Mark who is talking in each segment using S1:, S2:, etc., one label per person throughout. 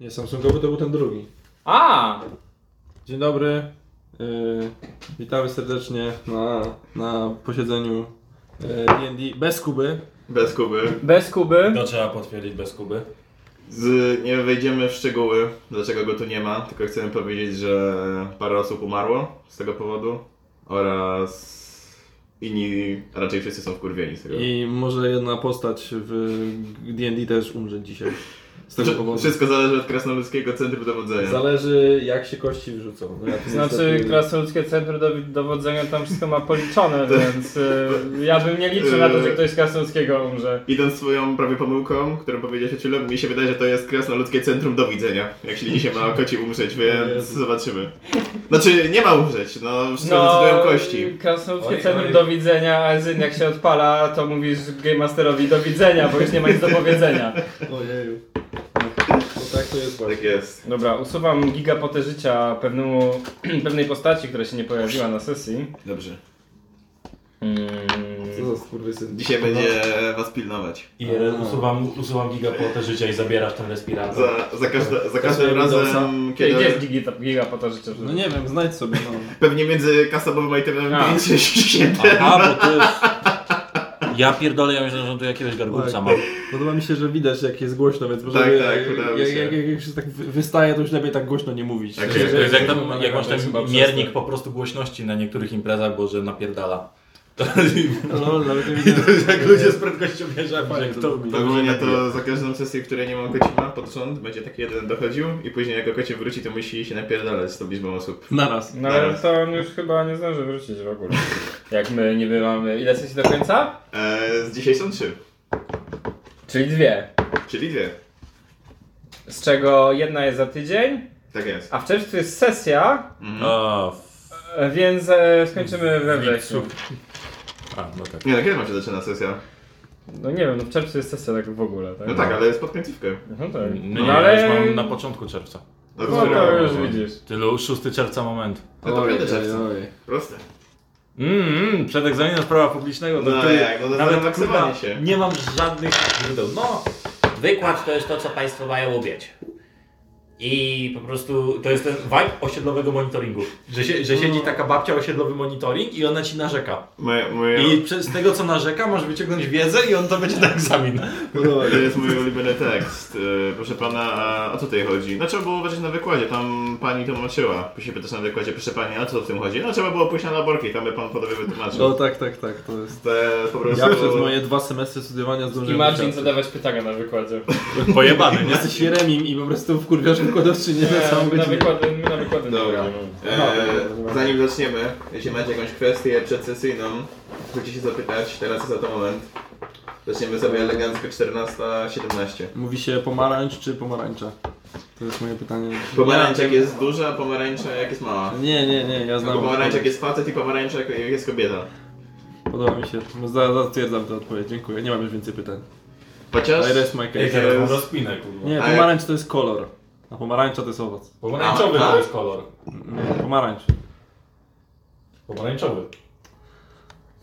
S1: Nie, Samsungowy to był ten drugi.
S2: A!
S1: Dzień dobry. Yy, witamy serdecznie na, na posiedzeniu yy, D&D bez Kuby.
S3: Bez Kuby.
S2: Bez Kuby.
S1: To trzeba potwierdzić bez Kuby.
S3: Z, nie wejdziemy w szczegóły, dlaczego go tu nie ma, tylko chcemy powiedzieć, że parę osób umarło z tego powodu oraz inni, a raczej wszyscy są wkurwieni z tego.
S1: I może jedna postać w D&D też umrze dzisiaj. Z tego
S3: Wsz-
S1: powodu.
S3: Znaczy, Wszystko zależy od krasnoludzkiego centrum dowodzenia.
S1: Zależy jak się kości wyrzucą. No ja tu
S2: Znaczy,
S1: niestety-
S2: krasnoludzkie centrum dowi- dowodzenia tam wszystko ma policzone, więc y, ja bym nie liczył na to,
S3: Y.
S2: że ktoś z krasnoludzkiego umrze.
S3: Idąc swoją prawie pomyłką, którą powiedziałeś Ciulem, mi się wydaje, że to jest krasnoludzkie centrum do widzenia. Jeśli dzisiaj ma koci umrzeć, więc
S1: Jezu.
S3: zobaczymy. Znaczy, nie ma umrzeć, no wszystko decydują kości.
S2: krasnoludzkie
S1: Oj,
S2: centrum
S1: oj.
S2: do widzenia, a Zyn jak się odpala, to mówisz Game Masterowi do widzenia, bo już nie ma nic do powiedzenia.
S1: Ojeju. No tak to jest właśnie.
S3: Tak jest.
S2: Dobra, usuwam gigapotę życia pewnemu, pewnej postaci, która się nie pojawiła na sesji.
S3: Dobrze.
S2: Mm,
S1: Co za skurwysyn.
S3: Dzisiaj będzie was pilnować.
S4: I re- usuwam, usuwam gigapotę życia i zabierasz ten respirator.
S3: Za, za, każde, za
S1: sobie
S3: każdym razem,
S2: Ej, Gdzie
S3: kiedy...
S2: jest gigi- gigapota życia?
S1: No nie wiem, znajdź sobie. No.
S3: Pewnie między kasabowym itemem
S2: A.
S3: 5 się
S4: Aha, bo to jest... Ja pierdolę, ja myślę, że on tu jakiegoś gargulca ma.
S1: Podoba mi się, Tak. że widać jak jest głośno, więc może
S3: Tak,
S1: by-
S3: tak, podoba mi
S1: jak,
S3: się.
S1: jak, jak, jak się tak wy- wystaje, to już lepiej tak głośno nie mówić.
S3: Tak,
S1: Że-
S4: To jest,
S1: że-
S4: to jest jak,
S1: że-
S4: tam, jak masz
S1: chyba
S4: ten
S1: przez
S4: miernik
S1: to.
S4: po prostu głośności na niektórych imprezach, bo że napierdala. To,
S1: No, nawet nie widzę.
S4: jak ludzie z prędkością bierzemy,
S1: Fajnie,
S4: jak
S1: to
S4: to
S1: lubię.
S3: Ogólnie to za każdą sesję, w której nie mam kocima, podrząd będzie taki jeden dochodził i później jak kocie wróci, to musi się napierdalać z tą liczbą osób.
S1: Naraz.
S2: No ale to on już chyba nie zdąży wrócić w ogóle. Jak my nie mamy. Ile sesji do końca?
S3: Eee, z dzisiaj są trzy,
S2: Czyli dwie.
S3: czyli dwie.
S2: Z czego jedna jest za tydzień,
S3: Tak jest.
S2: a w czerwcu jest sesja,
S4: O, f-
S2: e, więc e, skończymy we wrześniu.
S4: a, no tak.
S3: Nie no, kiedy ma się zaczyna sesja?
S2: No nie wiem, no w czerwcu jest sesja tak w ogóle, tak?
S3: No tak, ale jest pod końcówkę.
S2: No tak.
S4: No,
S2: No
S4: nie,
S2: ale-
S4: ale... już mam na początku czerwca.
S3: No
S2: No to już widzisz.
S4: Tylu, 6 czerwca moment.
S3: No to
S1: Ojej,
S3: będę czerwca.
S1: ojej.
S3: Proste.
S4: Mm, mm, przed egzaminem z prawa publicznego.
S3: No
S4: który-
S3: jak, no to zrelaksowanie
S4: kurwa,
S3: się.
S4: Nie mam żadnych źródeł.
S5: No, wykład to jest to, co Państwo mają umieć. I po prostu to jest ten vibe osiedlowego monitoringu.
S4: Że, się, że
S3: No.
S4: siedzi taka babcia osiedlowy monitoring i ona ci narzeka.
S3: Moja, moja,
S4: I prze- z tego co narzeka możesz wyciągnąć wiedzę i on to będzie na egzamin.
S3: To jest mój ulubiony tekst. E, Proszę pana, a o co tutaj chodzi? No trzeba było uważać na wykładzie, tam pani tłumaczyła. Później pytasz na wykładzie, proszę pani, a co w tym chodzi? No trzeba było pójść na laborki, tam by pan podobnie wytłumaczył.
S1: No tak, tak, tak, to jest.
S3: To jest po prostu...
S1: Ja przez moje dwa semestry studiowania zdążyłem.
S2: Imagine
S1: wysiadać.
S2: zadawać pytania na wykładzie.
S4: Pojebany, nie?
S1: Jesteś Jeremim i po prostu wkurwiasz wykładowczynię na całą
S2: Nie, E, na
S1: godzinę.
S2: wykłady, my na wykłady nie
S3: Dobra.
S2: chodzimy.
S1: No,
S3: E, zanim zaczniemy, jeśli macie jakąś kwestię przedsesyjną, chcecie się zapytać, teraz jest za to moment. Zaczniemy sobie elegancko 14-17.
S1: Mówi się pomarańcz czy pomarańcza? To jest moje pytanie.
S3: Pomarańczek jest duża, pomarańcza jak jest mała.
S1: Nie, nie, nie, ja znam.
S3: Albo pomarańczek
S1: odpowiedź.
S3: jest facet i pomarańczek jak jest kobieta.
S1: Podoba mi się. No, Za- Zatwierdzam tę odpowiedź, dziękuję. Nie mam już więcej pytań.
S3: Chociaż...
S1: I rest my
S4: Jak
S1: case.
S4: ja
S3: Jest-
S4: mam rozpinę, kurwa.
S1: Nie,
S3: A jak-
S1: pomarańcz to jest kolor. A pomarańcza to jest owoc.
S4: Pomarańczowy
S3: A, a?
S4: to jest kolor.
S1: Nie, Pomarańcz.
S4: Pomarańczowy.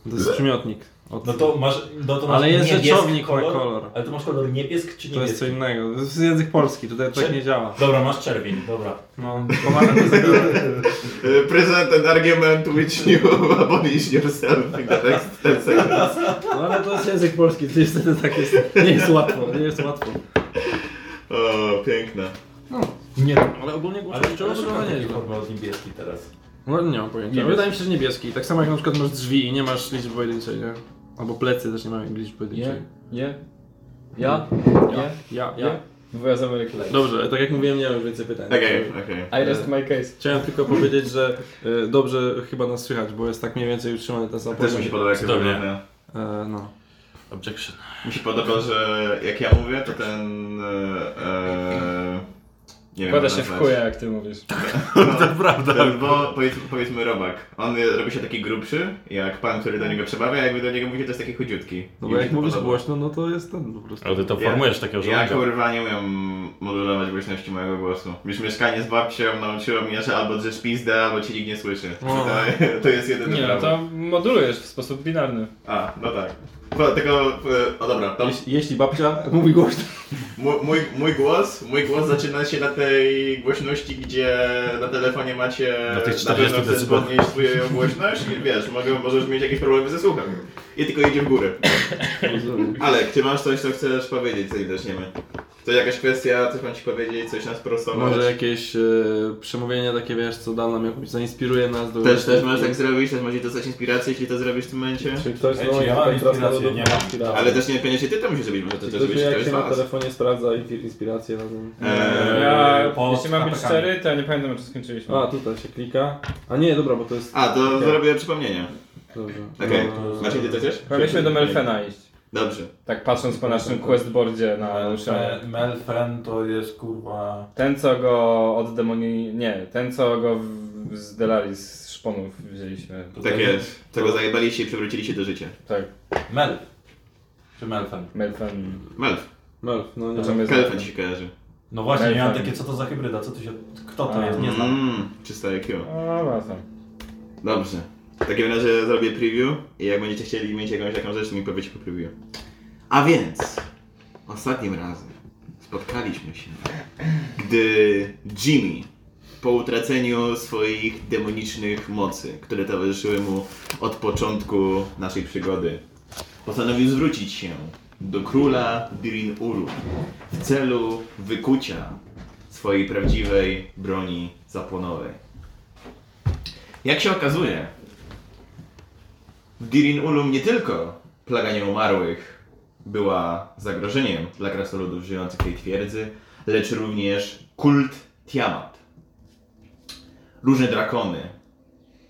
S1: To jest przymiotnik. Od...
S4: No to masz, no to masz
S1: Ale jest
S4: niebieski
S1: rzeczownik, ma kolor.
S4: Ale to masz kolor niebiesk czy
S1: To jest co
S4: niebieski?
S1: innego. To jest język polski, tutaj tak
S4: Czerw-
S1: nie działa.
S4: Dobra, masz czerwień, dobra.
S1: No, pomarańcz to jest
S3: E, Present an argument which you abolish yourself in the next 10 seconds.
S1: No ale to jest język polski, to niestety tak jest. Nie jest łatwo, nie jest łatwo.
S3: O, piękna.
S4: Nie,
S1: No. Ale ogólnie
S4: ale
S1: głośno
S4: wczoraj
S1: to nie jest.
S4: formy od niebieski teraz.
S1: No nie mam pojęcia.
S2: Niebieski.
S1: Wydaje mi się, że niebieski. Tak samo jak na przykład masz drzwi i nie masz liczby pojedynczej, nie? Albo plecy też nie mają liczby pojedynczej.
S2: Nie, nie. Ja?
S1: Ja,
S2: Nie?
S1: ja, ja.
S2: Ja? Wuja z Ameryki.
S1: Dobrze, tak jak mówiłem, nie mam już więcej pytań.
S3: Okej, okej.
S2: I rest my case.
S1: Chciałem tylko powiedzieć, że y, dobrze chyba nas słychać, bo jest tak mniej więcej utrzymany ten sam
S3: Też
S1: poziom.
S3: mi się podoba, jak to
S4: Cudownie.
S3: wygląda.
S1: E, no.
S4: Objection.
S3: Mi się podoba, że jak ja mówię, to ten... E, e, nie wiem,
S2: Kłada
S3: jak
S2: się
S3: nazwać.
S2: w chuja, jak ty mówisz.
S3: No,
S4: Prawda.
S3: ten, bo powiedz, powiedzmy robak. On je- robi się taki grubszy, jak pan, który do niego przemawia, jakby do niego mówicie, to jest taki chudziutki.
S1: No
S3: I
S1: bo
S3: mi
S1: jak
S3: się
S1: mówisz
S3: podoba.
S1: głośno, no to jest ten po prostu.
S4: Ale ty to
S3: Ja-
S4: formujesz
S3: Ja
S4: takiego żołnierza.
S3: kurwa nie umiem modulować głośności mojego głosu. Już mieszkanie z babcią nauczyło mnie, że albo drzesz pizdę, albo ci nikt nie słyszy.
S1: O.
S3: To, to jest jedyny
S2: Nie, no
S3: prawo.
S2: to modulujesz w sposób binarny.
S3: A, no tak. Po, tylko, e, o dobra, tam,
S1: Jeśli, jeśli babcia mówi głośno.
S3: Mój, mój, mój głos, mój głos zaczyna się na tej głośności, gdzie na telefonie macie
S4: Na tych
S3: na pewno
S4: 40
S3: chcesz
S4: decybel.
S3: podnieść swoją głośność i wiesz, mogę, możesz mieć jakieś problemy ze słuchem. I tylko idzie w górę.
S1: Rozumiem.
S3: Alek, ty masz coś, co chcesz powiedzieć, zanim zaczniemy? To jakaś kwestia, coś mam ci powiedzieć, coś nas prostować?
S1: Może jakieś e, przemówienia takie, wiesz, co da nam jakąś, zainspiruje nas do...
S3: Też, też możesz tak zrobić, też możesz dostać inspirację, jeśli to zrobisz w tym momencie.
S1: Czy ktoś
S4: Wiecie,
S1: znowu
S4: ja mam
S1: teraz
S4: inspirację,
S1: narodowy-
S4: nie mam.
S1: inspirację.
S3: Ale też nie koniecznie ty to musisz zrobić, może to
S1: Czy
S3: też
S1: ktoś
S3: zrobić
S1: wie, jak
S3: ktoś z
S1: się na
S3: was.
S1: telefonie sprawdza infi- inspirację razem?
S3: Eee,
S2: Ja,
S4: po
S2: jeśli mam być
S4: atakami.
S2: szczery, to ja nie pamiętam, czy skończyliśmy.
S1: A, tutaj się klika. A nie, dobra, bo to jest...
S3: A, to
S1: Tak.
S3: zrobię przypomnienie.
S1: Dobrze.
S3: Okej. Znaczy-
S1: No,
S3: Macie ty to też?
S2: Powinniśmy do Melfena iść.
S3: Dobrze.
S2: Tak patrząc po naszym questboardzie na
S4: e,
S2: ścianie.
S4: Melfen to jest kurwa...
S2: Ten, co go od demoni... Nie, ten, co go w... z Delaris, z szponów wzięliśmy.
S3: Tak jest. Tego zajebaliście i przywróciliście do życia.
S2: Tak,
S4: Mel. Czy Melfen?
S2: Melfen.
S3: Melf.
S1: Melf, no nie.
S2: Zaczynamy z
S3: Kelfen
S2: Melfen.
S3: ci się kojarzy.
S4: No właśnie,
S2: Melfen.
S4: miałem takie, co to za hybryda, co tu się... Kto to jest, nie znam.
S3: Mm, czysta IQ.
S2: O, razem.
S3: Dobrze. W takim razie zrobię preview i jak będziecie chcieli mieć jakąś taką rzecz, to mi powiecie po preview. A więc, ostatnim razem spotkaliśmy się, gdy Jimmy po utraceniu swoich demonicznych mocy, które towarzyszyły mu od początku naszej przygody, postanowił zwrócić się do króla Dirin Ulu w celu wykucia swojej prawdziwej broni zapłonowej. Jak się okazuje, w Dirin Ulum nie tylko plaga nieumarłych była zagrożeniem dla krasnoludów żyjących w tej twierdzy, lecz również kult Tiamat. Różne drakony.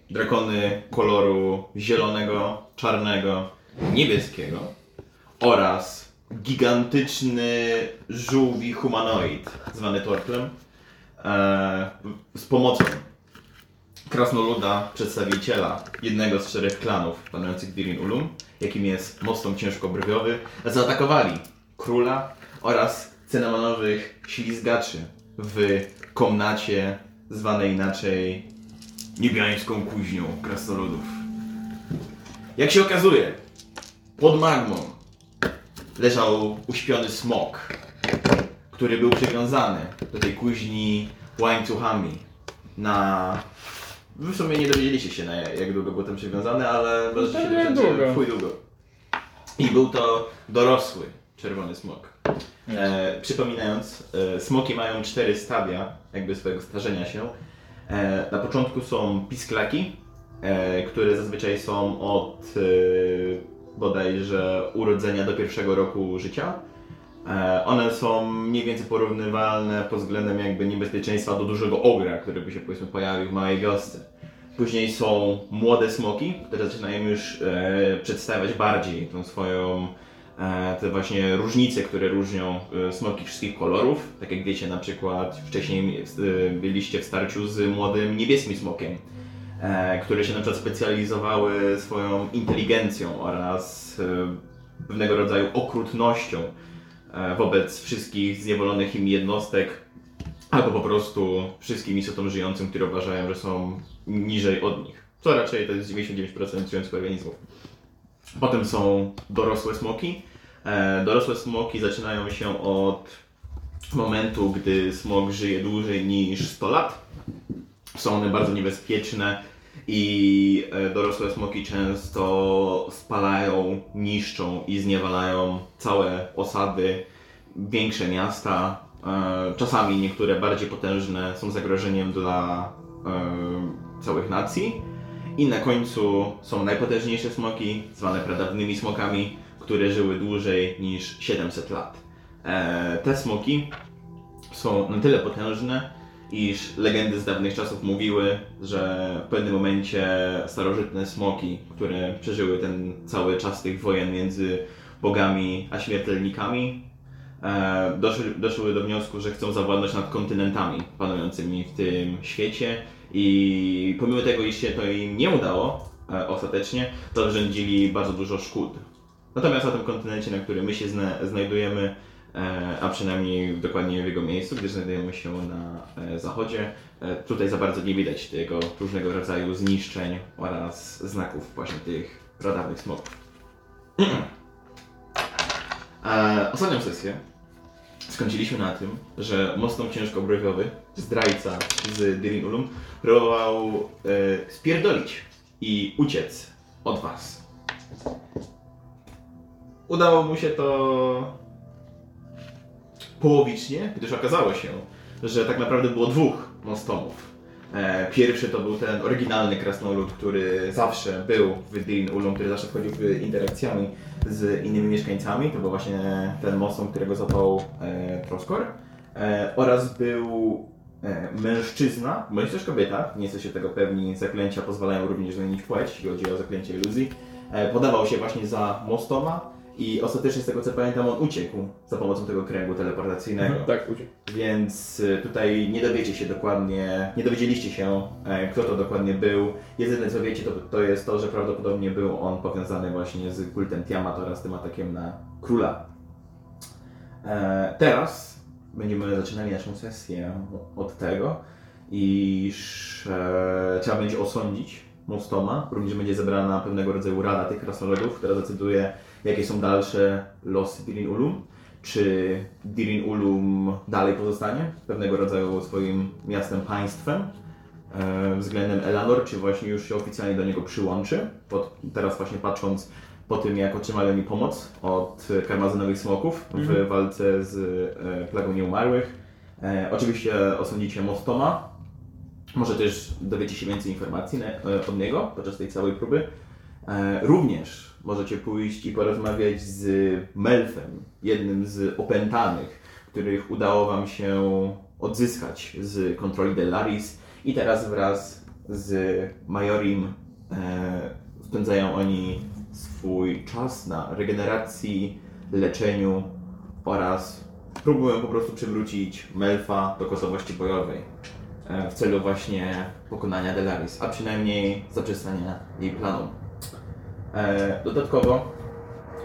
S3: Drakony koloru zielonego, czarnego, niebieskiego oraz gigantyczny żółwi humanoid zwany Tortlem e, z pomocą krasnoluda, przedstawiciela jednego z czterech klanów panujących w Dirin Ulum, jakim jest mocą ciężkobrwiowy, zaatakowali króla oraz cynamonowych ślizgaczy w komnacie zwanej inaczej niebiańską kuźnią krasnoludów. Jak się okazuje, pod magmą leżał uśpiony smok, który był przywiązany do tej kuźni łańcuchami na Wy w sumie nie dowiedzieliście się, na jak długo był tam przywiązany, ale no się
S2: pewnie
S3: dowiedzieć, że
S2: długo.
S3: chuj długo. I był to dorosły czerwony smok. E, przypominając, e, smoki mają cztery stadia, jakby swojego starzenia się. E, na początku są pisklaki, e, które zazwyczaj są od e, bodajże urodzenia do pierwszego roku życia. E, One są mniej więcej porównywalne pod względem jakby niebezpieczeństwa do dużego ogra, który by się powiedzmy pojawił w małej wiosce. Później są młode smoki, które zaczynają już e, przedstawiać bardziej tą swoją, e, te właśnie różnice, które różnią e, smoki wszystkich kolorów. Tak jak wiecie, na przykład wcześniej e, byliście w starciu z młodym niebieskim smokiem, e, które się na przykład specjalizowały swoją inteligencją oraz e, pewnego rodzaju okrutnością e, wobec wszystkich zniewolonych im jednostek, albo po prostu wszystkim istotom żyjącym, które uważają, że są niżej od nich. Co raczej to jest 99% żyjących organizmów. Potem są dorosłe smoki. E, Dorosłe smoki zaczynają się od momentu, gdy smok żyje dłużej niż 100 lat. Są one bardzo niebezpieczne i e, dorosłe smoki często spalają, niszczą i zniewalają całe osady, większe miasta. E, Czasami niektóre bardziej potężne są zagrożeniem dla e, całych nacji. I na końcu są najpotężniejsze smoki, zwane pradawnymi smokami, które żyły dłużej niż 700 lat. E, Te smoki są na tyle potężne, iż legendy z dawnych czasów mówiły, że w pewnym momencie starożytne smoki, które przeżyły ten cały czas tych wojen między bogami a śmiertelnikami, e, doszły, doszły do wniosku, że chcą zawładnąć nad kontynentami panującymi w tym świecie i pomimo tego, iż się to im nie udało e, ostatecznie, to wyrządzili bardzo dużo szkód. Natomiast na tym kontynencie, na którym my się zna- znajdujemy, E, a przynajmniej dokładnie w jego miejscu, gdyż znajdujemy się na e, zachodzie. E, Tutaj za bardzo nie widać tego różnego rodzaju zniszczeń oraz znaków właśnie tych radarnych smoków. E, Ostatnią sesję skończyliśmy na tym, że mocno ciężko brojowiowy, zdrajca z Dirin Ulum, próbował e, spierdolić i uciec od was. Udało mu się to połowicznie, gdyż okazało się, że tak naprawdę było dwóch mostomów. E, pierwszy to był ten oryginalny krasnolud, który zawsze był w Dirin Ulum, który zawsze wchodził w interakcjami z innymi mieszkańcami. To był właśnie ten mostom, którego zapał e, Troskor. E, oraz był e, mężczyzna, bądź też kobieta, nie jesteście tego pewni, zaklęcia pozwalają również zmienić płeć, jeśli chodzi o zaklęcie iluzji. E, podawał się właśnie za Mostoma i ostatecznie z tego co pamiętam on uciekł za pomocą tego kręgu teleportacyjnego.
S1: Tak, uciekł.
S3: Więc y, tutaj nie dowiecie się dokładnie, nie dowiedzieliście się, e, kto to dokładnie był. Jedyne co wiecie, to, to jest to, że prawdopodobnie był on powiązany właśnie z kultem Tiamat oraz tym atakiem na króla. E, Teraz będziemy zaczynali naszą sesję od tego, iż e, trzeba będzie osądzić Mostoma. Również będzie zebrana pewnego rodzaju rada tych krasnoludów, która decyduje, jakie są dalsze losy Dirin Ulum czy Dirin Ulum dalej pozostanie pewnego rodzaju swoim miastem, państwem e, względem Elanor, czy właśnie już się oficjalnie do niego przyłączy. Pod, teraz właśnie patrząc po tym, jak otrzymali mi pomoc od e, karmazynowych smoków w walce z e, plagą nieumarłych. E, oczywiście osądzicie Mostoma. Może też dowiecie się więcej informacji ne, e, od niego podczas tej całej próby. E, Również możecie pójść i porozmawiać z Melfem, jednym z opętanych, których udało wam się odzyskać z kontroli Delaris i teraz wraz z Majorim e, spędzają oni swój czas na regeneracji, leczeniu oraz próbują po prostu przywrócić Melfa do gotowości bojowej e, w celu właśnie pokonania Delaris, a przynajmniej zaprzestania jej planom. E, Dodatkowo,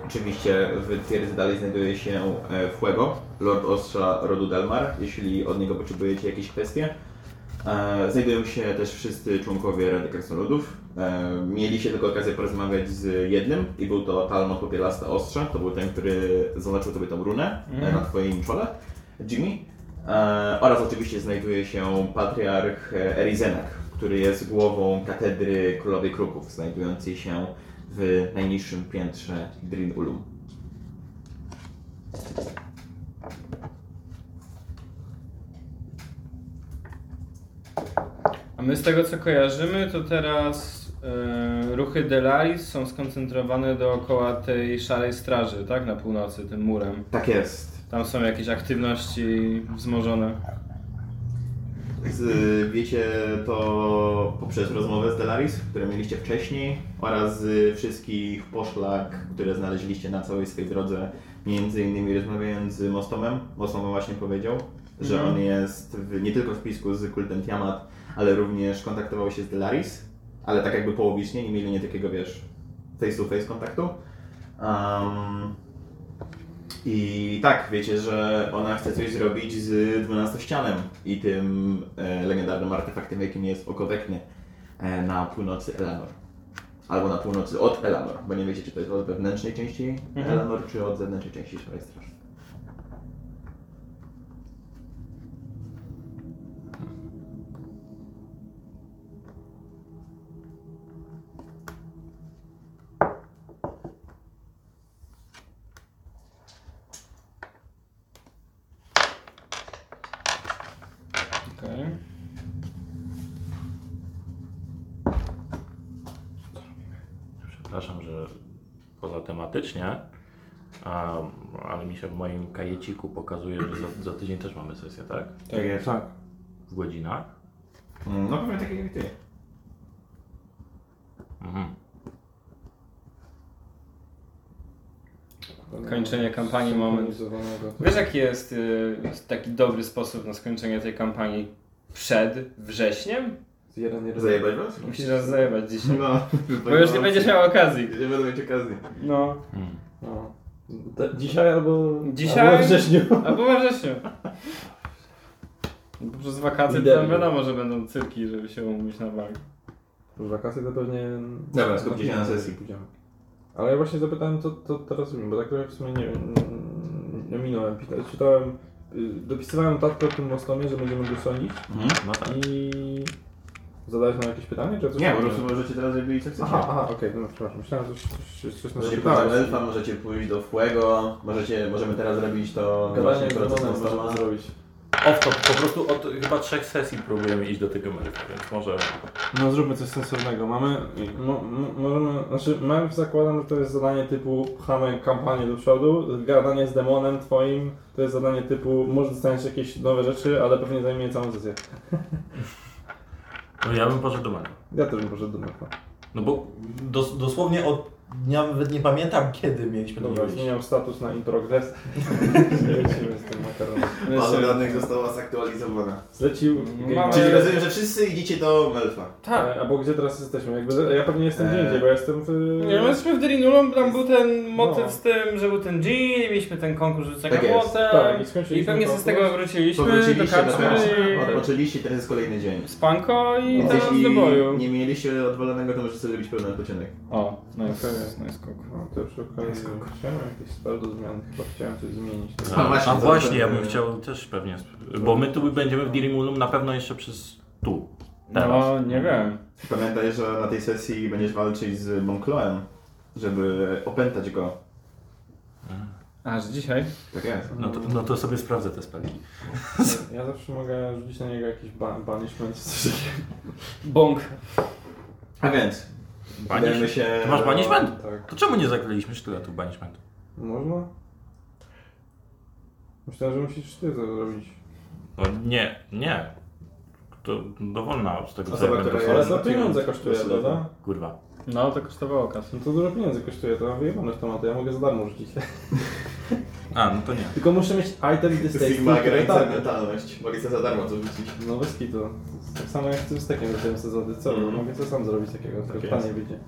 S3: oczywiście w twierdzy dalej znajduje się e, Fuego, Lord Ostrza rodu Delmar, jeśli od niego potrzebujecie jakieś kwestie. E, Znajdują się też wszyscy członkowie Rady Krasnoludów. E, Mieliście tylko okazję porozmawiać z jednym i był to Talmot Popielasta Ostrza, to był ten, który zaznaczył tobie tą runę e, na twoim czole, Jimmy. E, Oraz oczywiście znajduje się patriarch e, Erizenek, który jest głową katedry Królowej Kruków, znajdującej się w najniższym piętrze Drin Ulum.
S2: A my z tego co kojarzymy, to teraz e, ruchy Delaris są skoncentrowane dookoła tej szarej straży, tak? Na północy, tym murem.
S3: Tak jest.
S2: Tam są jakieś aktywności wzmożone.
S3: Z, wiecie to poprzez rozmowę z Delaris, które mieliście wcześniej, oraz z wszystkich poszlak, które znaleźliście na całej swojej drodze, między innymi rozmawiając z Mostomem. Mostom właśnie powiedział, że on jest w, nie tylko w spisku z kultem Tiamat, ale również kontaktował się z Delaris, ale tak jakby połowicznie, nie mieli nie takiego, wiesz, face to face kontaktu. Em, I tak, wiecie, że ona chce coś zrobić z 12 ścianem i tym e, legendarnym artefaktem, jakim jest oko Wekny e, na północy Elanor. Albo na północy od Elanor, bo nie wiecie, czy to jest od wewnętrznej części
S2: Mhm.
S3: Elanor, czy od zewnętrznej części Szarej Straży.
S2: Okej.
S4: Przepraszam, że poza tematycznie, a, ale mi się w moim kajeciku pokazuje, że za, za tydzień też mamy sesję, tak?
S3: Tak jest.
S1: Tak.
S4: W godzinach.
S3: Mm, No pewnie takie jak ty.
S4: Mhm.
S2: Kończenie
S1: No,
S2: kampanii, moment. Wiesz jaki jest y, taki dobry sposób na skończenie tej kampanii przed wrześniem?
S1: Z jeden, jeden.
S3: Zajebać was?
S2: Musisz nas zajebać dzisiaj.
S3: No.
S2: Bo już nie będziesz miał okazji.
S3: Nie będę mieć okazji.
S2: No.
S4: Mhm.
S1: No. Te- Dzisiaj albo.
S2: Dzisiaj?
S1: Albo we wrześniu.
S2: Albo we wrześniu. Bo Przez wakacje to tam
S1: Liderem.
S2: wiadomo, że będą cyrki, żeby się umówić na bank.
S1: Już wakacje to pewnie...
S3: Dobra, skupcie się na sesji.
S1: Pójdziemy. Ale ja właśnie zapytałem, co to teraz robimy, bo tak trochę w sumie nie wiem, mm, Ja minąłem, pita- czytałem, y, dopisywałem notatkę o tym mostomie, że będziemy go sonić
S4: No tak.
S1: i zadałeś nam jakieś pytanie, czy coś?
S3: Nie, po prostu możecie teraz zrobić co chcecie.
S1: Aha, aha, okej, no przepraszam, myślałem, że coś, coś, coś nas
S3: Możecie pójść do
S1: zapytałeś.
S3: elfa, możecie pójść do Fuego, możecie, możemy teraz zrobić to
S1: Gadanie z
S3: właśnie proces
S1: demonem
S3: Nostoma.
S1: możemy zrobić.
S4: Off top, po prostu od chyba trzech sesji próbujemy iść do tego merytu, więc może
S1: No zróbmy coś sensownego. Mamy, mo, mo, możemy, znaczy mam zakładam, że to jest zadanie typu pchamy kampanię do przodu, gadanie z demonem twoim, to jest zadanie typu może dostaniesz jakieś nowe rzeczy, ale pewnie zajmie całą sesję.
S4: no ja bym poszedł do menu.
S1: Ja też bym poszedł do metra.
S4: No bo
S6: Dos, dosłownie od dnia, nawet nie pamiętam kiedy mieliśmy do
S1: Dobra,
S6: niego iść.
S1: zmieniam status na in progress. Lecimy z tym makaronem.
S3: Baza
S2: Znaczy-
S3: danych została zaktualizowana. E,
S1: Zlecił
S2: Mamy-
S1: Game
S3: Czyli
S2: Ale-
S3: rozumiem, że wszyscy idziecie do Melfa.
S1: Tak. A bo gdzie teraz jesteśmy? Jakby, ja pewnie jestem gdzie
S3: Eee.
S1: indziej, bo ja jestem w...
S2: Nie, my jesteśmy w Drinulą, tam był ten motyw
S1: No.
S2: z tym, że był ten Jean, mieliśmy ten konkurs rzucenia
S3: Tak jest.
S2: młotem
S1: Tak, i
S2: i,
S1: skończyliśmy
S2: pewnie z
S1: konkurs.
S2: tego wróciliśmy do
S3: Powróciliście do
S2: karczmy
S3: pracy,
S2: i
S3: odpoczęliście, teraz jest kolejny dzień.
S2: spanko i
S3: Więc
S2: teraz do
S3: jeśli
S2: boju.
S3: nie mieliście odwalonego, to możecie zrobić pełny odpoczynek.
S2: O, no nice,
S1: Okej.
S2: nice cook.
S1: No to już okej. Chciałem jakieś spell do zmian, chyba chciałem coś zmienić.
S4: A,
S3: A No właśnie,
S4: a
S3: to-
S4: właśnie, ja bym chciał też pewnie, sp- bo my tu będziemy w Dirimulum na pewno jeszcze przez tu. Teraz.
S2: No, nie wiem.
S3: Pamiętaj, że na tej sesji będziesz walczyć z Monkloem, żeby opętać go.
S2: Aż dzisiaj.
S3: Tak jest.
S4: No to, no to sobie sprawdzę te spelki.
S1: Ja zawsze mogę rzucić na niego jakiś ba- banishment czy coś takiego.
S2: Bąk.
S3: A więc, udajemy
S4: Banish...
S3: się...
S4: Ty masz
S3: do-
S4: banishment?
S1: Tak.
S4: To czemu nie zakryliśmy sztyletu banishmentu?
S1: Można? Myślałem, że musisz ty to zrobić.
S4: No nie, nie. To dowolna z tego co ja
S3: Osoba,
S4: będę
S3: która
S4: słuchał.
S1: Ale
S3: jest-
S1: za pieniądze kosztuje,
S3: Absolutnie.
S1: prawda?
S4: Kurwa.
S2: No, to kosztowało kasę.
S1: No to dużo pieniędzy kosztuje, to mam wyjebane w tomaty, ja mogę za darmo rzucić.
S4: A, no to nie.
S1: Tylko muszę mieć item disdain,
S3: Sigma
S1: który
S3: granica
S1: tak.
S3: mentalność. Mogę sobie za darmo to rzucić.
S1: No bez kitu. To jest Tak samo jak z tym stekiem zacząłem sezony, co?
S3: Mhm.
S1: Mogę co sam zrobić takiego, tylko
S3: jest.
S1: pytanie wyjdzie.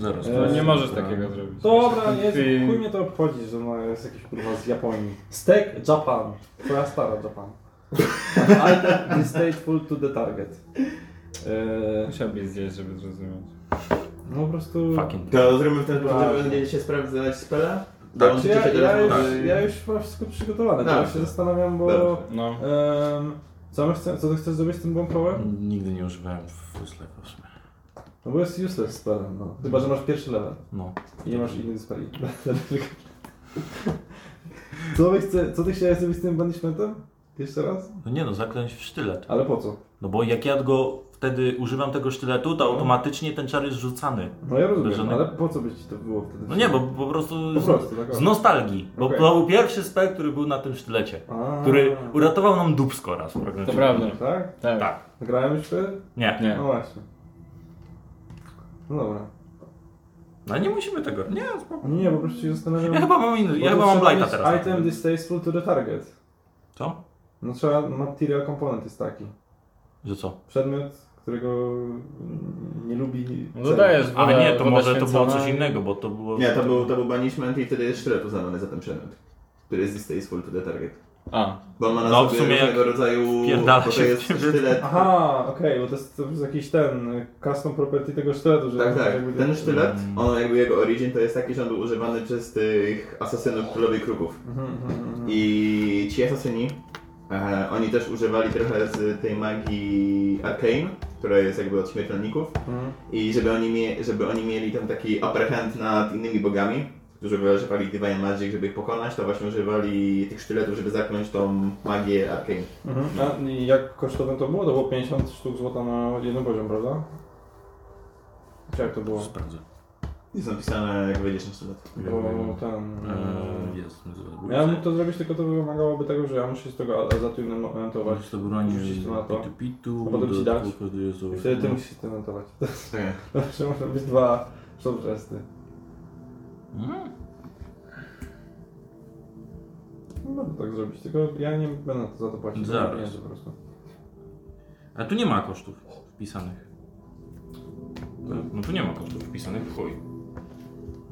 S4: Zaraz.
S1: E,
S4: to jest-
S2: No, nie możesz takiego zrobić.
S1: Dobra, nie,
S2: Ty-
S1: chuj mnie to obchodzi, że no jest jakiś kurwa z Japonii. Steak Japan. Twoja stara Japan. Item is stateful to the target. Eee,
S2: Musiałbyś zjeść, żeby zrozumieć.
S1: no po prostu...
S4: Fucking.
S3: To zrobimy w ten sposób,
S1: Tak.
S3: że będziecie sprawdzać spele?
S1: Znaczy,
S3: Dołączycie
S1: Ja,
S3: Tak, się do
S1: ja,
S3: rozmowy.
S1: już, ja już mam wszystko przygotowane,
S3: Dobrze.
S1: teraz się zastanawiam, bo...
S3: Dobrze.
S2: No.
S1: em, co, my chce, co ty chcesz zrobić z tym bąkołem?
S4: Nigdy nie używałem fusleku w sumie.
S1: No bo jest useless spelem, no. Chyba, że masz pierwszy level
S4: No.
S1: i nie masz innych speli. co, my chce, co ty chciałeś zrobić z tym banishmentem? Jeszcze raz?
S4: no nie no, zaklęć w sztylet.
S1: Ale po co?
S4: No bo jak ja go wtedy używam tego sztyletu, to
S1: No.
S4: automatycznie ten czar jest rzucany.
S1: No ja rozumiem,
S4: Bez żadnych-
S1: ale po co by ci to było wtedy?
S4: No nie, bo po prostu,
S1: Po prostu, tak.
S4: z, no, z nostalgii. Bo
S1: Okej.
S4: to był pierwszy spel, który był na tym sztylecie.
S1: A,
S4: Który uratował nam dupsko raz.
S2: To prawda.
S1: Tak?
S2: No. Tak.
S4: Tak.
S1: Grałem już wtedy?
S4: Nie.
S2: Nie.
S1: No właśnie. No dobra.
S4: No nie musimy tego. Nie, spoko.
S1: Nie, po prostu się zastanawiam...
S4: Ja chyba mam inny.
S1: bo
S4: Ja
S1: tu
S4: chyba mam
S1: trzeba
S4: blighta
S1: mieć
S4: teraz.
S1: Item distasteful to the target.
S4: Co?
S1: No trzeba, material component jest taki.
S4: Że co?
S1: Przedmiot, którego mm, nie lubi...
S2: No
S1: cel.
S2: dodajesz
S4: A
S2: woda-
S4: nie, to
S2: woda
S4: może to było
S2: święcona
S4: coś
S2: i-
S4: innego, bo to było.
S3: Nie, to był, to był banishment i wtedy jest sztylet uznawany za ten przedmiot. Który jest distasteful to the target.
S2: A,
S3: Bo on ma na
S4: No, w
S3: sobie
S4: sumie jak
S3: różnego rodzaju...
S4: wpierdala
S3: Bo to
S4: się
S3: jest
S4: w tym, że-
S3: sztylet...
S1: Aha, okej, bo to jest, to jest jakiś ten, y, custom property tego sztyletu, że...
S3: Tak, tak.
S1: jakby-
S3: Ten sztylet,
S4: Mm.
S3: on jakby jego origin to jest taki, że on był używany przez tych asasynów królowej kruków.
S1: Mhm, mhm, mhm.
S3: I ci asasyni, e, oni też używali trochę z tej magii arcane, która jest jakby od śmiertelników.
S1: Mhm.
S3: I żeby oni, mie- żeby oni mieli tam taki upper hand nad innymi bogami, którzy używali Divine Magic, żeby ich pokonać, to właśnie używali tych sztyletów, żeby zakląć tą magię arcane.
S1: Mhm. A i jak kosztowne to było? To było 50 sztuk złota na jeden poziom, prawda? Czy jak to było?
S4: Sprawdzę.
S3: Jest napisane, jak wejdziesz na sztylet.
S1: Bo ten...
S4: Eee, Jest. zobacz.
S1: Ja mógł to zrobić, tylko to wymagałoby tego, że ja muszę się z tego azatium montować.
S4: Możesz to bronić
S1: Rzucić to na to.
S4: pitu pitu.
S1: A potem ci dać.
S4: dodatkowo to jest-
S1: I wtedy ty musisz to montować.
S3: Tak.
S1: Znaczy muszą być dwa sobrzesty.
S4: Mm.
S1: No można tak zrobić, tylko ja nie będę za to płacić.
S4: Zaraz.
S1: Nie, po prostu.
S4: A tu nie ma kosztów wpisanych. No tu nie ma kosztów wpisanych w chuj.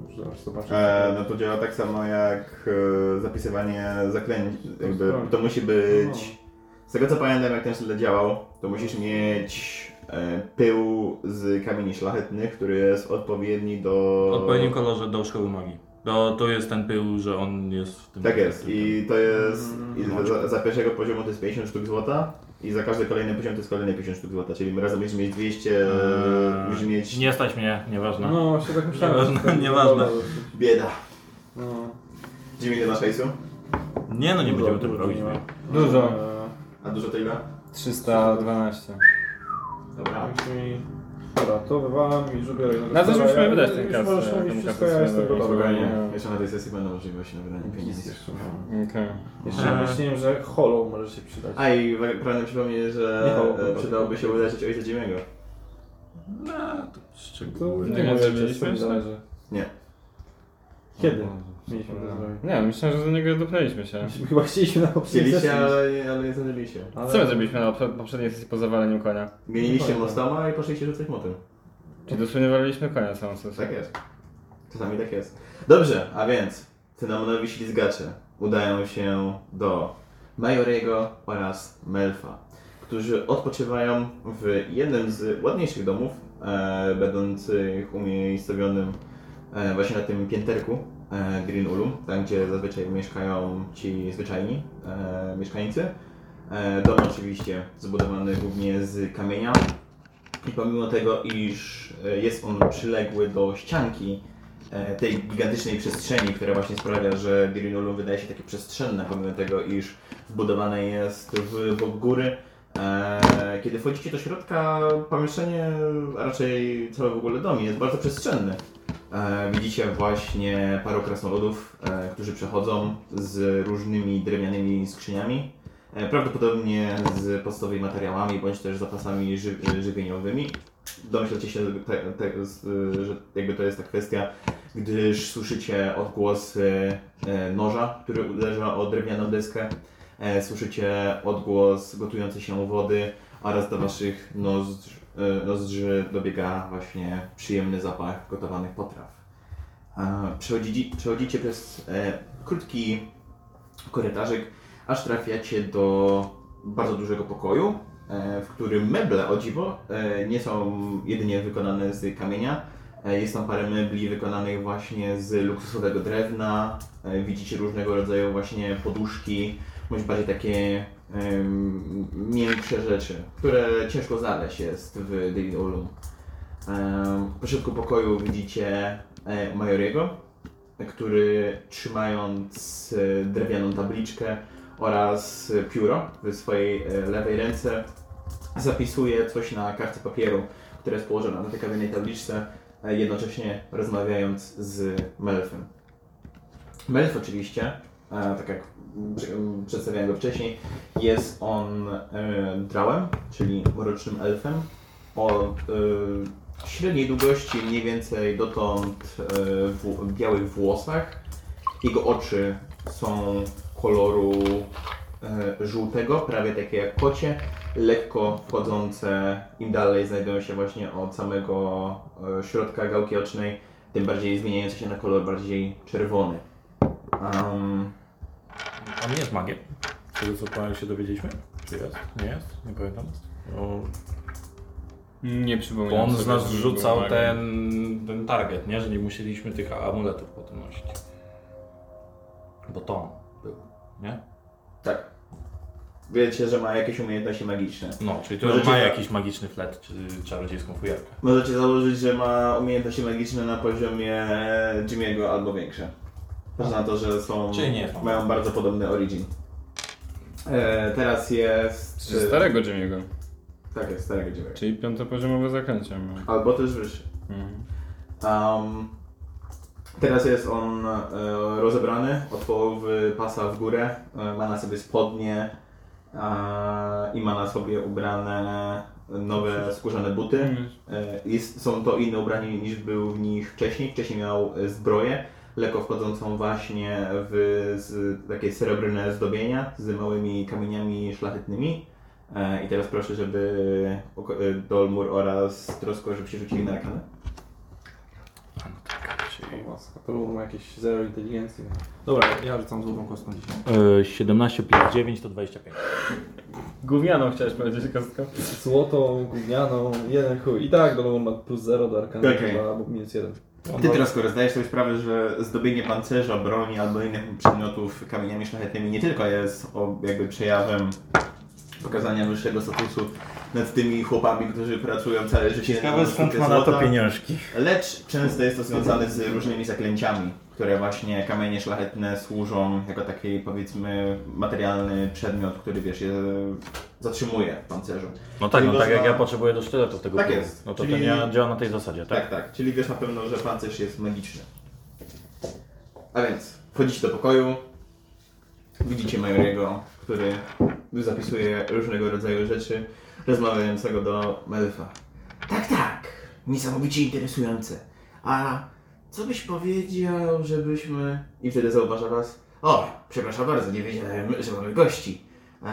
S1: Muszę zaraz zobaczyć.
S3: E, no to działa tak samo jak e, zapisywanie zaklęć. Jakby, to musi być. Z tego co pamiętam, jak ten sztylet działał, to musisz mieć e, pył z kamieni szlachetnych, który jest odpowiedni do.
S4: W odpowiednim kolorze do szkoły magii. To, to jest ten pył, że on jest w tym...
S3: Tak jest. I to jest. I za,
S4: Moczku.
S3: za pierwszego poziomu to jest 50 sztuk złota. I za każdy kolejny poziom to jest kolejne 50 sztuk złota. Czyli razem będziesz mieć 200.
S4: Eee,
S3: Musisz e, mieć.
S4: Nie stać mnie, nieważne.
S1: No właśnie tak myślałem.
S4: Nieważne, nieważne.
S3: Bieda.
S1: No.
S3: Dziewięć ile masz hejsu?
S4: Nie no, nie
S1: Dużo,
S4: będziemy tego
S1: dużo
S4: robić.
S1: nie ma.
S4: nie.
S2: Dużo.
S1: Eee,
S3: A dużo to ile?
S2: 312.
S3: Dobra.
S1: tak mi- Dobra, to wywalam i żubiorę.
S2: Na coś musimy wydać ten
S1: ten
S2: kas,
S1: Możesz
S2: e,
S1: mówić
S2: temu
S1: wszystko, ja jestem
S2: kasowi.
S1: gotowy.
S3: Spokojnie.
S1: Nie.
S3: Jeszcze na tej sesji będą możliwości na wydanie pieniędzy.
S2: Okej.
S1: Jeszcze myślałem, że hollow może się przydać.
S3: A i w- pragnę przypomnieć,
S1: Nie
S3: że
S1: chował,
S3: e, przydałoby się uleczyć ojca Ziemiego.
S4: No, to
S1: To
S4: szczegóły.
S1: nie
S2: Nie
S1: wiem,
S2: zrobiliśmy
S1: czy
S2: jeszcze?
S3: Nie.
S1: Kiedy? Mieliśmy to zrobić.
S2: Nie, myślałem, że do niego dopnęliśmy się.
S1: Myśmy Chyba chcieliśmy na poprzedniej
S3: Chcieliście,
S1: sesji.
S3: ale, nie- ale nie zdążyliście.
S1: Ale-
S2: Co my zrobiliśmy na poprze- poprzedniej sesji po zawaleniu konia?
S3: Mieliście
S1: Dokładnie.
S3: mostoma i poszliście rzucać motem.
S2: Czyli dosłownie waliliśmy konia samą sesję.
S3: Tak jest. Czasami tak jest. Dobrze, a więc cynamonowi ślizgacze udają się do Majorego oraz Melfa, którzy odpoczywają w jednym z ładniejszych domów, e, będących umiejscowionym e, właśnie na tym pięterku e, Green Ulum, tam gdzie zazwyczaj mieszkają ci zwyczajni e, mieszkańcy. E, dom oczywiście zbudowany głównie z kamienia, i pomimo tego, iż e, jest on przyległy do ścianki e, tej gigantycznej przestrzeni, która właśnie sprawia, że Dirinulum wydaje się takie przestrzenne, pomimo tego, iż wbudowane jest w bok góry. E, Kiedy wchodzicie do środka, pomieszczenie, a raczej cały w ogóle dom jest bardzo przestrzenny. E, Widzicie właśnie paru krasnoludów, e, którzy przechodzą z różnymi drewnianymi skrzyniami, E, Prawdopodobnie z podstawowymi materiałami, bądź też zapasami ży e, żywieniowymi. Domyślacie się, te, te, z, y, że jakby to jest ta kwestia, gdyż słyszycie odgłosy e, noża, który uderza o drewnianą deskę, e, słyszycie odgłos gotującej się wody oraz do waszych nozdrz, e, nozdrzy dobiega właśnie przyjemny zapach gotowanych potraw. E, Przechodzicie, przechodzicie przez e, krótki korytarzyk, aż trafiacie do bardzo dużego pokoju, e, w którym meble, o dziwo, e, nie są jedynie wykonane z kamienia. E, Jest tam parę mebli wykonanych właśnie z luksusowego drewna. E, Widzicie różnego rodzaju właśnie poduszki, bądź bardziej takie em, miększe rzeczy, które ciężko znaleźć jest w Daily Olum. Po środku pokoju widzicie e, Majoriego, który trzymając e, drewnianą tabliczkę oraz e, pióro w swojej e, lewej ręce zapisuje coś na kartce papieru, która jest położona na tej kamiennej tabliczce, e, jednocześnie rozmawiając z Melfem. Melf oczywiście, e, tak jak przy- m, przedstawiałem go wcześniej, jest on e, drałem, czyli mrocznym elfem o e, średniej długości, mniej więcej dotąd e, w, białych włosach. Jego oczy są koloru e, żółtego, prawie takie jak kocie, lekko wchodzące, im dalej znajdują się właśnie od samego e, środka gałki ocznej, tym bardziej zmieniające się na kolor bardziej czerwony. Am,
S4: On nie jest magiem. Z tego co powiem, się dowiedzieliśmy. Czy jest? Nie jest? Nie pamiętam. No,
S2: Nie
S4: bo
S2: przypominam
S4: on
S2: sobie,
S4: z nas
S2: żeby
S4: rzucał
S2: było tak.
S4: ten, ten target, nie? Że nie musieliśmy tych amuletów potem nosić. Bo to był, nie?
S3: tak. Wiecie, że ma jakieś umiejętności magiczne.
S4: No, czyli to
S3: Możecie
S4: ma
S3: za-
S4: jakiś magiczny flet, czy czarodziejską fujarkę.
S3: Możecie założyć, że ma umiejętności magiczne na poziomie e, Jimmy'ego albo większe. Patrz na to, że są.
S4: Czyli nie są.
S3: Mają bardzo podobny origin. E, teraz jest. e,
S2: Czy starego Jimmy'ego,
S3: Tak, jest starego Jimmy'ego.
S2: czyli piątopoziomowe zakręcie. miał.
S3: Albo też wyższy.
S2: Mhm.
S3: Um, teraz jest on e, rozebrany od połowy pasa w górę. E, ma na sobie spodnie e, i ma na sobie ubrane nowe skórzane buty.
S2: Mhm.
S3: E, Jest, są to inne ubrania niż był w nich wcześniej. Wcześniej miał e, zbroję, lekko wchodzącą właśnie w z, takie srebrne zdobienia z małymi kamieniami szlachetnymi. E, I teraz proszę, żeby oko- e, Dolmur oraz Trosko, żebyście rzucili na rakanę.
S4: A no tak, czyli...
S1: Łaska, To było mu jakieś zero inteligencji. Dobra, ja rzucam złotą kostką dzisiaj.
S2: E,
S4: Yy, 17 plus 9 to 25.
S2: Gównianą chciałeś powiedzieć, kostką.
S1: Złotą, gównianą, jeden chuj. I tak, Dolomon ma plus zero do Arkana,
S3: Okej.
S1: chyba, albo minus jeden.
S3: Ty teraz zdajesz sobie sprawę, że zdobienie pancerza, broni albo innych przedmiotów kamieniami szlachetnymi nie tylko jest o, jakby przejawem pokazania wyższego statusu nad tymi chłopami, którzy pracują całe życie
S4: Ciekawe skąd
S3: sztukę
S4: ma na to
S3: złota,
S4: pieniążki.
S3: Lecz często jest to związane z różnymi zaklęciami, które właśnie kamienie szlachetne służą jako taki powiedzmy materialny przedmiot, który wiesz, je zatrzymuje w pancerzu.
S7: No tak, no
S3: Czyli
S7: tak jak
S3: można-
S7: ja potrzebuję do sztyletu tego
S3: Tak
S7: typu.
S3: jest.
S7: No to
S3: Czyli-
S7: ten ja działa na tej zasadzie, tak?
S3: Tak, tak. Czyli wiesz na pewno, że pancerz jest magiczny. A więc wchodzicie do pokoju. Widzicie Majoriego, który zapisuje różnego rodzaju rzeczy, rozmawiającego do Melfa. Tak, tak. Niesamowicie interesujące. A co byś powiedział, żebyśmy... I wtedy zauważa was. O, przepraszam bardzo, nie wiedziałem, że mamy gości. Eee,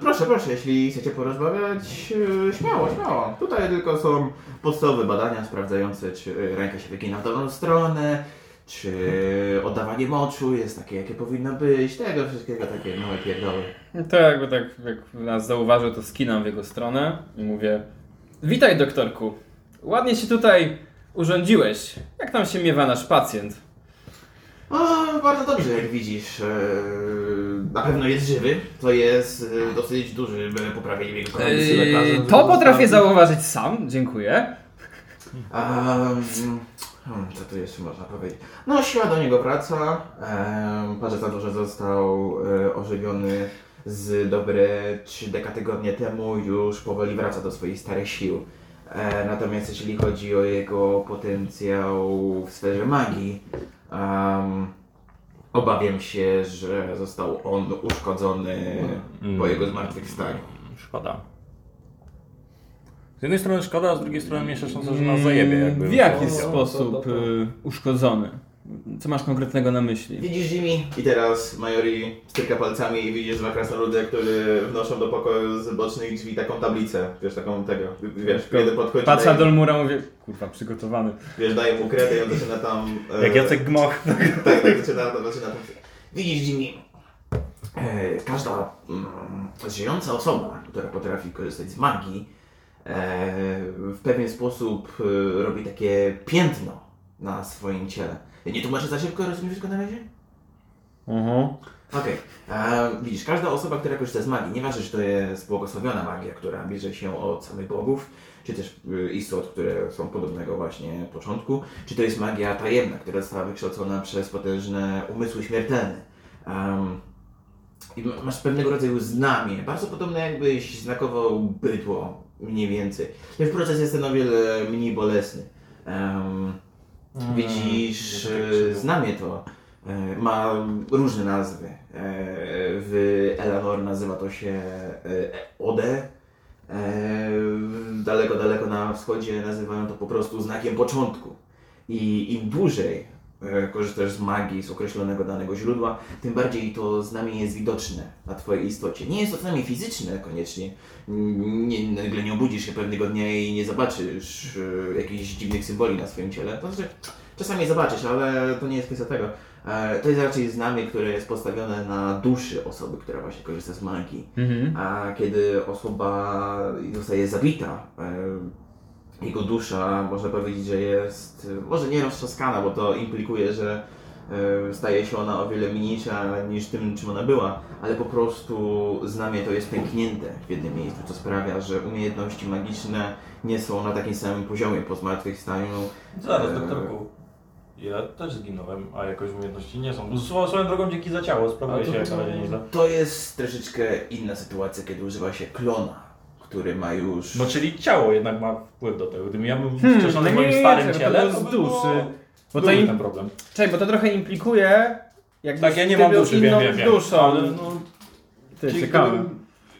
S3: proszę, proszę, jeśli chcecie porozmawiać, e, śmiało, śmiało. Tutaj tylko są podstawowe badania sprawdzające, czy ręka się wygina w dobrą stronę, czy oddawanie moczu jest takie, jakie powinno być, tego wszystkiego, takie małe pierdoły.
S2: To jakby tak, jak nas zauważył, to skinam w jego stronę i mówię Witaj doktorku, ładnie się tutaj urządziłeś. Jak tam się miewa nasz pacjent?
S3: O, No, bardzo dobrze, jak widzisz. Eee, na pewno jest żywy, to jest e, dosyć duży e, poprawienie jego kondycji lekarzem.
S2: to potrafię zauważyć sam, dziękuję.
S3: Um, hmm, co tu jeszcze można powiedzieć? No, siła do niego wraca. Um, patrzę na to, że został e, ożywiony z dobre 3 deka tygodnie temu, już powoli wraca do swoich starych sił. E, natomiast jeśli chodzi o jego potencjał w sferze magii, em, obawiam się, że został on uszkodzony po jego zmartwychwstaniu.
S7: Szkoda. Z jednej strony szkoda, a z drugiej strony mniejsza szansa, że nas zajebie jakby.
S2: Mm, W jaki
S1: to-
S2: sposób
S1: to- to-
S2: y, uszkodzony? Co masz konkretnego na myśli?
S3: Widzisz Jimmy? I teraz Majori stryka palcami i widzisz dwa krasnoludy, którzy wnoszą do pokoju z bocznych drzwi taką tablicę. Wiesz, taką tego, wiesz, kiedy podchodzi,
S2: Patrzę
S3: daje,
S2: do Lmura, mówię, kurwa, przygotowany.
S3: wiesz, daje mu kredę i on zaczyna tam... e,
S4: Jak Jacek Gmoch.
S3: Tak, tak, zaczyna, to zaczyna tam... Widzisz Jimmy? E, każda mm, żyjąca osoba, która potrafi korzystać z magii, e, w pewien sposób e, robi takie piętno na swoim ciele. Nie tłumaczę za szybko, rozumiesz go na razie? Okej. E, Widzisz, każda osoba, która korzysta z magii, nieważne, czy to jest błogosławiona magia, która bierze się od samych bogów, czy też y, istot, które są podobnego właśnie początku, czy to jest magia tajemna, która została wykształcona przez potężne umysły śmiertelne. Em, i ma- masz pewnego rodzaju znamie, bardzo podobne jakbyś znakował bydło, mniej więcej. Ten proces jest ten o wiele mniej bolesny. Em, widzisz, e, znamie to. E, Ma różne nazwy. E, W Eleanor nazywa to się e, Ode. E, Daleko, daleko na wschodzie nazywają to po prostu znakiem początku. I im dłużej e, korzystasz z magii z określonego danego źródła, tym bardziej to znamie jest widoczne na Twojej istocie. Nie jest to znamie fizyczne koniecznie. N- Nie, nagle nie obudzisz się pewnego dnia i nie zobaczysz e, jakichś dziwnych symboli na swoim ciele. To znaczy, czasami zobaczysz, ale to nie jest kwestia tego. E, To jest raczej znamie, które jest postawione na duszy osoby, która właśnie korzysta z magii.
S2: Mhm.
S3: A kiedy osoba zostaje zabita, e, jego dusza, można powiedzieć, że jest e, może nie roztrzaskana, bo to implikuje, że e, staje się ona o wiele mniejsza niż tym, czym ona była, ale po prostu znamie to jest pęknięte w jednym miejscu, co sprawia, że umiejętności magiczne nie są na takim samym poziomie po zmartwychwstaniu.
S7: Zaraz,
S3: Eee.
S7: doktorku. Ja też zginąłem, a jakoś umiejętności nie są. No, Swo- Swoją drogą dzięki za ciało,
S1: A
S7: sprawuję
S1: to
S7: się jak
S1: to-
S7: na razie nieźle.
S3: To jest troszeczkę inna sytuacja, kiedy używa się klona, który ma już...
S4: No czyli ciało jednak ma wpływ do tego. Gdybym ja był
S2: Hmm,
S4: wciąż na
S2: to
S4: moim
S2: nie,
S4: starym
S2: to
S4: ciele,
S2: było
S4: to
S2: z
S4: by było-
S2: duszy. Bo to
S4: byłby
S2: im-
S4: ten problem.
S2: Czekaj, bo to trochę implikuje, jakbyś
S4: Tak, ja nie
S2: ty
S4: mam
S2: był
S4: duszy,
S2: inną
S4: wiem, wiem, wiem.
S2: duszą.
S4: Ale no,
S2: Ty,
S4: czyli
S2: ciekawe.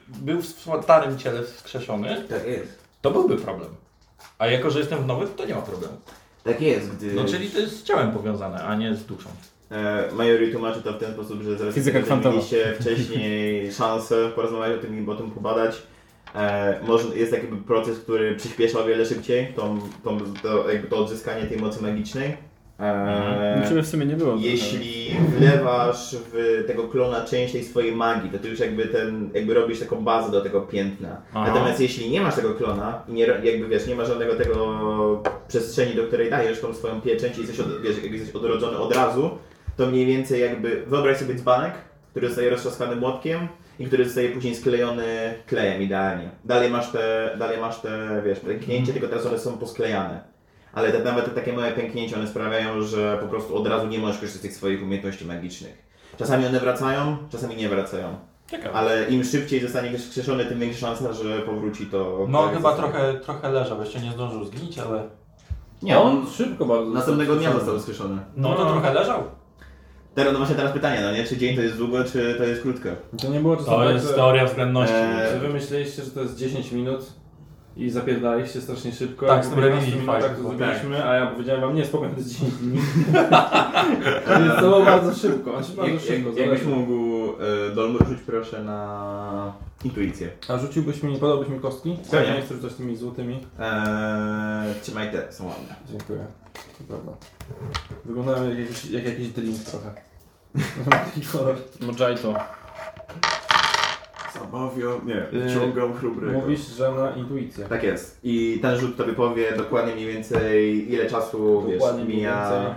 S4: gdybym był w swo- starym ciele wskrzeszony,
S3: Tak jest.
S4: to byłby problem. A jako, że jestem w nowym, to nie ma problemu.
S3: Tak jest, gdy...
S4: No czyli to jest z ciałem powiązane, a nie z duszą.
S3: E, Majori tłumaczy to w ten sposób, że zaraz
S2: Fizyka kwantowa.
S3: mieliście wcześniej szansę porozmawiać o tym i o tym pogadać. E, może jest taki proces, który przyspiesza o wiele szybciej tą, tą, to, jakby to odzyskanie tej mocy magicznej. E,
S8: Eee,
S2: Niczego w sumie nie było.
S3: Jeśli wlewasz w tego klona część tej swojej magii, to ty już jakby ten, jakby robisz taką bazę do tego piętna.
S9: Aha.
S3: Natomiast jeśli nie masz tego klona i nie, ro- jakby wiesz, nie masz żadnego tego przestrzeni, do której dajesz tą swoją pieczęć i jesteś, od, wiesz, jakby jesteś odrodzony od razu, to mniej więcej jakby wyobraź sobie dzbanek, który zostaje roztrzaskany młotkiem i który zostaje później sklejony klejem idealnie. Dalej masz te, dalej masz te, wiesz, pęknięcie, tylko teraz one są posklejane. Ale te, nawet te takie małe pęknięcia, one sprawiają, że po prostu od razu nie możesz korzystać z tych swoich umiejętności magicznych. Czasami one wracają, czasami nie wracają.
S10: Ciekawe.
S3: Ale im szybciej zostanie ktoś wskrzeszony, tym większa szansa, że powróci to.
S4: No
S3: tak,
S4: chyba
S3: zostało.
S4: trochę, trochę leżał, jeszcze nie zdążył zgnić, ale...
S3: Nie, on
S1: szybko bardzo.
S3: następnego dnia został wskrzeszony.
S4: No to trochę leżał.
S3: Teraz, no właśnie teraz pytanie, no nie? Czy dzień to jest długo, czy to jest krótko?
S1: To nie było czasem
S10: To
S1: tak,
S10: jest
S1: że-
S10: teoria względności.
S3: Eee,
S1: Czy wy myśleliście, że to jest 10 minut i zapierdaliście strasznie szybko?
S4: Tak,
S1: Jak
S4: z
S1: po
S4: tym
S1: 15
S4: Remini
S1: minutach
S4: Fight,
S1: to
S4: bo-
S1: zrobiliśmy, a ja powiedziałem wam, nie, spokojnie, to jest 10 dni. Więc to było bardzo szybko, znaczy bardzo
S3: Jak,
S1: szybko.
S3: jak, jakbyś
S1: zaledwie.
S3: mógł e, Dolmur rzuć proszę na intuicję.
S1: A rzuciłbyś mi, podałbyś mi kostki?
S3: Pewnie.
S1: Ja Tak. nie chcę rzucać tymi złotymi.
S3: Eee, trzymaj te, są ładne.
S1: Dziękuję. To prawda. Wyglądają jak jakiś, jak jakiś drink trochę. Taki kolor.
S2: Mojito.
S3: Zabawio, nie,
S1: ciągam
S3: chrubrego.
S1: Mówisz, że na intuicję.
S3: Tak jest. I ten rzut tobie powie dokładnie mniej więcej ile czasu
S1: Dokładnie
S3: wiesz,
S1: mniej
S3: mija.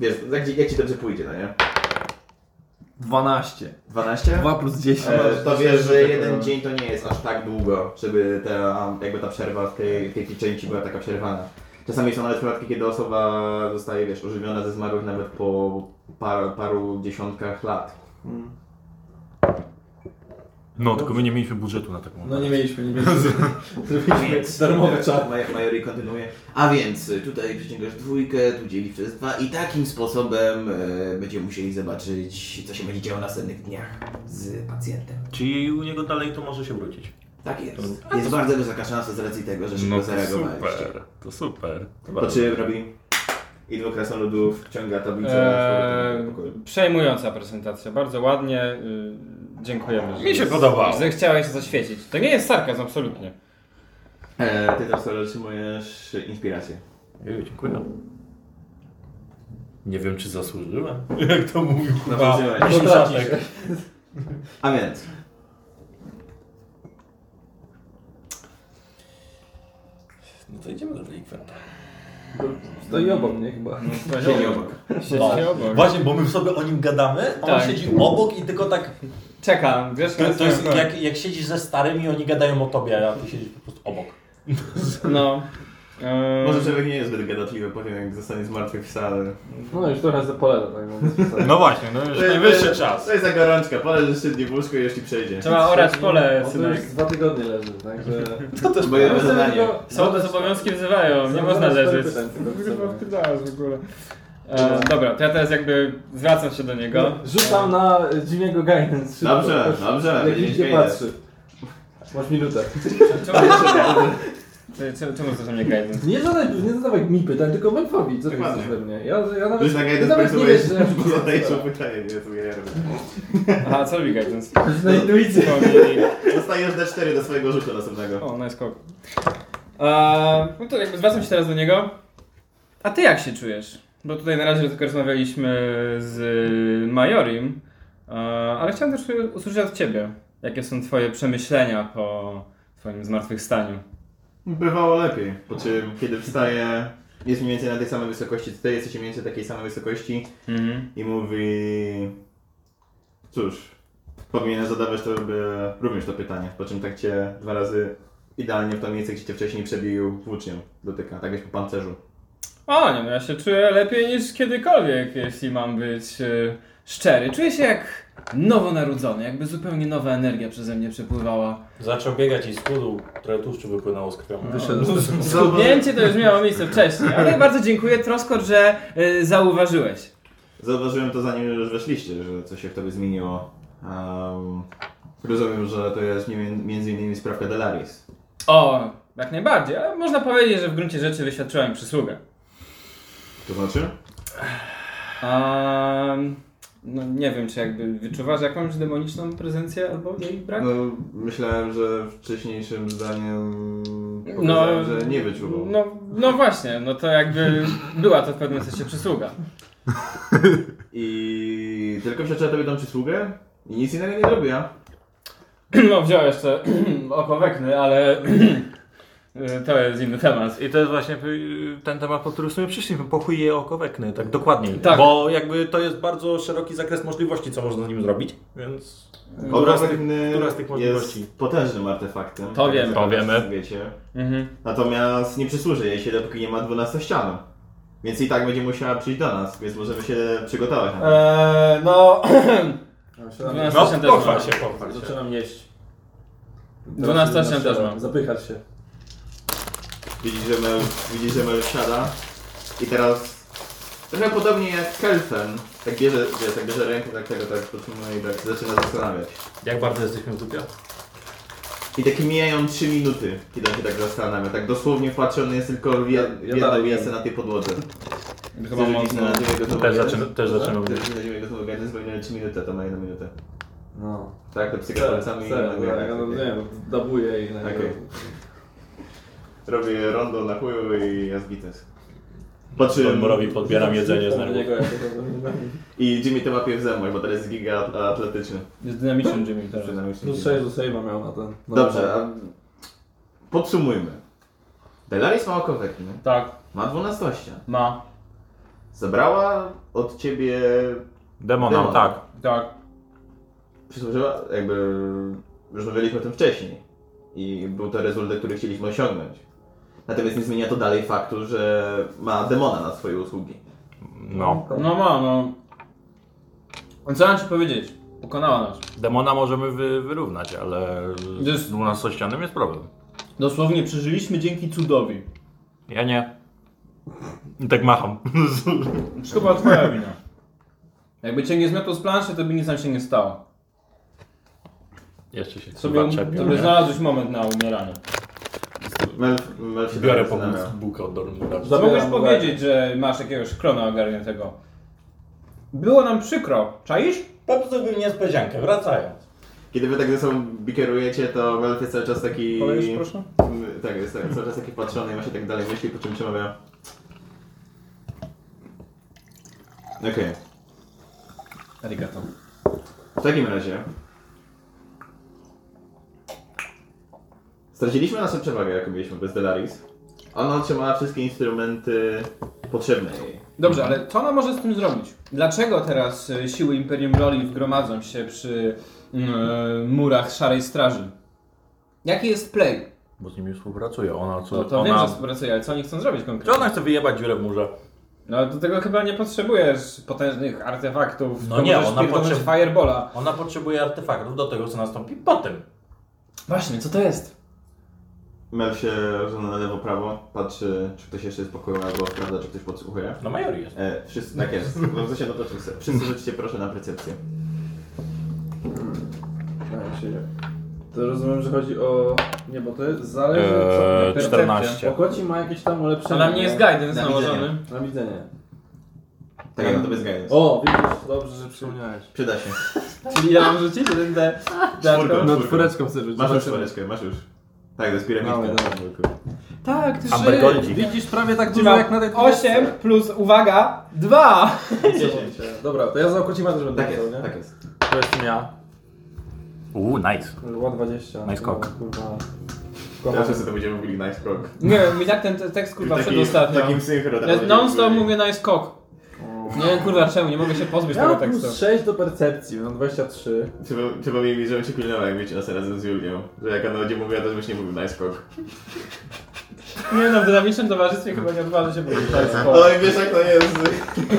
S1: więcej.
S3: Wiesz, jak, jak ci dobrze pójdzie, no nie?
S11: 12.
S3: 12?
S11: 2 plus 10.
S3: E, to wiesz, że
S1: tak
S3: jeden
S1: powiem.
S3: dzień to nie jest aż tak długo, żeby ta, jakby ta przerwa w tej, w tej pieczęci była taka przerwana. Czasami są nawet przypadki, kiedy osoba zostaje, wiesz, ożywiona ze zmarłych nawet po par, paru dziesiątkach lat.
S1: Hmm.
S9: No, tylko my nie mieliśmy budżetu na tak taką.
S1: No nie mieliśmy, nie mieliśmy. Zrobiliśmy darmowy czas.
S3: Maj- Majori kontynuuje. A więc y, tutaj przyciągasz dwójkę, tu dzielisz przez dwa i takim sposobem e, będziemy musieli zobaczyć, co się będzie działo w następnych dniach z pacjentem.
S9: Czyli u niego dalej to może się wrócić.
S3: Tak jest. Jest bardzo wysoka szansa z racji tego, że szybko
S9: No to
S3: zareagowałeś.
S9: super, to super. To
S3: To Znaczy-
S9: bardzo-
S3: czy robi? I dwóch krasnoludów wciąga tablicę
S2: Eee,
S3: eee... do pokoju.
S2: przejmująca prezentacja, bardzo ładnie. y, Dziękujemy. że-
S10: Mi się podobało.
S2: Że chciałeś zaświecić. To nie jest sarkazm, absolutnie.
S3: Eee, ty teraz otrzymujesz inspirację.
S9: Ej, dziękuję. Nie wiem, czy zasłużyłem.
S10: Jak to mówił
S3: No,
S10: kurwa.
S3: wziąłeś.
S10: Potrafisz.
S3: A więc.
S10: No to idziemy do delikwenta.
S1: Stoi obok mnie chyba.
S3: Siedzi obok.
S2: Siedzi obok.
S4: No. Właśnie, bo my sobie o nim gadamy, a on
S2: Tak.
S4: siedzi obok i tylko tak...
S2: Czekam, wiesz,
S4: To, to jest jak, jak siedzisz ze starymi, oni gadają o tobie, a ty siedzisz po prostu obok.
S2: No. Eee,
S3: Może człowiek nie jest zbyt gadatliwy, powiem jak zostanie zmartwychwstany.
S1: No już trochę zapolera, tak mówiąc.
S9: No właśnie, no już najwyższy czas.
S3: To jest ta gorączka, poleżysz trzy dni w łóżku i jeśli przejdzie.
S2: Trzeba orać pole,
S1: On to już
S2: synek.
S1: dwa tygodnie leży, także...
S3: To też moje zadanie.
S2: Sądy z obowiązki wzywają, nie można leżeć.
S1: Kurwa,
S2: w ogóle. E, dobra, to ja teraz jakby zwracam się do niego.
S1: Rzucam na y, Jimmy'ego Guidance. szybko.
S3: Dobrze, dobrze,
S1: Jak nikt nie
S3: Jimmy's Guidance.
S1: patrzy. Masz minutę.
S2: Czemu, E, czemu, czemu zwraca mnie guidance?
S1: Nie zadawaj, nie zadawaj mi pytań, tylko Menfowi, co ty
S3: Dokładnie.
S1: chcesz we mnie? Ja, ja nawet,
S3: Już na
S1: ja
S3: gajdę
S1: nawet nie wiesz,
S3: spojrzałeś,
S1: że...
S3: bo zadajesz obyczaje, nie sugerujemy.
S2: Aha, co robi guidance?
S1: Na intuicję.
S3: Dostajesz D4 do swojego rzutu następnego.
S2: O, nice skok. Eee, no to jakby zwracam się teraz do niego. A ty jak się czujesz? Bo tutaj na razie tylko rozmawialiśmy z Majorim, eee, ale chciałem też usłyszeć od ciebie, jakie są twoje przemyślenia po twoim zmartwychwstaniu.
S3: Bywało lepiej. Po czym, kiedy wstaje, jest mniej więcej na tej samej wysokości, ty jesteś mniej więcej takiej samej wysokości
S2: Mhm.
S3: i mówi... Cóż, powinienem zadawać to by, również to pytanie, po czym tak cię dwa razy idealnie w to miejsce, gdzie cię wcześniej przebił włócznią dotyka, tak jak po pancerzu.
S2: O, nie no, ja się czuję lepiej niż kiedykolwiek, jeśli mam być e, szczery. Czuję się jak nowonarodzony, jakby zupełnie nowa energia przeze mnie przepływała.
S10: Zaczął biegać i schudł, trochę tłuszczu wypłynęło z krwią.
S12: No.
S2: Schudnięcie to już miało miejsce wcześniej, ale bardzo dziękuję, Troskot, że e, zauważyłeś.
S3: Zauważyłem to zanim już weszliście, że coś się w tobie zmieniło. Um, rozumiem, że to jest mien- między innymi sprawka Delaris.
S2: O, jak najbardziej, ale można powiedzieć, że w gruncie rzeczy wyświadczyła mi przysługę.
S3: To znaczy?
S2: Ehm, no nie wiem, czy jakby wyczuwasz jakąś demoniczną prezencję albo jej brak?
S3: No, myślałem, że wcześniejszym zdaniem
S2: No,
S3: no, że nie wyczuwał.
S2: no, no właśnie, no to jakby była to w pewnym sensie przysługa.
S3: I tylko przeczytała tobie tą przysługę i nic innego nie zrobiła.
S2: No wziął jeszcze okowekny, ale to jest inny temat.
S4: I to jest właśnie y, ten temat, po którym w sumie przyszliśmy. Pochuje oko wekny, tak dokładniej.
S2: Tak.
S12: Bo jakby to jest bardzo szeroki zakres możliwości, co można z nim zrobić, więc...
S2: Dobra.
S12: Dobra.
S3: Obraz
S12: z tych-
S3: inny
S12: która z tych możliwości?
S3: jest potężnym artefaktem. Tak
S2: To wiemy.
S4: To wiemy.
S3: Wiecie.
S2: Mhm.
S3: Natomiast nie przysłuży jej się, dopóki nie ma 12 ścian. Więc i tak będzie musiała przyjść do nas, więc możemy się przygotować. na to.
S2: Eee, no,
S1: Ja się tam-
S2: 12 też
S4: No.
S12: No, pochwal
S2: mam.
S12: się, pochwal się.
S1: Zaczynam jeść.
S2: 12
S1: Teraz
S2: też
S1: siadam,
S2: mam.
S1: Zapychać się.
S3: Widzisz, że Mel, widzisz, że Mel siada. I teraz trochę podobnie jak Kelsen. Tak bierze, wiesz, tak bierze rękę, tak tego, tak podtrzymuje i tak zaczyna zastanawiać.
S12: Jak bardzo jesteśmy w dupie?
S3: I tak mijają 3 minuty, kiedy on się tak zastanawia. Tak dosłownie wpatrzony jest tylko w, je, w
S1: ja
S3: jedno
S1: dalej
S3: miejsce
S1: jem.
S3: na tej podłodze.
S2: Chyba mocno.
S4: Też zaczynam, też zaczynam
S3: Też zaczynamy gotowy organizm, bo miałem 3 minuty, to ma 1 minutę.
S1: No.
S3: Tak, to psyka
S1: Chcę,
S3: polecamy i
S1: chcę, bo ja no, nie
S3: nagle-
S1: wiem, dabuję i nagle...
S3: Okej. Robię rondo na chuju i jest bites. Po czym...
S4: Podborowi podbieram jedzenie z
S1: Tam
S4: nerwów.
S1: niego ja się tam nie-
S3: I Jimmy to łapie w zębach, bo teraz jest giga at- atletyczny.
S2: Jest dynamiczny Jimmy teraz.
S3: Przynajmniej się
S1: Plus
S3: giga.
S1: 6 do save'a miał na ten. No,
S3: Dobrze, a... Podsumujmy. Delaris ma okowekny,
S2: Tak,
S3: ma 12.
S2: ma.
S3: Zabrała od ciebie...
S4: Demona,
S3: Demona.
S4: tak.
S2: Tak.
S3: Przysłużyła, jakby... Już mówiliśmy o tym wcześniej. I był to rezultat, który chcieliśmy osiągnąć. Natomiast nie zmienia to dalej faktu, że ma demona na swoje usługi.
S4: No.
S2: No ma, no. Co mam ci powiedzieć? Pokonała nas.
S4: Demona możemy wy, wyrównać, ale z
S2: Jest-
S4: 12 ścianem jest problem.
S2: Dosłownie przeżyliśmy dzięki cudowi.
S4: Ja nie. I tak macham.
S2: Wszystko była twoja wina. Jakby cię nie zmiotło z planszy, to by nic nam się nie stało.
S4: Jeszcze się
S2: Sobie, um-
S4: chyba czepią,
S2: sobie
S4: nie?
S2: znalazłeś moment na umieranie.
S3: Mel, Mel się
S4: Biorę
S3: tak
S4: po
S3: zastanawia.
S4: bułkę od Dornmura.
S1: Za- Zabieram
S2: Mogłeś
S1: mu
S2: powiedzieć, że masz jakiegoś klona ogarniętego. Było nam przykro. Czaisz?
S12: Popsułbym niespodziankę, wracając.
S3: Kiedy wy tak ze sobą bikierujecie, to Melf jest cały czas taki...
S2: Kolejesz, proszę?
S3: Mm, Tak, jest tak, cały czas taki patrzony i ma się tak dalej myśli, po czym przemawia. Okej,
S2: Arigato.
S3: w takim razie... Straciliśmy naszą przewagę, jaką mieliśmy bez Delaris. Ona otrzymała wszystkie instrumenty potrzebne jej.
S2: Dobrze, ale co ona może z tym zrobić? Dlaczego teraz y, siły Imperium Roli gromadzą się przy mm, murach Szarej Straży? Jaki jest play?
S4: Bo z nimi współpracuję. Ona co?
S2: No to wiem,
S4: ona...
S2: że współpracuje, ale co oni chcą zrobić
S12: Czy
S2: konkretnie?
S12: ona chce wyjebać dziurę w murze?
S2: No do tego chyba nie potrzebujesz potężnych artefaktów.
S12: No
S2: to
S12: nie,
S2: możesz
S12: ona
S2: pierdolnąć
S12: potrzeb-
S2: Firebola.
S12: Ona potrzebuje artefaktów do tego, co nastąpi potem.
S2: Właśnie, co to jest?
S3: Mel się rozgląda na lewo, prawo, patrzy, czy ktoś jeszcze jest w pokoju, albo sprawdza, czy ktoś podsłuchuje.
S12: No Majori jest.
S3: E, wszyscy, tak jest. Wam się dotoczył. se. Wszyscy rzućcie proszę na percepcję.
S1: tak, się je. To rozumiem, że chodzi o... Nie, bo to jest... Zależy
S4: Eee,
S1: co...
S4: 14.
S1: Okłaci ma jakieś tam
S2: To
S1: ulepszenie.
S2: na mnie jest guidance
S3: Na
S2: nałożony.
S3: widzenie.
S1: Na widzenie.
S3: Tak, jak na to bez guidance.
S1: O, widzisz, dobrze, że przypomniałeś.
S3: Przyda się.
S2: Czyli ja mam rzucić jeden D.
S3: Czwórką.
S1: No czwóreczką chcę rzucić.
S3: Masz już
S1: Zobaczymy.
S3: czwóreczkę, masz już. Tak, to jest
S1: Mamy,
S3: piramidka.
S2: Tak, ty
S4: Amber
S2: żyjesz.
S4: Goldzik.
S1: Widzisz prawie tak
S2: Czyli
S1: dużo jak na
S2: mam
S1: tej
S2: 8 plus, uwaga, 2.
S1: Dziesięć. Dobra, to ja za Okłacima też będę
S3: Tak
S1: chciał,
S3: jest,
S1: nie?
S3: tak jest.
S1: To jestem ja.
S4: Uuu, nice.
S1: Była 20.
S4: Nice cock.
S1: No, kurwa.
S3: Teraz
S1: Kocham.
S3: wszyscy to będziemy mówili nice krok.
S2: Nie wiem, mi tak ten te- tekst kurwa
S3: Taki-
S2: przedostatnio.
S3: Takim synchro.
S2: Ja non stop mówię na jest kok. Nie wiem kurwa czemu, nie mogę się pozbyć
S1: Ja
S2: tego
S1: mam
S2: tekstu.
S1: plus 6 do percepcji, mam 23.
S3: Przypo- Przypomnij mi, żebym się pilnował, jak wiecie nas razem z Julią. Że jak ona będzie mówiła, to żebyś nie mówił nice krok.
S2: Nie no, w dynamicznym towarzystwie chyba nie odważy się powiedzieć. to jest
S1: Tak.
S2: kok.
S3: Oj, wiesz jak to jest.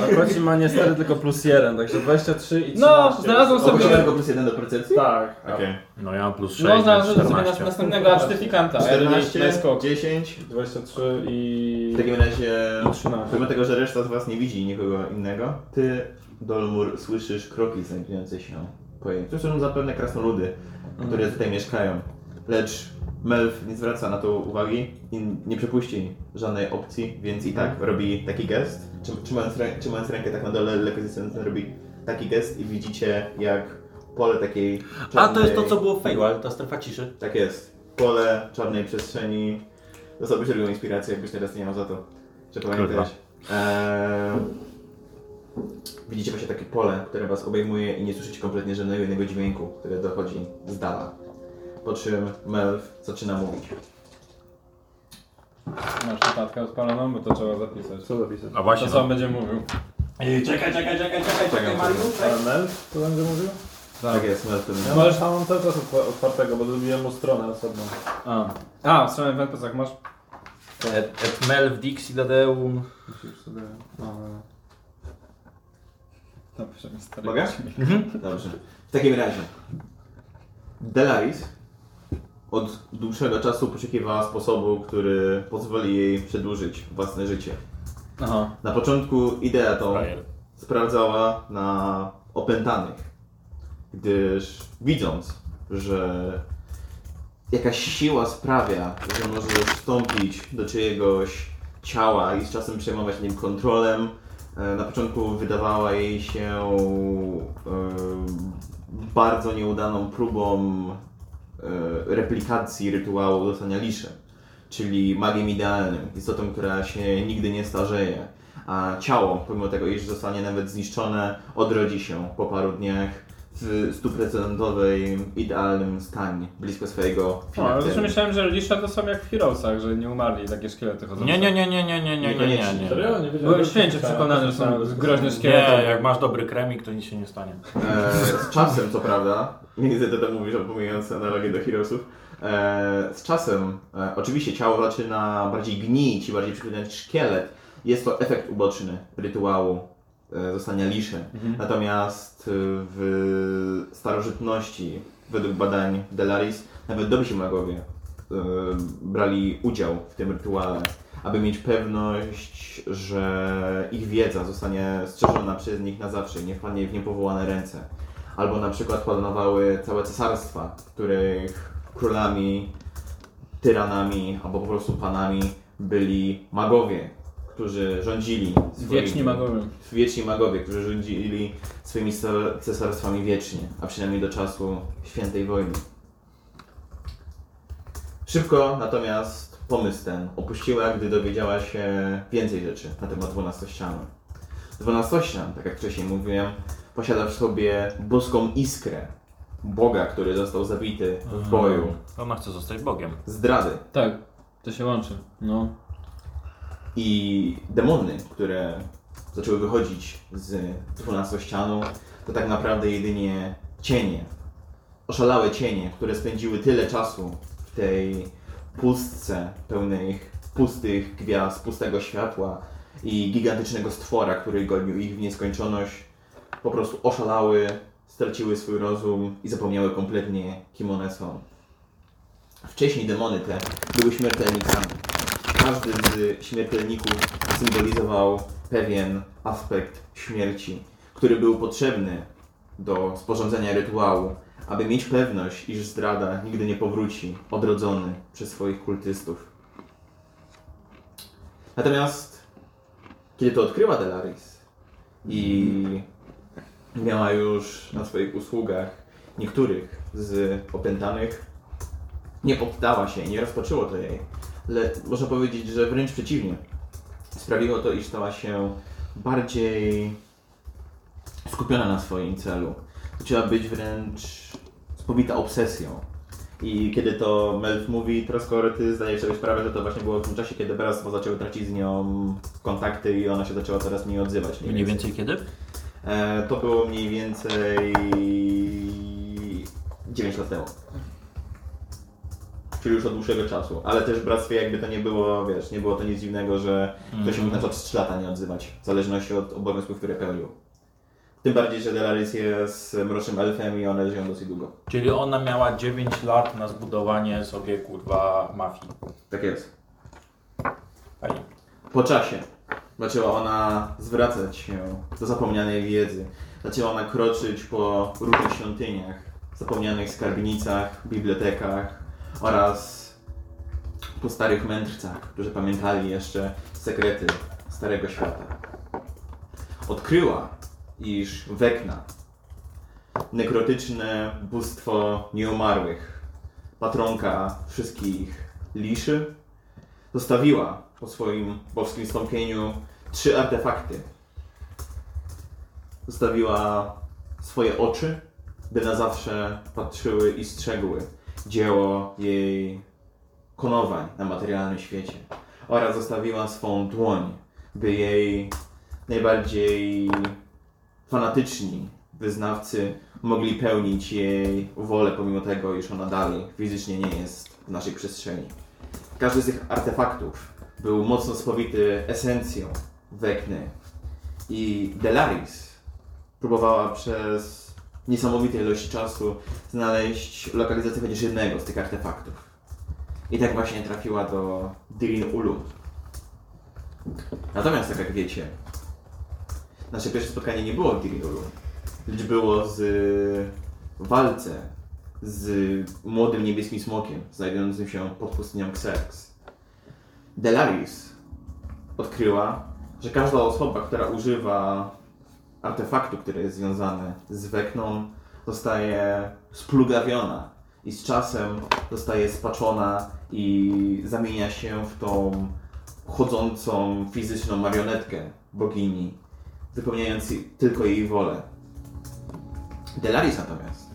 S1: Akwaci ma niestety tylko plus 1, także 23 i 13.
S2: No, znalazłem
S3: Oprócz
S2: sobie...
S3: tego plus jeden do percepcji?
S1: Tak.
S3: Okej.
S4: No ja mam plus 6,
S2: No,
S4: no,
S2: znalazłem sobie nas,
S4: 14.
S2: następnego
S1: Tak.
S2: artyfikanta. Ernest
S3: 14,
S2: Leskok.
S3: 10.
S1: 23 i...
S3: W takim razie...
S1: i 13.
S3: Pomimo tego, że reszta z was nie widzi nikogo innego, ty, Dolmur, słyszysz kroki znajdujące się po jej. To są zapewne krasnoludy,
S4: Mhm.
S3: które tutaj mieszkają. Lecz Melf nie zwraca na to uwagi i nie przepuści żadnej
S4: Mhm.
S3: opcji, więc i tak robi taki gest. Trzyma- Trzymając, rę- trzymając rękę tak na dole, lepiej robi taki gest i widzicie jak pole takiej
S4: A to jest to,
S3: czarnej-
S4: co było w Feywild, ta strefa ciszy.
S3: Tak jest. Pole czarnej przestrzeni. Dostałbyś drugą inspirację, jakbyś teraz nie miał za to. Że pamiętać. Eee, widzicie właśnie takie pole, które was obejmuje i nie słyszycie kompletnie żadnego innego dźwięku, który dochodzi z dala. Po czym Melf zaczyna mówić.
S2: Masz notatkę odpaloną, bo to trzeba zapisać.
S1: Co zapisać?
S9: A
S2: To
S9: właśnie,
S2: sam
S9: no,
S2: będzie mówił.
S4: Ej, czekaj, czekaj, czekaj, czekaj, czekaj, Mariusz.
S1: Mel? Co będzie mówił?
S3: Tak, jest, Melf to
S1: Ja
S3: mówi.
S1: Możesz mam cały czas otwa- otwartego, bo zrobiłem mu stronę osobną.
S2: A, A w stronę Ventus, jak masz?
S4: Et, et mel w Dixi Dadeum.
S1: Musisz sobie... no.
S2: Dobrze, mi stary.
S3: Mogę? Dobrze. W takim razie. Delaris od dłuższego czasu poszukiwała sposobu, który pozwoli jej przedłużyć własne życie.
S2: Aha.
S3: Na początku ideę tą
S9: frajer.
S3: sprawdzała na opętanych, gdyż widząc, że jakaś siła sprawia, że może wstąpić do czyjegoś ciała i z czasem przejmować nim kontrolę, e, na początku wydawała jej się e, bardzo nieudaną próbą e, replikacji rytuału dostania liszy, czyli magiem idealnym, istotą, która się nigdy nie starzeje a ciało, pomimo tego, iż zostanie nawet zniszczone, odrodzi się po paru dniach w stuprocentowej idealnym stanie, blisko swojego
S2: No, ale
S3: finału.
S2: zresztą myślałem, że Lisza to są jak w Heroesach, że nie umarli i takie szkielety chodzą.
S9: Nie, nie, nie, nie, nie, nie, nie, nie, nie,
S3: Niekoniecznie.
S9: nie.
S1: Serio? Nie wiedziałem.
S2: Byłem święcie przekonany, że są groźne
S9: Nie,
S2: szkielety.
S9: jak masz dobry kremik, to nic się nie stanie.
S3: E, z czasem, co prawda, niestety to mówisz, pomijając analogię do Heroesów, e, z czasem e, oczywiście ciało zaczyna bardziej gnić i bardziej przypominać szkielet. Jest to efekt uboczny rytuału e, zostania liszy.
S2: Mhm.
S3: Natomiast e, w starożytności, według badań Delaris, nawet dobrzy magowie e, brali udział w tym rytuale, aby mieć pewność, że ich wiedza zostanie strzeżona przez nich na zawsze i nie wpadnie w niepowołane ręce. Albo na przykład planowały całe cesarstwa, których królami, tyranami albo po prostu panami byli magowie, którzy rządzili. swoimi-
S2: Wieczni magowie.
S3: wieczni magowie, którzy rządzili swoimi sta- cesarstwami wiecznie, a przynajmniej do czasu świętej wojny. Szybko natomiast pomysł ten opuściła, gdy dowiedziała się więcej rzeczy na temat dwunastościanu. Dwunastościan, tak jak wcześniej mówiłem, posiada w sobie boską iskrę Boga, który został zabity w boju.
S9: Ona chce zostać Bogiem.
S3: Zdrady.
S2: Tak, to się łączy. No.
S3: i demony, które zaczęły wychodzić z 12 ścianą, to tak naprawdę jedynie cienie. Oszalałe cienie, które spędziły tyle czasu w tej pustce pełnej pustych gwiazd, pustego światła i gigantycznego stwora, który gonił ich w nieskończoność, po prostu oszalały, straciły swój rozum i zapomniały kompletnie, kim one są. Wcześniej demony te były śmiertelnikami. Każdy z śmiertelników symbolizował pewien aspekt śmierci, który był potrzebny do sporządzenia rytuału, aby mieć pewność, iż zdrada nigdy nie powróci odrodzony przez swoich kultystów. Natomiast kiedy to odkryła Delaris i miała już na swoich usługach niektórych z opętanych, nie poddała się, nie rozpoczęło to jej. Ale można powiedzieć, że wręcz przeciwnie. Sprawiło to, iż stała się bardziej skupiona na swoim celu. Zaczęła być wręcz spowita obsesją. I kiedy to Melf mówi, Troskor, ty zdajesz sobie sprawę, że to właśnie było w tym czasie, kiedy bractwo zaczęły tracić z nią kontakty i ona się zaczęła coraz mniej odzywać.
S9: Mniej więcej kiedy?
S3: E, to było mniej więcej 9 lat temu. Czyli już od dłuższego czasu, ale też w bractwie jakby to nie było, wiesz, nie było to nic dziwnego, że ktoś mógł na przykład z 3 lata nie odzywać, w zależności od obowiązków, które pełnił. Tym bardziej, że Delaris jest mrocznym elfem i one żyją dosyć długo.
S4: Czyli ona miała 9 lat na zbudowanie sobie kurwa mafii.
S3: Tak jest.
S4: Fajnie.
S3: Po czasie zaczęła ona zwracać się do zapomnianej wiedzy. Zaczęła ona kroczyć po różnych świątyniach, zapomnianych skarbnicach, bibliotekach oraz po starych mędrcach, którzy pamiętali jeszcze sekrety Starego Świata. Odkryła, iż Wekna, nekrotyczne bóstwo nieumarłych, patronka wszystkich liszy, zostawiła po swoim boskim wstąpieniu trzy artefakty. Zostawiła swoje oczy, by na zawsze patrzyły i strzegły dzieło jej konowań na materialnym świecie oraz zostawiła swą dłoń, by jej najbardziej fanatyczni wyznawcy mogli pełnić jej wolę, pomimo tego, iż ona dalej fizycznie nie jest w naszej przestrzeni. Każdy z tych artefaktów był mocno spowity esencją Wekny i Delaris próbowała przez niesamowite ilości czasu znaleźć lokalizację chociaż jednego z tych artefaktów. I tak właśnie trafiła do Dilin Ulu. Natomiast, tak jak wiecie, nasze pierwsze spotkanie nie było w Dilin Ulu, lecz było z y, w walce z młodym niebieskim smokiem znajdującym się pod pustynią Xerx. Delaris odkryła, że każda osoba, która używa artefaktu, który jest związany z Wekną, zostaje splugawiona i z czasem zostaje spaczona i zamienia się w tą chodzącą fizyczną marionetkę bogini, wypełniając jej- tylko jej wolę. Delaris natomiast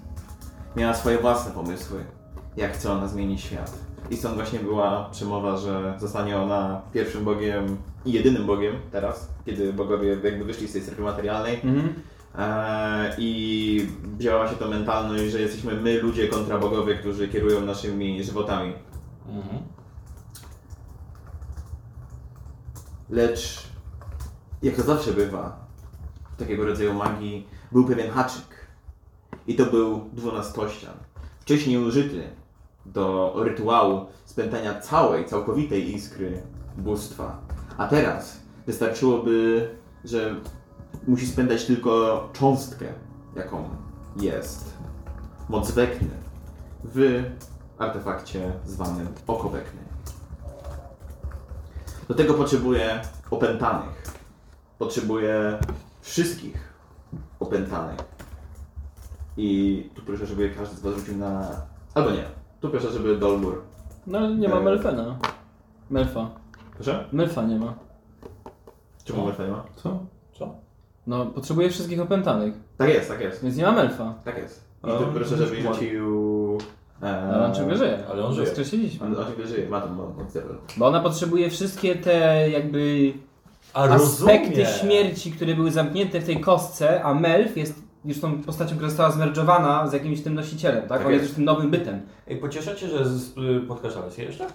S3: miała swoje własne pomysły, jak chce ona zmienić świat. I stąd właśnie była przemowa, że zostanie ona pierwszym bogiem i jedynym bogiem teraz, kiedy bogowie jakby wyszli z tej strefy materialnej,
S2: Mhm.
S3: Eee, I wzięła się to mentalność, że jesteśmy my ludzie kontra bogowie, którzy kierują naszymi żywotami. Lecz, jak to zawsze bywa, w takiego rodzaju magii był pewien haczyk. I to był dwunastościan. Wcześniej użyty do rytuału spętania całej, całkowitej iskry bóstwa. A teraz wystarczyłoby, że musi spędzać tylko cząstkę, jaką jest moc Wekny w artefakcie zwanym Oko Wekny. Do tego potrzebuje opętanych. Potrzebuje wszystkich opętanych. I tu proszę, żeby każdy z Was rzucił na... Albo nie. Tu proszę, żeby Dolmur...
S2: No nie ma
S3: Eee.
S2: Melfena. Melfa.
S3: Proszę?
S2: Melfa nie ma.
S3: Czemu Merfej ma?
S1: Co?
S2: No, potrzebuje wszystkich opętanych,
S3: Tak jest, tak jest.
S2: więc nie ma Melfa.
S3: Tak jest. I
S1: A
S2: No,
S3: tu
S1: on
S3: proszę, żeby rzucił... e,
S2: Ale No, on ciągle żyje.
S4: ale on żyje.
S2: Wskrzesiliśmy.
S3: On oczywiście żyje, ma tam moc zero.
S2: Bo ona potrzebuje wszystkie te jakby
S4: A
S2: aspekty
S4: rozumiem.
S2: śmierci, które były zamknięte w tej kostce, a Melf jest już tą postacią, która została zmerdżowana z jakimś tym nosicielem, tak?
S3: Tak
S2: On jest
S3: jest.
S2: już tym nowym bytem.
S4: Ej, pociesza cię, że z- y, podkreśla Alesję jeszcze?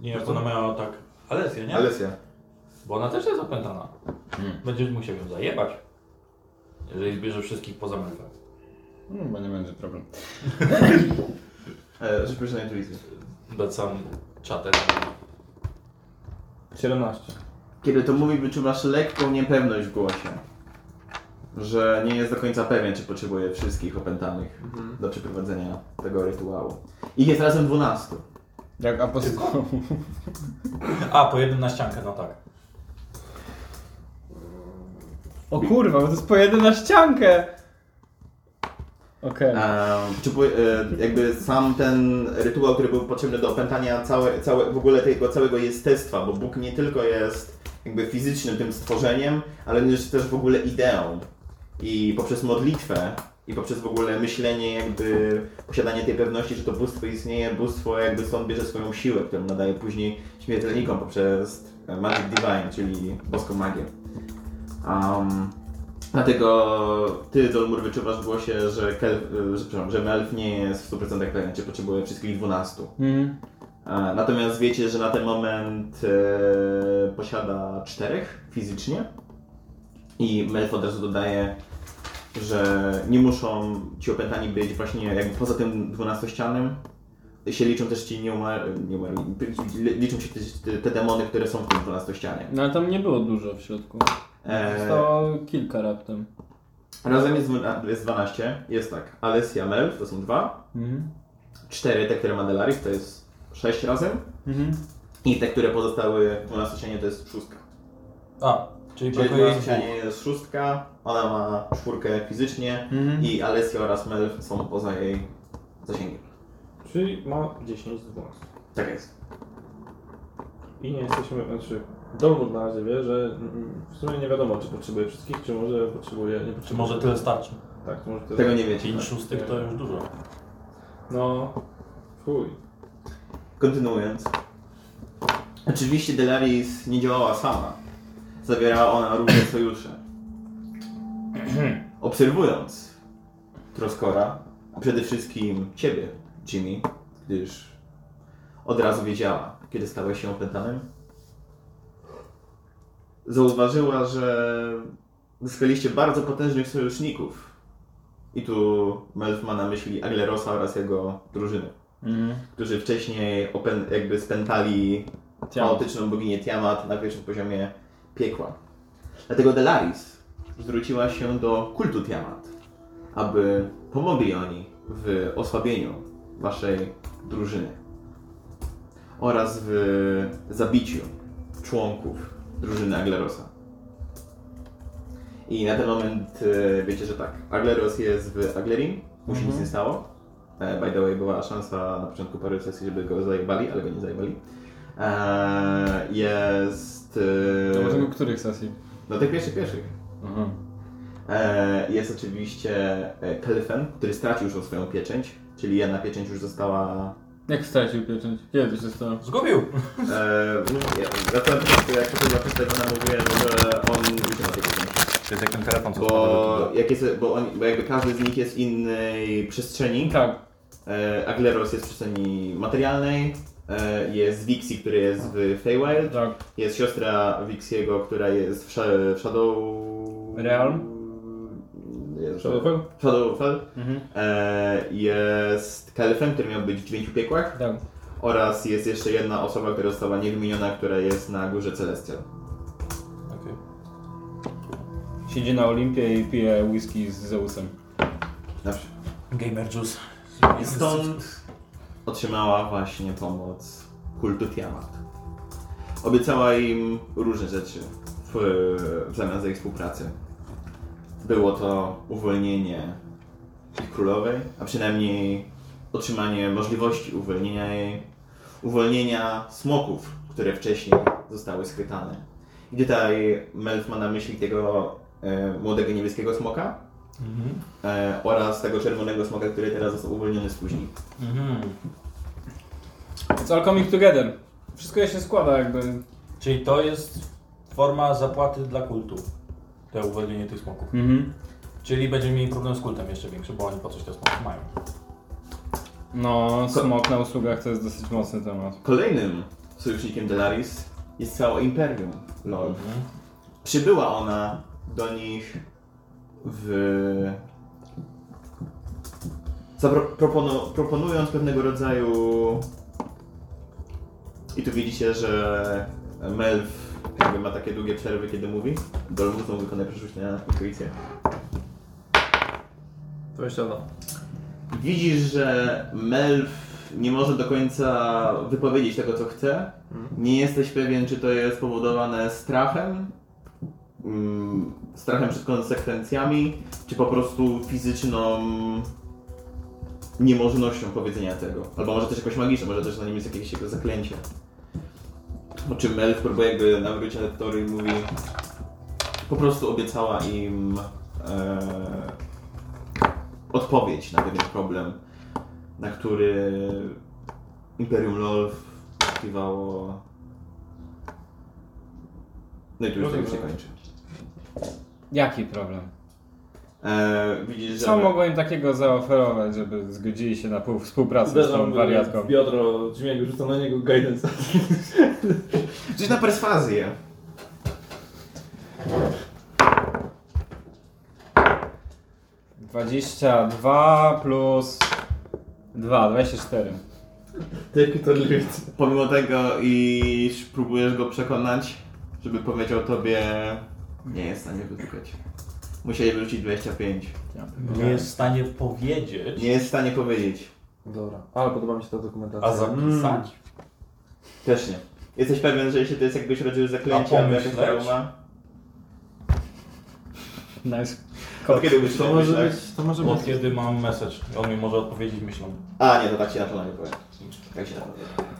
S10: Nie, jak ona miała tak.
S4: Alesję, nie?
S3: Alesja.
S4: Bo ona też jest opętana. Będziesz musiał ją zajebać. Jeżeli zbierze wszystkich poza mężem.
S2: Hmm, bo nie będzie problem.
S3: E, Rzuć proszę na intuicję.
S4: Becam czatem.
S1: 17.
S3: Kiedy to mówi, wyczuwasz lekką niepewność w głosie. Że nie jest do końca pewien, czy potrzebuje wszystkich opętanych
S2: Mhm.
S3: do przeprowadzenia tego rytuału. Ich jest razem 12.
S2: Jak apostoł.
S4: A, po jednym na ściankę, no tak.
S2: O kurwa, bo to jest po jeden na ściankę! Okej.
S3: Ehm, czy, po- e, jakby sam ten rytuał, który był potrzebny do opętania całe, całe, w ogóle tego całego jestestwa, bo Bóg nie tylko jest jakby fizycznym tym stworzeniem, ale jest też w ogóle ideą. I poprzez modlitwę, i poprzez w ogóle myślenie, jakby posiadanie tej pewności, że to bóstwo istnieje, bóstwo jakby stąd bierze swoją siłę, którą nadaje później śmiertelnikom poprzez e, Magic Divine, czyli boską magię. Um, Dlatego ty, Dolmur, wyczuwasz w głosie, że, Kel, że, przepraszam, że Melf nie jest w 100% pewien, czy potrzebuje wszystkich 12.
S2: Mhm.
S3: E, Natomiast wiecie, że na ten moment e, posiada czterech fizycznie i Melf od razu dodaje, że nie muszą ci opętani być właśnie jakby poza tym 12 ścianem. Się liczą też ci nieumarli, nieumarli liczą się też te, te demony, które są w tym 12 ścianie.
S2: No ale tam nie było dużo w środku.
S3: E,
S2: Zostało kilka raptem.
S3: Razem jest, dwuna- jest 12, jest tak. Alessia Melf to są dwa,
S2: Mhm.
S3: cztery te, które ma Delaris to jest sześć razem
S2: Mhm.
S3: i te, które pozostały w 12 cienie to jest szóstka.
S4: A, Czyli brakuje im dwóch.
S3: Czyli jest szóstka, ona ma czwórkę fizycznie
S2: Mhm.
S3: i Alessio oraz Mel są poza jej zasięgiem.
S1: Czyli ma 10 z 12.
S3: Tak jest.
S1: I nie jesteśmy, znaczy dowód na razie wie, że mm, w sumie nie wiadomo, czy potrzebuje wszystkich, czy może potrzebuje, nie
S4: Czy
S1: potrzebuje.
S4: może tyle starczy?
S1: Tak, to może to
S3: Tego nie wiecie.
S4: Pięć szóstych to już dużo.
S1: No, chuj.
S3: Kontynuując. Oczywiście Delaris nie działała sama. Zawierała ona różne sojusze. Obserwując Troskora, a przede wszystkim Ciebie, Jimmy, gdyż od razu wiedziała, kiedy stałeś się opętanym, zauważyła, że zyskaliście bardzo potężnych sojuszników. I tu Melf ma na myśli Aglerosa oraz jego drużynę którzy wcześniej opę- jakby spętali chaotyczną boginię Tiamat na pierwszym poziomie piekła. Dlatego Delaris zwróciła się do kultu Tiamat, aby pomogli oni w osłabieniu waszej drużyny oraz w zabiciu członków drużyny Aglerosa. I na ten moment e, wiecie, że tak, Agleros jest w Aglerim, mu się nic nie stało. E, By the way, była szansa na początku paru sesji, żeby go zajebali, ale go nie zajebali. E, Jest... e,
S2: To może u których sesji?
S3: no tych pierwszych, pierwszych.
S2: Aha.
S3: E, jest oczywiście e, Kelyfen, który stracił już swoją pieczęć, czyli jedna pieczęć już została...
S2: Jak stracił pieczęć? Kiedy się stało?
S4: Zgubił!
S3: E, no, ja, ja to, jak to zapytać, ona mówiła, że on już nie ma tej pieczęci.
S9: To jest jak ten telefon, co spada do
S3: Bo, jak jest, bo, on, bo jakby każdy z nich jest w innej przestrzeni.
S2: Tak.
S3: E, Agleros jest w przestrzeni materialnej, e, jest Vixi, który jest w Feywild,
S2: Tak.
S3: jest siostra Vixiego, która jest w, Sha- w Shadow...
S2: Realm?
S3: Jest w Shadow...
S1: Shadowfell?
S3: Shadowfell.
S2: Mhm.
S3: E, jest Kalifem, który miał być w dziewięciu piekłach
S2: Tak.
S3: oraz jest jeszcze jedna osoba, która została niewymieniona, która jest na Górze Celestial.
S4: Okej.
S2: Siedzi na Olimpie i pije whisky z Zeusem.
S3: Dobrze.
S4: Gamer Juice.
S3: Stąd otrzymała właśnie pomoc kultu Tiamat. Obiecała im różne rzeczy w, w zamian za ich współpracę. Było to uwolnienie ich królowej, a przynajmniej otrzymanie możliwości uwolnienia jej, uwolnienia smoków, które wcześniej zostały schwytane. I tutaj Melf ma na myśli tego e, młodego niebieskiego smoka
S4: Mhm.
S3: e, oraz tego czerwonego smoka, który teraz został uwolniony z później.
S4: Mhm.
S2: It's all coming together. Wszystko się składa jakby.
S4: Czyli to jest forma zapłaty dla kultu. To uwolnienie tych smoków.
S2: Mhm.
S4: Czyli będziemy mieli problem z kultem jeszcze większy, bo oni po coś te smoki mają.
S2: No, smok na usługach to jest dosyć mocny temat.
S3: Kolejnym sojusznikiem Delaris jest całe Imperium Lord. Przybyła ona do nich w... Zapro- propono- proponując pewnego rodzaju... I tu widzicie, że Melf jakby ma takie długie przerwy, kiedy mówi. Dolmusą wykonaj przerzuć na intuicję.
S10: 22.
S3: Widzisz, że Melf nie może do końca wypowiedzieć tego, co chce. Nie jesteś pewien, czy to jest spowodowane strachem, mm, strachem przed konsekwencjami, czy po prostu fizyczną niemożnością powiedzenia tego. Albo może też jakoś magiczne, może też na nim jest jakieś jego zaklęcie. O czym Melf próbuje jakby nawrócić na tory i mówi po prostu obiecała im e, odpowiedź na pewien problem, na który Imperium LOL wpływało. No i tu już to już się kończy.
S2: Jaki problem?
S3: E, widzisz,
S2: Co
S3: że.
S2: mogło im takiego zaoferować, żeby zgodzili się na pół współpracę z
S1: Uderzam
S2: tą
S1: w-
S2: wariatką?
S1: w biodro Dźmiego, rzucam na niego guidance.
S3: Coś na perswazję.
S2: Dwadzieścia dwa plus dwa, 24.
S1: Jaki to lift.
S3: Pomimo tego, iż próbujesz go przekonać, żeby powiedział tobie, nie jest w stanie wytykać. Musieli wrócić 25.
S4: Nie jest w stanie powiedzieć,
S3: Nie jest w stanie powiedzieć.
S1: Dobra, ale podoba mi się ta dokumentacja.
S4: a zapisać.
S3: Też nie. Jesteś pewien, że jeśli to jest jakbyś rodzaj
S4: A
S3: zaklęcia, albo jakaś
S4: pomyśleć?
S3: trauma,
S2: Nice.
S3: Od kiedy byś
S1: To
S3: to
S1: może
S3: myśleć?
S1: być, to może być.
S4: Mm. Od kiedy mam message? On mi może odpowiedzieć myślą.
S3: A nie, to tak się na pewno nie powiem. Tak się na pewno nie powiem.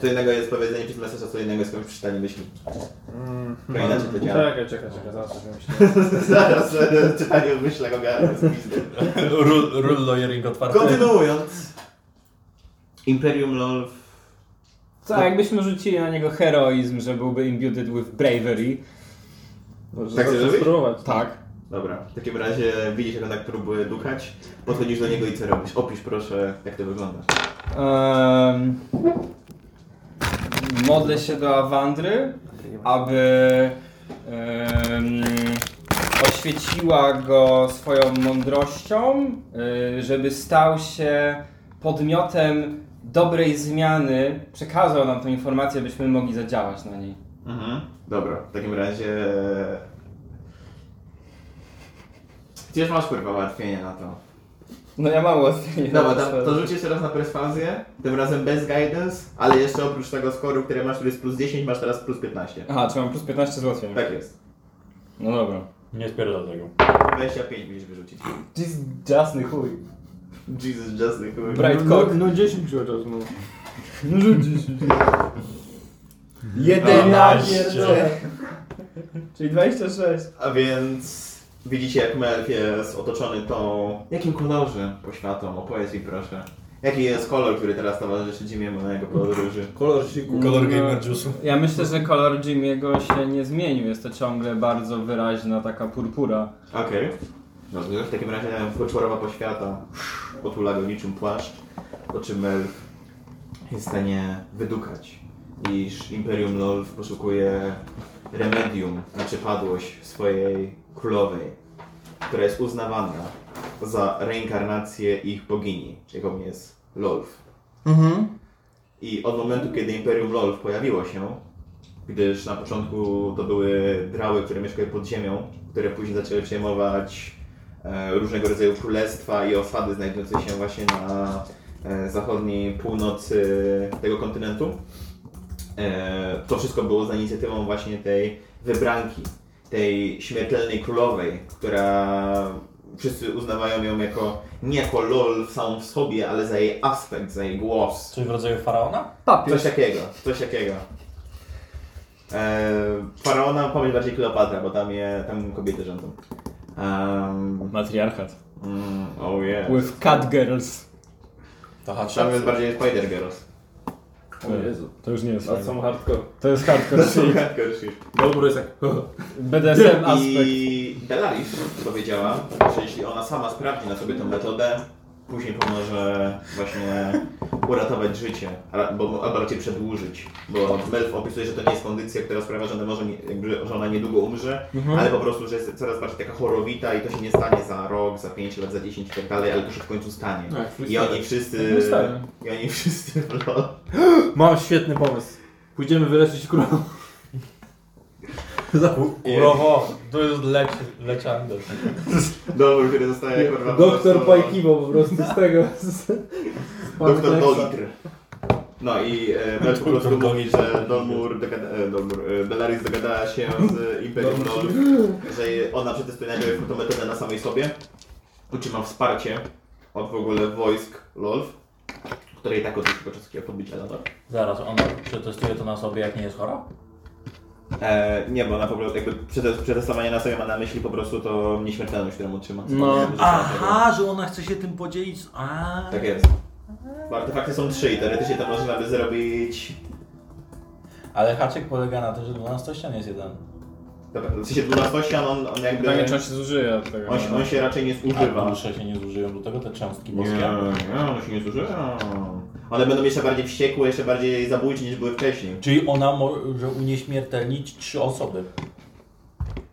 S3: Co innego jest powiedzenie przez message, a co innego jest komuś przeczytanie myśli.
S1: Mm,
S3: To inaczej to działa.
S1: Czekaj, czekaj, czekaj, zaraz sobie myślę.
S3: Zaraz e, czytanie o myślach ogarnę z pizdy.
S4: Rule, rule lawyering otwarty.
S3: Kontynuując. Imperium LOL
S2: Co, jakbyśmy rzucili na niego heroizm, że byłby imbued with bravery.
S1: Może
S3: Tak chcesz
S1: zawsze
S3: zrobić?
S1: spróbować.
S2: Tak.
S3: Dobra, w takim razie widzisz, jak on tak próbuje dukać, podchodzisz do niego i co robisz? Opisz proszę, jak to wygląda.
S2: Um, modlę się do Awandry, aby em, oświeciła go swoją mądrością, y, żeby stał się podmiotem dobrej zmiany. Przekazał nam tę informację, byśmy mogli zadziałać na niej.
S3: Mhm. Dobra, w takim razie... Gdzież masz kurwa ułatwienie na to?
S2: No ja mam łatwiej.
S3: Dobra, to, to rzuć jeszcze raz na perswazję, tym razem bez guidance, ale jeszcze oprócz tego skoru, który masz, który jest plus 10, masz teraz plus 15.
S2: Aha, czy mam plus 15 złatwienia?
S3: Tak jest.
S2: No dobra.
S4: Nie spierdol tego.
S3: 25 musisz wyrzucić.
S2: To jest jasny chuj.
S3: Jesus, Justin, kurwa.
S2: Bright
S1: no,
S2: cock.
S1: no, no 10 chociaż, no.
S2: No rzucisz.
S3: Jeden
S2: Czyli 26.
S3: A więc widzicie, jak Melf jest otoczony tą. Jakim kolorze poświatą? Opowiedz mi proszę. Jaki jest kolor, który teraz towarzyszy Jimiemu na jego podróży?
S10: Kolor siku.
S4: Kolor
S2: No.
S4: gamer juice'u.
S2: Ja myślę, że kolor Jimmy'ego się nie zmienił. Jest to ciągle bardzo wyraźna taka purpura.
S3: Okej. Dobrze. no W takim razie poczworowa poświata otula go niczym płaszcz, po czym Melf jest w stanie wydukać, iż Imperium Lolf poszukuje remedium na przepadłość swojej królowej, która jest uznawana za reinkarnację ich bogini, jaką jest Lolf.
S2: Mhm.
S3: I od momentu, kiedy Imperium LOL pojawiło się, gdyż na początku to były drały, które mieszkały pod ziemią, które później zaczęły przejmować e, różnego rodzaju królestwa i osady znajdujące się właśnie na e, zachodniej północy tego kontynentu, e, to wszystko było za inicjatywą właśnie tej wybranki, tej śmiertelnej królowej, która wszyscy uznawają ją jako nie jako LOL samą w sobie, ale za jej aspekt, za jej głos.
S4: Coś w rodzaju faraona?
S3: Coś takiego, coś takiego. E, faraona, pomyśl bardziej Kleopatra, bo tam, je, tam kobiety rządzą. Um,
S2: Matriarchat.
S3: mm, oh yeah.
S2: With cat girls.
S4: To hatrza.
S3: Tam jest bardziej Spider Girls.
S1: O Jezu.
S2: To już nie jest.
S1: A są hardcore.
S2: To jest hardcore.
S10: Dobro jest tak.
S2: BDSM aspekt.
S3: I Delaris powiedziała, że jeśli ona sama sprawdzi na sobie tę metodę, później pomoże właśnie uratować życie, a- bo, albo raczej przedłużyć. Bo Melf opisuje, że to nie jest kondycja, która sprawia, że ona, może nie, jakby, że ona niedługo umrze,
S1: Mhm.
S3: ale po prostu, że jest coraz bardziej taka chorowita i to się nie stanie za rok, za 5 lat, za 10 i tak dalej, ale to się w końcu stanie.
S1: Tak,
S3: I oni wszyscy...
S1: freestyle.
S3: I oni wszyscy... no,
S1: Mam świetny pomysł. Pójdziemy wyleczyć królową.
S4: Tak, Urowo, to jest leć, leciander.
S3: Dobór, który zostaje kurwa... po
S1: Doktor
S3: prostu-
S1: Pajkibo po prostu z tego. Z...
S3: Doktor Dolitr. No i e, Bel po prostu
S4: Doktor
S3: mówi, że Dolmur, dogada, e, Dolmur e, Bellaris dogadała się z Imperium Lol, że je- ona przetestuje najpierw tą metodę na samej sobie. Otrzyma wsparcie od w ogóle wojsk LOL, które i tak odnieśli podczas takiego podbicia lata.
S4: Zaraz, on przetestuje to na sobie, jak nie jest chora?
S3: E, nie, bo na po prostu jakby przetes- przetestowanie na sobie ma na myśli po prostu to nieśmiertelność, którą otrzyma.
S2: No.
S4: Aha, że ona chce się tym podzielić. A.
S3: Tak jest. Bo artefakty są trzy i teoretycznie to można by zrobić
S4: Ale haczyk polega na tym, że 12 ścian jest jeden.
S3: Dobra, w sensie 12 on, on jakby...
S2: Pytanie, czy Tak, on się zużyje od tego.
S3: On, się- Tak, on się raczej nie
S4: A
S3: zużywa.
S4: dusze się nie zużyją do tego, te cząstki
S3: Nie,
S4: boskie.
S3: nie, one się nie zużywa. One będą jeszcze bardziej wściekłe, jeszcze bardziej zabójcze niż były wcześniej.
S4: Czyli ona może unieśmiertelnić trzy osoby.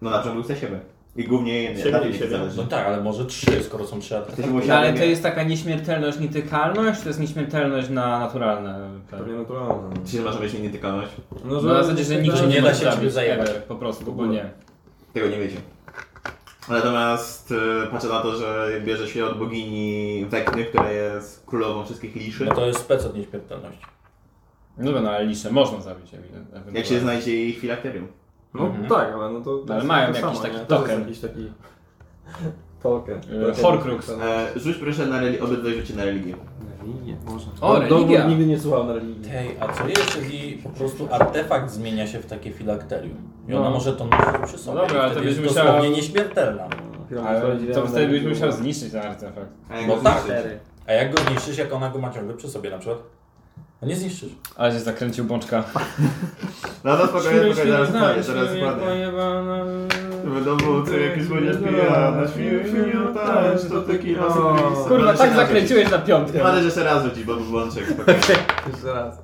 S3: No na przykład chce siebie. I głównie jednej.
S10: Siebie
S3: na
S10: i
S3: niej
S10: siebie.
S3: zależy.
S4: No tak, ale może trzy, skoro są
S3: Jesteś
S4: trzy artefakty.
S2: No,
S3: musiał,
S2: ale
S3: nie?
S2: to jest taka nieśmiertelność, nietykalność, to jest nieśmiertelność na naturalne. tak?
S1: Pewnie naturalne.
S3: Czy się masz mieć nietykalność?
S1: No,
S2: No, na zasadzie, że nikt
S4: nie
S2: nie
S4: da
S2: da
S4: się
S2: zabić.
S4: ciebie zajebać.
S2: Po prostu, bo nie.
S3: Tego nie wiecie. Natomiast y, patrzę na to, że bierze się od bogini Wekny, która jest królową wszystkich liszy.
S4: No to jest spec od nieśmiertelności.
S2: No dobra, no ale liszę można zabić ewidentnie.
S3: Jak się znajdzie ich filakterium.
S1: No tak, ale no to...
S2: Mhm. Ale
S1: to
S2: mają
S1: to
S2: jakiś
S1: samo,
S2: taki
S1: nie? To
S2: token.
S1: jest jakiś taki... Tolkę.
S2: Horcrux.
S3: E, rzuć proszę na religię, obydwaj rzucie na religię.
S2: O, religia.
S1: No, nigdy nie słuchał na religii.
S4: Tej, a co jest, jeżeli po prostu artefakt zmienia się w takie filakterium? I ona
S1: No.
S4: może to nosić przy sobie.
S2: No dobra,
S4: I
S2: ale to
S4: wtedy
S2: byś
S4: jest
S2: musiała-
S4: dosłownie nieśmiertelna.
S2: Ale to wtedy byś musiał zniszczyć ten artefakt.
S3: A jak
S4: No
S3: go
S4: tak.
S3: zniszczyć?
S4: A jak go zniszczysz, jak ona go ma ciągle przy sobie na przykład? No nie zniszczysz.
S2: Ale się zakręcił bączka.
S3: No to spokojnie, spokojnie, zaraz spadnie, zaraz spadnie. Wydobył co jakiś młodzież pijana, świr, świr, tańcz, to tequila, sobie
S2: Kurwa, tak zakręciłeś na piątkę.
S3: Możesz jeszcze raz rzucić, bo był włączek, spokojnie.
S1: Jeszcze raz.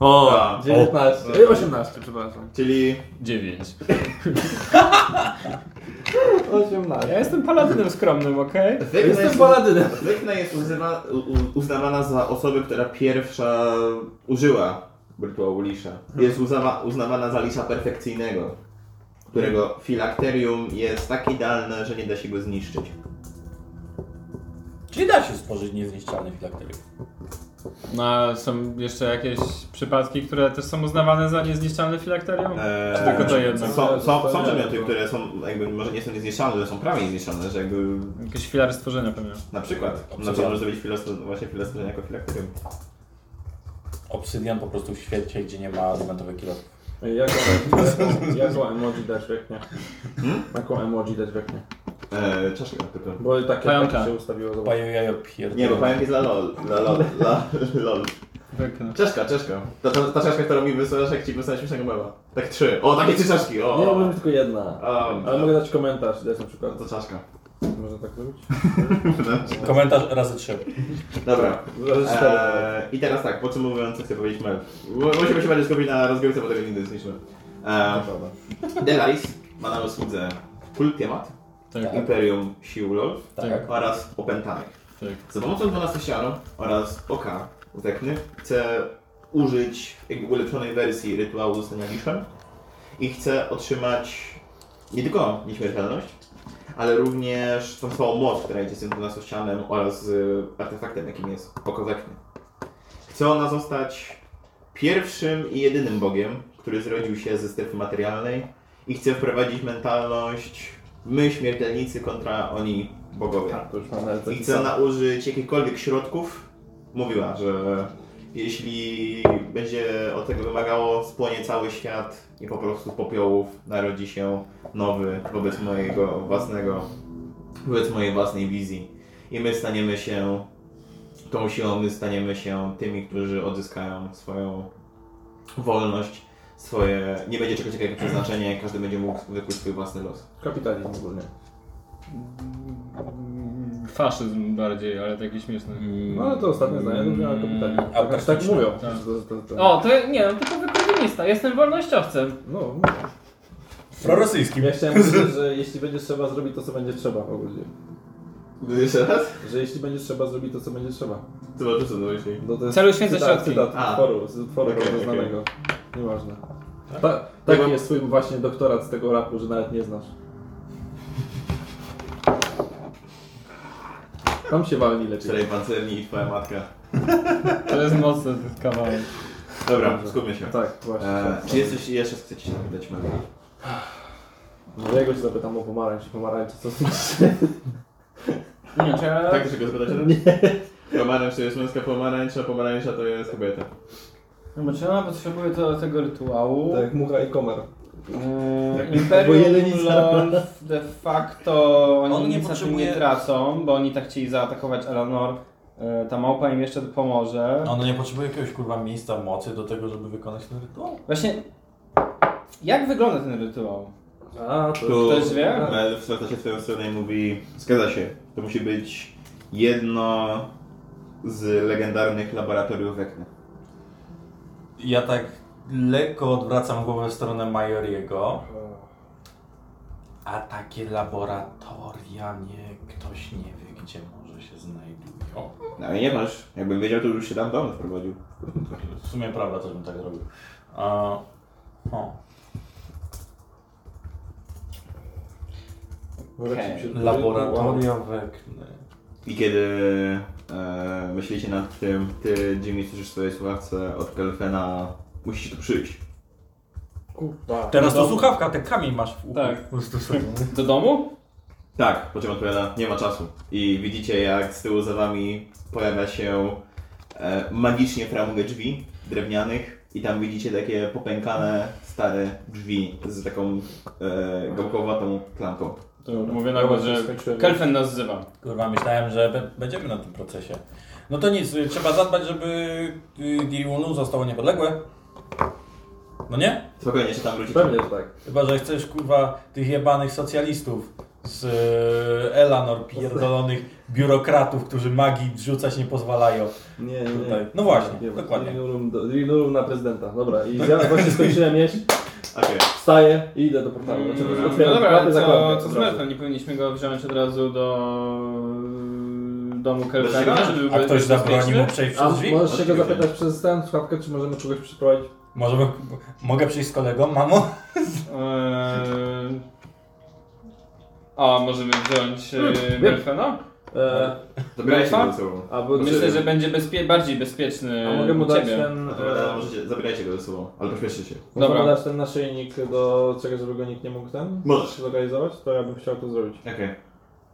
S3: O,
S1: 19. Ej, 18, przepraszam.
S3: Tak, Czyli
S2: Dziewięć.
S1: 18.
S2: Ja jestem paladynem skromnym, okej?
S3: wykna jest,
S1: Jestem paladynem.
S3: wykna jest uzywa, u, u- uznawana za osobę, która pierwsza użyła rytuału Lisza. Jest uznawa, uznawana za Lisza perfekcyjnego, którego filakterium jest tak idealne, że nie da się go zniszczyć.
S4: Czyli da się stworzyć niezniszczalny filakterium.
S2: No a są jeszcze jakieś przypadki, które też są uznawane za niezniszczalne filakterium?
S3: Eee,
S2: Czy tylko to jedno?
S3: Są, są, są przedmioty, które są jakby może nie są niezniszczalne, ale są prawie niezniszczalne, że jakby
S2: Jakieś filary stworzenia pewnie.
S3: na przykład na
S4: Obsydian.
S3: przykład może być filostro, właśnie filostro jako filakterium.
S4: Obsydian po prostu w świecie, gdzie nie ma diamentowych kilofów.
S1: Ej, Jaką, jaką, jaką emoji dać weknie?
S2: Hmm?
S1: Jaką emoji dać weknie?
S3: Eee, czaszka tylko.
S1: Bo takie,
S2: Pająka.
S1: takie się ustawiło. Zobacz.
S4: Paju jajo pierdolę.
S3: Nie, bo pająk jest dla lol, dla lol, dla lol. Czeszka, czeszka. Ta, ta, ta czaszka, którą mi wysłasz, jak ci wysłałeś śmiesznego mema. Tak trzy. O, takie trzy czaszki, o.
S1: Nie, ja bym tylko jedna.
S3: Um,
S1: Ale mogę dać komentarz, dać na przykład.
S3: To czaszka.
S1: Można tak zrobić?
S4: Komentarz razy trzy.
S3: Dobra.
S1: Zaraz cztery.
S3: Eee, I teraz tak, podsumowując, co chcę powiedzieć Mel. Mu- Musimy się bardziej skupić na rozgrywce, bo tego nigdy nie zniszczymy. Eee, Delaris ma na usłudze kult temat,
S2: Tak, tak.
S3: Imperium Sił LOL
S4: Tak.
S3: oraz Opętanych.
S2: Tak.
S3: Za pomocą 12 siano oraz oka Wekny chcę użyć jakby ulepszonej wersji rytuału zostania liszem i chcę otrzymać nie tylko nieśmiertelność, ale również tą samą moc, która idzie z tym 12 ścianem oraz z y, artefaktem, jakim jest oko Wekny. Chce ona zostać pierwszym i jedynym bogiem, który zrodził się ze strefy materialnej i chce wprowadzić mentalność my śmiertelnicy kontra oni bogowie.
S1: To już mam nawet
S3: I chce
S1: zapisane.
S3: ona użyć jakichkolwiek środków. Mówiła, że jeśli będzie od tego wymagało, spłonie cały świat i po prostu z popiołów narodzi się nowy wobec mojego własnego, wobec mojej własnej wizji. I my staniemy się tą siłą, my staniemy się tymi, którzy odzyskają swoją wolność, swoje... Nie będzie czegoś takiego jak przeznaczenie, każdy będzie mógł wykuć swój własny los.
S1: Kapitalizm ogólnie.
S2: Faszyzm bardziej, ale taki śmieszny.
S1: No ale to ostatnie zdanie, dobrze, ale kapitalizm.
S4: A
S1: Tak, tak
S4: praktyczne,
S1: mówią.
S2: tak.
S1: To- to- to-
S2: O, to nie, no typowy komunista. Jestem wolnościowcem.
S1: No, mówią.
S4: Prorosyjskim.
S1: ja chciałem powiedzieć, że jeśli będzie trzeba zrobić to, co będzie trzeba ogólnie.
S3: Jeszcze raz?
S1: Że jeśli będzie trzeba zrobić to, co będzie trzeba.
S3: Zobaczę co do myśli.
S1: No to jest
S2: Celu święte
S1: cytat,
S2: środki.
S1: Cytat
S3: A.
S1: z utworu, z utworu
S3: Okej,
S1: bardzo
S3: okej.
S1: znanego. Nieważne. Ta,
S3: Ja
S1: taki
S3: mam-
S1: jest twój właśnie doktorat z tego rapu, że nawet nie znasz. Tam się walni lepiej.
S3: Wczoraj pancerni i twoja matka.
S2: To jest mocny ten kawałek.
S3: Dobra,
S1: Dobrze.
S3: skupmy się.
S1: Tak, właśnie.
S3: E, czy jest coś jeszcze chcecie się zapytać Mela?
S1: No ja go się zapytam o pomarańcz, pomarańcze, co znaczy?
S2: Nie, czy ja...
S3: Tak, czy go zapytać? Pomarańcz to jest męska pomarańcza, pomarańcza to jest kobieta.
S2: No bo czy ona potrzebuje to, tego rytuału?
S1: Tak, mucha i komer.
S2: Eee,
S1: Bo
S2: Imperium
S1: jelenica.
S2: LOL de facto oni
S4: On nie
S2: nic na tym nie
S4: potrzebuje-
S2: tracą, bo oni tak chcieli zaatakować Eleanor. Eee, Ta małpa im jeszcze pomoże.
S4: Ono nie potrzebuje jakiegoś kurwa miejsca mocy do tego, żeby wykonać ten rytuał?
S2: Właśnie, jak wygląda ten rytuał?
S1: A, to...
S3: Tu
S2: Ktoś wie?
S3: Mel wraca się w swoją stronę i mówi Zgadza się, to musi być jedno z legendarnych laboratoriów Wekny.
S4: Ja tak lekko odwracam głowę w stronę Majoriego. A takie laboratoria nie, ktoś nie wie, gdzie może się znajdują.
S3: No ale nie masz, jakby wiedział to już się tam dom wprowadził.
S4: W sumie prawda, też bym tak zrobił. A, o. Laboratoria wekny.
S3: I kiedy e, myślicie nad tym, ty Jimmy słyszysz w swojej słuchawce od Kelfena Musisz tu przyjść.
S1: Kurwa. tak.
S4: Teraz to słuchawka, ten kamień masz w uchu.
S2: Tak. Do domu?
S3: Tak, po czym odpowiada, nie ma czasu. I widzicie jak z tyłu za wami pojawia się e, magicznie framugę drzwi drewnianych i tam widzicie takie popękane, stare drzwi z taką e, gałkowatą klamką.
S1: To dobra.
S2: Mówię na głos, że
S1: Skończyłem.
S2: Kelfen nas wzywa.
S4: Kurwa, myślałem, że be- będziemy na tym procesie. No to nic, y, trzeba zadbać, żeby y, Giriunu zostało niepodległe. No nie?
S3: Spokojnie, jeszcze tam wrócicie.
S1: Pewnie, że tak.
S4: Chyba, że chcesz, kurwa, tych jebanych socjalistów z y, Elanor pierdolonych biurokratów, którzy magii rzucać nie pozwalają.
S1: Nie, nie.
S4: Tutaj. No właśnie, dokładnie.
S1: Drilurum, do- drilurum na prezydenta. Dobra, i ja właśnie skończyłem jeść,
S3: Okej.
S1: wstaję i idę do portalu. Znaczy,
S2: Mm, No
S1: otwieram
S2: dobra,
S1: klapy,
S2: ale co,
S1: zakładam
S2: co z
S1: od razu.
S2: Melfem? Nie powinniśmy go wziąć od razu do y, domu Kelfena,
S3: siebie?
S2: żeby
S4: A
S2: był
S4: ktoś zabroni
S2: bezpieczny?
S4: mu przejść
S1: A
S4: przez drzwi?
S1: możesz się go
S3: Oczywiście.
S1: zapytać przez tę słuchawkę, czy możemy kogoś przyprowadzić?
S4: Możemy, mogę przyjść z kolegą, mamo?
S2: Eee, A możemy wziąć yy,
S1: Hmm, wiem.
S2: Melfena?
S1: E,
S3: Zabierajcie
S2: Melfa?
S3: go ze sobą.
S1: albo czy,
S2: Tak. Myślę, że będzie bezpie- bardziej bezpieczny
S1: A mogę mu
S2: u
S1: dać
S2: ciebie.
S1: ten...
S3: Odpowiada,
S1: E,
S3: No możecie, zabierajcie go ze sobą, ale pośpieszcie się.
S1: mogę
S2: Dobra.
S1: mu dać ten naszyjnik do czegoś, żeby go nikt nie mógł ten?
S3: Możesz.
S1: Się zlokalizować? To ja bym chciał to zrobić.
S3: Okej.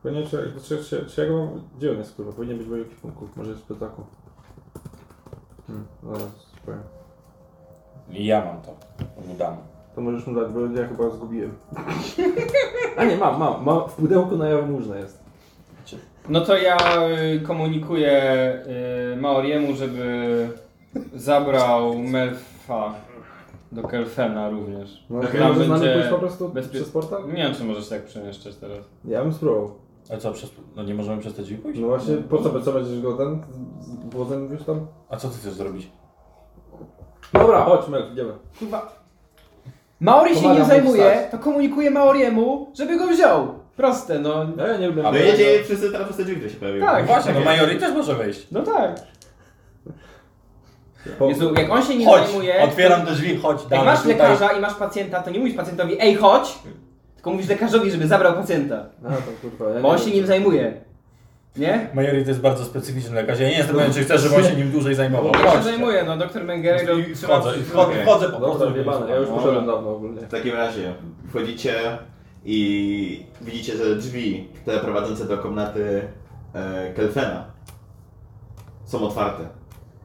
S1: Pewnie, czy, czy, czy, czy ja go mam... Gdzie on jest, kurwa? Powinien być w moim punku. Może jest w pytaku. Hmm, zaraz, powiem.
S4: Ja mam to. Nie dam.
S1: To możesz mu dać, bo ja chyba zgubiłem. A nie, mam, mam. mam w pudełku na jałmużnę jest.
S2: No to ja y, komunikuję y, Maoriemu, żeby zabrał Melfa do Kelfena również.
S1: No,
S2: Tak,
S1: to
S2: tam
S1: może z nami
S2: będzie
S1: pójść po prostu
S2: bezpie-
S1: przez portal?
S2: Nie wiem, czy możesz tak przemieszczać teraz.
S1: Ja bym spróbował.
S4: Ale co, przez, no nie możemy przez te drzwi pójść?
S1: No właśnie, po co, co będziesz go ten? z- z Wozem już tam?
S4: A co ty chcesz zrobić? No
S1: Dobra, chodźmy, idziemy.
S2: Kurwa. Maori się
S1: Pomagam
S2: nim
S1: mu
S2: zajmuje,
S1: wstać.
S2: to komunikuję Maoriemu, żeby go wziął. Proste, no.
S1: No ja nie lubię...
S3: No jedzie wszyscy teraz przez te drzwi, które się pojawiły.
S2: Tak.
S4: No właśnie, no
S2: tak.
S4: Majori też może wejść.
S2: No tak.
S1: Po-
S2: Jezu, jak on się nim
S4: Chodź,
S2: zajmuje.
S4: otwieram te drzwi, chodź
S2: Jak
S4: dalej.
S2: masz
S4: tutaj.
S2: lekarza i masz pacjenta, to nie mówisz pacjentowi, ej, chodź! Tylko mówisz lekarzowi, żeby zabrał pacjenta.
S1: A, to kurwa, ja
S2: Bo on
S1: Tak nie
S2: się
S1: wiem.
S2: nim zajmuje. Nie?
S4: Majori to jest bardzo specyficzny lekarz. Ja nie jestem pewien, czy chcesz, żeby on się nim dłużej zajmował.
S2: Ja się
S4: Chodź.
S2: zajmuję, no doktor Mengele go
S4: I wchodzę, i wchodzę,
S3: Okej.
S4: wchodzę po
S1: Dobra,
S4: prostu.
S1: wyjebane, ja już poszedłem dawno ogólnie.
S3: W takim razie wchodzicie i widzicie, że drzwi, te prowadzące do komnaty e, Kelfena, są otwarte.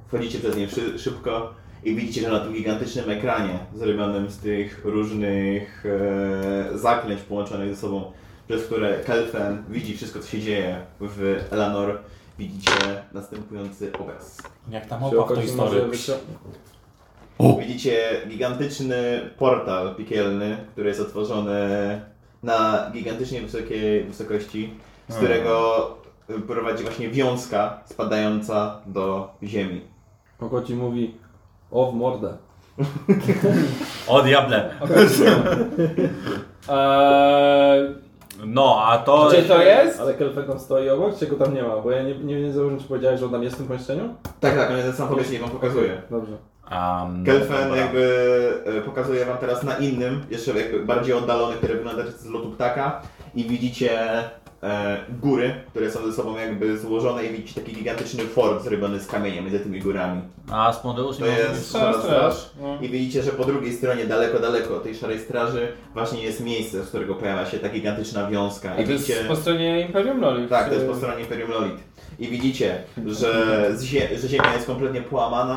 S3: Wchodzicie przez nie szy szybko i widzicie, że na tym gigantycznym ekranie, zrobionym z tych różnych e, zaklęć połączonych ze sobą, przez które Kelfen widzi wszystko, co się dzieje w Elanor, widzicie następujący obraz.
S4: Jak tam
S1: Się
S4: opa w
S1: okazji
S4: tej
S1: może
S4: historii.
S1: wycią-
S3: Widzicie gigantyczny portal piekielny, który jest otworzony na gigantycznie wysokiej wysokości, z którego prowadzi właśnie wiązka spadająca do ziemi.
S1: Kogo ci mówi, o w mordę.
S4: O diable.
S2: Eee,
S4: No, a to...
S2: gdzie to jest?
S1: Ale Kelfek tam stoi obok, czy go tam nie ma? Bo ja nie, nie, nie zauważyłem, czy powiedziałeś, że on tam jest w tym pomieszczeniu?
S3: Tak, tak, on jest sam powierzchni wam pokazuje.
S1: Dobrze.
S4: Um,
S3: Kelfen jakby e, pokazuje wam teraz na innym, jeszcze jakby bardziej oddalony, który wygląda z lotu ptaka i widzicie e, góry, które są ze sobą jakby złożone i widzicie taki gigantyczny fort zrobiony z kamienia między tymi górami.
S4: A Smodeusz
S3: To
S4: nie może
S3: No, jest
S4: być-
S3: szara straż.
S2: No.
S3: I widzicie, że po drugiej stronie, daleko, daleko od tej szarej straży, właśnie jest miejsce, z którego pojawia się ta gigantyczna wiązka.
S2: A
S3: I
S2: to jest
S3: widzicie...
S2: po stronie Imperium Loli.
S3: Tak, to jest po stronie Imperium Lolit. I widzicie, że, z zie- że ziemia jest kompletnie połamana.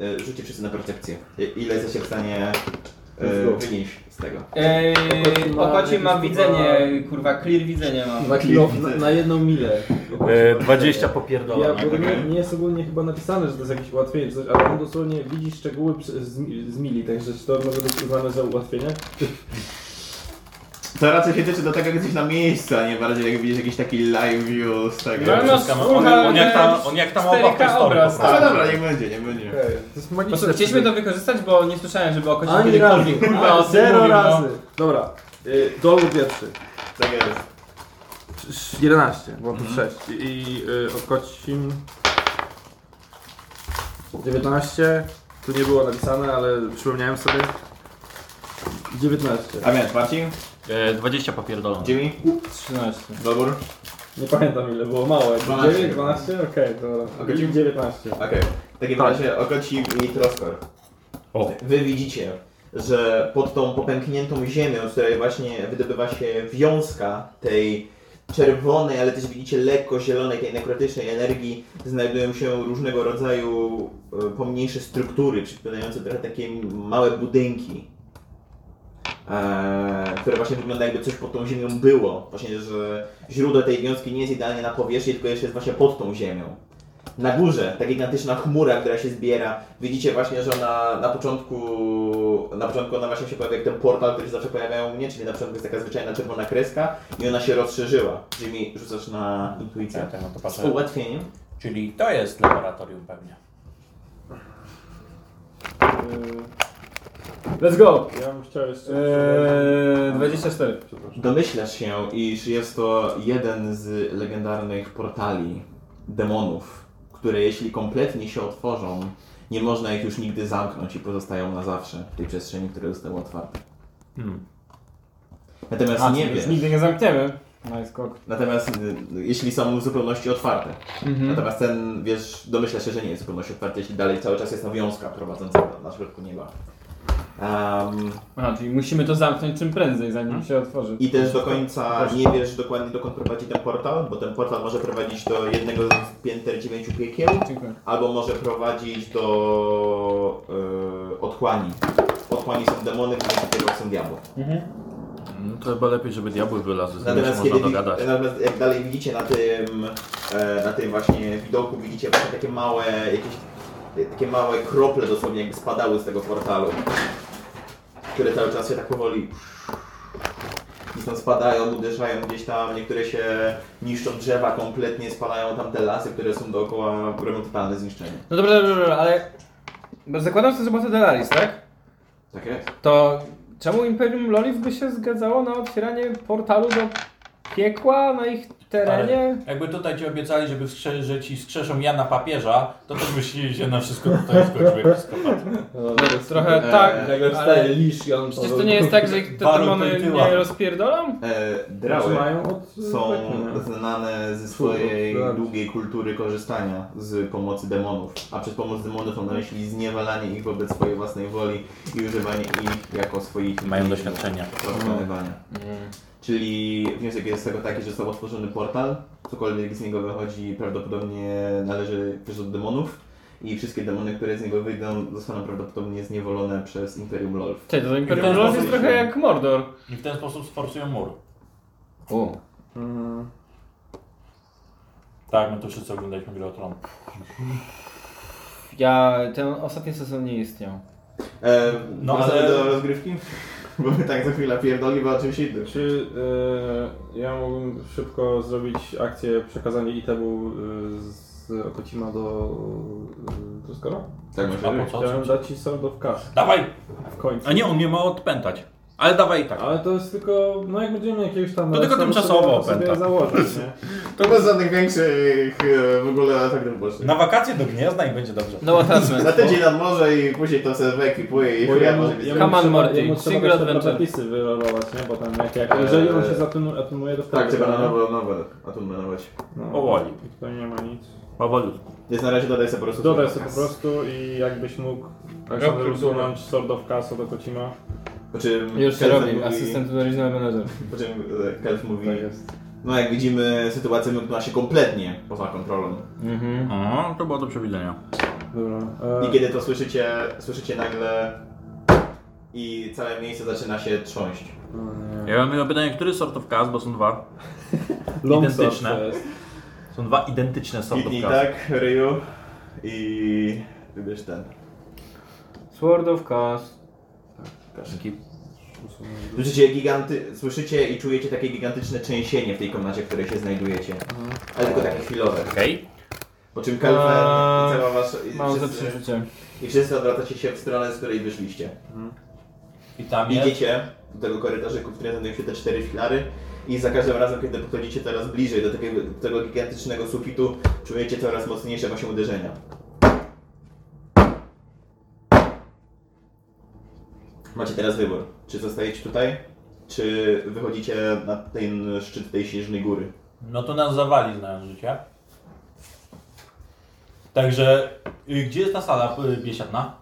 S3: Y, Rzućcie wszyscy na percepcję. I- Ile jesteście w stanie
S1: Let's
S3: y,
S1: go.
S3: wynieść z tego.
S2: Eee,
S1: Okocim ma-
S2: Okocim ma
S1: jakieś
S2: widzenie, kurwa, clear widzenie ma.
S1: Na, kilo, No, na, na jedną milę.
S13: E, 20 popierdolone.
S1: Ja, bo nie, nie jest ogólnie chyba napisane, że to jest jakieś ułatwienie, czy coś, ale on dosłownie widzi szczegóły przy- z, z mili, także czy to może być uznane za ułatwienie?
S3: To raczej się tyczy do tego gdzieś na miejscu, a nie bardziej jak widzisz jakiś taki live view z tego.
S2: No, no,
S4: Wszystko- on-
S2: słuchaj,
S4: on jak tam- on jak tam opa w tej
S2: 4K
S4: historii po
S2: obraz,
S4: prostu.
S3: Ale dobra, niech będzie, niech będzie.
S1: Okej, to jest
S2: Po prostu chcieliśmy to wykorzystać, bo nie słyszałem, żeby Okocim
S1: Ani razu,
S2: kiedykolwiek, kurwa, o
S1: kurwa,
S2: tym
S1: zero
S2: mówił, no.
S1: razy. Dobra, y, dowód pierwszy.
S3: Tak jest.
S1: 11, bo to 6. I y, odkocim 19. Tu nie było napisane, ale przypomniałem sobie. 19.
S3: A więc Marcin,
S13: E, 20 popierdolone.
S3: Jimmy,
S2: 13.
S3: dobór.
S1: Nie pamiętam ile było, małe.
S3: 12.
S1: 9, 12? Okej, Y, dobra.
S3: Okej.
S1: I 19.
S3: Okej, w takim
S1: Tak.
S3: razie Okoci i Troskor.
S13: O.
S3: Wy widzicie, że pod tą popękniętą ziemią, z której właśnie wydobywa się wiązka tej czerwonej, ale też widzicie lekko zielonej, tej nekrotycznej energii, znajdują się różnego rodzaju e, pomniejsze struktury, przypominające trochę takie małe budynki, e, które właśnie wygląda jakby coś pod tą ziemią było. Właśnie, że źródło tej wiązki nie jest idealnie na powierzchni, tylko jeszcze jest właśnie pod tą ziemią. Na górze ta gigantyczna chmura, która się zbiera. Widzicie właśnie, że ona na początku, na początku ona właśnie się pojawia jak ten portal, który się zawsze pojawiają u mnie, czyli na początku jest taka zwyczajna czerwona kreska i ona się rozszerzyła. Czyli mi rzucasz na intuicję.
S4: Ja na Tak, no to
S3: Z
S4: patrzę.
S3: ułatwieniem.
S4: Czyli to jest laboratorium pewnie.
S2: Let's go!
S1: Ja bym chciał jeszcze...
S2: Eee, 24.
S1: Przepraszam.
S3: Domyślasz się, iż jest to jeden z legendarnych portali demonów, które jeśli kompletnie się otworzą, nie można ich już nigdy zamknąć i pozostają na zawsze w tej przestrzeni, która została otwarta.
S9: Hmm.
S3: Natomiast
S2: A,
S3: nie
S2: czyli
S3: wiesz.
S2: już Nigdy nie zamkniemy. Nice skok.
S3: Natomiast y, jeśli są w zupełności otwarte.
S2: Mhm.
S3: Natomiast ten, wiesz, domyśla się, że nie jest w zupełności otwarte, jeśli dalej cały czas jest ta wiązka prowadząca na- na środku nieba. Em,
S2: Aha, czyli musimy to zamknąć czym prędzej, zanim się otworzy.
S3: Mhm. I też do końca nie wiesz dokładnie dokąd prowadzi ten portal, bo ten portal może prowadzić do jednego z pięter dziewięciu piekieł,
S2: Dziękuję.
S3: albo może prowadzić do y, otchłani. W otchłani są demony, w pięciu piekieł są diabły.
S4: Mm,
S9: No to chyba lepiej, żeby diabły wylazły, z nimi się
S3: Natomiast, kiedy,
S9: można
S3: wi-
S9: dogadać.
S3: natomiast jak dalej widzicie na tym, e, na tym właśnie widoku, widzicie właśnie takie małe, jakieś, e, takie małe krople dosłownie jakby spadały z tego portalu, które cały czas się tak powoli i stąd spadają, uderzają gdzieś tam, niektóre się niszczą drzewa kompletnie, spalają tam te lasy, które są dookoła, robią totalne zniszczenie.
S2: No dobra, dobra, dobra, ale... Bo zakładam, że to jest robota Delaris, tak?
S3: Tak jest.
S2: To czemu Imperium Lolif by się zgadzało na otwieranie portalu do piekła na ich terenie?
S4: Jakby tutaj ci obiecali, żeby skrze- że ci skrzeszą Jana Papieża, to też myśleli, że na wszystko tutaj skoczymy.
S1: No,
S2: Trochę
S3: Eee,
S2: tak,
S1: Jak już
S2: ale
S1: staje lisz i on...
S2: przecież to nie jest tak, że ich te
S4: Walą
S2: demony
S4: tej tyła.
S2: nie rozpierdolą?
S3: E, drały
S1: Zaczynają od...
S4: No,
S3: są
S4: tak,
S1: zwykłych, nie?
S3: znane ze
S1: Kurwa,
S3: swojej
S1: tak.
S3: długiej kultury korzystania z pomocy demonów, a przez pomoc demonów mam na myśli zniewalanie ich wobec swojej własnej woli i używanie ich jako swoich
S9: Mają doświadczenia.
S4: No.
S3: porównywania.
S4: Mm.
S3: Czyli wniosek jest z tego taki, że został otworzony portal, cokolwiek z niego wychodzi prawdopodobnie należy też od demonów i wszystkie demony, które z niego wyjdą zostaną prawdopodobnie zniewolone przez Imperium Lolf.
S2: Cześć, to Imperium
S4: Imperium
S2: Lolif jest
S4: Lolif.
S2: trochę jak Mordor.
S4: I w ten sposób sforsują mur.
S2: O.
S1: Mm.
S4: Tak, my tu wszyscy oglądaliśmy Grę o Tron.
S2: Ja, ten ostatni sezon nie istniał.
S3: E, no,
S4: No,
S3: wracamy
S4: ale-
S3: do rozgrywki, bo my tak za chwilę pierdoli, bo oczywiście idę.
S1: Czy e, ja mógłbym szybko zrobić akcję przekazania itemu e, z Okocima do e, Truskora?
S3: Tak,
S4: A po co?
S1: Chciałem dać ci sword of Cast
S4: Dawaj!
S1: w końcu.
S10: A nie, on mnie ma odpętać. Ale dawaj i tak.
S1: Ale to jest tylko, no jak będziemy jakiegoś tam...
S10: To tylko
S1: sobie-
S10: tymczasowo
S1: sobie
S10: opęta.
S1: założyć, nie?
S3: To bez żadnych większych e, w ogóle ataków bocznych.
S1: No,
S10: Na wakacje do Gniezna i będzie dobrze.
S2: No
S3: Na
S2: attachment.
S3: tydzień nad morze i później to sobie wyekwipuję i
S1: Bo
S3: chuja
S1: jemu-
S3: może być.
S1: jemu
S2: Come on,
S1: trzeba-
S2: Morty.
S1: jemu trzeba
S2: Single
S1: też te
S2: adventure.
S1: przepisy wyrolować, nie? Bo tam jak, jak e, jeżeli on się zatynu- atymuje, to wtedy...
S3: Tak, trzeba
S1: no.
S3: na nowo, nowe atumenować.
S1: No,
S9: Powoli.
S1: To nie ma nic.
S9: Powolutku.
S3: Więc na razie dodaj sobie po prostu.
S1: Dodaj sobie po prostu i jakbyś mógł Aleksander usunąć Sword of Cast od Okocima.
S3: Po czym
S2: Już się
S3: Kelf
S2: robi,
S3: mówi-
S2: asystent regional manager.
S3: Po czym e, Kelf mówi,
S1: Tak jest.
S3: no jak widzimy sytuacja mknęła się kompletnie poza kontrolą.
S2: Mhm.
S9: O, to było do przewidzenia.
S1: Dobra. E,
S3: I kiedy to słyszycie, słyszycie nagle i całe miejsce zaczyna się trząść.
S9: Ja mam pytanie, który sort of cast, bo są dwa.
S1: Identyczne.
S9: identyczne. Są dwa identyczne sort of
S3: Widni
S9: cast.
S3: tak, Ryu i... Wybierz ten.
S2: Sword of Cast.
S9: Dzięki.
S3: Słyszycie, giganty... Słyszycie i czujecie takie gigantyczne trzęsienie w tej komnacie, w której się znajdujecie. Ale tylko takie chwilowe.
S9: Okej.
S3: Po czym Kelfer
S2: Eee,
S3: i cała wasza... I
S2: Mam za
S3: wszyscy,
S2: przeżycie.
S3: I wszyscy odwracacie się w stronę, z której wyszliście.
S4: I tam jest.
S3: Idziecie do tego korytarzyku, w którym znajdują się te cztery filary i za każdym razem, kiedy podchodzicie coraz bliżej do takiego, do tego gigantycznego sufitu, czujecie coraz mocniejsze właśnie uderzenia. Macie teraz wybór, czy zostajecie tutaj, czy wychodzicie na ten szczyt tej śnieżnej góry.
S4: No to nas zawali znając życie. Także, y, gdzie jest ta sala y, biesiadna?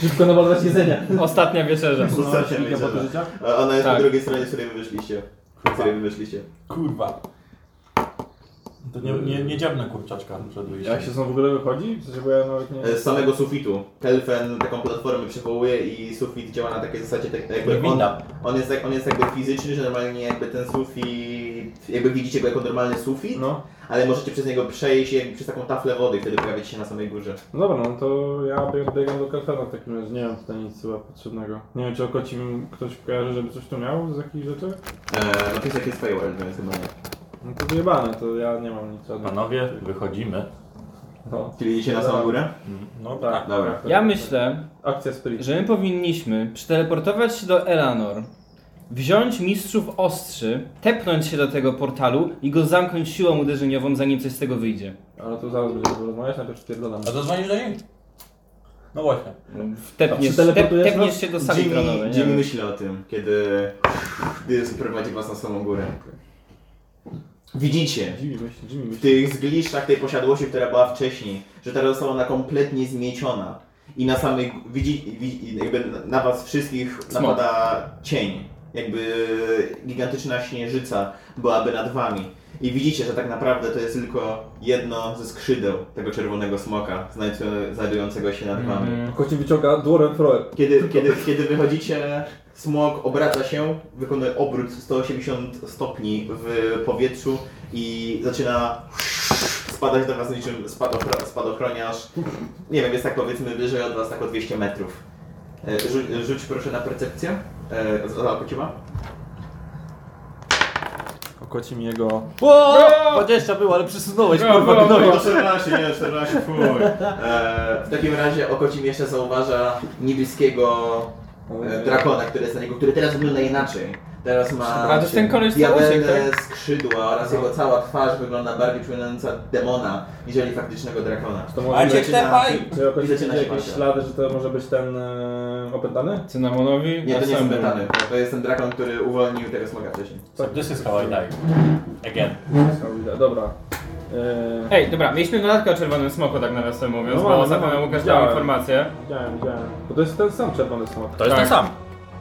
S1: Szybko na balans jedzenia.
S2: Ostatnia wieczerza.
S3: Ostatnia
S1: Szybko po to
S3: wieczerza.
S1: życia.
S3: A Ona jest
S2: Tak.
S3: po drugiej stronie, z której wy wyszliście. Z której wy wyszliście.
S4: Kurwa. To nie, nie, nie dziabnę kurczaczka przed wyjściem.
S1: Jak się są w ogóle wychodzi? W sensie, bo ja nawet nie...
S3: E, Z samego sufitu. Kelfen taką platformę przywołuje i sufit działa na takiej zasadzie, tak jakby on,
S4: Winda.
S3: on, jest, tak- on jest jakby fizyczny, że normalnie jakby ten sufit, jakby widzicie go jako normalny sufit,
S1: No.
S3: ale możecie przez niego przejść jak przez taką taflę wody, wtedy pojawiacie się na samej górze.
S1: no dobra, no to ja bieg- biegam do kafena w takim razie. Nie mam tutaj nic chyba potrzebnego. Nie wiem, czy o kocim ktoś kojarzy, żeby coś tu miał z jakichś rzeczy?
S3: Eee, no to jest jakieś firewall, więc chyba nie.
S1: No to wyjebane, to ja nie mam nic żadnego.
S9: Panowie, wychodzimy.
S1: No.
S3: Czyli idziecie na samą górę?
S4: No tak.
S1: Tak.
S3: Dobra.
S2: Ja myślę,
S1: Akcja Spirit.
S2: że my powinniśmy przeteleportować się do Elanor, wziąć mistrzów ostrzy, tepnąć się do tego portalu i go zamknąć siłą uderzeniową, zanim coś z tego wyjdzie.
S1: Ale to zaraz będziemy rozmawiać, najpierw spierdolam.
S4: A zadzwonisz do niej? No właśnie.
S2: Tepniesz,
S1: A
S2: tep,
S1: przeteleportujesz
S2: tepniesz
S1: nas?
S2: się do sali tronowej.
S3: Jimmy,
S2: nie
S3: Jimmy
S2: wiem.
S3: myśli o tym, kiedy, kiedy sprowadzi was na samą górę. Widzicie,
S1: Dziwi myśl, dziwi
S3: w
S1: myśl.
S3: tych zgliszczach tej posiadłości, która była wcześniej, że teraz została ona kompletnie zmieciona i na samej, widzi, widzi, jakby na was wszystkich
S2: Smog.
S3: napada cień, jakby gigantyczna śnieżyca byłaby nad wami. I widzicie, że tak naprawdę to jest tylko jedno ze skrzydeł tego czerwonego smoka znajdu- znajdującego się nad
S1: Mhm.
S3: wami.
S1: Koci wyciąga dworem Froe.
S3: Kiedy, kiedy, kiedy wychodzicie, smog obraca się, wykonuje obrót 180 stopni w powietrzu i zaczyna spadać do was niczym spadochro- spadochroniarz. Nie wiem, jest tak powiedzmy wyżej od was, tak o 200 metrów. E, Rzuć, rzuć proszę na percepcję. E, z- Ola Kociła.
S1: O koci mi jego...
S4: O! 20 było, ale przesunąłeś
S2: Brawo,
S4: kurwa.
S2: brawo.
S4: No,
S3: 14, nie, 14, fuj. E, w takim razie Okocim jeszcze zauważa niebieskiego E, drakona, który jest na niego, który teraz wygląda inaczej. Teraz ma
S2: A, to jest ten koleś, co
S3: diabelne
S2: uciekł,
S1: tak?
S3: skrzydła
S1: No.
S3: oraz jego cała twarz wygląda bardziej przypominająca demona, niżeli faktycznego drakona.
S1: To
S4: Maciek,
S1: może...
S3: Zaczyna-
S4: tepaj!
S1: Czy o koci
S3: Widzicie na
S1: widzicie jakieś
S3: świecie.
S1: ślady, że to może być ten e, opętany?
S2: Cynamonowi?
S3: Nie, to nie jest
S2: Następnym.
S3: metany. To jest ten drakon, który uwolnił tego smoga wcześniej.
S1: Tak.
S4: This is how I die. Again.
S1: Dobra. E,
S2: Ej, dobra, mieliśmy dodatkę o czerwonym smoku, tak nawiasem mówiąc,
S1: No,
S2: bo
S1: no,
S2: zapomniał
S1: no,
S2: Łukasz dał
S1: widziałem.
S2: informację.
S1: Widziałem, widziałem. Bo to jest ten sam czerwony smok.
S9: To jest
S2: Tak.
S9: ten sam.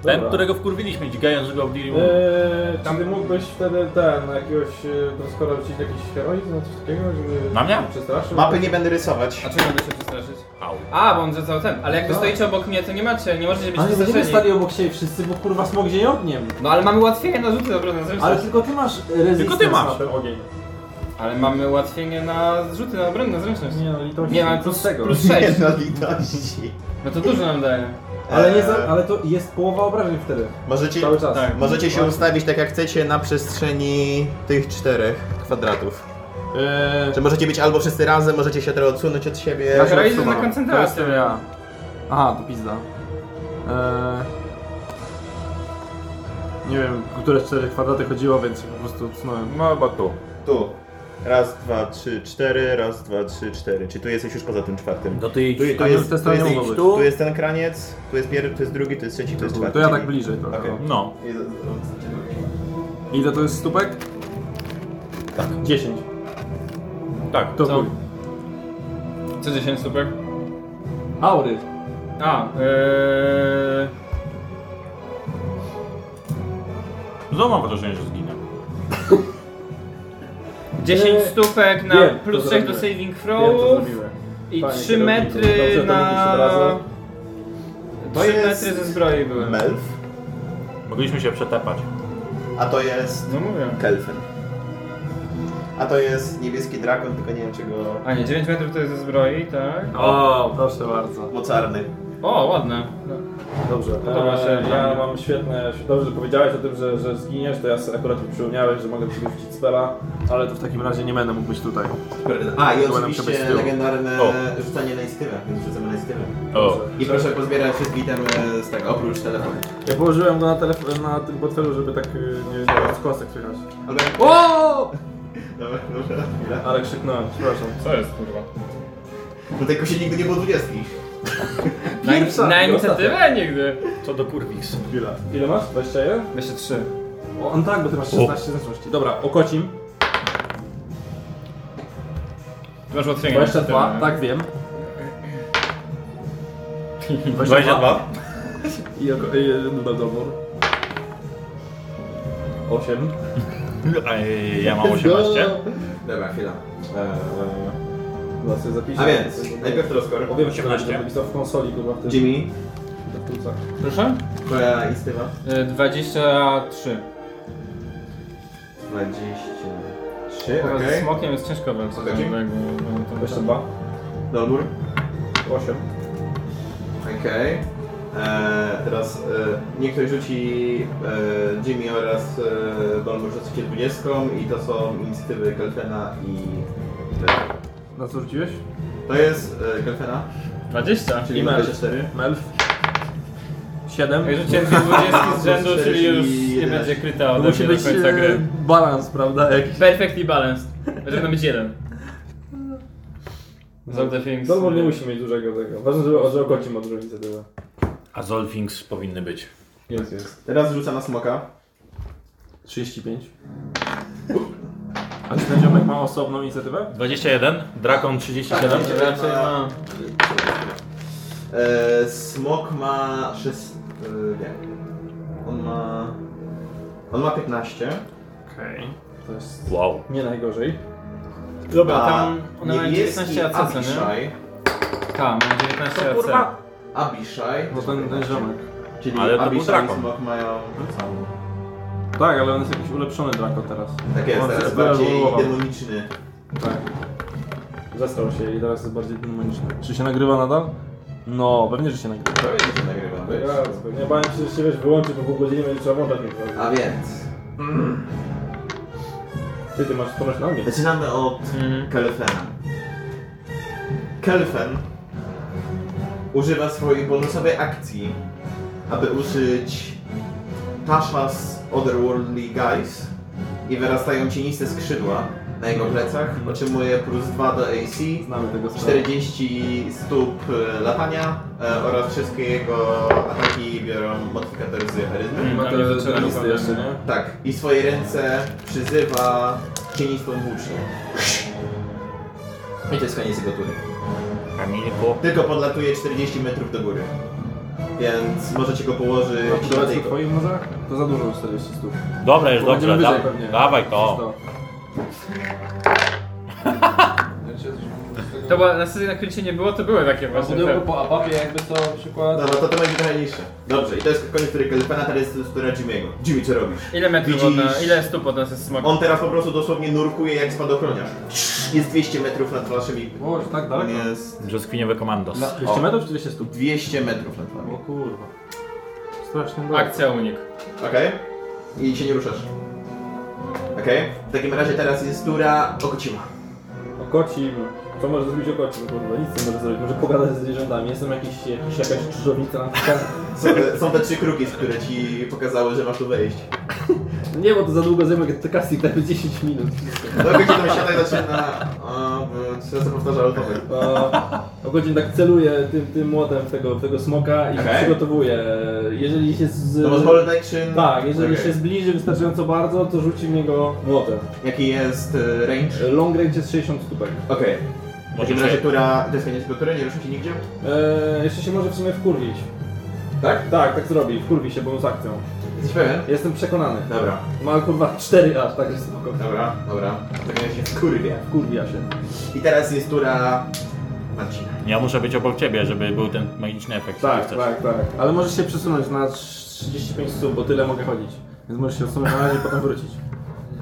S9: Ten,
S1: Dobra.
S9: którego wkurwiliśmy, dźgając go w Dirimu.
S1: Eee, tam mógłbyś wtedy ten, na jakiegoś, e, do skoro rzucić jakiś heroizm, no coś takiego, żeby...
S9: Na mnie?
S1: żeby Przestraszył?
S3: Mapy nie będę rysować.
S2: A czego mogę się przestraszyć?
S9: Au.
S2: A, bo on rzucał ten, ale jak wy
S1: No.
S2: stoicie obok mnie, to nie macie, nie możecie być
S1: Ale nie będziemy stali
S2: przestraszeni.
S1: obok siebie wszyscy, bo kurwa smok dzieje ogniem.
S2: No ale mamy ułatwienie na rzuty, dobra, na zręczność.
S1: Ale tylko ty masz rezystans
S9: Tylko ty masz.
S1: na ten ogień.
S2: Ale mamy ułatwienie na zrzuty na obronę, na zręczność.
S1: Nie no, litości.
S2: Nie, ale plus, plus 6.
S3: na litości. E,
S2: No to dużo nam daje.
S1: Ale, nie za, ale to jest połowa obrażeń wtedy.
S3: Możecie,
S1: Cały czas.
S2: Tak.
S3: możecie się
S1: Właśnie.
S3: ustawić tak jak chcecie na przestrzeni tych czterech kwadratów.
S1: Eee,
S3: Czy możecie być albo wszyscy razem, możecie się teraz odsunąć od siebie.
S1: Ja się
S2: Heroizm na
S1: odsuwam. to
S2: koncentrację.
S1: jestem ja. Aha, to pizda. Eee, nie wiem, o które cztery kwadraty chodziło, więc po prostu odsunąłem.
S9: No chyba tu.
S3: Tu. Raz, dwa, trzy, cztery, raz, dwa, trzy, cztery. Czy tu jesteś już poza tym czwartym?
S9: Do tej...
S3: Tu, tu,
S1: A
S3: jest,
S1: to
S3: tu,
S1: strony
S3: jest,
S1: mogło być.
S3: tu, tu jest ten kraniec, tu jest pierwszy, tu jest drugi, tu jest trzeci, tu jest
S1: To,
S3: czwarty.
S1: to ja tak
S3: czyli-
S1: bliżej trochę.
S3: Okej.
S9: No.
S1: Ile to jest stópek? Tak. 10.
S9: Tak.
S1: To
S2: Co?
S1: chuj.
S2: Co 10 super?
S1: Aury.
S2: A, yy...
S9: Znowu mam wrażenie, że zginę.
S2: 10
S1: Eee,
S2: stupek na
S1: wiem,
S2: plus
S1: to
S2: 3 do
S1: zrobiłem. Wiem,
S2: saving
S1: to
S2: throw
S1: zrobiłem.
S2: i
S1: Panie
S2: 3
S1: kierowniku, dobrze,
S2: metry
S1: to mówisz
S2: na...
S1: od razu.
S3: To
S2: 3
S3: jest-
S2: metry ze zbroi były.
S3: Melf,
S9: Mogliśmy się przetepać.
S3: a to jest
S2: No mówię.
S3: Kelfen. A to jest niebieski drakon, tylko nie wiem czego...
S2: A nie, 9 metrów to jest ze zbroi, tak?
S1: O, proszę bardzo.
S3: Mocarny.
S2: O, ładne.
S1: No, Dobrze.
S2: Podoba się.
S1: Eee, ja mam świetne. Dobrze, że powiedziałeś o tym, że, że zginiesz, to ja sobie akurat mi przypomniałeś, że mogę wyrzucić spela, ale to w takim razie nie będę mógł być tutaj.
S3: A i
S1: Chyba nam się bez
S3: oczywiście
S1: tyłu.
S3: legendarne
S9: O.
S3: rzucanie na instynę, więc rzucamy na instynę.
S9: O.
S3: I proszę pozbierać wszystkie itemy z tego, oprócz telefonu.
S1: Ja położyłem go na, telefon, na tym portfelu, żeby tak y, nie nie- z kostek słychać.
S3: Dobra,
S2: O!
S3: dobra, dobra. chwila.
S1: Ale krzyknąłem, przepraszam.
S2: Co jest kurwa?
S3: No tego się nigdy nie było dwudziestki.
S1: Pierwsza
S2: Na, na
S1: i
S2: inicjatywę nigdy.
S10: Co do kurwis.
S1: Chwila. Ile masz? 21?
S2: Jeszcze 3.
S1: O, on tak, bo ty masz 16 zręczności. Dobra, okocim. tak
S2: Ty masz ułatwienie.
S1: 22, tak wiem.
S9: 22.
S1: I oko- i- do domu. 8.
S9: Ej, Ja mam 18.
S3: Dobra, chwila. Eee,
S1: No, E, sobie zapiszę.
S3: a więc, najpierw troskor.
S1: Powiem ci, że będę pisał w konsoli, kurwa, w tym.
S3: Jimmy,
S1: w tym co.
S2: Proszę?
S3: Korea i Stywa.
S2: Y, 23.
S3: 23,
S2: Teraz Z
S3: okej.
S2: smokiem jest ciężko walczyć.
S3: Okej.
S2: no, jakby- no, to-
S1: 22.
S3: Dolbur,
S1: 8.
S3: okej. Eee, teraz e, niech ktoś rzuci e, Jimmy oraz e, Dolbur rzucicie 20 i to są inicjatywy Kelfena i... e,
S1: Na co rzuciłeś?
S3: To jest e, Kelfena,
S2: 20?
S3: czyli
S1: I Mel.
S3: 24.
S1: Melf. 7.
S2: Ja Rzuciłem dwie 20 z rzędu,
S3: Plus
S2: czyli już
S3: 41.
S2: nie będzie kryta ode
S1: Musi
S2: mnie do
S1: być
S2: końca
S1: e,
S2: gry.
S1: balans, prawda? Jak...
S2: Perfectly balanced. Powinno być jeden. Z all the things.
S1: Dolmor nie musi mieć dużego tego. Ważne, żeby że okoci ma dużą inicjatywę.
S9: A Zolfings powinny być.
S1: Jest, jest.
S3: Teraz rzuca na smoka.
S1: 35. A czy ten ziomek ma osobną inicjatywę?
S9: 21, Drakon 37.
S2: To raczej, no.
S3: E, smok ma 6. Nie. On ma. On ma 15.
S9: Okej.
S1: To jest
S9: Wow.
S1: nie najgorzej.
S2: Dobra, tam ona ma
S3: niebieski
S2: 19 AC, co nie?
S3: Abishai.
S2: Tam, ma 19 AC.
S3: Abishai.
S1: Bo ten, No ten ziomek.
S3: Czyli
S9: Ale to był
S3: Abishai i
S9: drakon.
S3: smok mają.
S1: Tak, ale on jest jakiś ulepszony drako teraz.
S3: Tak jest,
S1: On
S3: teraz
S1: No, jest
S3: bardziej
S1: wyewoluował.
S3: demoniczny.
S1: Tak. Zastał się i teraz jest bardziej demoniczny. Czy się nagrywa nadal? No, pewnie, że się nagrywa.
S3: Prawie że się nagrywa. wiesz?
S1: Nie bałem się, że się wiesz, wyłączy, bo po godzinie będzie trzeba włączać
S3: A więc.
S1: Ty, ty masz, to masz na mnie.
S3: Zaczynamy od
S2: Mhm.
S3: Kelfena. Kelfen używa swojej bonusowej akcji, aby użyć Tasha's Otherworldly Guys i wyrastają cieniste skrzydła na jego plecach. Otrzymuje plus 2 do AC,
S1: Znamy tego sprawę.
S3: 40 stóp e, latania e, oraz wszystkie jego ataki biorą modyfikator z charyzmy.
S2: Mm,
S1: Ma
S2: tam nie
S1: te
S2: zaczyna
S1: te listy
S2: chyba.
S1: jeszcze, nie?
S3: Tak, i swoje ręce przyzywa cienistą włócznią. I to jest koniec jego tury.
S9: Kamilku.
S3: Tylko podlatuje 40 metrów do góry. Więc możecie go położyć na
S1: Dobra,
S3: tej
S1: No, to twoim może? To za dużo 40 stóp.
S9: Dobra, już
S1: Bo
S9: dobrze.
S1: będziemy
S9: Da,
S1: wyżej pewnie.
S9: dawaj to.
S1: To.
S2: To była, na sesji na krycie nie było, to były takie
S3: No,
S4: Na
S2: właśnie.
S4: pudełku
S2: Te,
S4: po ababie jakby to na przykład...
S3: Dobra, No, to to będzie trochę niższe. Dobrze, i to jest koniec tury Kelpena, teraz jest tura Jimmy'ego. Jimmy, co robisz?
S2: ile metrów od nas,
S3: Widzisz?
S2: ile stóp od nas jest smok?
S3: On teraz po prostu dosłownie nurkuje jak spadochroniarz. Jest 200 metrów nad waszymi...
S1: O, że tak
S3: On
S1: daleko?
S3: jest
S9: Brzoskwiniowy komandos.
S1: 200 metrów czy 200 stóp?
S3: 200 metrów nad wami.
S1: O kurwa. Strasznie daleko.
S2: Akcja unik.
S3: Okej. I się nie ruszasz. Okej. W takim razie teraz jest tura Okocima.
S1: Okocim. Co może zrobić okocim? Kurwa, nic nie może zrobić. Może pogadać ze zwierzętami. Jestem jakiś, jakiś jakaś krzyżownica na przykład.
S3: Są te, są te trzy kruki, z które ci pokazały, że masz tu wejść.
S1: Nie, bo to za długo zajmę te casting, dajmy 10 minut.
S3: Dobra, gdzie tam siadaj zaczyna... O, bo trzy razy powtarzał to
S1: O, o godzin tak celuję tym, tym młotem w tego, w tego smoka i się
S3: Okej.
S1: przygotowuję. Jeżeli się z...
S3: To masz Hold Action?
S1: Tak, jeżeli
S3: Okej.
S1: się zbliży wystarczająco bardzo, to rzuci w niego młotem.
S3: Jaki jest e, range?
S1: Long range jest 60 stópek.
S3: Okej. W takim razie tura... To jest koniec jego tury, nie rusza się nigdzie?
S1: Eee, jeszcze się może w sumie wkurwić.
S3: Tak?
S1: Tak, tak zrobi. Wkurwi się, bo z akcją.
S3: Jesteś pewien?
S1: Jestem przekonany.
S3: Dobra.
S1: Ma kurwa 4 aż, także spoko.
S3: Dobra, dobra. W takim razie się wkurwia.
S1: Wkurwia się.
S3: I teraz jest tura... Marcina.
S9: Ja muszę być obok ciebie, żeby był ten magiczny efekt.
S1: Tak,
S9: który chcesz.
S1: tak, tak. Ale możesz się przesunąć na 35 stóp, bo tyle mogę chodzić. Więc możesz się odsunąć na razie i potem wrócić.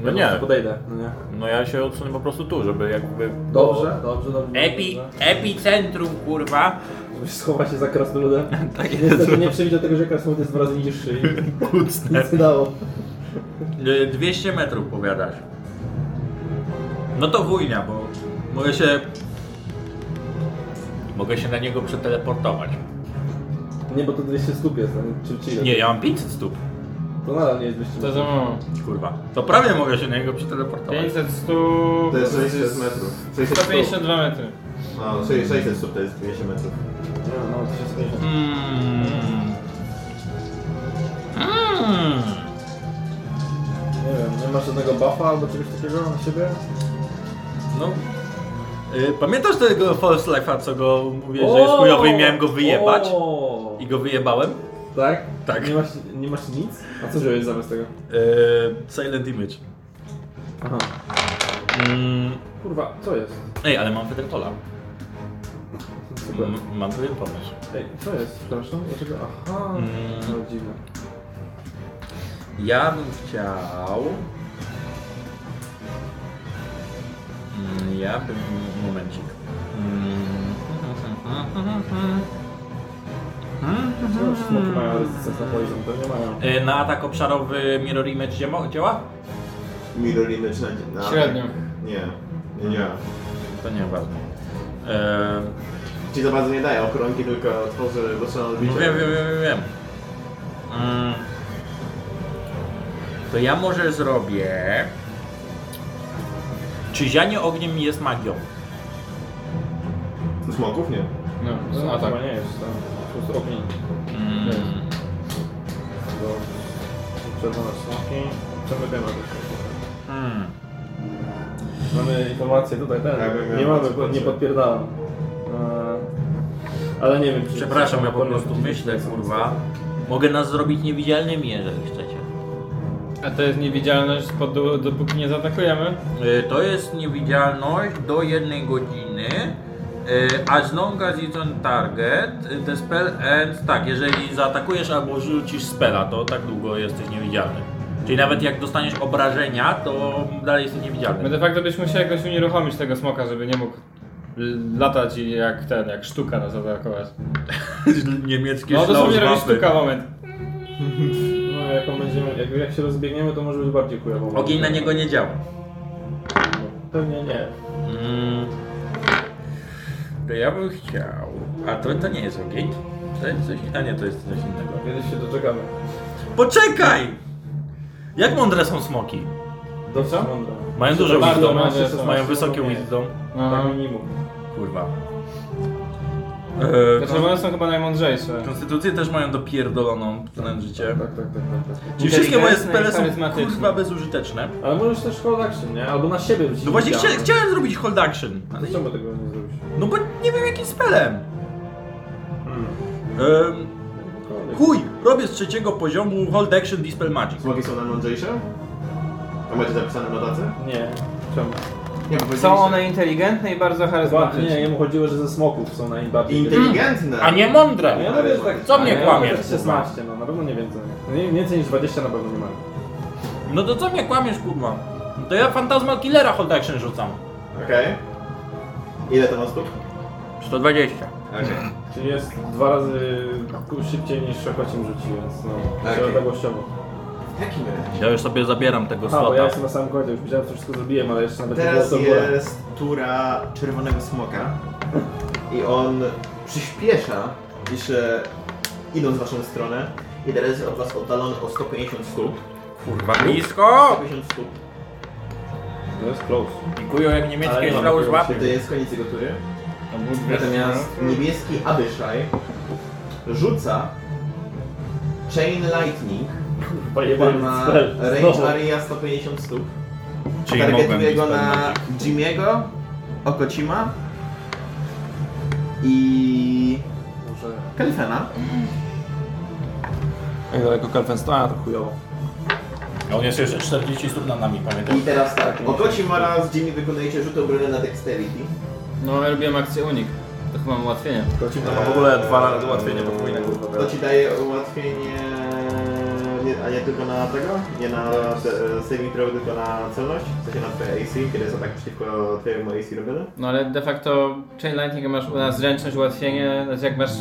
S9: No nie,
S1: Podejdę, no nie?
S9: no ja się odsunę po prostu tu, żeby jakby...
S1: Dobrze, dobrze, dobrze.
S9: Epi,
S1: dobrze.
S9: epicentrum, kurwa.
S1: Schowa się za krasnoludem. tak jest. Niestety nie przewidział tego, że krasnolud jest dwa razy niższy i
S9: Kucnę.
S1: nic nie dało.
S4: Y, 200 metrów powiadasz. No to wujnia, bo mogę się...
S9: Mogę się na niego przeteleportować.
S1: Nie, bo to 200 stóp jest, a czy, czy ile?
S4: Nie, ja mam 500 stóp.
S1: To nadal nie jest 200
S2: To za mało.
S4: Kurwa. To prawie mogę się na niego przeteleportować.
S2: 500, 100...
S3: To jest 600 metrów. 600 stóp.
S2: 152 metry.
S3: No, 600 stóp to jest 200 metrów.
S1: Nie, no 1050.
S4: Mm. Mm.
S1: Nie wiem, nie masz żadnego buffa albo czegoś takiego na siebie?
S4: No,
S10: Y, Pamiętasz tego False Life'a, co go mówię, że jest chujowy i miałem go wyjebać?
S1: O!
S10: I go wyjebałem?
S1: Tak?
S10: Tak.
S1: Nie masz, nie masz nic? A co zrobiłeś zamiast tego?
S10: Y, Silent Image.
S1: Aha.
S10: Mm,
S1: Kurwa, co jest?
S4: Ej, ale mam Federtola.
S9: Tak.
S1: Super.
S4: M- Mam pewien pomysł.
S1: Ej, co jest? Przepraszam? Dlaczego? Aha.
S4: Mm.
S1: No dziwne.
S4: Ja bym chciał. Mm, Ja bym. Momencik. Mm.
S1: Co już No, smoki mają rezystans na poison? Pewnie mają.
S4: E, Na atak obszarowy Mirror Image dziemo- działa?
S3: Mirror image na... na
S2: Średnio.
S3: Nie. Nie, nie.
S4: To nieważne. E,
S3: Ci za bardzo nie daje okronki, tylko otworzy dostaną
S4: no
S3: odbicie.
S4: wiem, wiem, wiem, wiem. Mm. To ja może zrobię. Czy zianie ogniem jest magią?
S3: Smoków? Nie.
S2: No, a tak.
S1: Chyba nie jest. Tam po prostu ogień.
S4: Mm.
S1: Bo Czerwone smoki. Przemykajmy to.
S4: Hmm.
S1: Mamy informację tutaj, ten.
S3: Tak, wiem,
S1: nie
S3: wiem,
S1: mamy,
S3: co
S1: bo nie
S3: chodzi.
S1: podpierdalam. Eee, Ale nie wiem, czy...
S4: Przepraszam, ja po
S1: powinien
S4: prostu
S1: być
S4: myślę,
S1: gdzieś-
S4: kurwa. Mogę nas zrobić niewidzialnymi, jeżeli chcecie.
S2: A to jest niewidzialność, pod, dopóki nie zaatakujemy?
S4: E, To jest niewidzialność do jednej godziny. e, As long as it's on target, e, the spell ends. Tak, jeżeli zaatakujesz albo rzucisz spela, to tak długo jesteś niewidzialny. Czyli nawet jak dostaniesz obrażenia, to dalej jesteś
S2: My
S4: niewidzialny.
S2: de facto byśmy musieli jakoś unieruchomić tego smoka, żeby nie mógł l- latać i jak ten, jak sztuka nas atakować.
S4: Niemieckie
S2: No to sobie robi
S4: szlauzwafy.
S2: sztuka, moment.
S1: No, jak, on będziemy, jak, jak się rozbiegniemy, to może być bardziej kujowo.
S4: Ogień na niego nie działa.
S1: Pewnie nie.
S4: Mm. To ja bym chciał. A to, to nie jest ogień. To jest coś. A nie, to jest coś innego.
S1: Kiedyś się doczekamy.
S4: Poczekaj! Jak mądre są smoki?
S1: Dobrze? Mądre.
S4: Mają dużo
S1: Bardzo
S4: wisdom,
S1: mądre są,
S4: mają
S1: są
S4: wysokie
S1: nie.
S4: wisdom.
S2: No.
S1: Tak minimum.
S4: Kurwa. Eee,
S2: Znaczy one są chyba najmądrzejsze.
S4: konstytucję też mają dopierdoloną względem życie.
S1: Tak, tak, tak, tak. tak.
S4: Czyli wszystkie moje spele są
S2: charyzmatyczne.
S4: kurwa bezużyteczne.
S1: Ale możesz też hold action, nie? Albo na siebie wrzucić.
S4: No właśnie chcia,
S1: widziałem.
S4: chciałem zrobić hold action, ale
S1: Dlaczego tego nie zrobisz?
S4: no bo nie wiem jakim spelem. Em,
S1: Hmm.
S4: chuj, robię z trzeciego poziomu hold action dispel magic.
S3: Smoki są najmądrzejsze? A macie zapisane w notatce?
S1: Nie. Czemu?
S3: Nie, bo
S2: Są one inteligentne i bardzo
S1: Chyba,
S2: charyzmatyczne.
S1: nie, jemu chodziło, że ze smoków są najbardziej...
S3: Inteligentne!
S4: A nie mądre!
S1: No ja mówię, że tak...
S4: Co mnie
S1: Hmm. ja
S4: kłamiesz?
S1: mówię, że 16, no na pewno nie więcej. Nie, więcej niż 20 na pewno nie mają.
S4: No to co mnie kłamiesz kurwa? No To ja Fantasmal Killera hold action rzucam.
S3: Okej. Ile to ma stóp?
S4: 120.
S3: Okej.
S1: Czyli jest dwa razy szybciej niż Szokocim rzuci, więc no...
S3: Okej.
S1: Przeległościowo.
S3: W takim razie.
S4: Ja już sobie zabieram tego
S1: A, bo ja
S4: slota.
S1: jestem na samym końcu, już myślałem, że wszystko zrobiłem, ale jeszcze nawet nie było
S3: Teraz
S1: to górę.
S3: jest tura czerwonego smoka. I on przyspiesza, pisze, idąc w waszą stronę. I teraz jest od was oddalony o 150 stóp.
S4: Kurwa blisko!
S3: 150 stóp.
S1: To jest close.
S4: Pikują jak niemieckie szlauzwafy.
S3: To jest koniec jego tury. Natomiast niebieski Abyshai rzuca Chain Lightning, który
S1: Pojebany
S3: ma
S1: spell. Znowu.
S3: range area 150 stóp. Targetuje go na Jimiego, Okocima i
S1: Może...
S3: Kalifena.
S1: Jak daleko Kalfen stoi? A, to chujowo.
S4: On jest jeszcze 40 stóp nad nami, pamiętaj.
S3: I teraz tak, Okocim oraz Jimmy wykonujecie rzut obrony na Dexterity.
S2: No ja robiłem akcję unik. To chyba mam ułatwienie.
S1: Kocim
S3: to ma w ogóle dwa razy
S1: ułatwienie podwójne, kurwa.
S3: To ci daje ułatwienie, nie, a nie tylko na tego, nie na e, saving throw, tylko na celność, w sensie na twoje AC, kiedy jest atak przeciwko twojemu AC robiony.
S2: No ale de facto Chain Lightning masz na zręczność, ułatwienie, znaczy jak masz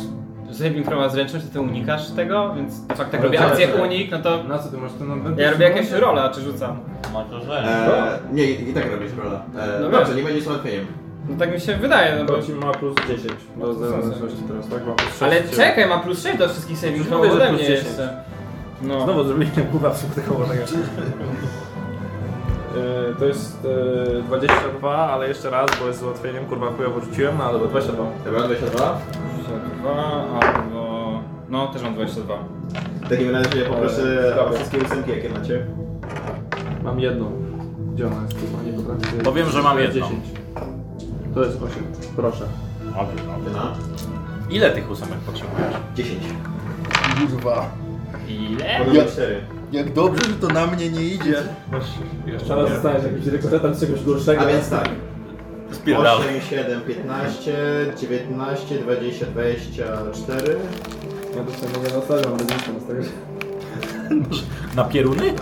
S2: saving throw na zręczność, to ty unikasz tego, więc de facto jak
S1: Ale
S2: robię
S1: co, No,
S2: akcję
S1: co?
S2: unik, no to
S1: Na co ty masz ten adwentus?
S2: ja robię jakieś rola, czy rzucam.
S3: E, nie, i i tak robisz rola. E,
S2: No
S3: dobrze,
S2: tak.
S3: nie będziesz ułatwieniem.
S2: No tak mi się wydaje, no bo...
S1: Kocim ma plus 10
S2: No,
S1: do zewnętrzności teraz, tak? Ma plus 6.
S2: Ale czekaj, mam plus 6 do wszystkich saving throw
S1: Mówię, że
S2: ode
S1: plus
S2: mnie
S1: 10.
S2: jeszcze. No.
S1: Znowu zrobiliśmy kurwa w tego wolnego. E, To jest e, 22, ale jeszcze raz, bo jest z ułatwieniem, kurwa chujowo rzuciłem, no ale dobra, 22.
S3: Dobra, 22.
S2: 22 albo... No też mam 22.
S3: W takim razie poproszę
S1: Dobra.
S3: o wszystkie ósemki, jakie macie.
S1: Mam jedną. Gdzie ona jest? Kurwa, nie potrafię.
S4: Powiem, że mam jedną.
S1: 10. To jest 8. Proszę.
S4: Dobry, dobry.
S3: Dyna?
S4: Ile tych ósemek potrzebujesz?
S3: 10.
S11: Kurwa.
S2: Ile?
S3: Podobno 4.
S11: Jak dobrze, że to na mnie nie idzie.
S1: Jeszcze raz dostaniesz jakimś rekordetem z czegoś gorszego.
S3: A więc tak.
S4: Spierdalaj.
S3: 8, 7, 15, 19, 20, 24.
S1: Ja to sobie mogę dostać, mam rezystans, także...
S4: Na pieruny?
S3: Eee,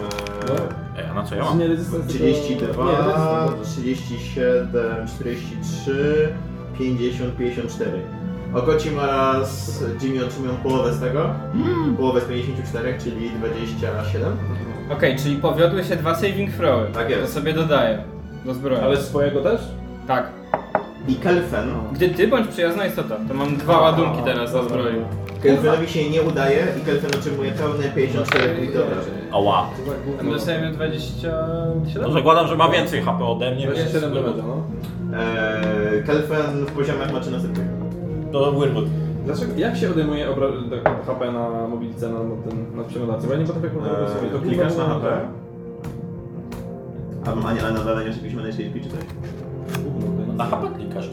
S4: Ej, a na co ja
S1: Czy
S4: mam?
S1: nie rezystans, tylko- Nie, rezystans,
S3: 32,
S1: dobrze.
S3: 37, 43, 50, 54. Okocim oraz Jimmy otrzymują połowę z tego. Połowę z 54, czyli 27.
S2: Okej, czyli powiodły się dwa saving throwy.
S3: Tak jest.
S2: To sobie dodaję. Do zbroi.
S1: Ale swojego też?
S2: Tak.
S3: I Kelfen.
S2: Gdy ty bądź przyjazna istota, to mam dwa ładunki teraz do zbroi.
S3: Kelfenowi się nie udaje i Kelfen otrzymuje pełne 54 punkty obrażeń.
S4: Ała.
S3: No,
S2: Tam dostajemy 27?
S4: No zakładam, że ma więcej HP ode mnie. więc-
S1: 27 do meta, no.
S3: Eee, Kelfen w poziomach macie następnego.
S4: To Wyrwood.
S1: Dlaczego, jak się odejmuje obra- tak, HP na mobilice, na, na, ten, na przeglądarce? Bo ja nie potrafię kontrolować sobie.
S3: Eee,
S1: To
S3: klikasz na
S1: kurwa,
S3: HP. A, a, nie- a na zadaniu jakieś manage HP czy coś?
S1: gówno, to
S4: Na
S1: jest-
S4: HP klikasz.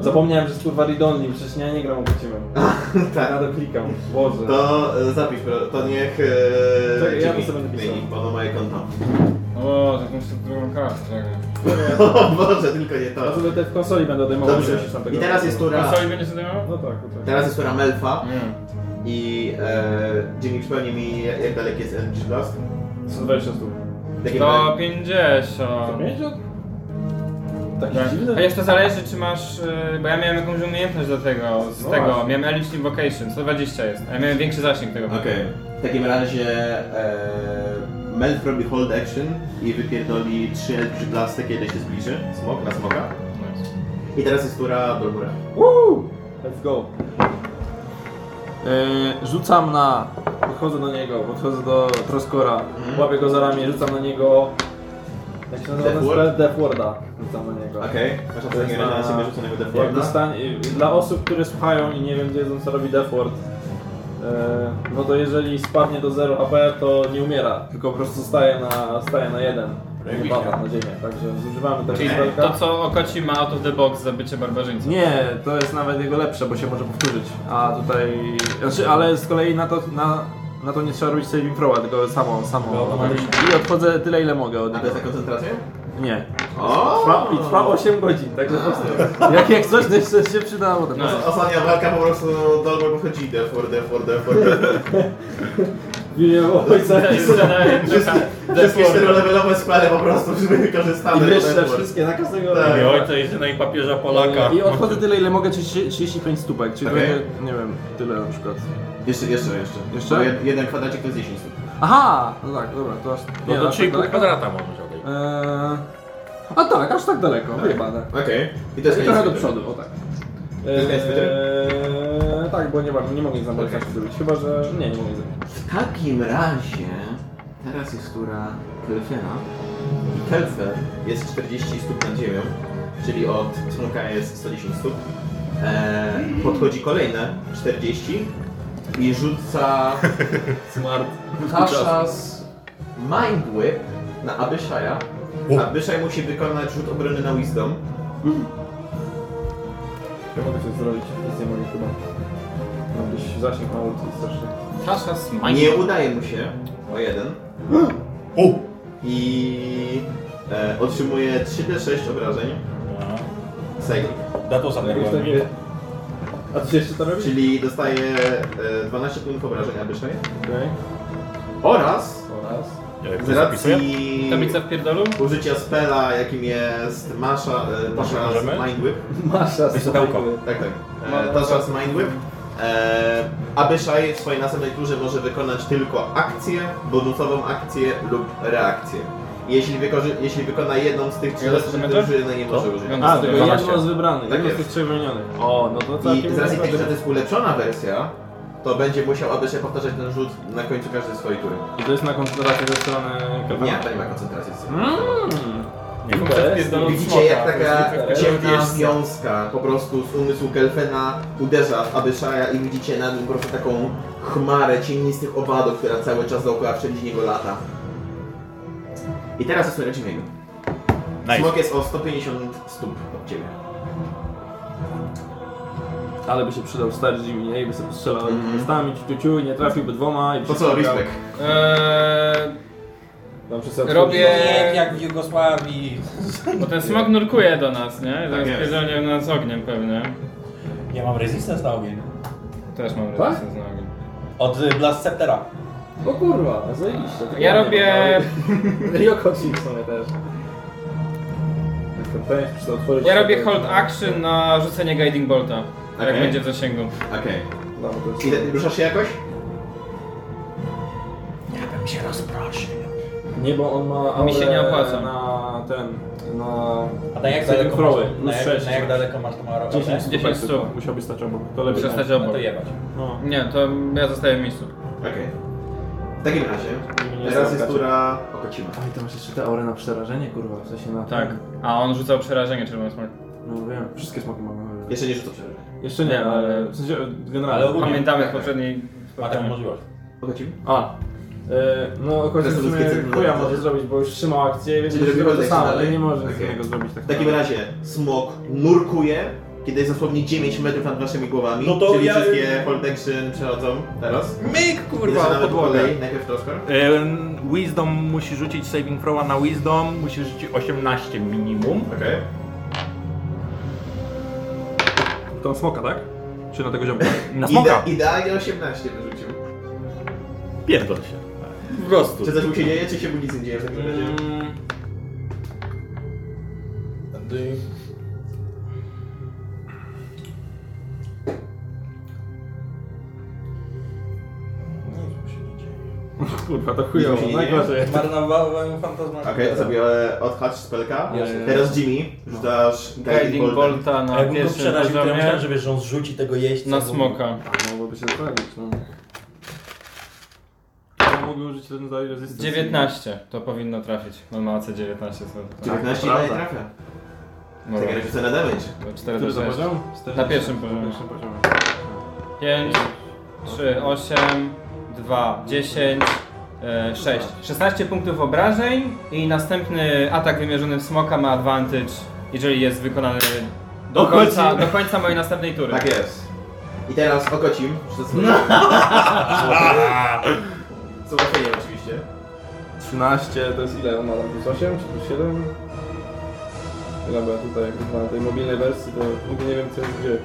S1: Zapomniałem, że jest kurwa Ridonli, przecież ja nie gram obecimem.
S3: tak.
S1: Nadal klikam. Boże.
S3: To e, zapisz, pro- to niech e,
S1: Czekaj, ja to
S3: Jimmy
S1: sobie będę pisał.
S3: zmieni, bo ono ma konto.
S2: O, tak muszę drugą kartę.
S3: O Boże, tylko nie
S1: Ja
S3: to.
S1: sobie te w konsoli będę odejmował.
S3: Dobrze,
S1: nie musisz tam tego
S3: i teraz jest
S1: robić.
S3: tura,
S2: Konsoli będzie się zajmował?
S1: No tak, no tak.
S3: teraz jest tura Melfa
S2: Nie.
S3: i e, Jimmy przypomni mi jak jak daleki jest Eldritch Blast.
S1: 120 stóp.
S3: Takie
S2: To
S3: małe-
S2: 50.
S1: 150? Takie
S2: Tak.
S1: dziwne.
S2: A jeszcze to zależy, czy masz. y, Bo ja miałem jakąś umiejętność do tego. Z
S1: No
S2: tego.
S1: właśnie.
S2: Miałem Elish Invocation, 120 jest. A ja miałem większy zasięg tego.
S3: Okej, w takim razie e, Melf robi hold action i wypierdoli 3 Eldritch Blasty, kiedy się zbliży. Smok na smoka. I teraz jest tura Dolbura.
S1: Woo! Let's go. Yy, rzucam na. Podchodzę do niego, podchodzę do Troskora,
S3: Mhm.
S1: łapię go za ramię, rzucam na niego. Jak się nazywa
S3: Death
S1: ten
S3: Ward?
S1: spell? Death Warda. Rzucam na niego.
S3: Okej, masz
S1: To
S3: na
S1: jest
S3: takim razie na
S1: na-
S3: siebie rzuconego
S1: Jak
S3: deforma.
S1: dostań, y, dla osób, które słuchają i nie wiem, wiedzą co robi Death Ward, yy, no to jeżeli spadnie do 0 HP, to nie umiera, tylko po prostu staje na, staje na 1. Nie pada na ziemię, także zużywamy tego
S2: Czyli
S1: spelka.
S2: to, co Okoci ma out of the box za bycie barbarzyńcą.
S1: Nie, to jest nawet jego lepsze, bo się może powtórzyć. A tutaj. Znaczy, ale z kolei na to, na, na to nie trzeba robić saving throwa, tylko samo, samo. I odchodzę tyle, ile mogę od
S3: A to
S1: niego.
S3: jest na koncentrację?
S1: Nie. Trwa,
S3: O!
S1: I trwa 8 godzin, także po prostu. Jak, jak coś to się przydało, to po prostu.
S3: Ostatnia walka po prostu Dolbo wychodzi defor, defor, defor.
S1: W imię ojca.
S2: Tak.
S1: i syna.
S3: Wszystkie czterolevelowe spele po prostu żeby
S1: I
S3: wykorzystane.
S1: wyższe
S3: Defor.
S1: wszystkie, na każdego
S3: Tak.
S1: rodzaju.
S4: I ojca jedyna i papieża Polaka.
S2: Tak.
S1: I odchodzę tyle, ile mogę, czyli 35 stópek, czyli
S3: Okej.
S1: trochę, nie wiem, tyle na przykład.
S3: Jeszcze, jeszcze, jeszcze.
S1: Jeszcze?
S3: Bo jed- jeden kwadracik to jest 10 stóp.
S1: Aha! No tak, dobra, to aż...
S9: No do
S1: aż tak
S9: 3,5
S1: daleko.
S9: kwadrata możesz odejść.
S1: Eee... A tak, aż tak daleko, tak. wyjebane.
S3: Okej. I to jest
S1: I
S3: koniec
S1: trochę do
S3: gry.
S1: przodu, o tak.
S3: jest koniec gry?
S1: Eee, tak, bo nie, mam- nie mogę ich zabrać okay. zrobić, chyba że... Nie, nie mogę zabrać.
S3: W takim razie... Teraz jest tura Kelfena. I Kelfen jest 40 stóp nad ziemią. Czyli od smoka jest 110 stóp. Eee, podchodzi kolejne 40 i rzuca
S1: Smart.
S3: Kaszas Mind Whip na Abyszaja. Abyszaj musi wykonać rzut obrony na Wisdom.
S1: Ja mogę coś zrobić, nic nie mogę chyba. Mam gdzieś zasięg mały, to jest strasznie.
S2: Kasza smajka.
S3: Nie udaje mu się o jeden. I e, otrzymuje 3d6 obrażeń. Psychic.
S4: Dato samego.
S1: Jakieś takie... A co się jeszcze to robi?
S3: Czyli dostaje e, 12 punktów obrażeń Abyszaj.
S1: Okej,
S3: Oraz
S1: oraz...
S11: tak-
S3: z
S4: E,
S3: racji
S2: Tablica w pierdolu?
S3: użycia spela, jakim jest Masha, e, Tasha's
S4: możemy?
S3: Mind Whip.
S1: Masza z
S4: Wysadełko.
S3: Tak, tak. E, to czas Mind Whip. E, Abyszaj w swojej następnej turze może wykonać tylko akcję, bonusową akcję lub reakcję. Jeśli, wykorzy- jeśli wykona jedną z tych
S2: Ile
S3: 13
S2: dostajemy
S3: turów, jednej nie może użyć.
S1: A, tylko
S4: 12.
S1: jedno z wybranych,
S3: Tak
S1: jedno z
S3: jest.
S1: tych przewymienionych. O, no to
S3: I
S1: całkiem
S3: z racji
S1: niezła
S3: tego, że
S1: gra.
S3: to jest ulepszona wersja, to będzie musiał Abyszaj powtarzać ten rzut na końcu każdej swojej tury.
S1: I to jest na koncentrację ze strony Kevina.
S3: Nie, to nie ma koncentracji.
S2: Nie,
S1: jest.
S3: Widzicie jak taka
S1: jest
S3: ciemna wiązka po prostu z umysłu Kelfena uderza w Abyszaja i widzicie nad nim po prostu taką chmarę cienistych owadów, która cały czas dookoła wszędzie niego lata. I teraz jest Redzimiego.
S5: Nice.
S3: Smok jest o 150 stóp od ciebie.
S1: Ale by się przydał stary Jimmy, nie? I by sobie strzelał mm listami, ciu, ciu, ciu, i nie trafiłby dwoma i by
S8: Po
S1: się
S8: co,
S1: przegrał.
S8: respekt?
S2: Eee,
S1: Tam wszyscy
S2: Robię-
S4: Jak, jak w Jugosławii.
S2: bo ten smok nurkuje do nas, nie? Zaraz
S8: jest.
S2: pierdolnie nas ogniem pewnie.
S4: Ja mam resistance na ogień.
S2: Też mam
S1: Tak?
S2: relację z nami.
S4: Od y, Blast Sceptera.
S1: odchodzą. O kurwa, zajebiście. Tego
S2: Ja
S1: nie
S2: robię-
S1: mam. I okocik w sumie też. Jestem pewien, że trzeba otworzyć...
S2: Ja robię hold action na rzucenie Guiding Bolta. tak Jak
S8: Okej.
S2: będzie w zasięgu.
S8: Okej.
S1: No, bo to jest...
S3: Ile, ruszasz się jakoś?
S1: Nie, bo on ma aurę
S2: Mi się nie opłaca.
S1: na ten, na...
S4: A na jak
S1: Saving
S4: daleko
S1: throwy,
S4: masz,
S1: plus
S4: na, jak,
S1: 6.
S4: na jak daleko masz tą aurę?
S1: 10 stóp.
S2: 10 stóp.
S1: tylko. Musiałbyś stać obok. To lepiej.
S2: Muszę
S1: nie.
S2: stać
S4: No
S2: obok.
S4: to jebać.
S1: No.
S2: Nie, to ja zostaję w miejscu.
S3: Okej. W takim razie,
S1: Nie
S3: teraz jest
S1: zamkacie.
S3: tura Okocima.
S1: Oj, to masz jeszcze te aury na przerażenie, kurwa, w sensie na...
S2: Tak. A on rzucał przerażenie czerwony smok.
S1: No wiem, wszystkie smoki mogą...
S3: Jeszcze nie rzucę przerwy.
S1: Jeszcze nie, ale w sensie generalnie.
S4: Ale ogólnie-
S2: Pamiętamy z poprzedniej...
S4: Ma
S2: Tak.
S4: taką możliwość.
S3: Okocim?
S1: A. E, no
S3: To
S1: akurat
S3: jest
S1: w sumie
S3: ludzkie cenne
S1: chuja
S3: cele.
S1: może zrobić, bo już trzymał akcję, więc
S3: Czyli
S1: zrobił
S3: robimy
S1: to
S3: tak
S1: samo,
S3: dalej.
S1: ale nie może z
S3: Okej.
S1: niego zrobić tak.
S3: W takim razie smok nurkuje, kiedy jest dosłownie 9 metrów nad waszymi głowami.
S10: No to
S3: czyli
S10: ja-
S3: wszystkie hold action przechodzą teraz.
S9: Myk,
S3: Zaczynamy po kolei, najpierw Toskar.
S9: Wisdom musi rzucić saving throwa na wisdom, musi rzucić 18 minimum.
S3: Okej.
S1: Tą smoka, tak? Czy na tego ziomka?
S9: Na
S3: Ide-
S9: smoka.
S3: idealnie 18 wyrzucił.
S9: Pierdol się. Po prostu.
S3: Czy coś mu się dzieje, czy się mu nic nie dzieje w takim razie?
S1: Kurwa, to
S3: chujowo,
S1: chujowo,
S3: najgorzej.
S1: najgorzej.
S4: Zmarnowałem fantazmat.
S3: Okej, to sobie e, odhacz spelka.
S4: Jasne.
S3: Teraz Jimmy, rzucasz
S2: Guiding
S3: Guiding Bolt.
S2: Bolta
S4: A
S2: na
S4: jakbym go
S2: pierwszym
S4: przeraził, to ja
S2: poziomie.
S4: myślałem, że wiesz, że on zrzuci tego jeźdźca.
S2: Na
S4: bo-
S2: smoka.
S1: Mogłoby się zrobić, no. To Mogę użyć ten dalej rezystencji.
S2: 19 to powinno trafić. On ma AC 19 co?
S3: 19
S8: Prawda.
S3: daje trafia.
S2: No,
S3: Tak, jak rzucę na damage.
S2: to 4
S1: Który
S2: do
S1: to
S2: 6.
S1: poziom?
S2: Na pierwszym poziomie.
S1: Na pierwszym poziomie.
S2: 5, 3, 8, 2, 10, 6. 16 e, punktów obrażeń i następny atak wymierzony w smoka ma advantage, jeżeli jest wykonany do końca, do końca mojej następnej tury.
S3: Tak jest. I teraz Okocim. Rzucę sobie. Co łatwiej oczywiście.
S1: 13 to jest ile? On ma tam plus 8 czy plus 7? Ile była tutaj? Kurwa, na tej mobilnej wersji to w ogóle nie wiem co jest gdzie.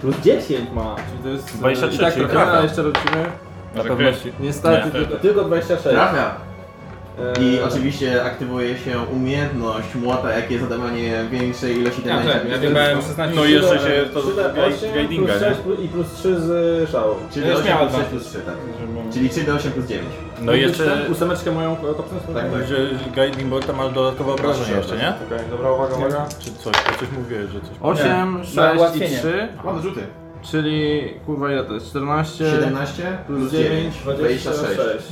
S1: Plus 10 ma, czyli to jest... e,
S9: 23,
S1: i tak
S9: czyli
S1: trochę,
S9: trafia.
S1: ale jeszcze rodzimy.
S9: Na pewności.
S1: Niestety,
S9: Nie.
S1: tylko, tylko 26.
S3: Trafia.
S1: E,
S3: I oczywiście aktywuje się umiejętność młota, jakie jest zadawanie większej ilości
S2: Ja
S3: damage'a.
S2: wiem, ja miałem 16
S9: No
S2: punktów.
S9: jeszcze się to
S1: 3 d
S9: guide- guidinga,
S1: plus
S9: nie?
S1: 6 plus, i plus 3 z szału.
S3: Czyli
S2: Ja już
S3: 8
S2: miałem
S3: plus 6
S2: dwa.
S3: plus 3, tak. Czyli 3 do 8 plus 9.
S9: No i jeszcze...
S1: Ósemeczkę moją kopnę?
S3: Tak, tak.
S9: Że Guiding Bolta masz dodatkowe obrażenia jeszcze, nie?
S1: Okej, dobra, uwaga, uwaga.
S9: Czy coś? Ja coś mówiłeś, że coś...
S1: 8,
S2: Na
S1: 6 i
S2: ułatwienie.
S1: 3,
S3: Ładne rzuty.
S1: czyli kurwa ile to jest? 14,
S3: 17 plus 9, 26.
S1: 26.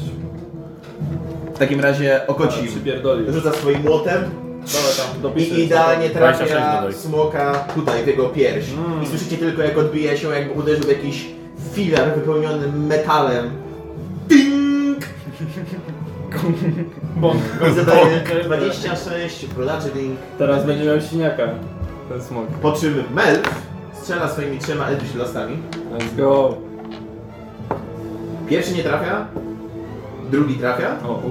S3: W takim razie Okocim
S1: Przypierdolił.
S3: rzuca swoim młotem
S1: Dobra, tam dopiszę.
S3: I idealnie
S9: 26
S3: trafia
S9: dodaj.
S3: smoka tutaj w jego pierś.
S1: Mm.
S3: I słyszycie tylko jak odbija się, jakby uderzył w jakiś filar wypełniony metalem. Ding! I zadaje 26 prodaczyding.
S1: Teraz będzie miał siniaka. Ten smok.
S3: Po czym Melf strzela swoimi trzema elfischen lastami.
S1: Let's go.
S3: Pierwszy nie trafia, drugi trafia,
S1: O,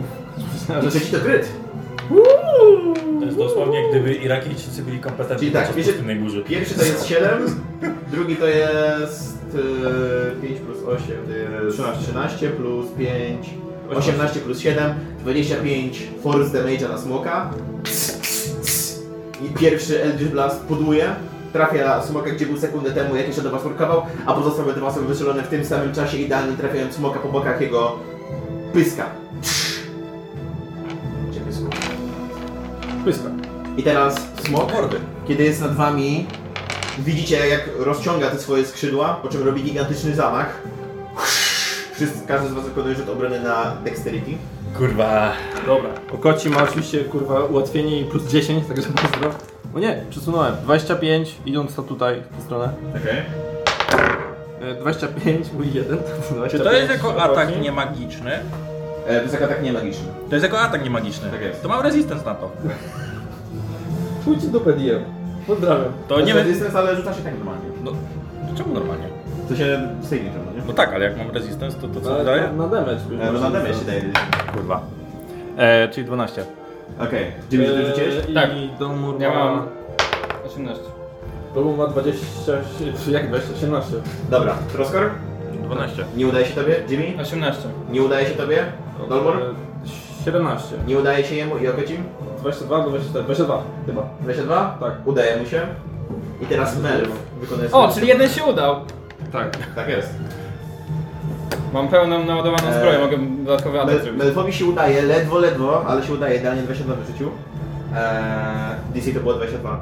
S1: uff.
S3: i trzeci to kryt.
S4: To jest dosłownie, gdyby Irakijczycy byli kompetentni
S3: Czyli tak,
S4: podczas
S3: wiecie-
S4: pustynnej burzy.
S3: Pierwszy to jest 7, drugi to jest e, 5 plus 8, to jest 13, plus 5, 18 plus 7, 25 force damage'a na smoka. I pierwszy Eldritch Blast poduje, trafia smoka gdzie był sekundę temu, jak jeszcze do was nurkował, a pozostałe dwa są wystrzelone w tym samym czasie, idealnie trafiając smoka po bokach jego pyska. Gdzie pysku?
S1: Pyska.
S3: I teraz smok, kiedy jest nad wami, widzicie jak rozciąga te swoje skrzydła, po czym robi gigantyczny zamach. Wszyscy, każdy z was wykonuje rzut obrony na dexterity.
S4: Kurwa.
S1: Dobra. Okoci ma oczywiście kurwa ułatwienie i plus 10, także pozdro. O nie, przesunąłem. 25, idąc to tutaj, w tę stronę.
S3: Okej.
S1: E, 25, mój 1.
S9: Czy to jest jako atak niemagiczny?
S3: E, to jest jako atak niemagiczny.
S10: To jest jako atak niemagiczny.
S3: Tak jest.
S10: To mam resistance na to.
S1: Chuj ci dupę, DM. Pozdrawiam.
S10: To nie wiem.
S3: resistance, ale rzuca się tak normalnie.
S10: No, to czemu normalnie?
S3: To się sejmie czemu, nie?
S10: No tak, ale jak mam resistance, to to co
S1: Ale
S10: wydaje?
S1: na, na damage.
S3: E, no na damage się daje resistance.
S10: Kurwa. E, czyli 12.
S3: Okej. Dziewięć
S1: E,
S3: ty rzuciłeś?
S2: Tak.
S1: I Domur
S2: Ja
S1: ma...
S2: mam 18.
S1: Domur ma 20... Jak 20? 18.
S3: Dobra. Troskor?
S10: 12.
S3: Nie udaje się tobie? Jimmy?
S2: 18.
S3: Nie udaje się tobie? Dolmor?
S1: E, 17.
S3: Nie udaje się jemu i Okecim?
S1: 22 do 24. 22 chyba.
S3: 22?
S1: Tak.
S3: Udaje mu się. I teraz Melf wykonuje
S2: O,
S3: swoją-
S2: czyli jeden się udał.
S1: Tak.
S3: Tak jest.
S2: Mam pełną naładowaną
S1: E,
S2: zbroję,
S3: Eee,
S2: mogę dodatkowy atak
S3: Mel-
S2: zrobić.
S3: Melfowi się udaje, ledwo, ledwo, ale się udaje, idealnie 22 w życiu. Eee, DC to było 22.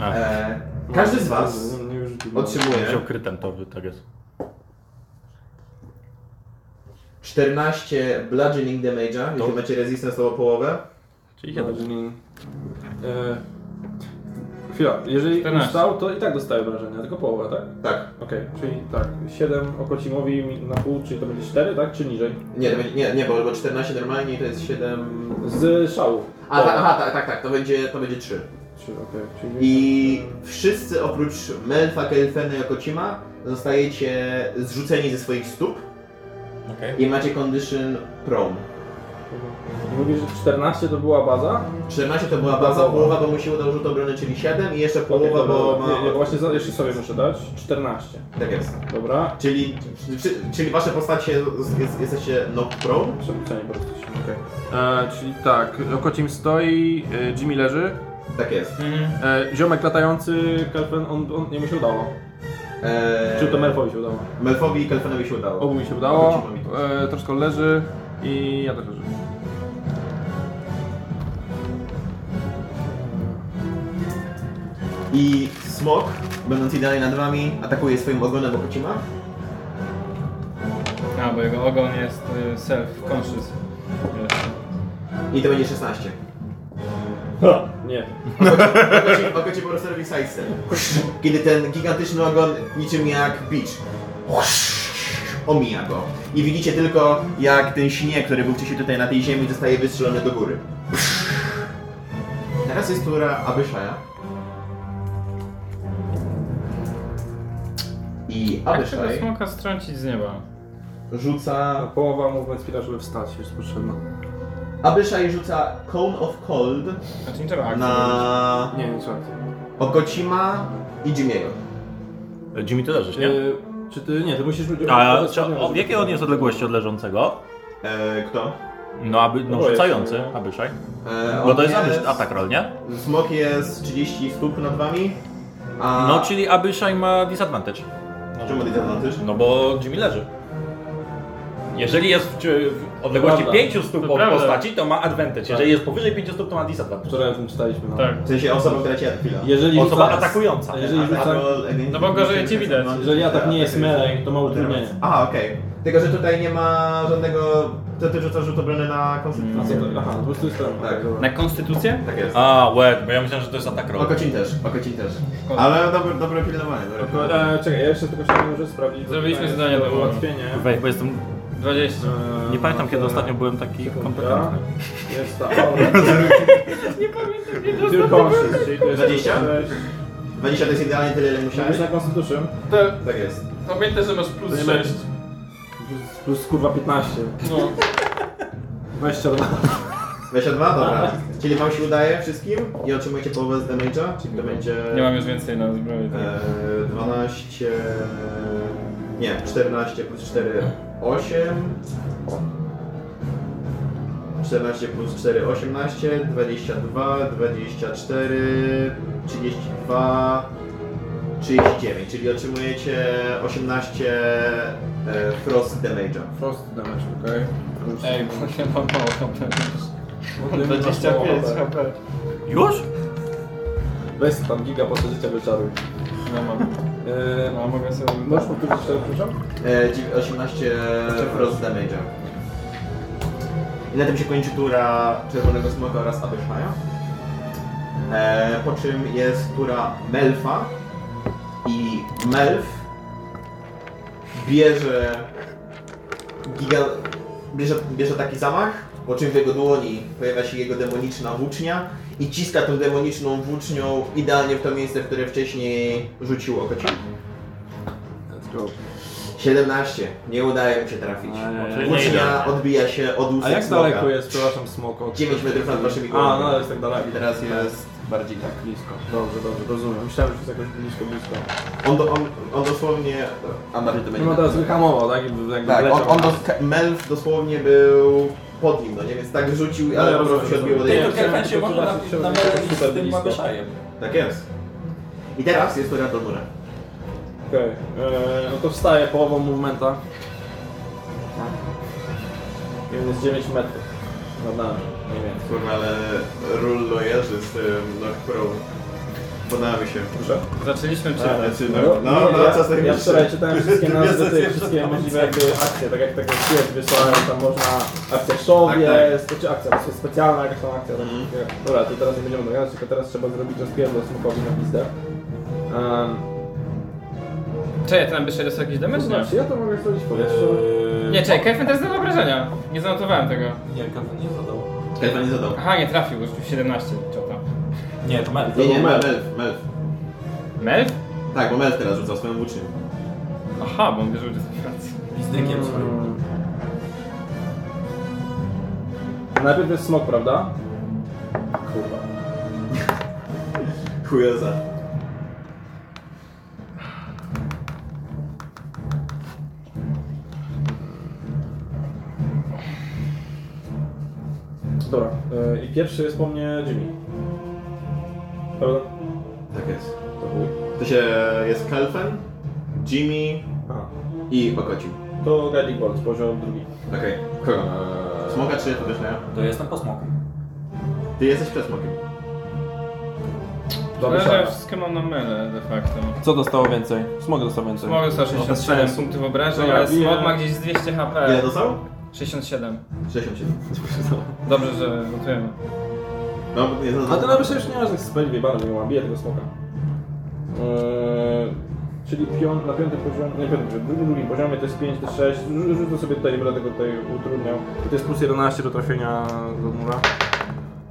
S9: A.
S3: Eee, każdy z was
S1: Nie, nie już-
S3: otrzymuje
S9: Wziął krytem, to wy- tak jest.
S3: 14 bludgeoning damage'a, jeśli macie resistance to o połowę.
S9: Czyli
S1: Idzie
S9: 7.
S1: dobrze. E, Chwila, jeżeli
S2: 14.
S1: ustał, to i tak dostaje obrażenia, tylko połowę, tak?
S3: Tak.
S1: Okej, czyli tak, 7 okocimowi na pół, czyli to będzie 4, tak? Czy niżej?
S3: Nie, to będzie, nie, nie, bo, bo 14 normalnie to jest 7...
S1: Z szału.
S3: A, ta, aha, tak, tak, tak, to będzie, to będzie 3.
S1: Czyli, okej, czyli
S3: I wszyscy oprócz Melfa, Kelfena i Okocima zostajecie zrzuceni ze swoich stóp
S4: Okej.
S3: i macie condition prone.
S1: I Mówisz, że 14 to była baza?
S3: 14 to była baza,
S1: Połowa.
S3: połowa, bo mu się udało rzut obrony, czyli 7 i jeszcze połowa, bo
S1: Nie, nie,
S3: ma...
S1: właśnie za, jeszcze sobie muszę dać. 14,
S3: Tak jest.
S1: dobra?
S3: Czyli, czy- czyli wasze postacie z- jest, jesteście knock prone?
S1: Przemycenie po prostu się. E, czyli tak, Okocim stoi, e, Jimmy leży,
S3: Tak jest.
S2: Mhm.
S1: e, ziomek latający, Kelfen, on, on, nie mu się udało.
S3: Eee,
S1: Czy to Melfowi się udało?
S3: Melfowi i Kelfenowi się udało.
S1: Obu mi się udało,
S3: Okocimowi.
S1: e, troszkę leży i ja też leżę.
S3: I Smok, będąc idealnie nad wami, atakuje swoim ogonem Okocima.
S2: A, bo jego ogon jest y, self-conscious. Jeszcze.
S3: I to będzie 16.
S1: Nie.
S3: Okocim- Okocim po prostu robi sidestep. Kiedy ten gigantyczny ogon, niczym jak bicz, omija go. I widzicie tylko, jak ten śnieg, który był wcześniej tutaj na tej ziemi, zostaje wystrzelony do góry. Teraz jest tura Abyszaja. I
S2: Jak tego
S3: Abyszaj
S2: Tak smoka strącić z nieba?
S1: A
S3: rzuca...
S1: połowa movement speeda, żeby wstać, jest potrzebna.
S3: Abyszaj rzuca Cone of Cold
S2: Znaczy nie trzeba akcji robić.
S3: na
S1: Nie, nie trzeba.
S3: Okocima i Jimiego.
S9: Jimmy, ty leżysz, nie?
S1: E, czy ty, nie, ty musisz...
S9: A czy, o, w jakiej on jest odległości od leżącego?
S3: E, kto?
S9: No, aby, no
S1: Oboje.
S9: rzucający, abyszaj.
S3: E,
S9: Bo
S3: on
S9: to jest abysz, atak roll, nie?
S3: Smok jest 30 stóp nad wami. A...
S9: No, czyli abyszaj ma disadvantage.
S3: Czemu tak disadvantage?
S9: No bo Jimmy leży. Jeżeli jest w, czy- w odległości
S1: Prawda.
S9: 5 stóp
S2: To
S9: od
S2: prawda.
S9: postaci, to ma advantage. Jeżeli jest powyżej 5 stóp, to ma disadvantage.
S1: Wczoraj o tym czytaliśmy. No.
S2: Tak.
S3: W sensie osoba, która cię chwila.
S1: Jeżeli
S9: Osoba
S1: rzuca-
S9: atakująca.
S1: Jeżeli
S3: tak,
S1: rzuca...
S2: No bo gorzej cię widać.
S1: Jeżeli atak nie jest melee, to ma utrudnienie.
S3: Aha, okej. Tylko, że tutaj nie ma żadnego... To ty rzucasz rzut obrony na
S1: A co
S3: konstytucję.
S1: to? Mm. Aha, no po prostu jest ten.
S3: Tak.
S2: Na konstytucję?
S3: Tak jest.
S9: A, łeb, bo ja myślałem, że to jest atak roll.
S3: Okocin też, okocin też. Ale dobre, dobre pilnowanie. Dobre pilnowanie.
S1: E, czekaj, ja jeszcze tylko chciałem może sprawdzić.
S2: Zrobiliśmy
S1: Tutaj
S2: zadanie
S1: jest
S2: domowe.
S1: ułatwienie.
S9: Weź, bo jestem...
S2: 20.
S1: E,
S9: Nie pamiętam, kiedy
S1: e,
S9: ostatnio byłem taki
S1: Sekunda.
S9: kompetentny.
S1: Jest ta. O, tylko czyli to jest
S3: 20?
S1: 26.
S3: 20 to jest idealnie tyle, ile musiałeś.
S1: Musiałeś na Constitution.
S2: Te,
S3: Tak jest.
S2: pamiętaj, że masz plus
S1: To nie ma-
S2: sześć.
S1: Plus, plus kurwa 15.
S2: No.
S1: 22.
S3: 22? Dobra. Czyli wam się udaje wszystkim i otrzymujecie połowę z damage'a, czyli to będzie...
S2: Nie mam już więcej na zbroi. tak.
S3: E, 12. Nie, 14 plus 4, 8. 14 plus 4, 18, 22, 24, 32, 39, czyli otrzymujecie 18 e, frost damage'a.
S1: Frost damage, okej.
S2: Ej, bo ja mam mało HP. No,
S1: Mam
S2: 25 HP.
S9: Już?
S1: Weź tam giga po co życia wyczaruj.
S2: No mam.
S1: E,
S2: No mogę sobie...
S1: Możesz powtórzyć jeszcze, przepraszam?
S3: E, dziew- 18 frost damage'a. I na tym się kończy tura Czerwonego Smoka oraz Abyshaja. E, po czym jest tura Melfa. I Melf bierze giga, bierze, bierze taki zamach, po czym w jego dłoni pojawia się jego demoniczna włócznia i ciska tą demoniczną włócznią idealnie w to miejsce, w które wcześniej rzucił okocił.
S11: Let's go.
S3: 17. Nie udaje mu się trafić.
S5: Czyli nie
S3: Włócznia
S5: idę.
S3: odbija się od
S1: Eee, A
S3: łusek
S1: jak
S3: smoka.
S1: daleko jest, przepraszam, smok od...
S3: 9 metrów nad waszymi głowami.
S1: A, no ale jest tak daleko.
S3: I teraz jest bardziej tak.
S1: Blisko. Dobrze, dobrze, rozumiem. Myślałem, że jest jakoś blisko, blisko.
S3: On, do, on, on dosłownie... A Mario to będzie...
S1: No teraz wyhamował, tak? Jakby, jakby
S3: tak, on,
S1: leciał.
S3: on dos, Melf dosłownie był pod nim, no nie? Więc tak rzucił, ale
S1: No,
S3: po prostu się
S1: rozumiem,
S3: odbiło od
S1: rozumiem.
S3: jego.
S4: to Kerfen się może na, na
S1: Super
S4: z tym
S1: blisko.
S4: magoszajem.
S3: Tak jest. I teraz jest to Radomura.
S1: Okej, eee, no to wstaję połową movementa. I on jest 9 metrów. Nad nami, mniej więcej.
S3: Kurwa, ale Rullo jeży z tym North Pro. Podoba mi się.
S1: Proszę?
S2: Zaczęliśmy
S9: Tak.
S2: czy...
S1: Eee,
S3: Znaczy, no, no,
S1: Tak.
S3: no,
S1: ja,
S3: co z tego
S1: ja
S3: jeszcze?
S1: wczoraj czytałem wszystkie nazwy,
S3: Wiedzę,
S1: tych, wszystkie możliwe jakby akcje, tak jak tak jak świat wysłałem, tam można akcja w szowie,
S3: Tak,
S1: spe- czy akcja, to jest specjalna jakaś tam akcja. tak. Dobra, to teraz nie będziemy dogadać, tylko teraz trzeba zrobić rozpierdol smokowi na pizdę. Um,
S2: Czekaj, to nam by jeszcze dostał jakiś damage? Nie,
S1: znaczy, ja to mogę zrobić w powietrzu.
S4: Eee,
S2: nie czekaj, Kevin teraz dał obrażenia. Nie zanotowałem tego.
S4: Nie, Kerfen nie zadał.
S3: Chyba nie zadał.
S2: Aha, nie trafił, bo rzucił 17, czota.
S4: Nie, to Mel.
S3: Nie, nie,
S1: Melf.
S3: Melf, Melf.
S2: Melf?
S3: Tak, bo Melf teraz rzuca swoją włócznią.
S2: Aha, bo on wierzył, że jest na Francji.
S1: Mm.
S4: Pizdykiem swoim.
S1: Najpierw jest smok, prawda? Kurwa.
S3: Chujoza.
S1: Dobra, e, i pierwszy jest po mnie Jimmy. Prawda?
S3: Tak jest.
S1: To chuj.
S3: To się jest Kelfen, Jimmy
S1: A,
S3: i Okocił.
S1: to Guiding Bolt, poziom drugi.
S3: Okej. Kogo? Eee, Smoka czy to też nie?
S4: To jestem po smoku.
S3: Ty jesteś przed smokiem.
S2: Dobra, że wszystkie mam na mele de facto.
S1: Co dostało więcej? Smok dostał więcej.
S2: Mogę dostać 67 punktów obrażeń,
S1: Dobra,
S2: ale
S1: bije.
S2: Smog ma gdzieś z 200
S3: Ile
S4: Tak.
S2: HP.
S3: dostał?
S2: 67.
S3: 67.
S2: Dobrze, że notujemy.
S3: No, nie
S1: A ty
S3: zadał.
S1: nawet już nie masz tak spędzi wyjebany, nie mam, bije tego smoka. Eee, czyli pią- na piątym poziomie, nie piątym, poziomie, drugim, drugim poziomie to jest 5, to 6, rzucę sobie tutaj, nie będę tego tutaj utrudniał. To jest plus 11 do trafienia do mura,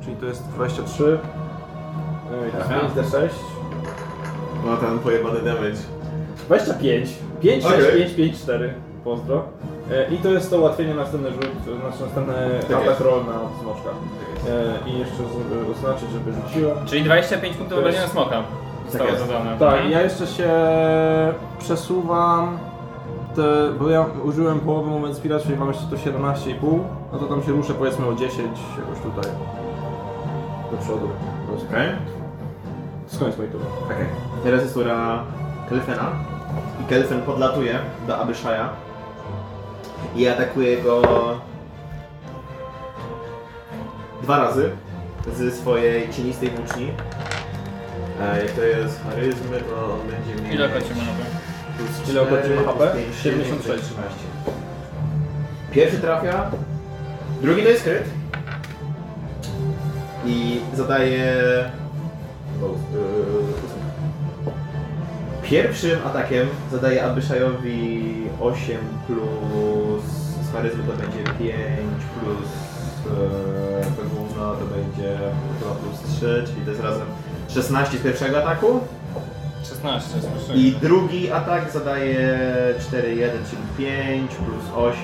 S1: czyli to jest 23. Eee, to
S3: Aha.
S1: jest 5, D6.
S3: Ma ten pojebany damage.
S1: 25, 5, 6,
S3: Okej.
S1: 5, 5, 4, pozdro. Eee, I to jest to ułatwienie na następny rzut, znaczy następny
S3: Tak
S1: atak
S3: jest.
S1: roll na smoczka.
S3: Tak
S1: Eee, I jeszcze z- oznaczyć, żeby rzuciła.
S2: Czyli 25 punktów
S1: To jest-
S2: obrażenia na Smoka zostało Mhm.
S3: jest.
S2: dodane.
S1: Tak, ja jeszcze się przesuwam, te, bo ja użyłem połowy moment spira, czyli mam jeszcze tu 17,5, no to tam się ruszę powiedzmy o 10 jakoś tutaj. Do przodu. po prostu.
S3: Okej.
S1: Skończ mojej tury.
S3: Okej. Teraz jest ura Kelfena. I Kelfen podlatuje do Abyshaja. I atakuje go dwa razy ze swojej cienistej włóczni. E, jak to jest charyzmy, to on będzie miał...
S2: Ile kocie ma na to?
S3: Plus
S1: Ile
S3: cztery,
S1: obchodzi ma
S3: plus
S1: HP?
S3: pięć,
S1: 76.
S3: plus 13. Pierwszy trafia, drugi to jest kryt. I zadaje... o, yy, ósmy. Pierwszym atakiem zadaje Abyszajowi 8 plus z charyzmy to będzie 5 plus e, pegumna to będzie 2 plus 3, czyli to jest razem 16 z pierwszego ataku.
S2: 16, słyszę.
S3: I drugi atak zadaje 4, 1, czyli 5 plus 8,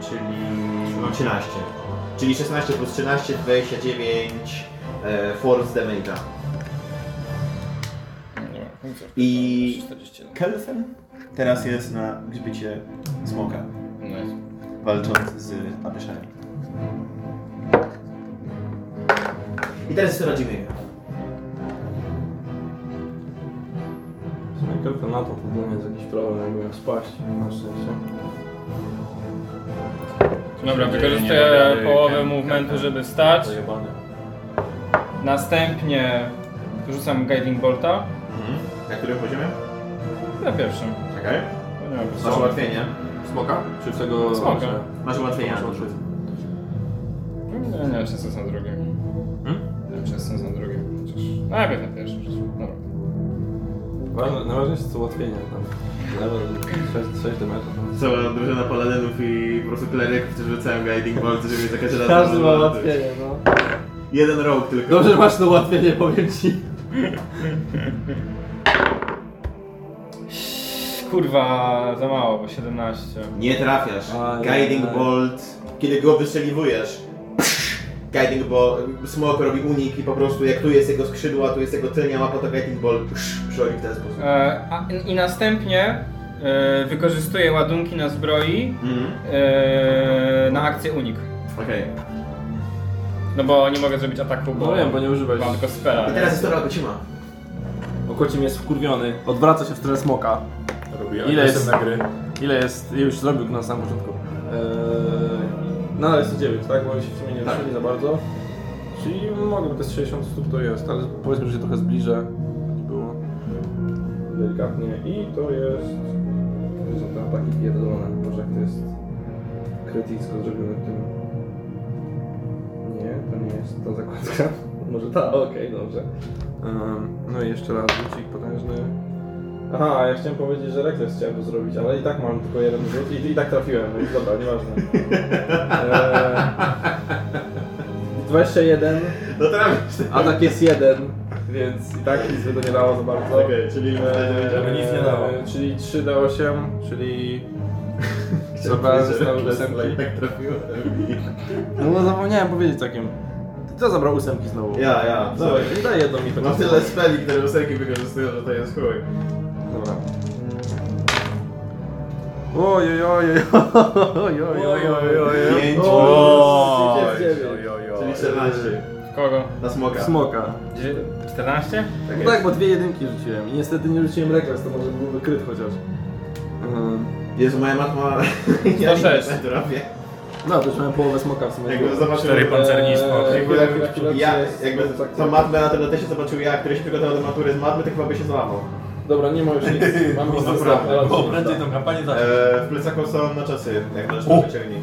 S3: czyli 13. Czyli 16 plus 13, 29 e, force damage'a. I-
S2: 41.
S3: Kelsen teraz jest na grzbicie smoka,
S2: No jest.
S3: walcząc z Abyszajem. I teraz jest to Radziwiego.
S1: Tylko na to, to nie jest jakiś problem, jakby miał spaść, na szczęście.
S2: Dobra, wykorzystuję
S9: Wyjebany
S2: połowę
S9: ten-
S2: movementu,
S9: ten-
S2: żeby stać.
S9: Zajebany.
S2: Następnie rzucam Guiding Bolta.
S3: Mhm. Na którym poziomie?
S2: Na pierwszym.
S3: Okej.
S2: No nie wiem,
S3: Masz ułatwienie.
S11: Smoka? Czy tego...
S2: Smoka.
S3: Masz ułatwienie na to.
S2: No Nie, nie wiem, czy jestem za drugim. Nie wiem, czy jestem za drugim. Chociaż... No, najpierw na pierwszym. przecież. Dobra.
S1: Ważne- tak? Najważniejsze jest ułatwienie tam. Level 6, 6 damage'a.
S3: Cała drużyna paladynów i po prostu kleryków, którzy rzucają guiding bolt, żeby mieć za każdym razem...
S1: Każdy ma
S3: no,
S1: ułatwienie, no.
S3: Jeden rogue tylko.
S1: Dobrze masz to ułatwienie, powiem ci.
S2: Kurwa, za mało, bo 17.
S14: Nie trafiasz.
S1: Aj,
S14: Guiding
S1: aj.
S14: Bolt, kiedy go wystrzeliwujesz, Guiding Bolt, Smoke robi unik i po prostu jak tu jest jego skrzydło, a tu jest jego tylnia łapa, to Guiding Bolt przechodzi w ten sposób.
S2: E, a, I następnie e, wykorzystuje ładunki na zbroi
S3: Mhm.
S2: e, na akcję unik.
S3: Okej.
S2: No bo nie mogę zrobić ataku, bo
S1: No wiem, bo nie używałeś.
S2: mam tylko spela.
S14: I teraz jest to Rakocima.
S1: Okocim jest wkurwiony, odwraca się w stronę smoka.
S15: Robi
S1: Ile jest?
S15: agresywne gry.
S1: Ile jest? Już zrobił na samym początku. Eee, no ale jest to 9, tak? Bo się w sumie nie ruszyli za bardzo. Czyli mogę, bo to jest 60 stóp to jest, ale powiedzmy, że się trochę zbliżę. Było. Delikatnie. I to jest... To są te ataki pierdolone. Może jak to jest krytycko zrobione tym... Nie, to nie jest ta zakładka. Może ta, okej, dobrze. Em, no i jeszcze raz rzucik potężny. Aha, a ja chciałem powiedzieć, że refleks chciałem to zrobić, ale i tak mam tylko jeden rzut i, i tak trafiłem, więc dobra, nieważne. Ehm, Eee, 21,
S3: No trafisz.
S1: atak tak jest jeden, więc i tak nic by to nie dało za bardzo.
S3: Okej, czyli...
S1: Eee,
S16: nic nie dało.
S1: Czyli 3 do 8, czyli... Zabrałem
S3: Chciałem
S1: zostały
S3: powiedzieć, że
S1: ósemki.
S3: tak trafiłem.
S1: No, no zapomniałem powiedzieć takim. Kto zabrał ósemki znowu?
S3: Ja, ja.
S1: Dobra, daj jedną mi
S3: Mam
S1: taką.
S3: tyle speli, które ósemki wykorzystują, że to jest chuj.
S1: Dobra. Oj, oj, oj, oj, oj, oj, oj, oj.
S3: Pięć.
S1: Oj,
S3: Oj,
S1: dziewięć.
S3: Czyli 14.
S2: Kogo?
S3: Na smoka.
S1: Smoka.
S2: Dzie- 14?
S3: Tak
S1: No
S3: jest.
S1: tak, bo dwie jedynki rzuciłem i niestety nie rzuciłem rekres, to może byłby kryt chociaż. Mm.
S3: Jezu, moja matma...
S2: 106.
S3: Trafię.
S1: No, to już miałem połowę smoka w sumie.
S3: Jakby zobaczył...
S15: Cztery pancerni smok.
S1: Eee,
S3: Jakby,
S1: chwila, chwila, chwila,
S3: ja,
S1: czy jest-
S3: jakby
S1: tak,
S3: tą
S1: tak.
S3: matmę na tym tesie zobaczył ja, który się przygotował do matury z matmy, to chyba by się złamał.
S1: Dobra, nie ma już nic. Mam nic zostaw.
S16: Bo prędzej tą kampanię zacząć.
S3: Eee, w plecaku są na czasy, jak nasz to wyciągnij.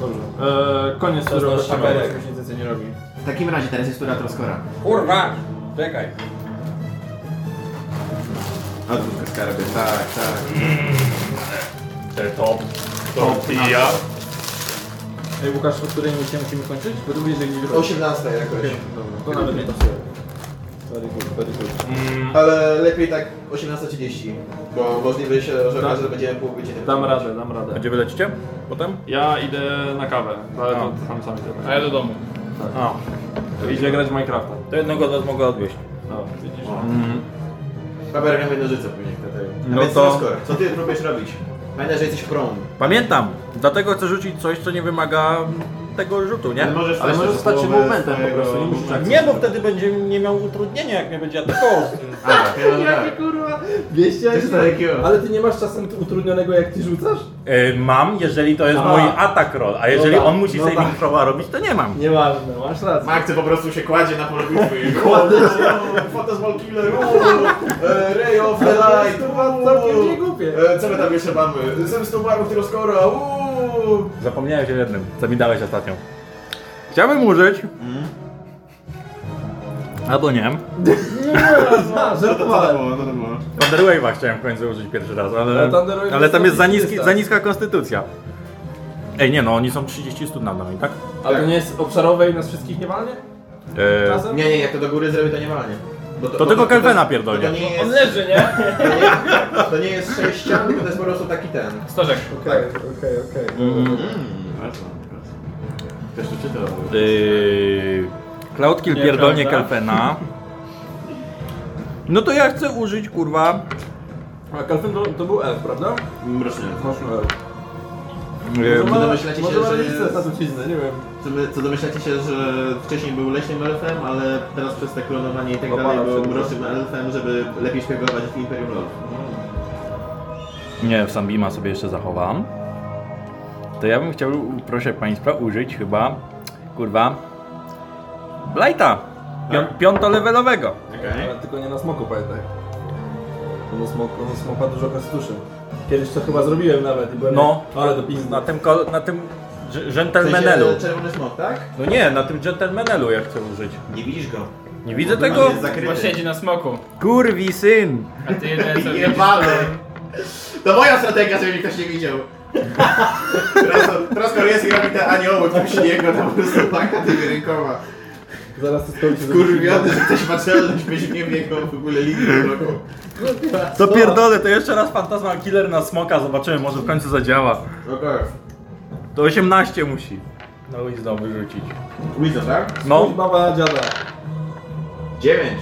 S1: Dobrze. Eee, koniec
S16: To jest
S1: tury,
S16: nasz
S1: bo
S16: kamerek.
S1: już nic więcej nie robi.
S14: W takim razie teraz jest tura Troskora.
S16: Kurwa! Czekaj.
S3: Odwrót skarby, tak, tak.
S15: Te Top. Top i ja.
S1: Ej, Łukasz, po której misji musimy kończyć? Bo ty mówisz, że nie wychodzi.
S3: 18 no. jakoś.
S1: Dobra, to nawet nie pasuje. Very good, very good.
S3: Ale lepiej tak 18.30, bo możliwe się, że
S1: Tak.
S3: każdy będziemy pół godziny.
S1: Dam radę, dam radę.
S15: Gdzie wylecicie? Potem?
S17: Ja idę na kawę,
S1: no
S17: ale to tam sami
S2: A ja do domu.
S15: A.
S1: Idzie grać w Minecrafta.
S4: To jednego z was mogę odwieźć.
S1: No, widzisz.
S3: Kamerę miał nożyce później wtedy.
S4: No
S3: No więc
S4: to-
S3: Troskor, co ty próbujesz robić? Pamiętaj, że jesteś prom.
S4: Pamiętam! Dlatego chcę rzucić coś, co nie wymaga tego rzutu, nie?
S3: możesz
S15: Ale możesz stać się movementem po prostu, nie musisz
S4: Tak, Nie, bo wtedy będzie nie miał utrudnienia, jak mnie będzie atakował.
S3: tak, Jakie kurwa, 200 Ty stary kio.
S1: Ale ty nie masz czasem utrudnionego jak ty rzucasz?
S4: E, mam, jeżeli to jest
S1: A.
S4: mój atak roll, a jeżeli
S1: tak,
S4: on musi
S1: no
S4: saving
S1: tak.
S4: throwa robić, to nie mam.
S1: Nieważne, masz rację.
S3: Markce po prostu się kładzie na polu bitwy i kładzie się. Foto z Wallkiller, uuu, e, Ray of the Light, uuu.
S1: całkiem nie głupie.
S3: E, Co my tam jeszcze mamy? Zemstą barów Tyroskora, uuu.
S4: Zapomniałeś o jednym, co mi dałeś ostatnio. Chciałbym użyć.
S1: Mm.
S4: Albo nie.
S1: A,
S3: Co to
S1: No, żartowałem.
S3: było, co to było?
S4: Thunder Wave'a chciałem w końcu użyć pierwszy raz, ale,
S1: Ale Thunder Wave
S4: ale
S1: jest
S4: tam jest za,
S1: 140,
S4: niski,
S1: tak.
S4: za niska konstytucja. Ej, nie no, oni są 30 stóp nad nami, tak?
S1: Ale to nie jest obszarowe i nas wszystkich nie walnie?
S4: E,
S1: Razem?
S3: Nie, nie, jak to do góry zrobię, to nie walnie. Bo
S4: to tylko Kelvena
S3: To
S4: pierdolnie.
S3: nie
S2: On
S3: jest,
S2: leży, nie?
S3: to nie, to nie jest sześcian, tylko to jest po prostu taki ten.
S2: Stożek.
S3: Tak.
S1: Okej, okej, okej.
S3: Też to czytał.
S4: Yy, Cloud Kill
S2: Nie,
S4: pierdolnie
S2: prawda?
S4: Kelvena. No to ja chcę użyć, kurwa,
S1: A Kalfin to, to był elf, prawda?
S3: Mrocznie.
S1: Mocno elf.
S4: e,
S1: no
S3: Może domyślacie się,
S1: może ma
S3: że-
S1: rodzice na truciznę, nie wiem.
S3: Co, my, co domyślacie się, że wcześniej był leśnym elfem, ale teraz przez te klonowanie i tak dalej
S1: Obalał
S3: był
S1: się.
S3: mrocznym elfem, żeby lepiej szpiegować w Imperium Lolów.
S4: Nie, w Sambima sobie jeszcze zachowam. To ja bym chciał, proszę Państwa, użyć chyba, kurwa, Blighta. Pią
S2: Tak?
S4: piątolewelowego.
S1: Ale tylko nie na smoku, pamiętaj. Bo na smoku, na smoka dużo konstytuszy. Kiedyś to chyba zrobiłem nawet i byłem...
S4: No,
S1: ale to
S4: na
S1: pizna.
S4: tym, ko- na tym dż-
S3: W sensie,
S4: dżentelmenelu.
S3: Czerwony smok, tak?
S4: No nie, na tym dżentelmenelu ja chcę użyć.
S3: Nie widzisz go.
S4: Nie widzę
S3: On
S4: tego.
S3: jest
S2: Bo
S3: zakryty.
S2: siedzi na smoku.
S4: Kurwi syn.
S2: A ty jedyne co
S3: Nie walę. To moja strategia, żeby mnie ktoś nie widział. Teraz, teraz koreański robi te anioły, tam śniegu, tam po prostu paka tymi rękoma.
S1: Zaraz to skończy. żeby-
S3: Kurwiony, że ktoś ma czelność być w niebie, jako w ogóle linii w roku.
S10: To pierdolę, to jeszcze raz Fantasma Killer na smoka, zobaczymy, może w końcu zadziała.
S3: Okej.
S10: To 18 musi. No i znowu rzucić.
S3: Wisdom, tak?
S10: No,
S1: Baba dziada.
S3: Dziewięć.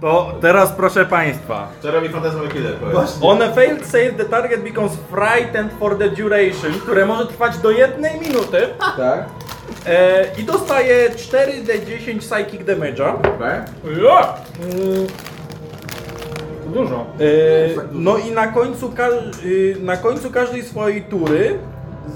S10: to teraz proszę państwa.
S3: Co robi Fantasma Killer, powiedz?
S1: Właśnie.
S10: On a failed save the target becomes frightened for the duration, które może trwać do jednej minuty
S1: Tak?
S10: e, i dostaje 4d10 psychic damage'a.
S3: Okej.
S10: Ja!
S2: Dużo.
S10: E, no i na końcu, ka- y, na końcu każdej swojej tury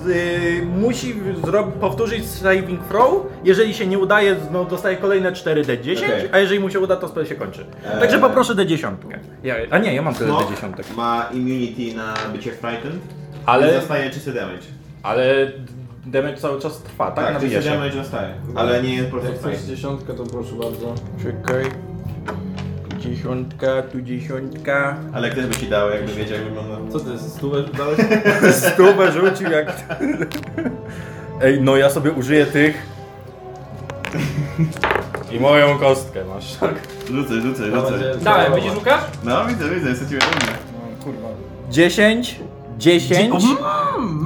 S10: z, y, musi zro- powtórzyć saving throw. Jeżeli się nie udaje, no, dostaje kolejne 4d10,
S3: Okej.
S10: a jeżeli mu się uda, to spell się kończy.
S3: Eee.
S10: Także poproszę d10. Ja, a nie, ja mam tyle
S3: Smok
S10: d10.
S3: Ma immunity na bycie frightened. Ale... I
S9: Ale,
S3: zostaje czysty damage.
S10: Tak,
S9: ale d- damage cały czas trwa, tak?
S3: Tak,
S9: Na
S3: czysty
S9: wyjeżdżach.
S3: damage zostaje. Ale nie jest po
S1: Jak
S3: prostu
S1: chcesz
S3: frightened.
S1: dziesiątkę, to proszę bardzo.
S10: Czekaj. Dziesiątka, tu dziesiątka.
S3: Ale ktoś by ci dał, jakby wiedział, jak wygląda.
S1: Co to jest? Stówę dałeś?
S10: Stówę rzucił jak... Ej, no ja sobie użyję tych. I moją kostkę masz.
S3: Rzucę, rzucę, rzucę.
S2: Dalej, widzisz Łukasz?
S3: No widzę, widzę, jestem ci wiadomy.
S10: 10, 10,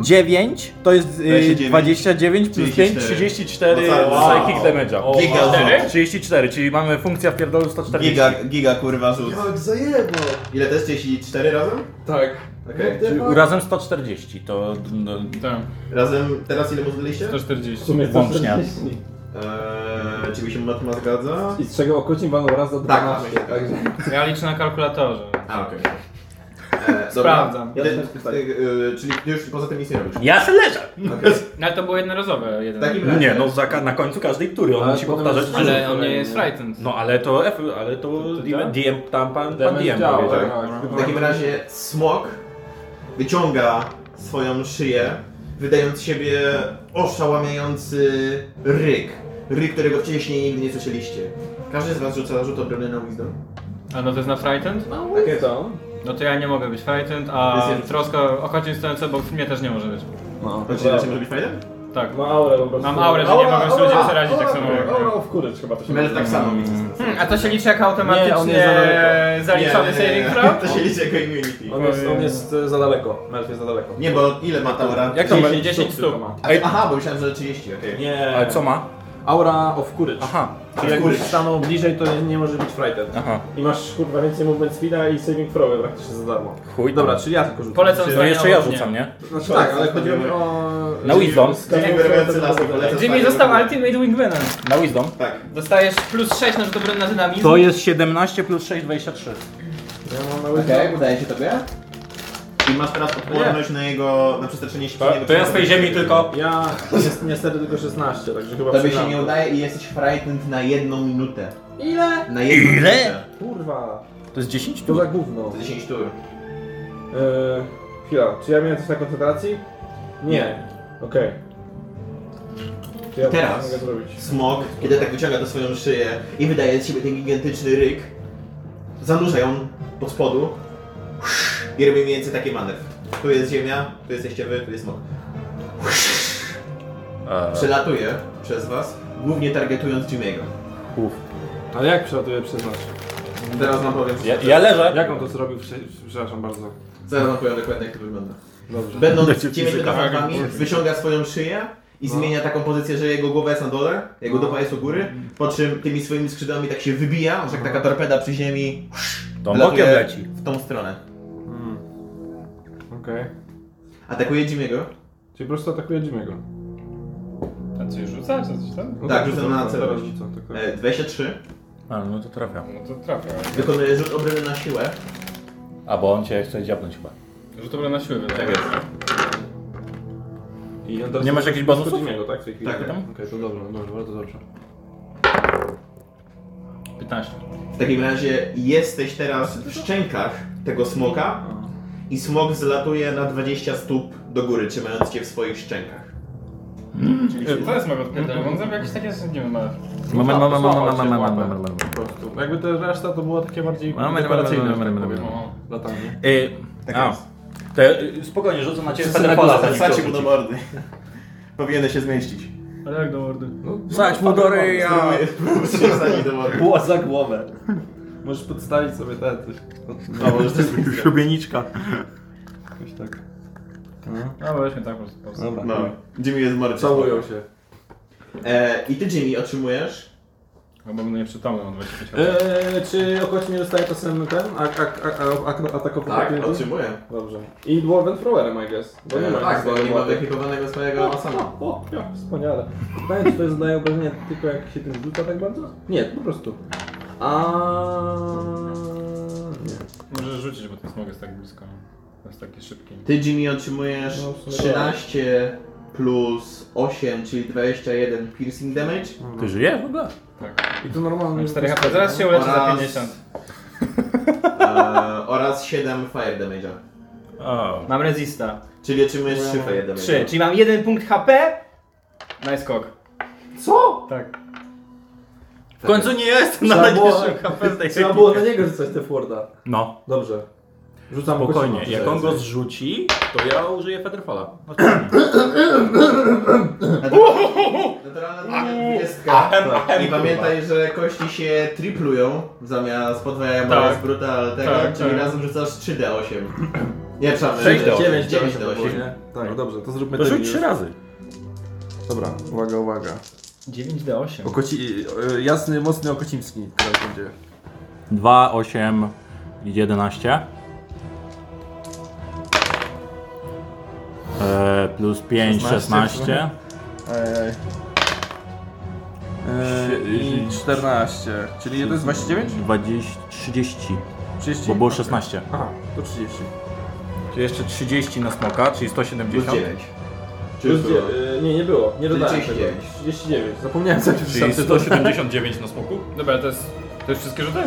S10: 9, to jest y,
S3: 29,
S10: 29 plus 5, 34
S3: No tak, wow.
S10: psychic damage'a. O,
S3: Giga
S10: wow.
S3: rzut.
S10: 34, czyli mamy funkcja w pierdolu 140.
S3: Giga, giga kurwa rzut.
S1: zajebo!
S3: Ile to jest? 34 razem?
S1: Tak.
S3: Okej.
S1: Ty ma-
S10: Razem 140, to no,
S2: Tak,
S3: Razem, teraz ile mu zdaliście?
S2: 140.
S1: W sumie to
S10: Włącznie.
S1: 40.
S3: Eee, czy mi się matma zgadza?
S1: I z czego okrucił panu raz za
S3: Tak,
S1: 12.
S3: tak.
S1: Także
S2: Ja liczę na kalkulatorze.
S3: A, okej. Eee,
S2: E, Sprawdzam.
S3: Dobra. Jeden- eee, czyli ty już poza tym nic nie robisz.
S10: ja se leżę!
S3: Okej.
S2: No, Ale to było jednorazowe
S3: W
S2: jeden.
S3: takim razie.
S10: Nie, no za, ka- na końcu każdej tury on
S1: Ale
S10: musi
S1: potem
S10: powtarzać.
S1: jest-
S2: Ale on nie jest frightened.
S10: No ale to F, ale to,
S1: działa?
S10: DM, DM tam pan, pan
S1: damage
S10: DM
S1: działa,
S10: powiedział.
S1: tak.
S2: No.
S3: W takim razie smok wyciąga swoją szyję, wydając z siebie oszałamiający ryk. Ryk, którego wcześniej nigdy nie słyszeliście. Każdy z was rzuca rzut obronny na wisdom.
S2: A no to jest na frightened?
S1: Takie to.
S2: No to ja nie mogę być frightened, a
S3: Jest- jest.
S2: troska o kocie stojące obok mnie też nie może być.
S1: No.
S3: Znaczy, inaczej może być fajne?
S2: Tak.
S1: Ma aurę po prostu.
S2: Mam aurę, że nie mogę sobie ludzie przerazić tak samo jak...
S1: Aura w kurycz chyba to się
S3: Mel tak samo mi
S2: Hmm, a to się liczy jako automatycznie
S1: Nie, on jest za
S2: zaliczony saving throw?
S3: To się liczy jako immunity.
S1: On jest, on jest e, za daleko. Melf jest za daleko.
S3: Nie, bo ile ma ta aura?
S10: Jak to
S2: 10, 10
S1: tylko
S2: stóp.
S1: ma.
S3: A, Aha, bo myślałem, że 30, okej.
S1: Nie.
S10: Ale co ma?
S1: Aura of courage.
S10: Aha,
S1: Czyli jak
S3: Courage.
S1: już stanął bliżej, to nie, nie może być frightened.
S4: Tak.
S10: aha.
S1: I masz kurwa więcej movement speeda i saving throwy praktycznie za darmo.
S10: Chuj.
S1: Dobra, czyli ja tylko rzucę.
S2: Polecam
S10: To
S2: zdanie
S10: jeszcze ja
S2: o mnie.
S10: rzucam, nie?
S1: Znaczy, tak, ale chodziło mi o...
S10: Na wisdom.
S3: Jimmy Berwęcy las nie poleca.
S2: Jimmy został ultimate wingmanem.
S10: Na wisdom.
S3: Tak.
S2: Dostajesz plus 6 na rzut obrony na dynamizm.
S10: To jest 17 plus 6, 23.
S3: Okej, udaje się tobie. I masz teraz odporność na jego, na przestraszenie świetlnego.
S1: no, Ja jest niestety tylko 16, także chyba
S3: Tobie się
S1: przegram.
S3: nie udaje i jesteś frightened na jedną minutę. Ile? Na jedną
S10: Ile?
S3: minutę.
S1: Kurwa,
S10: To jest 10
S1: to
S10: tu?
S1: za gówno.
S3: To 10 tur.
S1: Eee, chwila, czy ja miałem coś na koncentracji? Nie. Okej. Czy ja
S3: Teraz.
S1: coś mogę zrobić?
S3: Smok, kiedy tak wyciąga to swoją szyję i wydaje z siebie ten gigantyczny ryk, zanurza ją pod spodu i robi mniej więcej taki manewr. Tu jest ziemia, tu jesteście wy, tu jest smok. Przelatuje przez was, głównie targetując Jimmy'ego.
S1: Ale jak przelatuję przez nas?
S3: Teraz wam powiem,
S10: Ja, ja leżę.
S1: Jak on to zrobił? Prze- Przepraszam bardzo.
S3: zaraz wam powiem dokładnie jak to wygląda.
S1: Dobrze.
S3: Będąc ciemnymi kawałkami,
S1: Tak.
S3: wyciąga swoją szyję i zmienia taką pozycję, że jego głowa jest na dole, jego dupa jest u góry, po czym tymi swoimi skrzydłami tak się wybija, że jak taka torpeda przy ziemi
S10: To
S3: latuje
S10: mokiem leci.
S3: w tą stronę.
S1: Mm. Okej.
S3: Atakuje Jimmy'ego.
S1: Czyli po prostu atakuję Jimmy'ego.
S2: A coś rzucać, coś tam?
S1: No
S3: Tak,
S1: dobrze,
S3: rzucam
S1: to
S3: na
S1: teraz
S3: celność.
S1: rzucam, tylko-
S3: E, 23.
S10: A, no to trafia.
S2: No to trafia.
S3: Wykonuje rzut obrony na siłę.
S10: A bo on cię chce dziabnąć chyba.
S2: Rzut obrony na tak siłę wydaje.
S3: jest.
S1: I on teraz
S10: Nie masz jakichś bonusów?
S1: Jimmy'ego, tak? w tej chwili?
S3: Tak,
S1: Okej,
S10: tam.
S1: to dobrze, no dobrze, bardzo dobrze.
S2: 15.
S3: W takim razie jesteś teraz w szczękach tego smoka i smok zlatuje na 20 stóp do góry, trzymając cię w swoich szczękach.
S2: To jest moja odpowiedź, on zrobił jakieś takie, nie wiem, ale...
S10: Moment, moment, moment, moment,
S1: Złapał cię w
S10: moment,
S1: łapę.
S10: moment, moment.
S1: Po prostu. Jakby ta reszta to było takie bardziej
S10: Mamy, mamy,
S1: dekoracyjne,
S10: mamy,
S1: że tak
S10: mamy,
S1: powiem,
S2: mamy.
S1: latanie.
S10: Y,
S3: Tak
S10: a,
S3: jest.
S4: Te, spokojnie, rzucę na ciebie
S3: Pola,
S4: Fedrakola.
S3: wsadźcie mu do mordy. Powinienem się zmieścić.
S2: Ale No jak do mordy?
S1: No.
S10: Sać mu do ryja.
S3: Spróbuję wsadzić do mordy.
S4: Była za głowę.
S1: Możesz podstawić sobie te coś.
S3: No, możesz też zmieścić.
S10: Szubieniczka.
S1: Jakoś tak.
S2: No weźmy tak po prostu. po prostu.
S1: Dobra.
S3: No, Jimmy jest mordy.
S1: Całują się.
S3: E, I ty, Jimmy, otrzymujesz
S2: Bo będę nieprzytomny mam 25 lat.
S1: Eee, czy okoć mi dostaje to sen ten? A, a, a, a, a, ataku
S3: Tak,
S1: pokopięty?
S3: otrzymuję.
S1: Dobrze. I Dwarven Throwerem, I guess. Bo No nie ma
S3: tak, bo
S1: nic No,
S3: nie ma
S1: do-
S3: wyekipowanego swojego sama.
S1: O, o, ja, wspaniale. Pytanie, czy to jest daje obrażenia tylko jak się tym rzuca tak bardzo? Nie, po prostu. A nie.
S2: Możesz rzucić, bo ten smog jest tak blisko. To jest taki szybki.
S3: Ty, Jimmy, otrzymujesz
S1: No, w sumie
S3: 13 plus 8, czyli 21 piercing damage
S9: Ty żyjesz w ogóle?
S1: I to normalnie.
S2: Mam 4 HP. Zaraz się uleczę za
S3: Oraz-
S2: 50.
S3: e, oraz 7 fire damage'a.
S2: Mam rezista.
S3: Czyli otrzymujesz 3 fire damage'a.
S2: 3, czyli mam 1 punkt HP. Nice skok. Co? Tak.
S10: W końcu nie jestem na najniższym HP z tej
S1: Trzeba było na niego rzucać te Forda.
S9: No,
S1: Dobrze. Rzucam go
S9: spokojnie.
S1: siłą.
S9: Jak on go zrzuci, to ja użyję Federfala.
S10: No
S3: Naturalna 20. Tak. I pamiętaj, że kości się triplują zamiast podwajają
S2: Tak.
S3: oraz brutal tego,
S2: Tak,
S3: czyli
S2: tak.
S3: razem rzucasz 3D8. Nie, trzeba
S9: Sześć do
S3: 9
S1: 9 do 8.
S3: 8.
S1: Tak, dobrze, to zróbmy
S9: No. To
S1: ten
S9: rzuć
S1: już.
S9: trzy razy.
S1: Dobra, uwaga, uwaga.
S2: 9D8.
S1: Okoci... e, Jasny, mocny Okocimski teraz będzie.
S9: 2, 8, 11. E, plus 5, 16.
S1: Ej. E, I 14. Czyli to jest 29?
S9: 20, 30.
S1: 30?
S9: Bo było 16.
S1: Aha, to 30.
S9: Tu jeszcze 30 na smoka, czyli 170.
S3: 9. Czyli
S1: Plus dzie- e, nie, nie było. Nie dodałem 39.
S3: 39.
S1: tego. 39. Zapomniałem co
S9: Czyli
S1: pisałem.
S9: 179 na smoku?
S2: Dobra, to jest. To jest wszystkie rzuty?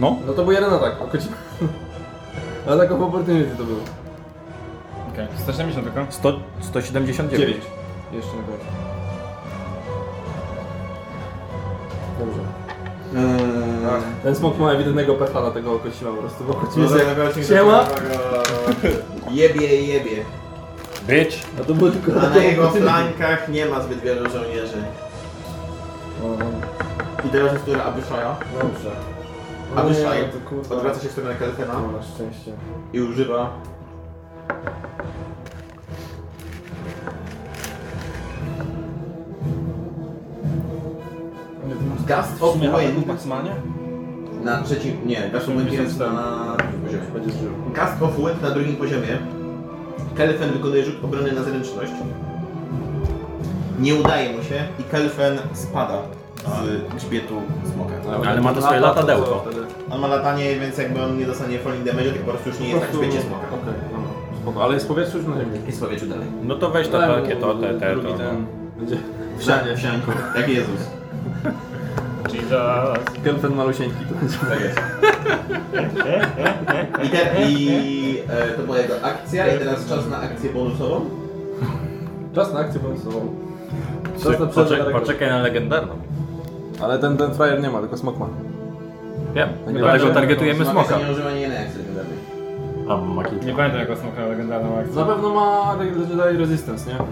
S9: No.
S1: No to był jeden atak. O koci... Atak of opportunity to był.
S2: Okej, okay. 170 tylko.
S9: 100, 179.
S1: 9. Jeszcze na końcu. Dobrze.
S3: Tak. Eee,
S1: Ten smok ma ewidentnego pecha na tego okocima po prostu. Bo okocim jest jak... Siema.
S3: Jebie, jebie.
S9: Bitch.
S1: A to było tylko
S3: A
S1: atak
S3: na
S1: of
S3: jego
S1: opportunity.
S3: flankach nie ma zbyt wielu żołnierzy.
S1: O,
S3: I teraz jest która Abyszaja.
S1: No, Dobrze. No nie,
S3: Abyszaj
S1: no to kurwa.
S3: odwraca się w stronę Kalfena.
S1: No, na szczęście.
S3: i używa. Gust of Wind
S1: maksymalnie?
S3: na trzecim. Nie, Gust of Wind jest na drugim poziomie.
S1: Będzie żył.
S3: Gust of Wind na drugim poziomie. Kelfen wykonuje rzut obrony na zręczność. Nie udaje mu się i Kelfen spada z grzbietu smoka.
S9: Ale ma to
S1: No,
S9: swoje latadełko.
S3: On ma latanie, więc jakby on nie dostanie falling damage, tylko po prostu już nie
S9: tak,
S3: jest na grzbiecie smoka.
S1: Okej, no, no, spoko. Ale jest powietrze już na ziemi.
S3: I spowiedził dalej.
S9: No to weź to
S1: Dałem
S9: takie, to, te, te,
S1: Tak, Drugi
S9: to. no.
S1: ten. Będzie
S3: Wsianie, wsianko. Jak Jezus.
S1: ten malusieńki. To będzie.
S3: Tak jest. I, te, i e, to była jego akcja i teraz czas na akcję bonusową.
S1: Czas na akcję bonusową. Czas na
S9: Poczek-
S1: przerwę.
S9: Poczekaj na legendarną.
S1: Ale ten, ten frajer nie ma, tylko smok ma.
S9: Wiem,
S1: Nie
S9: dlatego
S1: będzie.
S9: targetujemy smoka.
S3: Nie używa nie jednej akcji legendarnej.
S9: A, bo ma kilka.
S2: Nie pamiętam jak osmoka legendarną akcję.
S1: Na pewno ma Legendary Resistance, nie?
S3: Mm,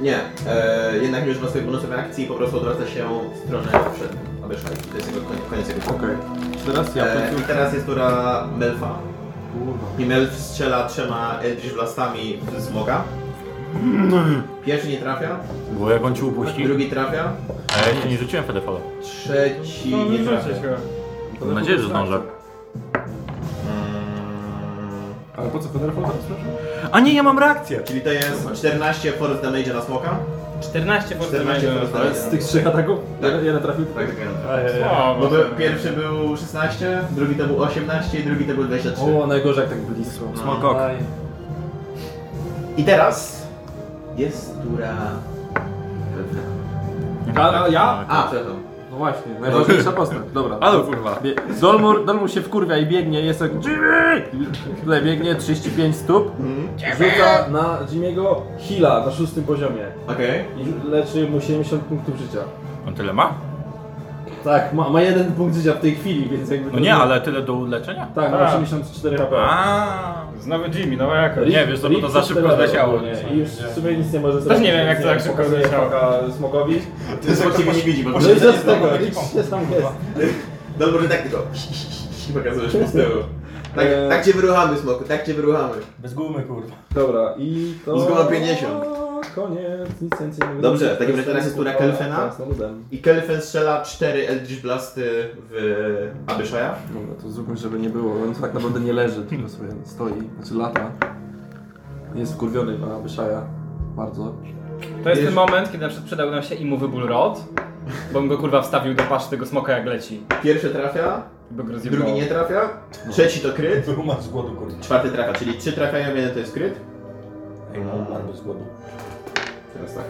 S3: Nie, e, jednak nie używa swojej bonusowej akcji i po prostu odwraca się w stronę przed Abeszaj. To jest jego koniec, koniec jego
S1: Okej. Teraz ja
S3: e, I
S1: końcu.
S3: teraz jest tura Melfa.
S1: Kurwa.
S3: I Melf strzela trzema Eldritch Blastami z smoga. Pierwszy nie trafia,
S9: Bo jak on ci upuści,
S3: drugi trafia,
S9: a ja jeszcze nie rzuciłem Fedefala.
S3: trzeci
S2: No,
S3: nie
S2: nie
S3: trafia.
S2: rzucić chyba.
S9: Mam nadzieję, że zdążę.
S3: Mm,
S1: Ale po co Federfall tak teraz, proszę?
S9: A nie, ja mam reakcję!
S3: Czyli to jest 14 force damage na smoka.
S2: 14 punktów
S3: 14
S2: damage.
S3: force
S1: Ale
S3: damage.
S1: z tych trzech ataków?
S3: Tak.
S1: Jeden, jeden trafił?
S3: Tak, tak, tak.
S2: Słabo.
S3: Bo to pierwszy był 16, drugi to był 18 i drugi to był 23.
S1: O, najgorzej jak tak blisko.
S9: Smokok.
S3: I teraz jest tura...
S1: A, a ja?
S3: A, przepraszam.
S1: No właśnie, najważniejsza postać. Dobra.
S9: Ale kurwa.
S1: Bie- Dolmur, Dolmur się wkurwia i biegnie, jest tak Jimmy! Tyle biegnie, 35 stóp.
S3: Mhm.
S1: Rzuca na Jimmy'ego heala na szóstym poziomie.
S3: Okej.
S1: I leczy mu 70 punktów życia.
S9: On tyle ma?
S1: Tak, ma, ma jeden punkt życia w tej chwili, więc jakby...
S4: No nie, ale tyle do uleczenia?
S1: Tak, ma
S2: Tak.
S1: 84 HP.
S4: A.
S2: Znowu Jimmy, no jaka?
S4: Nie, wiesz co, bo to za szybko zleciało.
S1: Nie, i już w sumie nic nie może
S2: nie wiem, jak to tak szybko
S1: Pokazuję
S2: zleciało.
S1: foka Smokowi.
S3: To jest jak tego nie widzi, bo
S1: No i co z tego, nic się tam jest.
S3: Dobrze, tak tylko pokazujesz mu z tyłu. Tak,
S1: Eee.
S3: tak cię wyruchamy, smoku, tak cię wyruchamy.
S4: Bez gumy, kurwa.
S1: Dobra, i to...
S3: Zgoła 50.
S1: Koniec, nic więcej nie
S3: Dobrze, w takim razie teraz jest tura Kelfena.
S1: Tak, z nudem.
S3: I Kelfen strzela 4 Eldritch Blasty w Abyshaja.
S1: Dobra, to zróbmy, żeby nie było. On tak naprawdę nie leży, tylko
S2: Hmm.
S1: sobie stoi, znaczy lata. Jest wkurwiony na Wyszaja. Bardzo.
S2: To jest ten moment, kiedy na przykład przydał nam się imu ból rod, bo bym go kurwa wstawił do paszy tego smoka jak leci.
S3: Pierwszy trafia,
S2: By go rozjebało.
S3: drugi nie trafia,
S1: No.
S3: trzeci to kryt,
S4: Umarł z głodu, kurwa.
S3: czwarty trafia, czyli 3 trafiają, jeden to jest kryt.
S4: Ej, no, umarł z głodu.
S3: Teraz tak.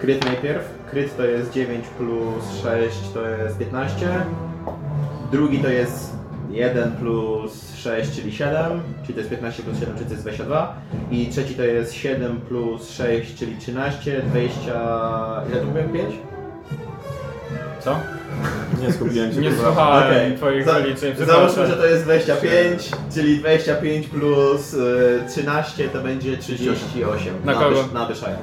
S3: Kryt najpierw. Kryt to jest 9 plus 6 to jest 15. Drugi to jest 1 plus 6, czyli 7. Czyli to jest 15 plus 7, czyli to jest 22. I trzeci to jest 7 plus 6, czyli 13, 20. Ile to mówiłem? 5?
S2: Co?
S1: Nie skupiłem się.
S2: Nie
S1: kurwa.
S2: słuchałem
S3: Okej.
S2: twoich
S3: Za-
S2: wyliczeń.
S3: Załóżmy, że to jest 25, czyli 25 plus y, 13 to będzie 38.
S2: Na kogo?
S3: Wysz- Na Wyszaja.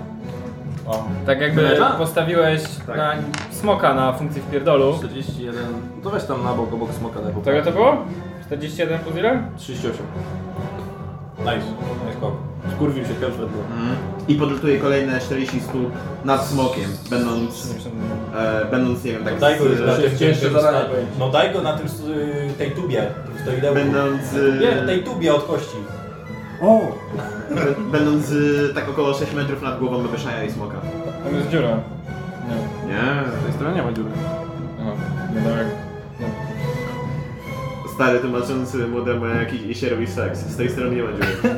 S2: Tak jakby
S1: Leża?
S2: postawiłeś
S3: Tak.
S2: na smoka na funkcji w pierdolu.
S1: 41. No to weź tam na bok, obok smoka daj po
S2: Tego to było? 41 plus ile?
S1: 38.
S4: Nice. Nice kop.
S1: Skurwił się Kelfen. no.
S3: I podlutuje kolejne 40 stóp nad smokiem, będąc E, będąc, nie wiem, tak.
S4: Daj go na
S3: z,
S4: tym,
S1: cięższe
S4: tym-
S1: zadanie
S4: tym-
S1: powiedzieć.
S4: No daj go na tym, y, tej tubie, w tej dełku.
S3: będąc, e,
S4: Nie, tej tubie od kości.
S1: O!
S3: b- będąc e, tak około 6 metrów nad głową Meweszaja i Smoka.
S2: Tam jest dziura. Nie.
S3: Nie.
S1: Z tej strony nie ma dziury.
S2: Aha. no tak. Nie wiem jak.
S3: Stary tłumaczący młodemu jakiś i się robi seks. Z tej strony nie ma dziury.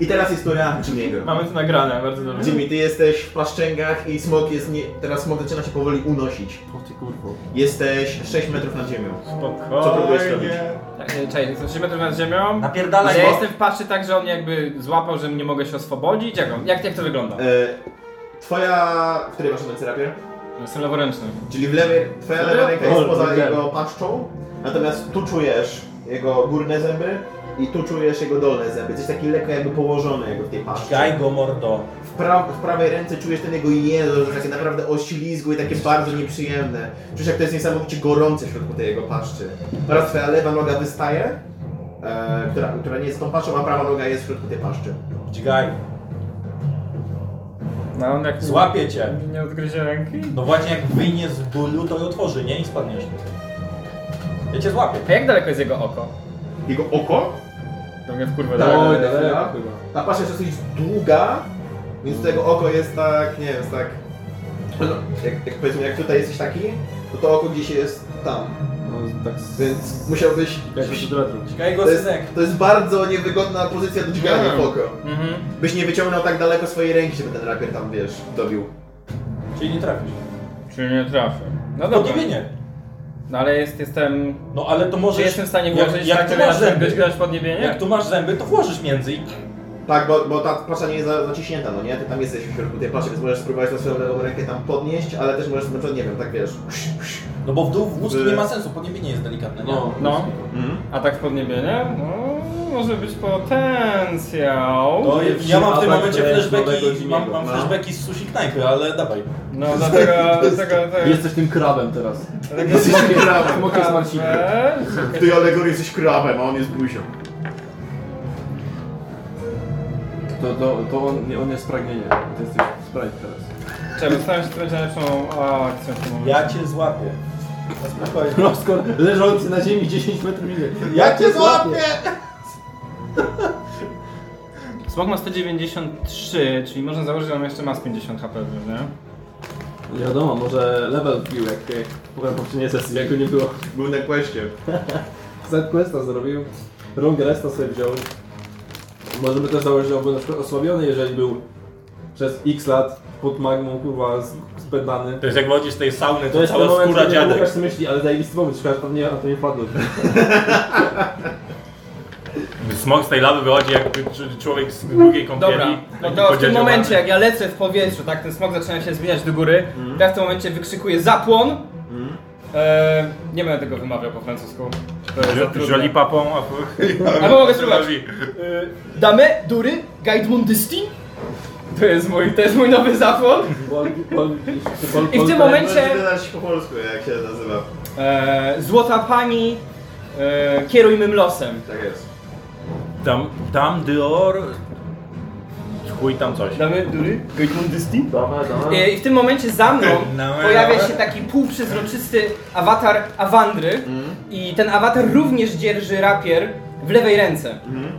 S3: I teraz jest tura Jimmy'ego.
S2: Mamy to nagrane, bardzo dobrze.
S3: Jimmy, ty jesteś w paszczęgach i Smok jest nie... Teraz Smok zaczyna się powoli unosić.
S1: O ty kurwo.
S3: Jesteś 6 metrów nad ziemią.
S2: Spokojnie.
S3: Co próbujesz robić?
S2: Tak, nie, Czekaj, jestem 3 metrów nad ziemią.
S4: Napierdalaj
S2: Ale ja
S4: go.
S2: jestem w paszy tak, że on mnie jakby złapał, że nie mogę się oswobodzić. Jak, on- jak, jak to wygląda?
S3: E, twoja... W której masz ręce rapier?
S2: No, Jestem leworęczny.
S3: Czyli w lewej, twoja
S2: Serio?
S3: lewa ręka
S1: O,
S3: jest poza
S1: tak.
S3: jego paszczą, natomiast tu czujesz jego górne zęby i tu czujesz jego dolne zęby. Jesteś taki lekko jakby położony jakby w tej paszczy.
S4: Gaj go, mordo.
S3: W, pra w prawej ręce czujesz ten jego język, takie naprawdę oślizgłe i takie bardzo nieprzyjemne. Czujesz jak to jest niesamowicie gorące w środku tej jego paszczy. Oraz twoja lewa noga wystaje, e, która, która nie jest tą paszczą, a prawa noga jest w środku tej paszczy.
S4: Dźgaj.
S2: No on jak
S4: Złapie cię.
S2: nie odgryzie ręki.
S4: No właśnie jak wyjnie z bólu, to ją otworzy, nie? I spadniesz. Ja cię złapię.
S2: A jak daleko jest jego oko?
S3: Jego oko?
S2: Do mnie w kurwę
S3: Tak,
S2: daleko.
S3: ale-
S1: Oj, daleko
S3: chwila.
S1: chyba.
S3: Ta pasza jest dosyć długa, więc to jego oko jest tak, nie wiem, jest tak... No, jak, jak powiedzmy, jak tutaj jesteś taki, to to oko gdzieś jest tam,
S1: No tak z...
S3: więc musiałbyś...
S1: Jakoś od razu.
S4: Dźgaj go,
S3: To jest,
S4: synek.
S3: to jest bardzo niewygodna pozycja do dźgania w oko.
S2: Mhm.
S3: Byś nie wyciągnął tak daleko swojej ręki, żeby ten rapier tam, wiesz, dobił.
S4: Czyli nie trafisz.
S2: Czyli nie trafię. No dobra.
S4: Podniebienie.
S2: No ale jest, jestem...
S4: No ale to
S2: Czy
S4: możesz...
S2: jestem w stanie
S4: jak-
S2: włożyć
S4: jak
S2: tak,
S4: tu
S2: żeby
S4: masz
S2: razem
S4: zęby.
S2: być grać pod niebienie?
S4: Jak tu masz zęby, to włożysz między i...
S3: Tak, bo, bo ta pasza nie jest za- zaciśnięta, no nie? Ty tam jesteś w środku tej paszy, więc możesz spróbować tą swoją lewą rękę tam podnieść, ale też możesz, na przykład, nie wiem, tak wiesz...
S4: No bo w dół w mózgu
S3: By-
S4: nie ma sensu, podniebienie jest delikatne, nie?
S1: No,
S2: No.
S3: Mhm.
S2: A tak pod niebienie? No, może być potencjał.
S1: No.
S4: ja mam w tym
S1: Atak
S4: momencie
S1: wręcz nowego
S4: flashbacki,
S1: Jimmy'ego,
S4: mam, mam
S1: no.
S4: flashbacki z sushi knajpy, ale dawaj.
S2: No, dlatego... dlatego, dlatego,
S1: Jesteś tym krabem teraz.
S2: dlatego
S3: Jesteś krabem.
S1: Smoki z Marcinem.
S2: Eee,
S3: W tej alegorii jesteś krabem, a on jest buzią.
S1: To, to, to on, nie, on jest pragnienie. Ty jesteś sprite teraz.
S2: Czekaj, dostałem się trochę najlepszą akcją w tym momencie.
S4: Ja cię złapię. Na spokojnie.
S1: No skoro leżący na ziemi 10 metrów niżej.
S4: Ja cię złapię!
S2: Smok ma 193, czyli można założyć, że on jeszcze ma z 50 HP, prawda?
S1: Nie wiadomo, może level wbił jak, jak powiem poprzedniej sesji, jak go nie było.
S3: Był na kwestie.
S1: Z-Questa zrobił, Rung Resta sobie wziął. Możemy też założyć, że on był na przykład osłabiony, jeżeli był przez x lat pod magmą kurwa z- spętany.
S11: To jest jak wodzisz z tej sauny,
S1: To
S11: to
S1: jest ten
S11: cała
S1: moment,
S11: skóra
S1: kiedy
S11: dziadek.
S1: Łukasz sobie myśli, ale zajebisty moment, szkoda, że tam nie, na to nie padło.
S11: smog z tej lawy wychodzi jak cz- człowiek z długiej kąpieli.
S2: Dobra, no
S11: taki
S2: to w tym
S11: podziadziowany.
S2: momencie jak ja lecę w powietrzu, tak, ten smog zaczyna się zmieniać do góry, to ja w tym momencie wykrzykuję zapłon. E, nie będę tego wymawiał po francusku. To jest za
S11: Ż-
S2: trudne.
S11: Żoli papą, a...
S2: Albo mogę spróbować. Dame, dury, guide mundystin. To jest mój, to jest mój nowy zapłon. I w tym momencie
S3: Możesz wydać po polsku, jak się nazywa.
S2: e, złota pani, e, kieruj mym losem.
S3: Tak jest.
S11: Tam, tam Dior... Chuj tam coś.
S2: Damy dury, guide mundystin. E, I w tym momencie za mną
S11: Dawaj,
S2: pojawia
S11: dawaj.
S2: się taki półprzezroczysty awatar Awandry
S11: Mm.
S2: i ten awatar również dzierży rapier w lewej ręce.
S11: Mm.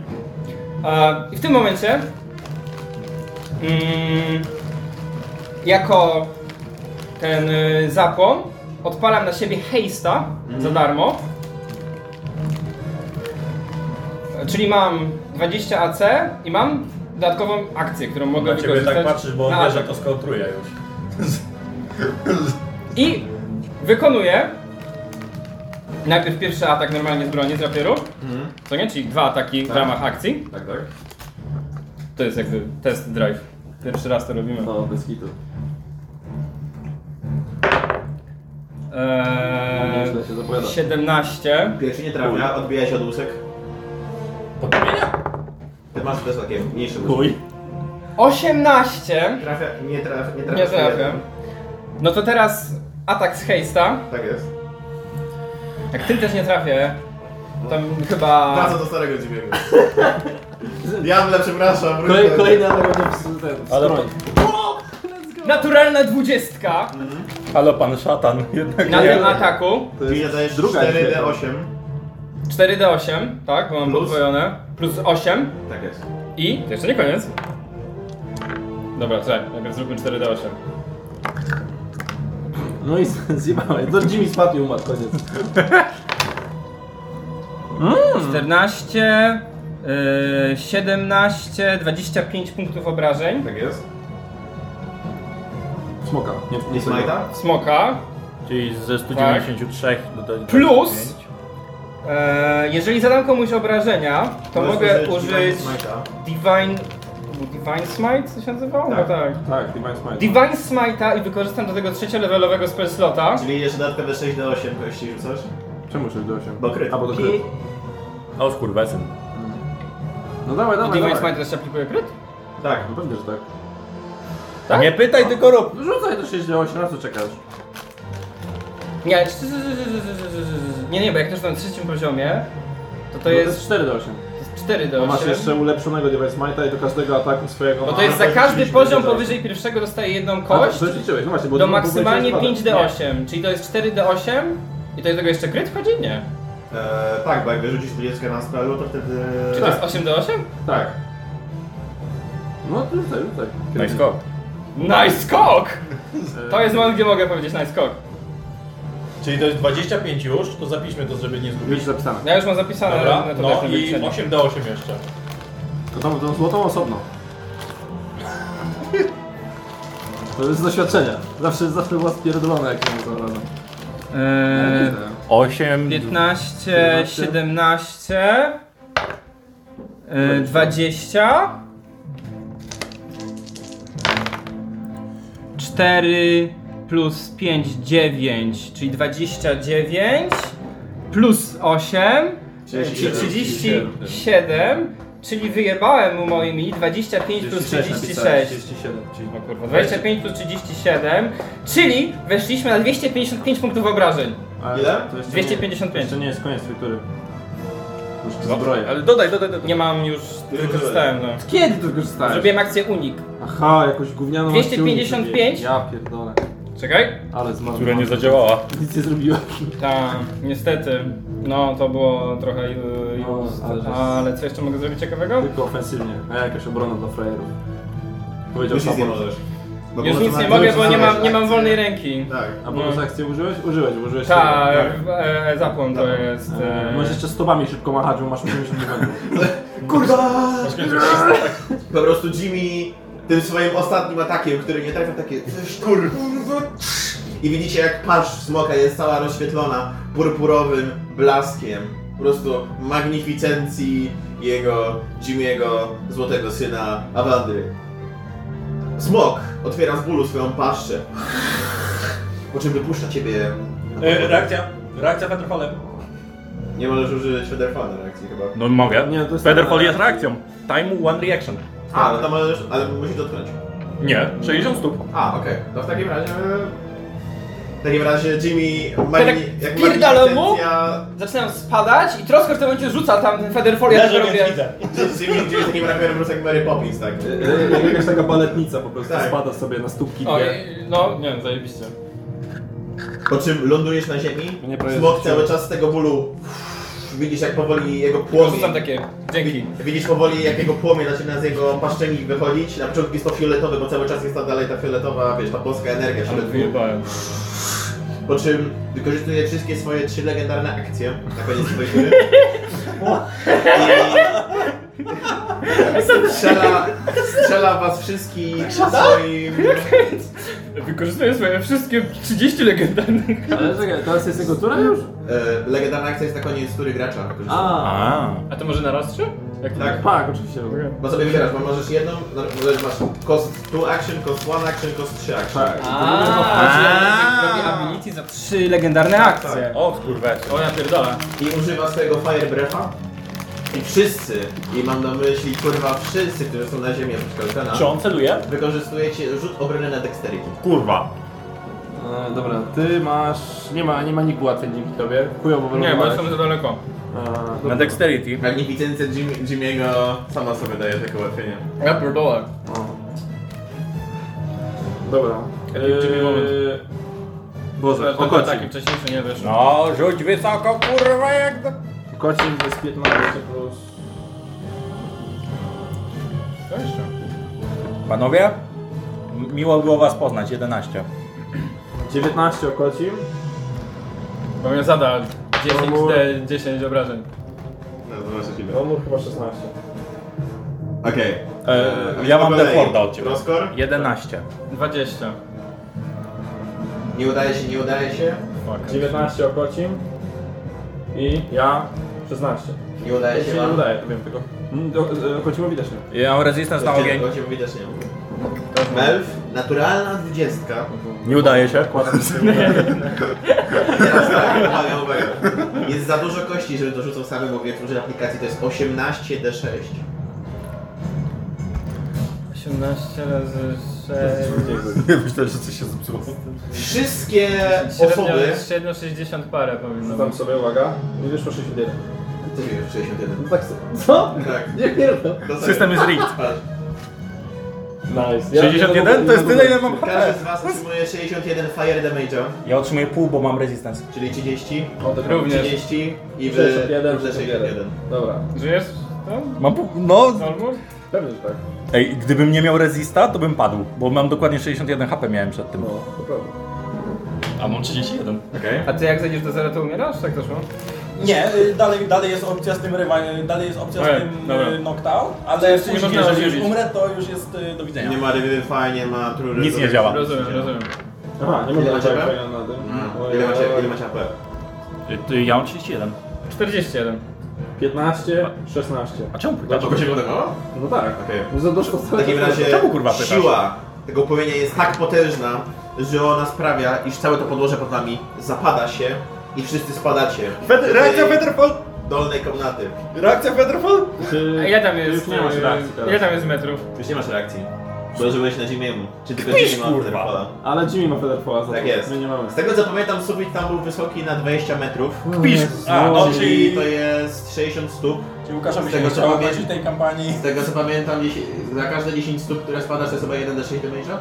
S2: E, I w tym momencie mm, jako ten y, zapłon odpalam na siebie hejsta za
S11: Mm.
S2: darmo. E, Czyli mam 20 AC i mam dodatkową akcję, którą mogę
S11: Na ciebie
S2: wykorzystać
S11: tak patrzysz, bo
S2: na
S11: on wie, że
S2: atak.
S11: to skontruje już.
S2: I wykonuję najpierw pierwszy atak normalnie z broni, z rapieru. Co nie? Czyli dwa ataki w ramach akcji.
S3: Mhm. Tak, tak.
S2: To jest jakby test drive. Pierwszy raz to robimy.
S1: No, bez kitu.
S11: E,
S2: Eee,
S1: Nieźle się zapowiada.
S2: 17.
S3: Pierwszy nie trafia, odbija się od łusek. Ty masz też takie mniejsze łusek.
S2: 18.
S3: Trafia, nie trafia, nie trafia.
S2: Nie trafię. No to teraz atak z hejsta.
S3: Tak jest.
S2: Jak tym też nie trafię, to chyba...
S3: Wraca do starego dziwiego. Diable, przepraszam. wróć
S1: Kolej,
S3: do-
S1: kolejny atak będzie ten.
S11: Ale to-
S1: Ale
S2: Naturalna dwudziestka
S11: Halo pan szatan, jednak
S2: na
S11: nie.
S2: tym ataku.
S1: to
S3: Czyli
S1: jest
S3: zadajesz
S1: druga
S3: 4D8.
S2: 4d8, tak? Bo mam
S3: Plus?
S2: podwojone. Plus 8.
S3: Tak jest.
S2: I? To jeszcze nie koniec. Dobra, czekaj, najpierw zróbmy 4D8.
S1: No i zjebałem. To Jimmy spadł i umarł, koniec.
S2: 14, yy, 17, 25 punktów obrażeń.
S3: Tak jest.
S1: Smoka. Nie,
S3: Nie smajta?
S2: Smoka.
S11: Czyli ze 193 do, do, do
S2: Plus! E, jeżeli zadam komuś obrażenia, to
S3: Możesz
S2: mogę
S3: użyć
S2: użyć
S3: smajta.
S2: Divine... Divine Smite? Co się nazywało?
S3: Tak.
S2: No tak.
S1: Tak, Divine Smite.
S2: Divine Smite'a i wykorzystam do tego trzeciolewelowego spell slota.
S3: Czyli jeszcze dodatkowe 6D8 kości rzucasz?
S1: Czemu 6 do 8?
S3: Bo kryt.
S1: A, bo to kryt.
S11: O skurwesyn.
S1: No dawaj,
S2: I
S1: dawaj,
S2: Divine
S1: dawaj.
S2: Smite też się aplikuje kryt?
S3: Tak.
S1: No pewnie, że tak. No
S11: Tak? Nie pytaj, tylko rób.
S1: Rzucaj to 6 do 8, na co czekasz?
S2: Nie, ale czy- nie, nie, bo jak też na trzecim poziomie, to
S1: No,
S3: No
S2: to
S1: To jest
S2: jest
S1: 4 do 8.
S2: 4 do
S1: A masz
S2: 8.
S1: jeszcze ulepszonego Divine Smite'a i do każdego ataku swojego...
S2: Bo to jest za każdy poziom powyżej pierwszego dostaje jedną
S1: kość?
S2: kość
S1: To liczyłeś, no właśnie, bo...
S2: do
S1: bo- bo- bo-
S2: maksymalnie
S1: bo- bo-
S2: 5d8, czyli to jest 4d8 i to jest tego jeszcze kryt wchodzi? Nie.
S3: Eee, tak, bo jak wyrzucisz 20 na spelu, to wtedy...
S2: Czy to jest 8d8?
S1: Tak. No, to rzucaj, rzucaj.
S11: Nice go.
S2: Nice skok! To jest moment, gdzie mogę powiedzieć nice skok.
S4: Czyli to jest 25 już, to zapiszmy to, żeby nie zgubić.
S1: Mieć zapisane.
S2: Ja już mam zapisane,
S4: Dobra,
S2: ale to
S4: no
S2: też nie
S4: i
S2: wyliczenie.
S4: 8D8 jeszcze.
S1: To tam tą złotą osobno. To jest z doświadczenia. Zawsze, zawsze była spierdolona, jak ją zabrano.
S2: Eee,
S11: 8,
S2: 15, 17, e, 20, 4 plus 5, 9, czyli 29, plus 8, czyli 37, czyli wyjebałem mu moimi 25 plus 36.
S1: 37, czyli...
S2: No kurwa, 25 plus 37, czyli weszliśmy na 255 punktów obrażeń.
S1: Ale
S3: Ile?
S1: to jeszcze nie-
S2: 255.
S1: Jeszcze nie jest koniec który. Już przy zbroję.
S11: No. Ale dodaj, dodaj, dodaj.
S2: Nie mam już, wykorzystałem no.
S1: Kiedy to korzystałeś?
S2: Zrobiłem akcję unik.
S1: Aha, jakąś gównianą
S2: 255?
S1: akcję unik zrobiłem. Ja pierdolę.
S2: Czekaj.
S1: Ale zmarł.
S11: Która nie zadziałała.
S1: Nic nie zrobiłem.
S2: Ta, niestety. No, to było trochę yy,
S1: No,
S2: used.
S1: ale No, że-
S2: Ale co jeszcze mogę zrobić ciekawego?
S1: Tylko ofensywnie. A jakaś obrona dla frajerów. Powiedział
S3: Już nic nie
S1: Szapon.
S3: możesz. Bo
S2: Już
S3: po
S2: nic
S3: prostu
S2: nie
S3: na-
S2: mogę, bo nie mam,
S3: akcję.
S2: nie mam wolnej ręki.
S3: Tak.
S1: A bonus
S11: No.
S1: akcję użyłeś? Użyłeś, bo użyłeś.
S2: Ta,
S1: tego.
S11: Tak.
S2: e, zapłon to jest.
S1: E,
S2: E,
S1: Tak. Możesz jeszcze stopami szybko machać, bo masz 80 błędów.
S3: Kurwa! Po prostu Jimmy tym swoim ostatnim atakiem, który nie trafia takie szkur. I widzicie jak pasz smoka jest cała rozświetlona purpurowym blaskiem. Po prostu magnificencji jego Jimmy'ego, złotego syna Awandy. Smok otwiera z bólu swoją paszczę, po czym wypuszcza ciebie.
S4: E, reakcja. Reakcja Petrofalem.
S3: Nie możesz użyć Federfana reakcji chyba.
S11: No mogę.
S1: Nie, to jest-
S11: Featherfall jest reakcją. Time one reaction.
S3: A, no to możesz, ale musisz dotknąć.
S11: Nie, 60 stóp.
S3: A, okej. To w takim razie... W takim razie Jimmy ma
S2: Ja tak
S3: inni- jak
S2: wpierdalę mu?
S3: licencja...
S2: Zaczynam spadać i troskor w tym momencie rzuca tam ten feather fall, ja
S10: Ja
S2: też robię.
S10: widzę.
S3: Jimmy gdzieś takim rapierem po jak Mary Poppins, tak?
S1: E, Jak jakaś taka baletnica po prostu
S3: Tak.
S1: spada sobie na stópki
S2: O,
S1: dwie.
S2: i- no, nie wiem, zajebiście.
S3: Po czym lądujesz na ziemi,
S1: Nie pojedzie
S3: smok
S1: się.
S3: cały czas z tego bólu... Widzisz jak powoli jego płomień...
S2: Rzucam takie, dzięki.
S3: Widzisz powoli jak jego płomień zaczyna z jego paszczeni wychodzić. Na początku jest to fioletowe, bo cały czas jest ta dalej ta fioletowa, wiesz, ta boska energia fioletową. Po czym wykorzystuje wszystkie swoje trzy legendarne akcje na koniec swojej gry. I strzela, strzela was wszystkich swoim...
S2: Wykorzystuję swoje wszystkie 30 legendarnych.
S1: Ale czekaj, teraz jest jego tura już?
S3: E, legendarna akcja jest na koniec tury gracza. Wykorzysta-
S1: A,
S11: A.
S2: A to może na raz trzy? Jak
S3: Tak.
S1: tak, oczywiście.
S3: Bo sobie wybierasz, bo możesz jedną, no, możesz masz cost 2 action, cost 1 action, cost 3 action.
S1: Tak.
S2: Robię ability za trzy legendarne akcje.
S11: O kurwa.
S2: O, ja pierdolę.
S3: I używa swojego Fire Breath'a. I wszyscy, i mam na myśli kurwa wszyscy, którzy są na ziemi, oprócz Kalkana,
S11: Czy on celuje?
S3: wykorzystujecie rzut obrony na dexterity.
S11: Kurwa.
S1: E, dobra, ty masz... nie ma, nie ma nikt łatwiej dzięki tobie. Chujowo
S2: Nie, bo
S1: wylądowałeś.
S2: jestem za daleko.
S1: E,
S11: Na
S1: dobra.
S11: dexterity.
S3: Magnificencja Jim, Jimmy'ego sama sobie daje takie ułatwienie.
S2: Ja pierdolę.
S1: O. Dobra.
S2: Jimmy moment.
S1: Eee, Boże, o
S2: Yy, Taki
S1: kocim.
S2: wcześniejszy nie wiesz.
S11: No, rzuć wysoko, kurwa, jak do...
S1: Kocim to jest 15 plus...
S2: To jeszcze.
S11: Panowie, m- miło było was poznać, 11.
S1: 19 o kocim.
S2: Bo mnie zada 10
S1: No, bo-
S2: XD, 10 obrażeń.
S3: No, zobaczysz ile.
S1: On mu chyba 16.
S3: Okej.
S11: E, ja mam deforda od ciebie.
S3: Roskor?
S11: 11.
S2: 20.
S3: Nie udaje się, nie udaje się.
S2: Fuck.
S1: 19 o kocim. I ja 16.
S3: Nie udaje
S1: Ja
S3: się,
S1: się nie
S3: mam.
S1: udaje, wiem tego. Mm, do- e, Kocimowi też nie.
S11: Ja mam resistance na ogień.
S3: O ciebie widać nie mówię. Melf, naturalna dwudziestka.
S11: Nie udaje się.
S3: Teraz tak, uwaga, uwaga. Jest za dużo kości, żeby to rzucał samym, bo wiem, że w aplikacji to jest 18d6.
S2: 18 razy 6.
S11: Myślę, że coś się zepsuło.
S3: Wszystkie
S2: Średnio,
S3: osoby...
S2: średnio 60 parę powinno
S1: No Tam
S2: być.
S1: sobie, uwaga. I wyszło 61.
S3: Ty wiem, 61.
S1: Tak Co?
S3: Tak.
S1: Nie no. pierdolę.
S3: To
S11: System jest rigged.
S3: Patrz.
S1: Nice. Ja-
S11: 61? To jest tyle, ile mam
S3: Każdy z
S11: Tak.
S3: was otrzymuje 61 fire damage'a,
S11: Ja otrzymuję pół, bo mam resistance.
S3: czyli 30,
S1: O, to
S2: Również.
S3: 30 i wy
S1: 61,
S3: wy
S1: 61. Dobra,
S2: Żyjesz? Tam?
S11: Mam pół, no...
S2: Normur?
S1: pewnie, że tak.
S11: Ej, gdybym nie miał resista, to bym padł, bo mam dokładnie 61 HP miałem przed tym.
S1: No, to prawda.
S11: A mam 31.
S3: Okej.
S2: A ty jak zejdziesz do zera, to umierasz? Tak to szło?
S4: Nie, y, dalej, dalej jest opcja z tym rywaniem, dalej jest opcja
S2: Ej,
S4: z tym
S2: dobra.
S4: y, knockdown, ale
S2: jeszcze nie
S4: później,
S2: można
S4: jeżeli już
S2: rozdzielić.
S4: umrę, to już jest y, do widzenia.
S3: Nie ma revivify, nie ma true
S11: Nic nie działa.
S2: Rozumiem, rozumiem.
S1: Aha, nie mogę
S3: Ile macie
S1: tak
S3: HP?
S1: fajnie na tym.
S3: Mm.
S1: Ojej,
S3: Ile macie,
S1: ojej.
S3: ile macie AP?
S11: Y, Ja mam 31.
S2: 41.
S1: 15, 16.
S11: A czemu pytasz?
S3: się podobało?
S1: No tak.
S3: Okej.
S1: No to doszło
S3: W takim razie
S11: Czemu, kurwa, pytasz?
S3: siła tego płomienia jest tak potężna, że ona sprawia, iż całe to podłoże pod nami zapada się i wszyscy spadacie. do tej
S4: Petrofal!
S3: dolnej komnaty.
S4: Reakcja Petrofal!
S1: Czy...
S2: A ile tam jest?
S1: Już nie masz
S2: e,
S1: reakcji teraz.
S2: Ile tam jest metrów?
S3: Już nie masz reakcji. Bo żyłeś na Jimmy'emu. Czy tylko Jimmy ma Federfala?
S1: Ale Jimmy ma Federpola za
S3: Tak
S1: to.
S3: jest.
S1: My nie mamy.
S3: Z tego co pamiętam, sufit tam był wysoki na 20 metrów.
S11: Pisz! A, no,
S3: czyli
S4: czyli-
S3: to jest 60 stóp.
S4: Czy Łukasza by
S3: Z
S4: się
S3: tego,
S4: nie
S3: co
S4: chciało
S3: pamiętam-
S4: obronić tej kampanii?
S3: Z tego co pamiętam, dziesię- za każde 10 stóp, które spadasz, to jest chyba 1 do 6 damage'a?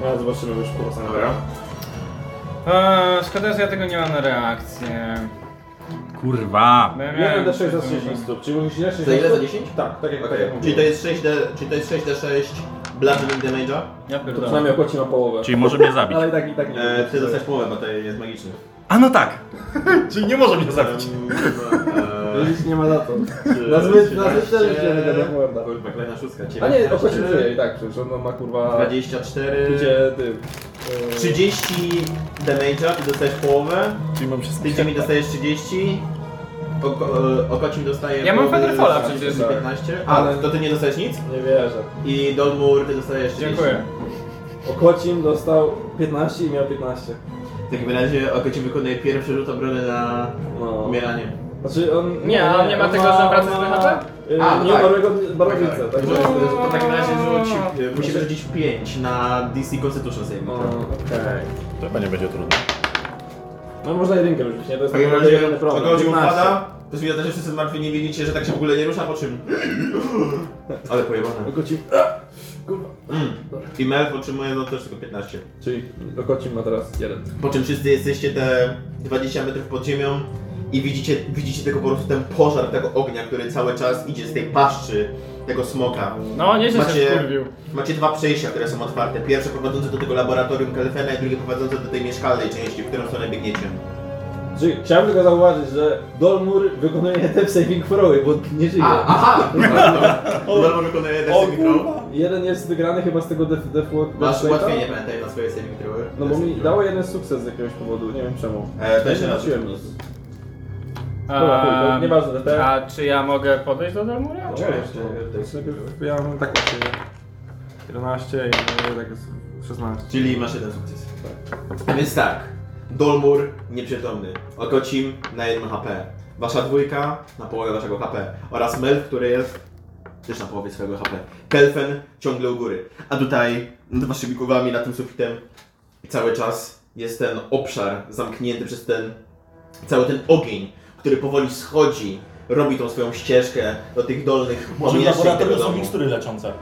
S1: No, zobaczymy już po prostu.
S2: Eee, szkoda, że ja tego nie mam na reakcję.
S11: Kurwa.
S2: No ja
S1: 1
S2: miałem-
S1: do 6 za 60 stóp. Czyli musisz jeszcze
S3: Za ile? Za 10?
S1: Tak, tak jak tak jak
S3: Okej. Czyli to
S1: mówiłem.
S3: jest 6D, czyli to jest 6D6 bludgeoning damage'a.
S2: Ja
S1: To
S2: pierdolę.
S1: przynajmniej okoci ma połowę.
S11: Czyli może mnie zabić.
S1: Ale i tak i tak nie.
S3: E, ty dostajesz połowę, bo to jest magiczny.
S11: A no tak! Czyli nie może mnie zabić.
S3: Eee,
S1: No Nic nie ma za to. Na zbyt, na zbyt też idziemy do Deathworda.
S3: Kurwa, kolejna szóstka.
S1: A nie,
S3: 19,
S1: okoci żyje i tak, przecież on ma kurwa...
S3: 24,
S1: Gdzie ty? e,
S3: 30 damage'a, ty dostajesz połowę.
S11: Czyli mam wszystko.
S3: Ty mi dostajesz 30. Okocin dostaje...
S2: Ja mam
S3: wody
S2: Featherfalla
S3: 15,
S2: przecież.
S3: 15. A,
S1: Ale-
S3: to ty nie dostajesz nic?
S1: Nie wierzę.
S3: I Dolmur, ty dostajesz 30.
S2: Dziękuję.
S1: Okocim dostał 15 i miał 15.
S3: W takim razie Okocin wykonuje pierwszy rzut obrony na
S1: No.
S3: umieranie.
S1: Znaczy on...
S2: Nie, on nie ma tego, że wraca z wychacza?
S1: y,
S3: A, no
S1: Nie
S3: tak. No.
S1: umarłego barowicę, tak?
S3: Rzuć- To w takim razie
S2: No.
S3: rzuć, musimy rzucić 5 na DC Constitution Saving.
S1: No,
S3: throw.
S1: okej.
S9: To chyba nie będzie trudne.
S1: No można jedynkę rzucić, nie? To
S3: W
S1: jest
S3: takim
S1: taki
S3: razie
S1: jedyny problem.
S3: Okocin
S1: 15.
S3: upada, to jest widać, że wszyscy martwi nie widzicie, że tak się w ogóle nie rusza, po czym... Ale pojebane.
S1: Okocim... Kurwa.
S3: I Melf otrzymuje no też tylko 15.
S1: Czyli Okocim ma teraz jeden.
S3: Po czym wszyscy jesteście te 20 metrów pod ziemią i widzicie, widzicie tylko po prostu ten pożar tego ognia, który cały czas idzie z tej paszczy tego smoka.
S2: No, nieźle się
S3: Macie-
S2: skurwił.
S3: Macie dwa przejścia, które są otwarte. Pierwsze prowadzące do tego laboratorium Kalifena i drugie prowadzące do tej mieszkalnej części, w którą stronę biegniecie.
S1: Czyli chciałem tylko zauważyć, że Dolmur wykonuje te saving throwy, bo nie żyje.
S3: A, aha!
S1: No,
S3: Dobra, wykonuję testy mikro.
S1: Jeden jest wygrany chyba z tego def, def, def
S3: Masz
S1: slate'a?
S3: ułatwienie, pamiętaj, na swoje saving throwy.
S1: No bo
S3: Testy
S1: mi
S3: mikro.
S1: dało jeden sukces z jakiegoś powodu, nie wiem czemu.
S3: E, to
S1: Ja
S3: jeszcze
S1: nie
S3: raz.
S1: rzuciłem nic. Dobra, chuj, to nieważne, DT.
S2: A czy ja mogę podejść do Dalmuria?
S1: Oczywiście. Ja mam tak właśnie 11 i tak jest 16.
S3: Czyli masz jeden sukces. A Więc tak. Dolmur nieprzytomny. Okocim na 1 HP. Wasza dwójka na połowę waszego HP. Oraz Melf, który jest też na połowie swojego HP. Kelfen ciągle u góry. A tutaj nad waszymi głowami, nad tym sufitem cały czas jest ten obszar zamknięty przez ten cały ten ogień, który powoli schodzi, robi tą swoją ścieżkę do tych dolnych
S4: Może w
S3: pomieszczeń tego
S4: laboratorium są
S3: domu.
S4: mikstury leczące.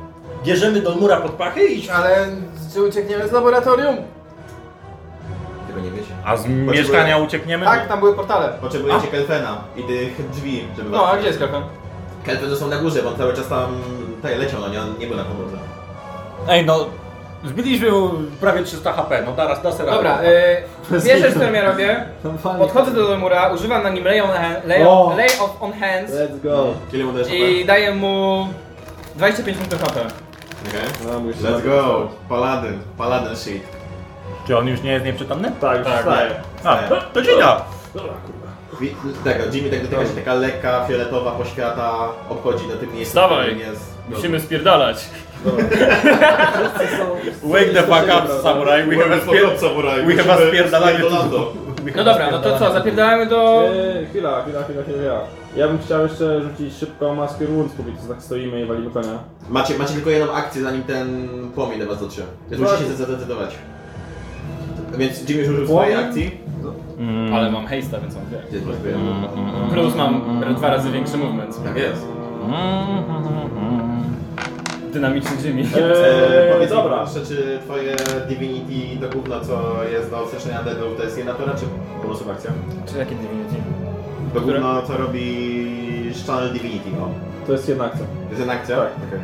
S4: Bierzemy do mura pod pachy i...
S10: Ale czy uciekniemy z laboratorium?
S3: Tego nie wiecie.
S11: A z mieszkania uciekniemy?
S10: Tak, tam były portale.
S3: Potrzebujecie Kelfena i tych drzwi, żeby was
S2: No, a gdzie jest kafe?
S3: Kelpy to są na górze, bo on cały czas tam tutaj leciał, no nie, on nie był na podłodze.
S11: Ej, no. Zbiliśmy mu prawie 300 HP, no teraz da se radę.
S2: Dobra, yy, bierzesz co ja robię, podchodzę do Dalmura, używam na nim lay on, hand, lay on,
S1: O!
S2: lay of on hands
S1: Let's go.
S3: Kiedy mu dajesz
S2: i daję mu 25 punktów HP.
S1: No, mój
S3: Let's
S1: szlak.
S3: go! Paladyn, paladyn shit.
S11: Czy on już nie jest nieprzytomny?
S1: Tak, tak. tak.
S11: A, to, to dzida!
S3: Wi- Tego, Jimmy tak dotyka się taka lekka, fioletowa poświata, obchodzi na tym miejscu,
S2: Wstawaj.
S3: którym jest.
S2: spierdalać.
S11: Wake the fuck up, samurai, we have a spier... we have a spierdalanie we
S2: No
S11: have a
S2: dobra, no to co,
S11: spierdalanie.
S2: zapierdalamy do...
S1: Eee, chwila, chwila, chwila, chwila. Ja bym chciał jeszcze rzucić szybko maskę Wounds, póki to tak stoimy i walimy konia.
S3: Macie, macie tylko jedną akcję, zanim ten płomień do was dotrze. Więc musicie się zadecydować. Więc Jimmy już użył swojej
S1: Płomień?
S3: akcji.
S1: Mm.
S2: Ale mam hejsta, więc mam dwie.
S3: Gdzie jest
S11: Mm,
S2: Plus mam
S1: Mm.
S2: dwa razy większy movement.
S3: Tak jest.
S2: Dynamiczny Jimmy.
S3: Eee,
S1: Eee,
S3: powiedz dobra.
S1: dobra.
S3: proszę, czy twoje Divinity, to gówno, co jest do ostrzenia deadów, to jest jedna tora, czy po prostu akcja?
S2: Czy jakie divinity?
S3: To
S2: Które?
S3: gówno, co robi Channel Divinity, no.
S1: To jest jedna akcja.
S3: To jest jedna akcja?
S1: Tak.
S3: Okej.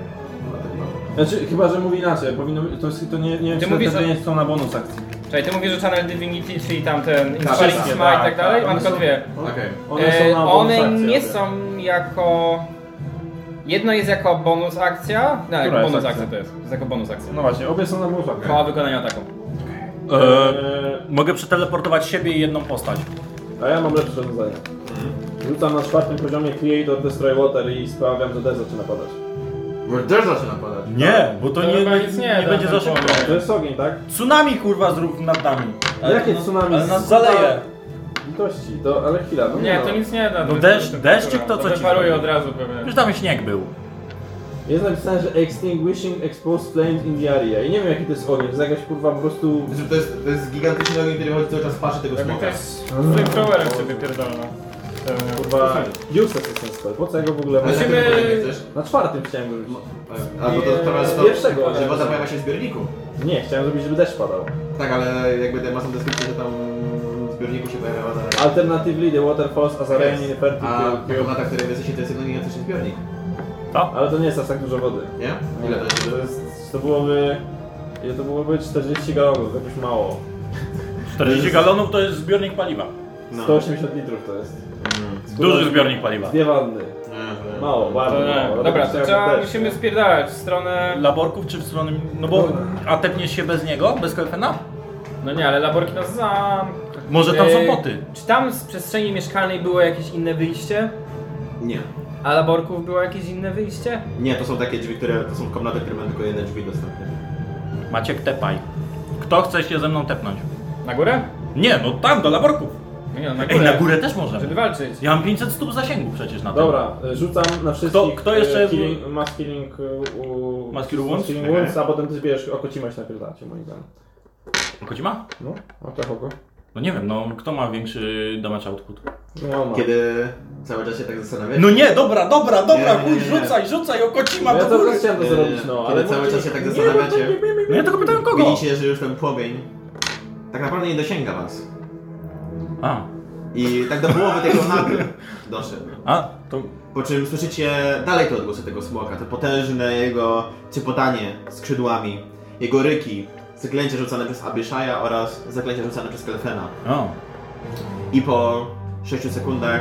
S3: No, tak ma.
S1: Znaczy, chyba, że mówi inaczej. Powinno, to, jest, to nie, nie wiem,
S2: Ty
S1: czy
S2: mówisz,
S1: te
S2: że-
S1: nie są na bonus akcji.
S2: Czekaj, ty mówisz, że Channel Divinity, czyli tamten
S3: tak,
S2: Instinct
S3: tak,
S2: ma i tak
S1: tak,
S2: dalej? Mam
S1: one
S2: tylko
S1: są-
S2: dwie.
S3: Okej.
S1: One są
S2: E,
S1: na bonus
S2: one
S1: akcje,
S2: nie
S1: obie.
S2: są jako... Jedno jest jako bonus akcja. No, jako
S1: jest
S2: bonus
S1: akcja?
S2: akcja to jest. Jest jako bonus akcja.
S1: No właśnie, obie są na bonus akcji.
S2: Koła wykonania ataku.
S11: Eee,
S1: Eee,
S11: mogę przeteleportować siebie i jedną postać.
S1: A ja mam lepsze rozwiązanie. Rzucam na czwartym poziomie Create or Destroy Water i sprawiam, że D zaczyna padać.
S3: Okay. Też zaczyna padać.
S11: Nie, bo to,
S2: To
S11: nie,
S2: chyba
S11: nie,
S2: nic nie da,
S11: będzie za
S2: ten
S11: szybko.
S2: płomień.
S1: To jest ogień, tak?
S11: Tsunami kurwa zrób nad nami.
S4: no,
S1: Jakie tsunami?
S11: Ale nas zaleje.
S1: Litości, to, ale chwila, no
S2: Nie,
S1: no.
S2: to nic nie da.
S11: No deszcz- deszczyk to co ci
S2: Paruje
S11: zrobi?
S2: od razu pewnie.
S11: Już tam śnieg był.
S1: Jest napisane, że Extinguishing Exposed Flames in the Area i nie wiem jaki to jest ogień, to jest jakaś kurwa po prostu...
S3: Znaczy, To jest, to jest gigantyczny ogień, który chodzi cały czas z paszy tego
S2: Jakby
S3: smoka.
S2: ktoś z tym throwerem się wypierdolno.
S3: No
S1: Kurwa... Useless jest ten spell, po co ja go w ogóle...
S3: Ale tak,
S1: mam?
S3: na
S2: Musimy-
S3: którym poziomie chcesz?
S1: Na czwartym chciałem go rzucić.
S3: Albo to, to,
S1: No, Nie, z
S3: to,
S1: pierwszego,
S3: Że
S1: ale-
S3: woda pojawia się w zbiorniku.
S1: Nie, chciałem zrobić, żeby deszcz padał.
S3: Tak, ale jakby te masą deskrypcji, że tam w zbiorniku się pojawia woda.
S1: Alternatively the water falls as a rain in a
S3: A
S1: fertile
S3: komnata, w której wy jesteście, to jest jeden gigantyczny zbiornik,
S1: Ale to nie jest aż tak dużo wody.
S3: nie? Ile to jest?
S1: To, jest, to byłoby... Ile to byłoby? 40 galonów, to jakoś mało.
S11: 40 galonów to jest zbiornik paliwa.
S3: No.
S1: 180 litrów to jest.
S11: Duży zbiornik paliwa.
S1: Dwie wanny.
S3: Nie, to-
S1: Mało, bardzo mało.
S2: Dobra, to
S1: chciałem
S2: trzeba,
S1: deszcz.
S2: musimy spierdalać w stronę...
S11: Laborków czy w stronę... No bo... A tepniesz się bez niego? Bez Kelfena?
S2: No nie, ale laborki nas za.
S11: Może tam są
S2: Yy,
S11: boty.
S2: Czy tam z przestrzeni mieszkalnej było jakieś inne wyjście?
S3: Nie.
S2: A laborków było jakieś inne wyjście?
S3: Nie, to są takie drzwi, które to są komnaty, które mają tylko jedne drzwi dostępne.
S11: Maciek, tepaj. Kto chce się ze mną tepnąć?
S2: Na górę?
S11: Nie, no tam, do laborków.
S2: Nie, no, na górę.
S11: Ej, na górę też możemy.
S2: Żeby walczyć.
S11: Ja mam 500 stóp zasięgu przecież na tym.
S1: Dobra, y, rzucam na wszystkich.
S11: Kto- kto jeszcze
S1: y,
S11: jest-
S1: Healing, mass healing y, u...
S11: Mass healing wounds?
S1: healing wounds, a potem ty bierzesz okocimać najpierw dacie, moim zdaniem.
S11: Kocima?
S1: No, a tak oko.
S11: No nie wiem, no kto ma większy damage output?
S1: No, ma.
S3: Kiedy cały czas się tak zastanawiasz...
S11: No nie, dobra, dobra, dobra,
S3: Nie, nie,
S11: chuj,
S3: nie.
S11: rzucaj, rzucaj, o Kocima
S1: No ja
S11: do
S1: to
S11: góry.
S1: też chciałem to
S3: Nie,
S1: zrobić,
S3: nie,
S1: no,
S3: kiedy
S1: ale...
S3: cały
S1: mówię,
S3: czas się tak
S1: nie,
S3: zastanawiacie.
S11: No ja tylko pytałem kogo.
S3: Widzicie, że już ten płomień tak naprawdę nie dosięga was.
S11: A,
S3: I tak do połowy tej komnaty doszedł.
S11: a, to
S3: Po czym słyszycie dalej te odgłosy tego smoka, to potężne jego cypotanie skrzydłami, jego ryki, zaklęcie rzucane przez Abyshaja oraz zaklęcie rzucane przez Kelfena.
S11: O,
S3: I po 6 sekundach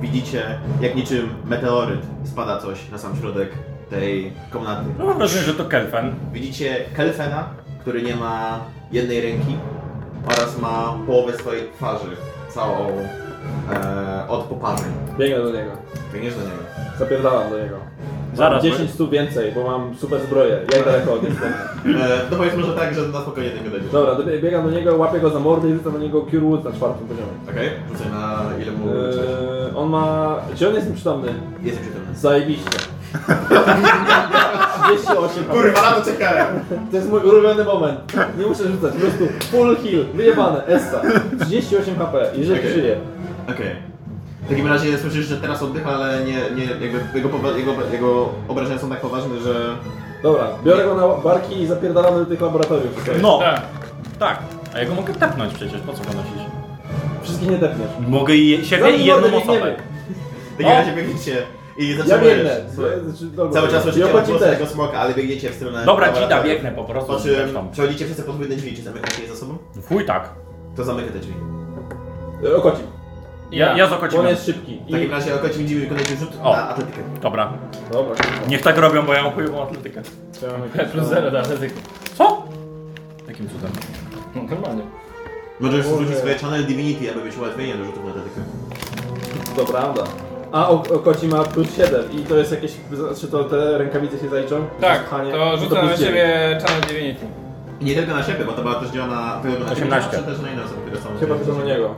S3: widzicie, jak niczym meteoryt spada coś na sam środek tej komnaty.
S11: no mam wrażenie, że to Kelfen.
S3: Widzicie Kelfena, który nie ma jednej ręki oraz ma połowę swojej twarzy, całą e, od poparzeń.
S1: Biegnę do niego.
S3: Biegniesz do niego.
S1: Zapierdalam do niego.
S11: Zaraz,
S1: Zaraz. 10 stóp więcej, bo mam super zbroję. Jak daleko od niego jestem?
S3: E, no powiedzmy, że tak, że na spokojnie tego dojdziesz.
S1: Dobra, dobie- biegam do niego, łapię go za mordę i rzucam do niego Cure Wood na czwartym poziomie.
S3: Okej, rzucę na ile mu eee...
S1: Yy, on ma... Czy on jest nieprzytomny?
S3: Jest przytomny.
S1: Zajebiście. 38.
S3: Kurwa, na to czekałem!
S1: To jest mój ulubiony moment. Nie muszę rzucać, po prostu full heal, wyjebane, essa. 38 HP, jeżeli
S3: Okej.
S1: żyje.
S3: Okej. W takim razie słyszysz, że teraz oddycha, ale nie, nie, jakby jego, powa- jego, jego obrażenia są tak poważne, że...
S1: Dobra, biorę go na barki i zapierdalam do tych laboratoriów.
S11: No,
S2: Tak.
S11: tak. A ja go mogę tepnąć przecież, po co go nosić?
S1: Wszystkich nie depniesz.
S11: Mogę i siebie i
S1: Zanim
S11: jedną
S1: mordy
S11: osobę.
S1: biegniemy.
S3: W takim razie biegniecie i
S1: Ja
S3: zatrzymujesz.
S1: biegnę.
S3: Słuchaj,
S1: Znaczy, dobra.
S3: Cały czas
S1: I
S3: słyszycie
S1: opłaci
S3: odgłos
S1: też.
S3: tego smoka, ale biegniecie w stronę...
S11: Dobra,
S3: laboratorium.
S11: Dzida, biegnę po prostu.
S3: Po czym
S11: zresztą.
S3: przechodzicie wszyscy podwójne drzwi, czy zamykacie je za sobą?
S11: Chuj tak.
S3: To zamyka te drzwi.
S1: E, Okoci,
S11: Ja, ja z
S1: bo on
S11: okocimem.
S1: jest szybki.
S3: W
S1: I...
S3: takim razie okocie widzimy wykonujecie rzut
S11: O.
S3: na atletykę.
S11: Dobra.
S1: Dobra.
S11: Niech tak robią, bo ja mam chujową atletykę.
S1: Chciałem
S2: Plus zero, no, da, ryzyko.
S11: Co? Jakim cudem?
S2: No, normalnie.
S3: Możesz
S1: Boże.
S3: rzucić swoje Channel Divinity, aby mieć ułatwienie do rzutów na atletykę.
S1: To prawda. A o- Okoci ma plus 7 i to jest jakieś... Czy to te rękawice się zaliczą?
S2: Tak,
S1: Pchanie?
S2: to rzucę na
S1: plus dziewięć.
S2: siebie Channel Divinity.
S3: I Nie tylko na siebie, bo to była też działa na... to była na
S11: 18.
S3: siebie, ale też na inne osoby, które są.
S1: Chyba to na niego.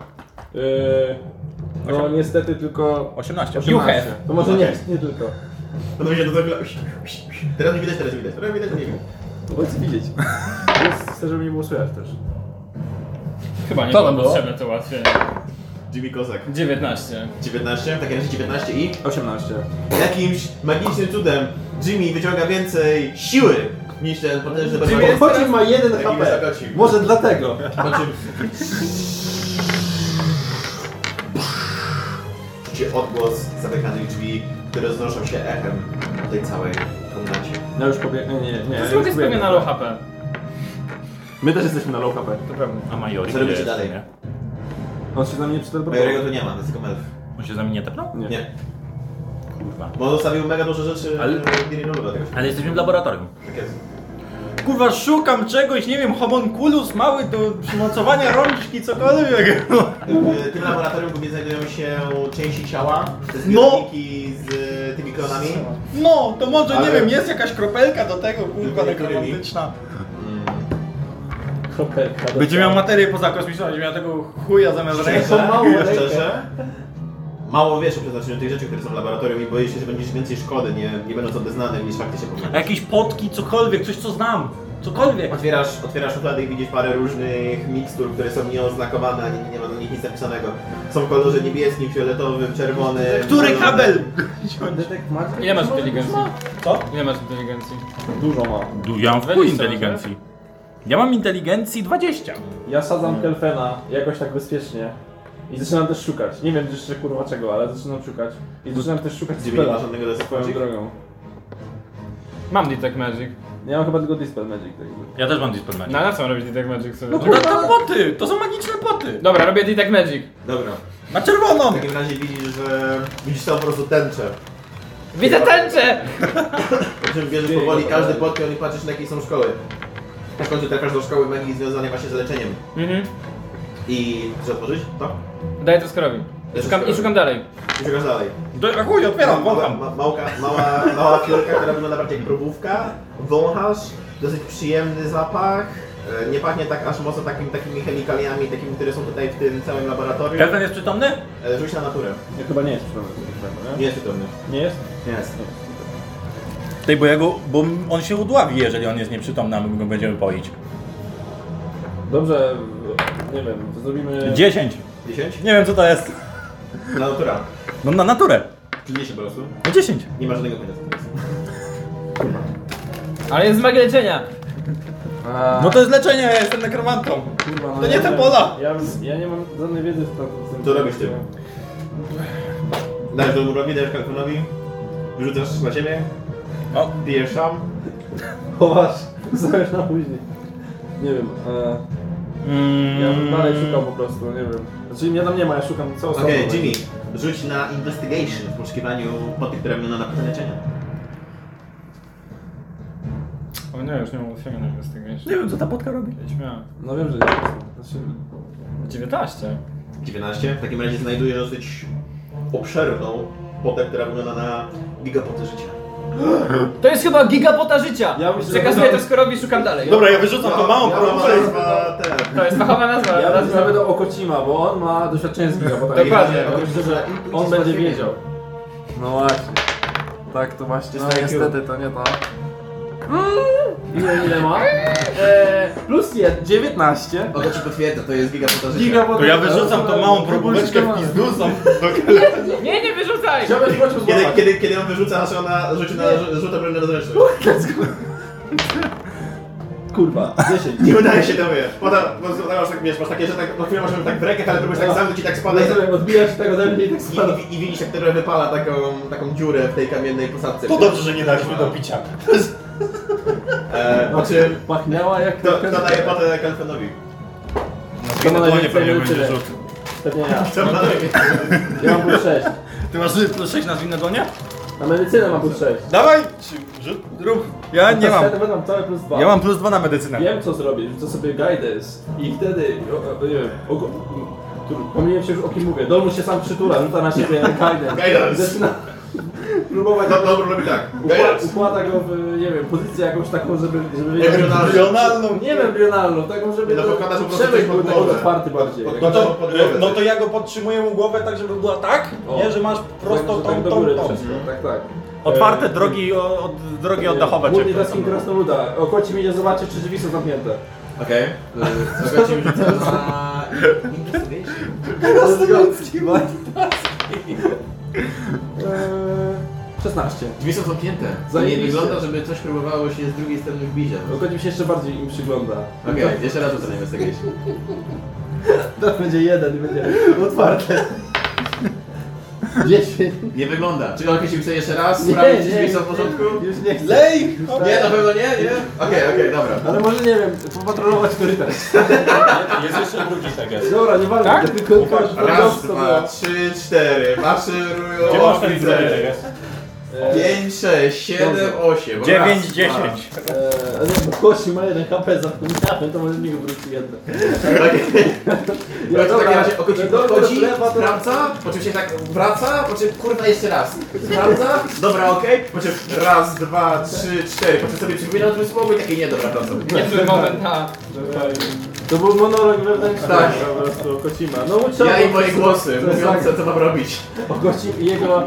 S1: Yy, no niestety tylko...
S11: 18.
S1: 18.
S2: have.
S1: To może nie, nie tylko.
S3: No to mi się to zrobiło. Teraz nie widać, teraz nie widać, teraz widać, nie wiem.
S1: Bo chcę widzieć. Więc chcę, żeby mnie było słychać też.
S2: Chyba nie
S11: Co
S2: było
S11: tam było?
S2: potrzebne to łatwiej.
S3: Jimmy Kozak.
S2: 19.
S3: 19, w takim razie 19 i
S1: 18.
S3: jakimś magicznym cudem Jimmy wyciąga więcej siły niż ten potężny barbarzyńca.
S1: Chodzi ma 1
S3: Jaki
S1: HP.
S3: wysokoci.
S1: Może dlatego.
S3: Po czym... Czucie odgłos zamykanych drzwi, które znoszą się echem w tej całej komnacie.
S1: Ja już pobiegnę, nie, nie. ja
S2: To
S1: już
S2: smok jest
S1: pobiegnę.
S2: pewnie na low HP.
S1: My też jesteśmy na low HP.
S2: To prawda.
S11: A Majori
S3: Co
S11: gdzie
S3: robicie
S11: jest,
S3: dalej?
S11: nie?
S1: On się na mnie
S3: Majorego
S1: przeteleportował.
S3: tu nie ma, to jest tylko elf.
S11: On się za mnie nie tepnął?
S1: Nie.
S3: Nie,
S11: Kurwa.
S3: bo on zostawił mega dużo rzeczy
S11: Ale-
S3: Ale... Dirinoru, dlatego się
S11: Ale jesteśmy w laboratorium.
S3: tak jest.
S4: Kurwa, szukam czegoś, nie wiem, homunculus mały do przymocowania rączki, cokolwiek.
S3: W tym laboratorium głównie znajdują się części ciała, te
S4: No.
S3: zbiorniki z e, tymi klonami.
S4: No, to może,
S3: Ale-
S4: nie wiem, jest jakaś kropelka do tego, kurwa,
S3: Niektórymi.
S4: nekromantyczna.
S1: Kropelka. do
S4: Będzie
S1: ciała.
S4: miał materię pozakosmiczną, będzie miał tego chuja zamiast ręki.
S1: To mało
S3: Szczerze,
S1: rękę.
S3: szczerze, mało wiesz o przeznaczeniu tych rzeczy, które są w laboratorium i boisz się, że będziesz więcej szkody, nie, nie będąc obeznanym, niż faktycznie
S11: A
S3: powinien.
S11: Jakieś potki, cokolwiek, coś co znam. Cokolwiek.
S3: Otwierasz, otwierasz szuflady i widzisz parę różnych mikstur, które są nieoznakowane, ani nie ma do nich nic napisanego. Są w kolorze niebieskim, fioletowym, czerwonym.
S4: Który
S3: zielonym.
S4: kabel?
S1: Detekt magia?
S2: Ile masz inteligencji?
S4: Co?
S2: Ile masz inteligencji?
S1: Dużo ma.
S11: Du- Ja mam w chuj
S2: 20,
S11: inteligencji. Ja mam inteligencji 20.
S1: Ja sadzam Kelfena jakoś tak bezpiecznie. I zaczynam też szukać. Nie wiem jeszcze kurwa czego, ale zaczynam szukać. I zaczynam też szukać
S3: Gdzie nie ma
S1: spela.
S3: żadnego
S1: Swoją
S3: zespołu.
S1: drogą.
S2: Mam Detect Magic.
S1: Ja mam chyba tylko Dispel Magic. tak jakby.
S11: Ja też mam dispel magic.
S2: Na, na co mam robić Detect Magic sobie?
S4: No to poty, to są magiczne poty.
S2: Dobra, robię Detect Magic.
S3: Dobra.
S4: Na czerwoną.
S3: W takim razie widzisz, że widzisz tam po prostu tęczę.
S2: Widzę tęczę!
S3: Po czym bierzesz powoli każdy podpiął i patrzysz na jakiej są szkoły. na końcu trafiasz do szkoły magii związanej właśnie z leczeniem.
S2: Mhm.
S3: I chcesz otworzyć? To?
S2: Daję to skorowi. I szukam, I szukam dalej.
S3: I szukasz dalej.
S10: Do, a chuj, otwieram,
S3: mała,
S10: wącham.
S3: ma, małka, mała, mała piórka, która wygląda bardziej jak probówka. Wąchasz, dosyć przyjemny zapach. e, Nie pachnie tak aż mocno takim, takimi chemikaliami, takimi, które są tutaj w tym całym laboratorium.
S11: Kelvin jest przytomny?
S3: E, Rzuć na naturę.
S1: Ja chyba nie jest przypadek,
S3: Nie jest przytomny.
S1: Nie jest?
S3: Nie jest.
S11: Tej, bo, ja go, bo on się udławi, jeżeli on jest nieprzytomny, a my go będziemy poić.
S1: Dobrze, nie wiem, zrobimy...
S11: 10.
S3: 10?
S11: Nie wiem co to jest.
S3: Na natura.
S11: No na naturę.
S3: Czyli 10 po prostu.
S11: No 10.
S3: Nie ma żadnego pojęcia co to jest.
S2: Ale jest z magii leczenia.
S11: No to jest leczenie, ja jestem nekromantą.
S1: Kurwa, no
S11: to nie
S1: ja
S11: te
S1: wiem,
S11: pola.
S1: Ja, ja nie mam żadnej wiedzy w tym- w tym.
S3: Co robisz ty? Dajesz do murowi, dajesz kalkunowi. Rzucasz na ziemię.
S11: No.
S3: Pijesz sam.
S1: Chowasz, zostawiasz na później. Nie wiem, e, ja bym dalej szukał po prostu, nie wiem. Znaczy mnie tam nie ma, ja szukam co osobno.
S3: Okej, Jimmy, rzuć na investigation w poszukiwaniu poty, które będą na napędzenie leczenia.
S2: O nie, już nie mam osiągnąć bez tego jeszcze.
S11: Nie wiem co ta podka robi.
S1: No wiem, że nie jest. Znaczy,
S2: 19.
S3: 19. W takim razie znajdujesz dosyć obszerną potę, która wygląda na gigapotę życia.
S2: To jest chyba gigapota życia!
S1: Ja myślę, że-
S2: Przekazuję to skorowi szukam dalej.
S11: Dobra, ja wyrzucam tą małą
S3: ja
S11: próbę.
S3: mam nazwa ten.
S2: To jest fachowa nazwa.
S1: ja bym
S2: nazwa.
S1: zapytał o Kocima, bo on ma doświadczenie z giga, bo tak
S2: Dokładnie.
S1: Ja myślę, że on będzie wiedział. No właśnie. Tak, to właśnie. No niestety, to nie to. Mm, ile, ile ma? E, plus 1, 19.
S3: Oto ci potwierdza, to jest gigapota życia.
S1: Giga
S11: To ja wyrzucam tą małą próbóweczkę w pizdu, sam
S2: Nie, nie wyrzucaj!
S1: Chciałbym prosić
S3: Kiedy, kiedy, kiedy on wyrzuca, aż ona rzuci na rzutę bronię rozręczną.
S1: Kurwa, 10.
S3: Nie udaje się tobie. Potem, bo potem masz, tak, wiesz, masz takie, że tak, po chwilę masz ją tak w rękach, ale próbujesz tak zamknąć i tak spada i,
S1: Rozumiem, odbijasz tego ze mnie i tak spada.
S3: i, i, i widzisz, jak trochę wypala taką, taką dziurę w tej kamiennej posadzce.
S11: To dobrze, że nie daliśmy do picia.
S3: E, po czym
S1: Pachniała jak...
S3: kto, kto daje potę Kalfenowi?
S1: To ma
S11: Ewentualnie
S1: najwięcej
S11: pewnie będzie
S1: tyle.
S11: rzut.
S1: Pewnie ja.
S3: Kto ma najwięcej?
S1: Ja mam plus 6.
S11: Ty masz plus 6 na zwinne dłonie?
S1: Na medycynę mam plus 6.
S11: Dawaj! Czy- Rzut, rób. Ja nie mam.
S1: Ja mam całe plus 2.
S11: Ja mam plus 2 na medycynę.
S1: Wiem co zrobić, rzucę sobie guidance i wtedy, o, o, nie wiem, o, o, tu- pomyliłem się już o kim mówię, Dolmus się sam przytula, rzuca na siebie guidance.
S3: Guidance.
S1: I Zaczyna próbować,
S3: No dobra, robi tak.
S1: układa, układa go w, nie wiem, pozycję jakąś taką, żeby... żeby
S11: Regionalną.
S1: Nie embrionalną, taką, żeby
S3: Nie, no, pokazać po prostu
S1: przebyt
S3: coś
S1: był
S3: pod
S1: taki
S3: głowę.
S1: otwarty bardziej.
S3: Pod-
S11: No
S1: jak-
S11: to,
S3: Pod głowę.
S11: no to ja go podtrzymuję mu głowę tak, żeby była tak,
S1: O.
S11: nie, że masz
S1: tak,
S11: prosto
S1: że
S11: tą,
S1: tak do
S11: tą,
S1: góry
S11: tą.
S1: wszystko, Tak, tak.
S11: E,
S4: Otwarte drogi, o, od, drogi oddechowe cię.
S1: Głównie dla skin krasnoluda. O koci mi nie zobaczy, czy drzwi są zamknięte.
S3: Okej. Y, Słuchajcie, już rzucę na... Investigation.
S1: Krasnoludzki Eee, 16.
S3: Drzwi są zamknięte. To nie
S1: Zajebiście.
S3: wygląda, żeby coś próbowało się z drugiej strony wbić.
S1: O koci mi No się jeszcze bardziej im przygląda.
S3: Okej, jeszcze raz rzucę na investigation.
S1: To będzie jeden, będzie.
S3: Otwarte.
S1: 10.
S3: Nie wygląda. Czy określił sobie jeszcze raz? Sprawdzić, czy drzwi są w porządku?
S1: Już nie no chcę.
S11: Lej!
S3: Nie, na pewno nie, nie? Okej, okej, dobra.
S1: Ale może nie wiem, popatrolować korytarz.
S4: Jest jeszcze drugi teges.
S1: Dobra, nie walczę, tak? tylko
S4: Chłopak,
S1: tylko-
S3: Raz,
S1: to było.
S3: dwa, trzy, cztery. Maszerują
S4: Gdzie masz ten drugi
S3: oficery.
S4: teges?
S1: Eee,
S3: Pięć, sześć, siedem,
S1: Dobrze.
S3: osiem. Raz,
S11: 9,
S3: dwa.
S11: 10.
S1: eee, ale jak kości ma jeden HP, zapomniałem, to może mi go wróci jedno.
S3: Okej.
S1: Ja
S3: Tak w takim
S1: No dobra,
S3: razie okoci
S1: dobra,
S3: podchodzi,
S1: lewa, to-
S3: sprawdza, po czym się tak wraca, po czym kurwa jeszcze raz. Sprawdza, dobra, okej, po czym raz, dwa, trzy, cztery, po czym sobie przypomina o tym słowo i takie nie, dobra, wraca.
S2: Niezły
S3: Tak.
S2: moment tak. na...
S1: To był monolog wewnętrzny.
S3: Tak.
S1: Po prostu Kocima. No trzeba
S3: Ja
S1: było
S3: i moje
S1: przesunąć-
S3: głosy, mówiące co mam robić.
S1: O Kocim i tak, jego e,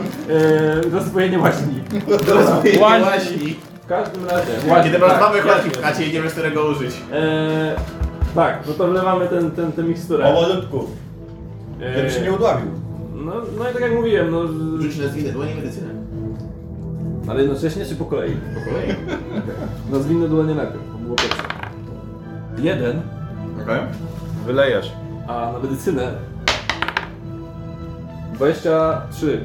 S1: rozpojenie łaźni.
S3: Rozumiem,
S2: Łaźni.
S3: właśnie.
S1: W każdym razie.
S3: Kiedy
S1: tak,
S3: mamy chodzi
S1: jasne.
S3: w chacie i nie wiesz, którego użyć.
S1: Eee, tak, no to wlewamy ten, ten, tę miksturę.
S11: Powolutku,
S1: Eee,
S11: żeby się nie udławił.
S1: no, no i tak jak mówiłem, no... z-
S3: Rzuć na zwinę dłonie medycynę.
S1: Ale jednocześnie czy po kolei?
S3: Po kolei.
S1: No zwinne dłonie najpierw, bo było pierwsze. Jeden,
S3: Okej.
S4: Wylejasz.
S1: a na medycynę... 23.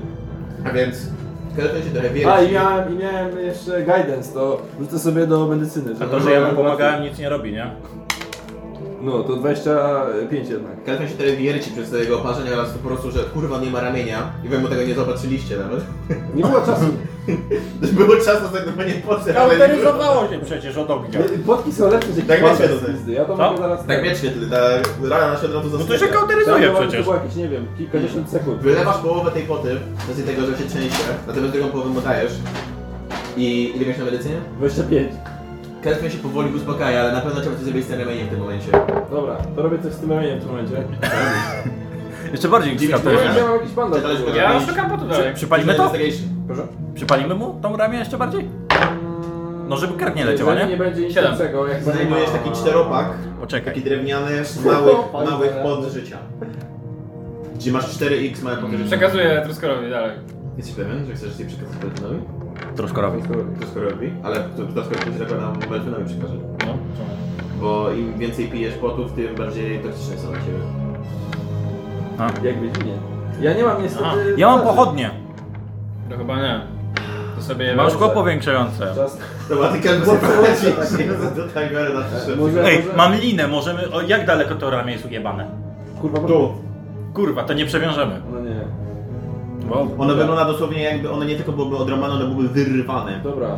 S3: A więc... Kelton się trochę
S1: A
S3: wierci.
S1: i miałem, i miałem jeszcze guidance, to rzucę sobie do medycyny.
S11: A to, że ja mu pomagałem, nic nie robi, nie?
S1: No, to 25 jednak.
S3: Kalfin się teraz wierci przez to jego oparzenie oraz po prostu, że kurwa nie ma ramienia i wy mu tego nie zobaczyliście nawet.
S1: Nie było czasu.
S3: Też było czas na zajmowanie pocy, ale...
S11: Kauteryzowało się przecież od ognia.
S1: Podki są lepsze, że
S3: Tak
S1: kłamie
S3: wiecie, to
S1: z pizdy. Ja to
S11: Co?
S1: mogę zaraz...
S3: Tak wiecznie wtedy, ta rana na światło to
S11: No to się
S3: zasłania.
S11: kauteryzuje
S1: To
S11: przecież.
S1: było jakieś, nie wiem, kilkadziesiąt sekund.
S3: Wylewasz połowę tej poty, z racji tego, że się trzęsie, natomiast drugą połowę mu dajesz. I ile miałeś na medycynie?
S1: 25.
S3: Kalfin się powoli uspokaja, ale na pewno trzeba coś zrobić z tym ramieniem w tym momencie.
S1: Dobra, to robię coś z tym ramieniem w tym momencie.
S11: Jeszcze bardziej
S3: Dziwi-
S1: Bo
S11: kauteryzuje.
S1: ja miałem jakiś bandaż.
S3: Zależy,
S1: w ogóle.
S2: Ja szukam potu dalej.
S11: Przypalimy to?
S3: Investigation.
S11: Przypalimy mu tą ramię jeszcze bardziej? No żeby krew nie leciała,
S1: Jeżeli nie
S11: nie?
S1: będzie nic
S2: Siedem.
S1: takiego, jak
S3: Zdejmujesz taki czteropak, taki
S11: Poczekaj.
S3: drewniany, z małych,
S1: Pan
S3: małych
S1: Boże.
S3: pod życia. Gdzie masz 4x małe pokrycie.
S2: Przekazuję Truskorowi dalej.
S3: Jesteś pewien, że chcesz jej przekazać Belfinowi?
S11: Troszkorowi.
S3: To skoro robi, ale to to tak skoro ktoś zakładam Belfinowi przekaże.
S11: No,
S3: Bo im więcej pijesz potów, tym bardziej toksyczne są dla ciebie.
S1: Jak widzinie. Ja nie mam niestety...
S11: Ja mam
S1: bandaży.
S11: pochodnie.
S2: To chyba nie. To sobie...
S11: Mam szkło powiększające.
S1: Czas...
S3: Dobra, ty każdy sobie poleci do Tigera na
S1: Może,
S3: przyszedł.
S11: Ej,
S1: może...
S11: mam linę, możemy... O, jak daleko to ramię jest ujebane?
S1: Kurwa, tu.
S11: Kurwa, to nie przewiążemy.
S1: No nie.
S3: Ono wygląda dosłownie jakby, one nie tylko byłyby odrąbane, one byłyby wyrwane.
S1: Dobra.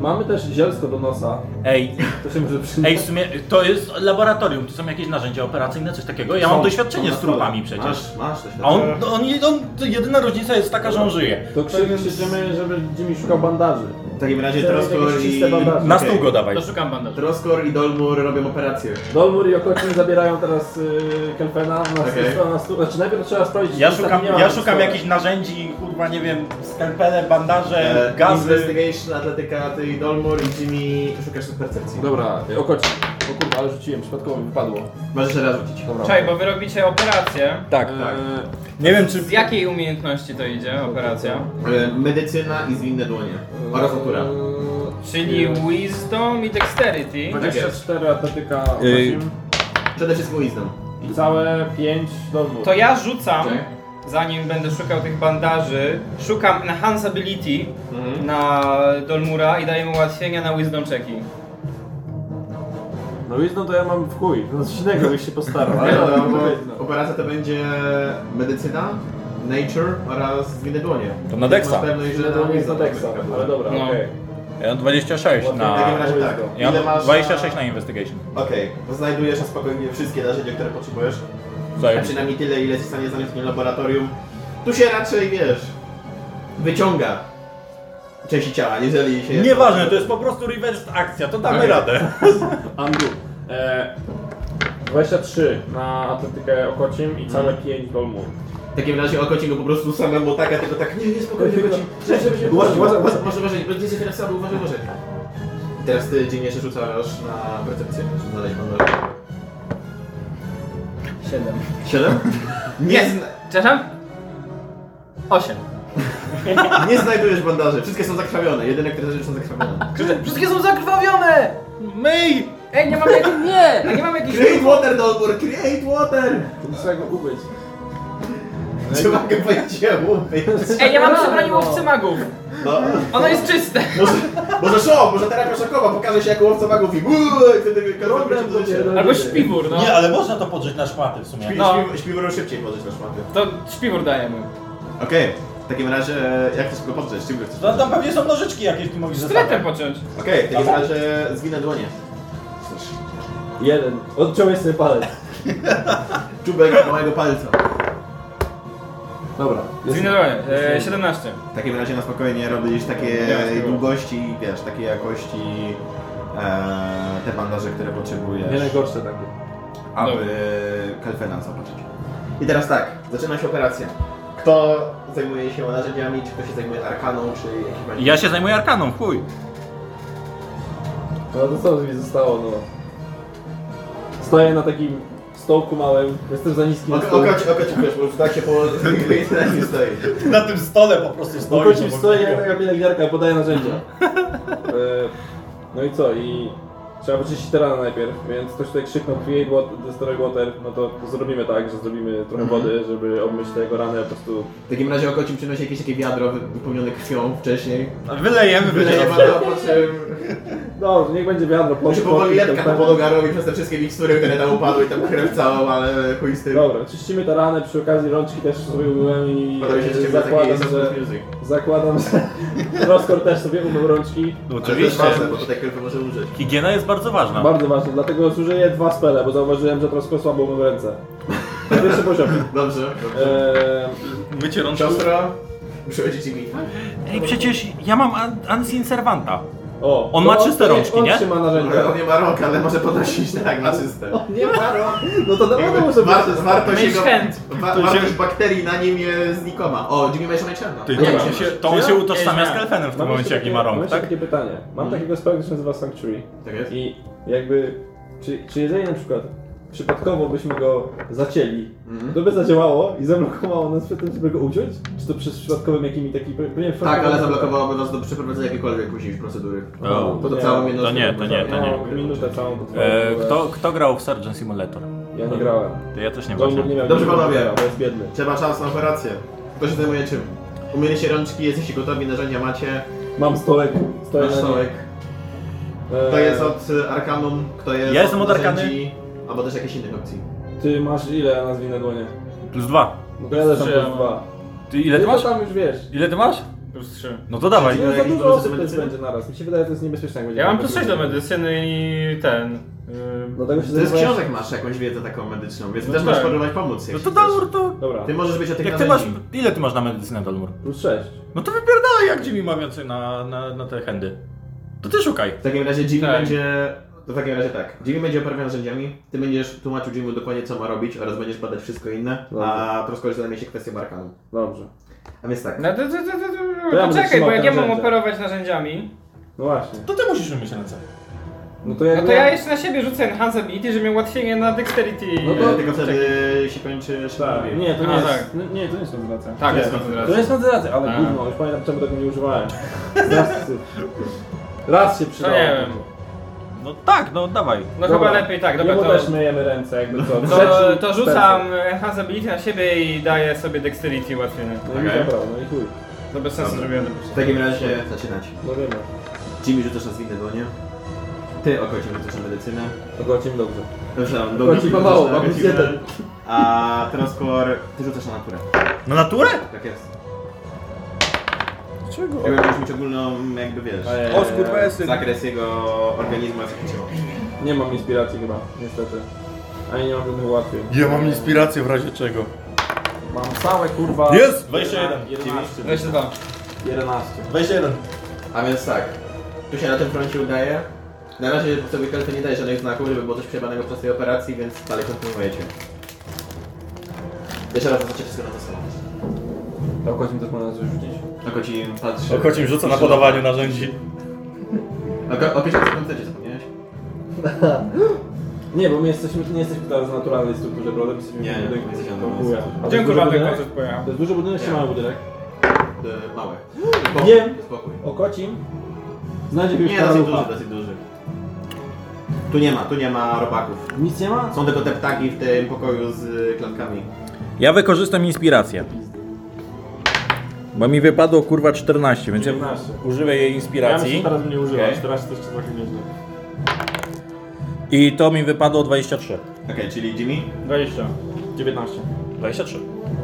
S1: Mamy też zielsko do nosa.
S11: Ej,
S1: To się może
S11: ej,
S1: przydać.
S11: w sumie to jest laboratorium, tu są jakieś narzędzia operacyjne, coś takiego. Ja mam
S3: Są,
S11: doświadczenie
S3: są
S11: z
S3: na
S11: trupami
S3: stole. Masz,
S11: przecież.
S3: masz
S11: A on,
S3: doświadczenie.
S11: on, on, to jedyna różnica jest taka, że on żyje.
S1: To krzy- krzyczymy, żeby Jimmy szukał bandaży.
S3: W takim razie
S1: Teraz
S3: Troskor
S1: jakieś
S3: i...
S1: czyste bandaże.
S11: Na
S3: Okej.
S11: stół go dawaj.
S2: To szukam bandażu.
S3: Troskor i Dolmur robią operację.
S1: Dolmur i Okocin zabierają teraz y, Kelfena na stół.
S3: Okej.
S1: na stół. Znaczy najpierw trzeba sprawdzić...
S11: Ja
S1: czy tam
S11: szukam,
S1: nie ma
S11: ja
S1: na
S11: szukam
S1: stole.
S11: jakichś narzędzi, kurwa, nie wiem, skalpele, bandaże,
S3: E,
S11: gazy.
S3: Investigation, atletyka, ty i Dolmur i Jimmy szukasz percepcji.
S1: Dobra, y, Okocin. O kurwa, ale rzuciłem, przypadkowo mi wypadło.
S3: Możesz jeszcze raz rzucić.
S1: Dobra.
S2: Czaj, bo wy robicie operację.
S11: Tak,
S1: E,
S11: Nie wiem czy...
S2: Z jakiej umiejętności to idzie operacja?
S3: E, Medycyna i zwinne dłonie.
S11: Eee.
S3: Oraz natura.
S2: Czyli wisdom i dexterity.
S1: 24 atletyka 8
S3: Przede wszystkim Wisdom.
S1: i całe 5 Dolmur.
S2: To ja rzucam, zanim będę szukał tych bandaży, szukam enhance ability na Dolmura i daję mu ułatwienia na wisdom checki.
S1: No Wisdom to ja mam w chuj, no coś innego byś się postarał.
S3: Ale
S1: Ale
S3: dobra,
S1: no,
S3: bo
S1: no.
S3: operacja to będzie medycyna, nature oraz zwinne dłonie.
S11: To na
S3: Więc masz
S11: Dexa.
S3: pewność, że
S1: Źle to nie jest na
S3: Wisdom to
S1: Dexa,
S3: będzie.
S1: ale dobra,
S2: No.
S1: okej.
S11: Ja mam 26
S3: W takim
S11: na...
S3: razie tak.
S11: Ja
S3: Ile
S11: mam
S3: masz
S11: 26 na investigation.
S3: Okej, to znajdujesz na spokojnie wszystkie narzędzia, które potrzebujesz. A
S11: Zająć.
S3: przynajmniej tyle, ile zostanie znaleźć w tym laboratorium. Tu się raczej, wiesz, wyciąga części ciała, jeżeli się...
S11: Nieważne, to jest po prostu reverse akcja, to damy radę.
S1: Andu, e, 23 na atletykę Okocim i całe 5 Dolmur.
S3: W takim razie oko ci go po prostu samemu taka, tylko tak, nie, nie, spokojnie, chodzi. Uważaj, uważaj, uważaj, może uważaj, będzie się teraz słabo, uważaj, uważaj. Teraz ty dziwnie jeszcze rzucasz na percepcję, żeby znaleźć bandaż.
S2: Siedem.
S3: Siedem? Nie, zna
S2: Przepraszam? Osiem.
S3: nie znajdujesz bandaży, wszystkie są zakrwawione, jedyne, które znajdziesz są zakrwawione.
S2: Wszystkie są zakrwawione! Myj! Ej, nie mam jakichś... Nie! Ja nie mam jakichś...
S3: Create water, Dolbor, create water!
S1: Trzeba go ubyć.
S3: Trzeba go powiedział,
S2: Ej, ja mam przebranie łowcy magów!
S3: No,
S2: Ono jest czyste!
S3: może, może show, może terapia szokowa, pokaże się jako łowca magów i uuuu, i wtedy każdy
S1: Problem
S3: do życia.
S1: dopiero.
S2: Albo śpiwór, no.
S11: Nie, ale można to podrzeć na szmaty w sumie.
S3: Śpi-
S2: No.
S3: śpi- Śpiwór szybciej położyć na szmaty.
S2: To śpiwór dajemy.
S3: Okej, w takim razie e, jak chcesz go podrzeć? Czym go chcesz
S11: No,
S3: podrzeć?
S11: tam pewnie są nożyczki jakieś, ty mówisz, że
S2: Stretem począć.
S3: Okej, w takim razie zwinę dłonie.
S1: Jeden. Odciąłeś sobie palec.
S3: Czubek małego palca.
S1: Dobra.
S2: Zwinnowałem. E, 17.
S3: W takim razie na spokojnie robisz takie
S2: Nie,
S3: długości, wiesz, takie jakości e, te bandaże, które
S1: Nie no,
S3: potrzebujesz,
S1: najgorsze takie.
S3: aby
S11: No.
S3: Kalfena zobaczyć. I teraz tak, zaczyna się operacja. Kto zajmuje się narzędziami, czy kto się zajmuje arkaną, czy jakimś magią?
S11: Ja się zajmuję arkaną, chuj.
S1: No to co mi zostało, no. Stoję na takim stołku małym, jestem za niskim
S3: Oko, oko, ci- oko ci wiesz, bo już tak się położy, że nie stoi.
S11: Na tym stole po prostu stoi.
S1: Okocim No stoi jak taka pielęgniarka, podaje narzędzia. E, no i co, i trzeba wyczyścić te rany najpierw, więc ktoś tutaj krzyknął create water, destroy water, no to zrobimy tak, że zrobimy trochę wody, żeby obmyć te jego rany po prostu.
S3: W takim razie oko ci przynosi jakieś takie wiadro wy- wypełnione krwią wcześniej.
S11: Wylejemy,
S3: Wylejemy
S11: wylejemy.
S3: to, po czym
S1: Dobrze, No, niech będzie wiadro. Po,
S3: Muszę powoli
S1: tak
S3: lepka po podoganowi przez te wszystkie mikstury, które tam upadły i tam krew całą, ale chuj z tym.
S1: Dobra, czyścimy te rany, przy okazji rączki też sobie umyłem i
S3: Podoba mi się, że ciebie
S1: zakładam,
S3: taki
S1: że,
S3: jest music.
S1: zakładam, że Roskor też sobie umył rączki.
S3: Ale to jest ważne, bo tutaj krew może umrzeć.
S11: Higiena jest bardzo ważna.
S1: Bardzo ważne, dlatego zużyję dwa spele, bo zauważyłem, że troszkę słabo umył ręce. Na pierwszy poziom.
S3: Dobrze, dobrze.
S1: Eee,
S11: Mycie rączki.
S3: Siostro, muszę lecieć ci bitwę.
S1: No,
S11: Ej, przecież ja mam an- Ancien Servanta.
S1: o,
S11: On
S1: to
S11: ma czyste
S1: to niech
S11: rączki,
S1: on
S11: nie?
S1: trzyma narzędzia.
S3: Ale on No, nie ma rąk, ale może podnosić tak na czyste.
S1: no. Nie ma rąk. No to naprawdę muszę być.
S3: Warto, wartość
S2: Mieć
S3: jego,
S2: chęt.
S3: wa, wartość bakterii na nim jest znikoma. O, dzięki miałeś męczenna.
S11: Ty, to, on się, to on się utożsamia z Kelfenem w tym
S1: Mam
S11: momencie,
S1: jeszcze
S11: jak nie ma
S1: mam
S11: rąk,
S1: jeszcze
S11: tak?
S1: takie pytanie. Mam
S3: Mhm.
S1: takiego spela, który się nazywa Sanctuary.
S3: Tak jest?
S1: I jakby, czy, czy jeżeli na przykład przypadkowo byśmy go zacięli,
S3: Mhm.
S1: to by zadziałało i zablokowało nas przed tym, żeby go uciąć? Czy to przez przypadkowym jakimi taki... Nie,
S3: Tak, ale zablokowałaby was do przeprowadzenia jakiejkolwiek później procedury. No,
S11: O,
S3: Bo to
S1: nie.
S3: całą jedną
S11: To nie, to nie, to nie.
S1: No, minutę całą potrwało.
S11: E, kto, kto grał w Sergeant Simulator?
S1: Ja nie grałem.
S11: To ja też nie
S1: Gombur
S11: wiem.
S1: nie miał
S3: No. Dobrze,
S1: nigdy
S3: panowie.
S1: komputera, Bo jest biedny.
S3: Trzeba czas na operację. Kto się zajmuje czym? Umieliście rączki, jesteście gotowi, narzędzia macie,
S1: Mam stołek. Stoję
S3: masz
S1: na nim.
S3: stołek.
S1: E,
S3: Kto jest od y, Arkanum, kto jest
S11: Ja jestem od Arkany.
S3: narzędzi, Albo też jakichś innych opcji.
S1: E, Ty masz ile nazwij na dłonie?
S11: Plus dwa.
S1: No to ja też mam
S2: Trzy,
S1: plus dwa.
S11: Ty ile ty
S1: Tylko
S11: masz?
S1: tam już wiesz.
S11: Ile ty masz?
S2: Plus 3.
S11: No to dawaj.
S1: Nie, za
S3: jakiś
S1: dużo
S3: bonus
S1: osób też
S3: medycyny?
S1: będzie naraz. Mi się wydaje, że to jest niebezpieczne. jak będzie
S2: Ja mam
S1: tak
S2: plus
S1: dużo
S2: 6 do
S1: ludzi.
S2: medycyny i ten. y, ym,
S1: Dlatego No, się
S3: Ty z
S1: zajmowałeś-
S3: książek masz jakąś wiedzę taką medyczną, więc
S2: No
S3: też możesz
S2: tak.
S3: próbować pomóc. jak
S11: No
S3: się
S11: to
S3: chcesz.
S11: Dalmur to...
S1: Dobra,
S3: Ty możesz być od tych
S11: Jak ty masz...
S3: narzędzi.
S11: Ile ty masz na medycynę, Dalmur?
S1: plus 6.
S11: No to wypierdalaj, jak Jimmy ma więcej na, na, na te handy. To ty szukaj.
S3: W takim razie Jimmy
S2: Tak.
S3: będzie... To w takim razie tak. Jimmy będzie operował narzędziami, ty będziesz tłumaczył Jimmy dokładnie co ma robić oraz będziesz badać wszystko inne, a troszkę zajmie się kwestią Arkanum.
S1: Dobrze.
S3: A więc tak.
S2: No to, to, to, to, to, no
S1: To ja będę
S2: czekaj,
S1: trzymał
S2: bo jak
S1: te
S2: ja mam
S1: narzędzia.
S2: operować narzędziami,
S1: No właśnie.
S11: To ty musisz umyć ręce.
S1: No to ja,
S2: no to ja jeszcze na siebie rzucę Enhance Ability, żeby miał ułatwienie na Dexterity.
S1: No
S3: E,
S1: to-
S3: Tylko wtedy się kończy
S1: Tak,
S3: sztabie.
S1: nie, to nie
S2: A,
S1: jest.
S2: tak.
S1: no Nie, to nie jest koncentracja.
S2: Tak,
S3: Nie,
S2: jest
S3: to-
S1: To
S2: koncentracja.
S1: jest koncentracja, ale
S2: A.
S1: gówno, już pamiętam czemu tego nie używałem. Raz, raz się przydało.
S2: nie wiem.
S11: No tak, no dawaj.
S2: No
S1: Dobra.
S2: chyba lepiej tak, dobra,
S1: Jemu
S2: to,
S1: też myjemy ręce, jakby co.
S2: to,
S1: Trzeci
S2: to rzucam Enhance Ability na siebie i daję sobie Dexterity ułatwienie.
S1: person. No i
S3: Okej.
S1: dobra, no i chuj.
S2: To bez sensu zrobiłem to
S3: W takim razie zaczynać.
S1: No wiemy.
S3: Jimmy rzucasz na zwinne dłonie. Ty okocim rzucasz na medycynę.
S1: Ogłocimy dobrze.
S3: Przepraszam,
S1: Okoci
S3: Dominik
S1: ma mało,
S3: rzucasz na
S1: ma plus
S3: medycynę.
S1: jeden.
S3: A teraz Kor, ty rzucasz na naturę.
S11: Na naturę?
S3: Tak jest. Dlaczego? Jakby miałeś mieć ogólną, jakby wiesz,
S1: Ej,
S10: O, skurwesy.
S3: zakres jego organizmu, jak się ciało.
S1: Nie mam inspiracji chyba, niestety. Ani nie mam żadnych ułatwień.
S11: Ja mam inspirację w razie czego.
S1: Mam całe kurwa.
S11: Jest!
S3: 11.
S2: 22.
S1: 11.
S11: 21.
S3: A więc tak, tu się na tym froncie udaje. Na razie sobie Kelty nie daje żadnych znaków, żeby było coś przejebanego podczas tej operacji, więc dalej kontynuujecie. Jeszcze raz zaznaczę wszystko na to samo.
S1: To ogłocimy też można coś rzucić.
S3: Tylko ci patrzy.
S11: Okocim rzuca na podawaniu narzędzi.
S3: Oko- Opisz co tam chcecie, zapomniałeś?
S1: Nie, bo my jesteśmy, nie jesteśmy teraz w naturalnej strukturze brody, jesteśmy
S3: Nie,
S1: w budynku.
S3: nie jesteśmy w
S1: To
S3: naturalnej
S1: chuja.
S3: strukturze.
S1: A to jest
S2: Dziękuję
S1: duży
S2: kurwa, ten
S1: budynek?
S2: koncert pojechał.
S1: To jest duży budynek, czy
S3: Nie.
S1: mały budynek?
S3: E, Małe.
S1: Nie.
S3: Spokój.
S1: Okocim. Znajdzie jakiegoś
S3: Nie, dosyć duży,
S1: karalucha.
S3: dosyć duży. Tu nie ma, tu nie ma robaków.
S1: Nic nie ma?
S3: Są tylko te ptaki w tym pokoju z y, klatkami.
S11: Ja wykorzystam inspirację. Bo mi wypadło kurwa 14, więc
S1: 19.
S11: użyję jej
S1: Ja myślę, że
S11: inspiracji.
S1: teraz mnie używasz,
S2: Okej.
S1: teraz to jeszcze trochę nieźle.
S11: I to mi wypadło 23.
S3: Okej, czyli Jimmy,
S1: 20. 19.
S11: 23.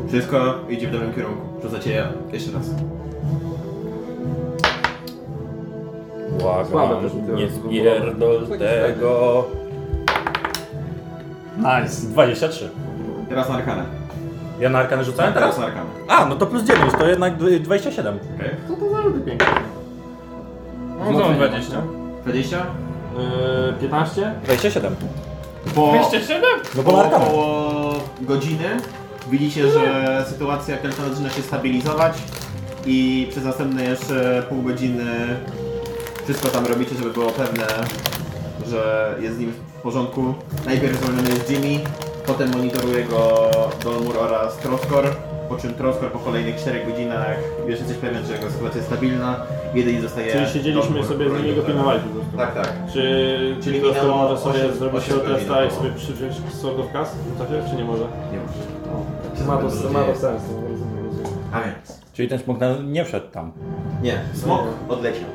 S3: wszystko idzie w dobrym kierunku. Rzucacie je jeszcze raz.
S1: Słabe
S11: Błagam,
S1: też mi to
S11: nie
S1: było.
S11: spierdol tego. Nice. 23.
S3: Teraz na arkanę.
S11: Ja na arkany rzucałem
S3: Tak, Teraz
S11: teraz?
S3: na arkanę.
S11: A, no to plus 9, to jednak dw- 27.
S3: Okej.
S2: No to 20.
S3: 20?
S1: Yy, 15?
S11: 27.
S3: Po
S2: 27?
S11: No bo na
S3: po
S11: arkany.
S3: około godziny widzicie, że sytuacja Keltona zaczyna się stabilizować i przez następne jeszcze pół godziny wszystko tam robicie, żeby było pewne, że jest z nim w porządku. Najpierw zwolniony jest Jimmy, potem monitoruje go Dolmur oraz Troskor, po czym Troskor po kolejnych 4 godzinach już jesteś pewien, że jego sytuacja jest stabilna, jedynie zostaje
S1: Czyli siedzieliśmy
S3: Dolmur,
S1: sobie z
S3: który
S1: nimi go
S3: tak-
S1: pilnowali po prostu.
S3: Tak, tak.
S1: Czy
S3: Czyli
S1: Czyli po prostu
S3: minęło
S1: może sobie
S3: osiem-
S1: zrobić
S3: osiem
S1: się
S3: godzin no.
S1: testa i
S3: około.
S1: sobie przywieźć słowo w kas? Rzucacie, czy nie może?
S3: Nie muszę.
S1: Ma
S3: to-
S1: to,
S3: ma to
S1: sens,
S3: A więc.
S11: Czyli ten smok na- nie wszedł tam.
S3: Nie, smok odleciał.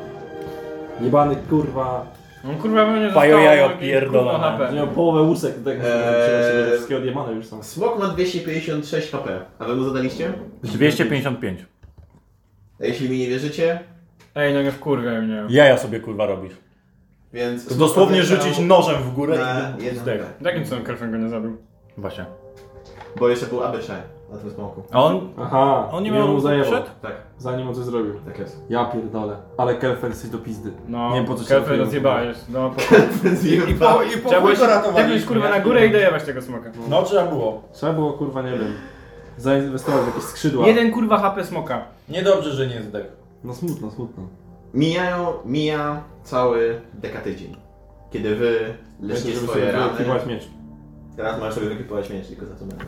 S1: Jebany kurwa
S2: No kurwa, będzie zostało...
S11: Pajo jajo
S2: jakieś
S11: pierdolone.
S2: kurwa HP.
S1: Miał połowę łusek, tak eee...
S3: Eee.
S1: wszystkie odjemane już są.
S3: Smok ma 256 HP. A wy mu zadaliście?
S9: 255.
S3: A jeśli mi nie wierzycie,
S2: Ej, no nie wkurwiaj mnie.
S11: Jaja sobie kurwa robisz.
S3: więc...
S11: To dosłownie rzucić nożem w górę
S3: na
S11: i
S3: jedną.
S11: zdech.
S2: Jakim cudem Kerfen go nie zabił?
S9: Właśnie.
S3: Bo jeszcze był ABC na tym smoku.
S11: A on,
S1: Aha,
S11: on nie
S1: i mu
S11: miał
S1: zajebał.
S11: przed?
S3: Tak,
S1: Zanim on coś zrobił.
S3: tak jest.
S1: Ja pierdolę. Ale Kelfer jesteś do pizdy.
S2: No,
S1: Nie wiem, po co się
S2: Kerfen
S1: odkryłem.
S2: rozjebałeś. No, po...
S3: I po, i
S2: Trzeba było się jakiegoś kurwa na górę i dojebać tego smoka.
S11: No trzeba było.
S1: Trzeba było kurwa, nie wiem. Zainwestować w jakieś skrzydła.
S2: Jeden kurwa HP smoka.
S11: Niedobrze, że nie zdech.
S1: No smutno, smutno.
S3: Mijają, mija cały dekatydzień. Kiedy wy leczycie
S1: Będziesz
S3: swoje
S1: sobie
S3: rany.
S1: wykiwać miecz.
S3: Teraz masz sobie wykupować miecz, tylko za to będę.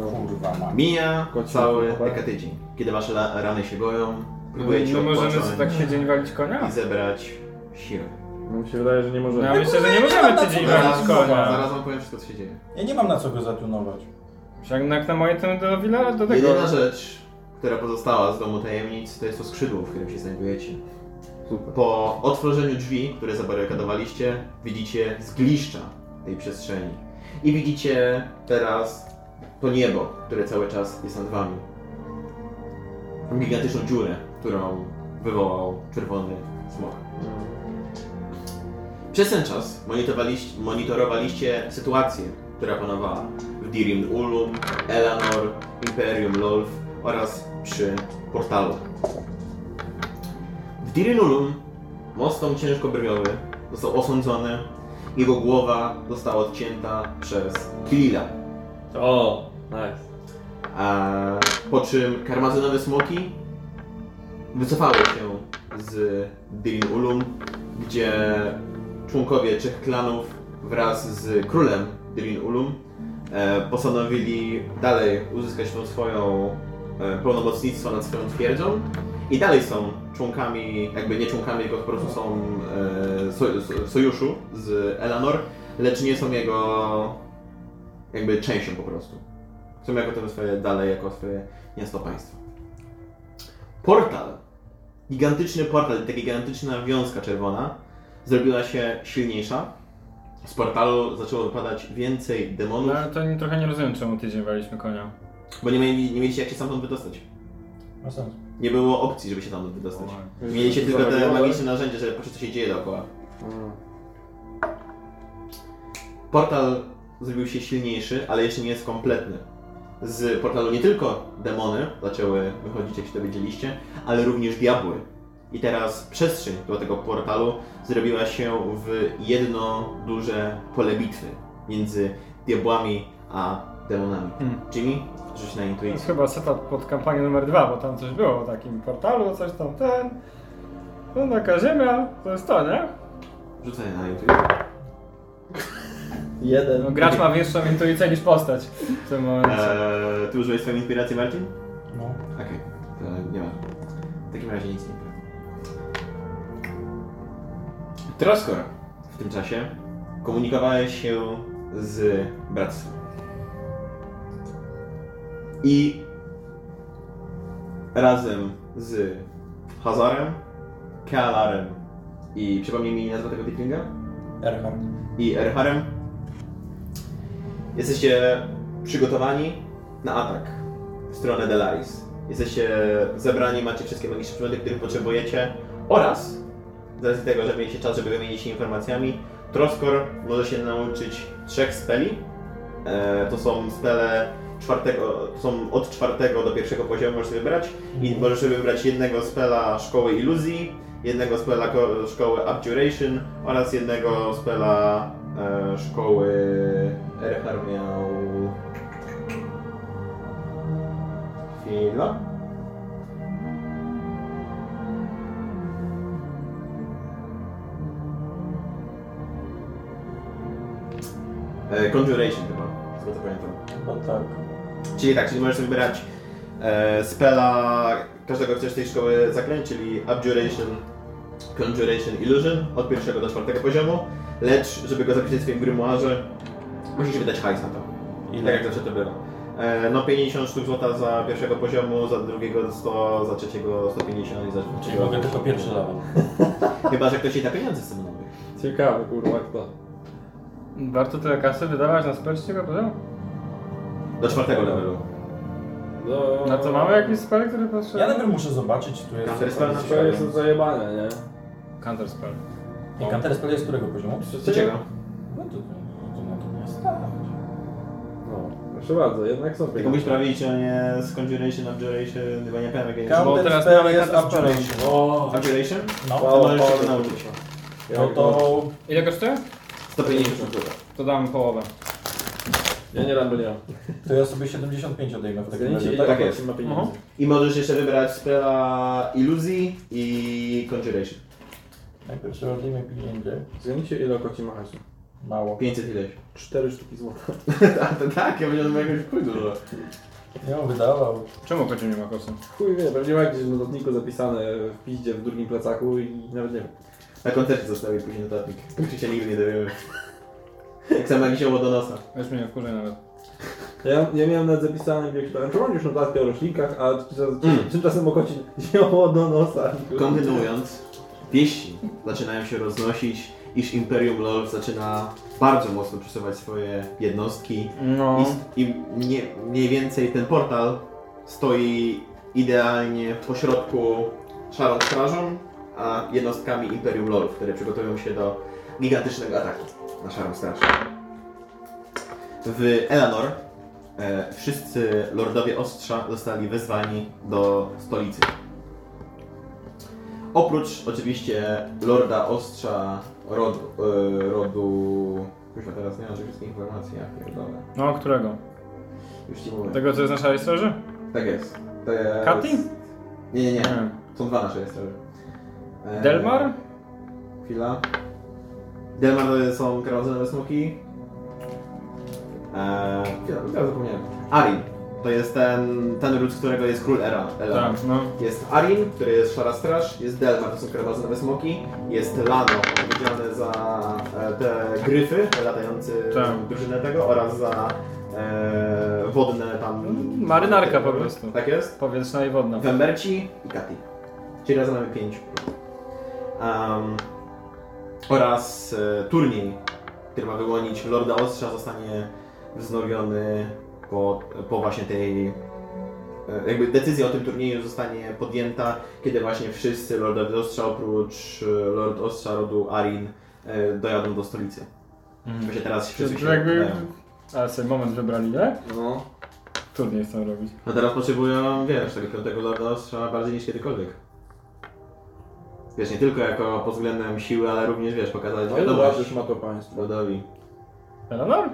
S1: No,
S11: Kurwa mam.
S3: Mija
S1: Kocie,
S3: cały
S1: tak?
S3: dekatydzień. Kiedy wasze la- rany się goją,
S2: No,
S3: próbujecie
S2: no możemy
S3: odpocząć
S2: sobie tak siedzieć walić konia?
S3: i zebrać siły.
S1: No mi się wydaje, że nie może.
S2: No, ja myślę, że nie
S11: mam
S2: możemy
S11: na
S2: tydzień
S11: co
S2: walić konia.
S3: zaraz wam powiem wszystko co się dzieje.
S11: Ja nie mam na co go zatunować.
S2: Jak na, jak na moje to do Wila, do tego.
S3: Jedyna rzecz, która pozostała z domu tajemnic, to jest to skrzydło, w którym się znajdujecie.
S1: Super.
S3: Po otworzeniu drzwi, które zabarykadowaliście, widzicie zgliszcza tej przestrzeni. I widzicie teraz to niebo, które cały czas jest nad wami. Gigantyczną dziurę, którą wywołał czerwony smok. Przez ten czas monitorowaliście, monitorowaliście sytuację, która panowała w Dirim Ulum, Elanor, Imperium Lolf oraz przy portalu. W Dirinulum mocą ciężkobrwiowy został osądzony. Jego głowa została odcięta przez Kilila.
S1: O, nice.
S3: A po czym karmazynowe smoki wycofały się z Dirinulum, gdzie członkowie trzech klanów wraz z królem Dirinulum e, postanowili dalej uzyskać tą swoją e, pełnomocnictwo nad swoją twierdzą i dalej są członkami, jakby nie członkami, tylko po prostu są e, soj- so, sojuszu z Elanor, lecz nie są jego jakby częścią po prostu. Są jako ten swoje dalej, jako swoje miasto państwo. Portal. Gigantyczny portal, ta gigantyczna wiązka czerwona zrobiła się silniejsza. Z portalu zaczęło wypadać więcej demonów,
S2: No, ale to nie, trochę nie rozumiem, czemu tydzień waliśmy konia.
S3: bo nie, mieli, nie mieliście jak się stamtąd wydostać.
S11: Ma sens.
S3: Nie było opcji, żeby się stamtąd wydostać. Mieliście tylko te magiczne narzędzia, żeby patrzeć, co się dzieje dookoła. Portal zrobił się silniejszy, ale jeszcze nie jest kompletny. Z portalu nie tylko demony zaczęły wychodzić, jak się dowiedzieliście, ale również diabły. I teraz przestrzeń do tego portalu zrobiła się w jedno duże pole bitwy między diabłami a demonami.
S2: Hmm.
S3: Jimmy, rzuć na
S2: To jest
S3: intuicję.
S2: chyba setup pod kampanię numer dwa, bo tam coś było o takim portalu, coś tam ten. No taka ziemia, to jest to, nie?
S3: Rzucaj na intuicję. Jeden.
S2: No, gracz ma większą intuicję niż postać w tym
S1: E.
S2: momencie.
S3: Eee, ty użyłeś swojej inspiracji, Marcin?
S11: No.
S3: Okej, to nie ma. W takim razie nic nie ma. Troskor w tym czasie komunikowałeś się z bractwem. I razem z Hazarem, Kealarem i przypomnij mi nazwę tego wiklinga?
S11: Erhard.
S3: i Erharem. Jesteście przygotowani na atak w stronę Delaris. Jesteście zebrani, macie wszystkie magiczne przedmioty, których potrzebujecie oraz z racji tego, że mieliście czas, żeby wymienić się informacjami, Troskor może się nauczyć trzech speli. E, to są spele czwartego, to są od czwartego do pierwszego poziomu możesz sobie wybrać i możesz sobie wybrać jednego spela szkoły iluzji, jednego spela ko- szkoły Abjuration oraz jednego spela e, szkoły Erhar miał... Chwila. E, Conjuration chyba, z tego co pamiętam.
S11: No tak.
S3: Czyli tak, czyli możesz wybrać e, spela każdego chcesz tej szkoły zaklęć, czyli Abjuration, Conjuration, Illusion od pierwszego do czwartego poziomu, lecz żeby go zapisać w swoim grimoarze, musisz wydać hajs na to. I tak jak zawsze to bywa. E, no 50 sztuk złota za pierwszego poziomu, za drugiego 100, za trzeciego 150 i za
S11: Czyli
S3: czwartego.
S11: mogę tylko pierwszy level.
S3: Chyba, że ktoś jej da pieniądze z tym nowych.
S1: Ciekawe, kurwa, kto.
S2: Warto tyle kasy wydawać na spell trzeciego poziomu?
S3: Do czwartego levelu.
S1: No,
S2: Na co mamy jakiś spell, który potrzebny?
S4: Ja najpierw muszę zobaczyć, tu jest...
S3: Counter spell na
S1: To
S3: przykład.
S1: jest od zajebania, nie?
S2: Counter spell.
S4: Nie, Counter Spell jest którego poziomu?
S1: Trzeciego?
S3: Trzeciego.
S4: No to, to na to nie stać.
S1: No, proszę bardzo, jednak są
S3: Tylko
S1: pieniądze.
S3: byś prawie liczył, nie z Conjuration, Abjuration, chyba nie pamiętam jak
S2: Bo
S4: Counter
S2: teraz
S4: Spell
S2: mamy
S4: jest
S2: Counter Spell.
S4: Abjuration.
S3: Abjuration?
S4: No,
S3: To możesz się go nauczyć.
S4: no to...
S2: Ile kosztuje?
S3: 150 zł.
S2: To dam połowę.
S1: Ja nie dam, bo nie mam.
S4: To ja sobie 75 odejmę w takim
S1: Zgadnijcie,
S4: razie.
S1: ile
S4: Tak?
S3: tak
S1: kogoś
S3: jest.
S1: ma
S2: Mhm.
S1: pieniędzy.
S3: I możesz jeszcze wybrać spela iluzji i Conjuration.
S4: Najpierw sobie odejmę pieniędzy.
S1: Zgadnijcie, ile koci ma hasu.
S4: Mało.
S3: 500 ileś.
S1: Cztery sztuki złota.
S3: A to tak, ja będę miał jakąś dużo.
S4: Ja ją wydawał.
S2: Czemu kocie nie ma kosy?
S1: Chuj wie, pewnie ma gdzieś w notatniku zapisane w piździe w drugim plecaku i nawet nie wiem.
S3: Na koncercie zostawię później notatnik. Czy się nigdy nie dowiemy. Tak Jak sama wisiało do nosa.
S2: Weź mnie nie wkurzaj nawet.
S1: Ja, ja miałem nawet zapisane, gdzie czytałem, czy mam już notatkę o roślinkach, a tymczasem mm. tymczasem o koci wzięło do nosa.
S3: Kontynuując, wieści zaczynają się roznosić, iż Imperium LoL zaczyna bardzo mocno przesuwać swoje jednostki
S2: No.
S3: i, s- i mniej, mniej więcej ten portal stoi idealnie w pośrodku szarą strażą, a jednostkami Imperium LoL, które przygotowują się do gigantycznego ataku na szarą straż. W Elanor e, wszyscy lordowie ostrza zostali wezwani do stolicy. Oprócz oczywiście Lorda Ostrza rodu, y, rodu... Kurwa, teraz nie mam tych wszystkich informacji, ja pierdolę.
S2: No, którego?
S3: Już ci mówię.
S2: Tego, co jest na szarej straży?
S3: Tak jest. To jest...
S2: Kati?
S3: Nie, nie, nie.
S2: Nie.
S3: Są dwa nasze jeszcze. E,
S2: Delmar?
S3: Chwila. Delmar to są kradzone smoki. Eee, chwila, ja zapomniałem. Arin. To jest ten, ten ród, z którego jest król Era. Ela.
S2: Tak, no.
S3: Jest Arin, który jest Szara Straż, jest Delmar, to są krwawe smoki, jest Lano, odpowiedzialny za e, te gryfy latający
S2: Tak.
S3: drużynę tego oraz za e, wodne tam...
S2: Marynarka po prostu.
S3: Tak jest.
S2: Powietrzna i wodna.
S3: Wemberci i Kati. Czyli razem mamy pięć. Em, oraz e, turniej, który ma wyłonić Lorda Ostrza, zostanie wznowiony po, po właśnie tej... e, Jakby decyzja o tym turnieju zostanie podjęta, kiedy właśnie wszyscy Lordowie Ostrza, oprócz e, Lord Ostrza rodu Arin, e, dojadą do stolicy. Właśnie teraz wszyscy się
S2: Że jakby...
S3: dojadą.
S1: Tak.
S2: Ale sobie moment wybrali, tak?
S1: No.
S2: Turniej chcą robić.
S3: No teraz potrzebują, wiesz, tego piątego Lorda Ostrza bardziej niż kiedykolwiek. Wiesz, nie tylko jako pod względem siły, ale również, wiesz, pokazać
S1: No i dobra,
S3: wiadomość
S1: już ma to państwo.
S3: Lordowi.
S2: Eleanor?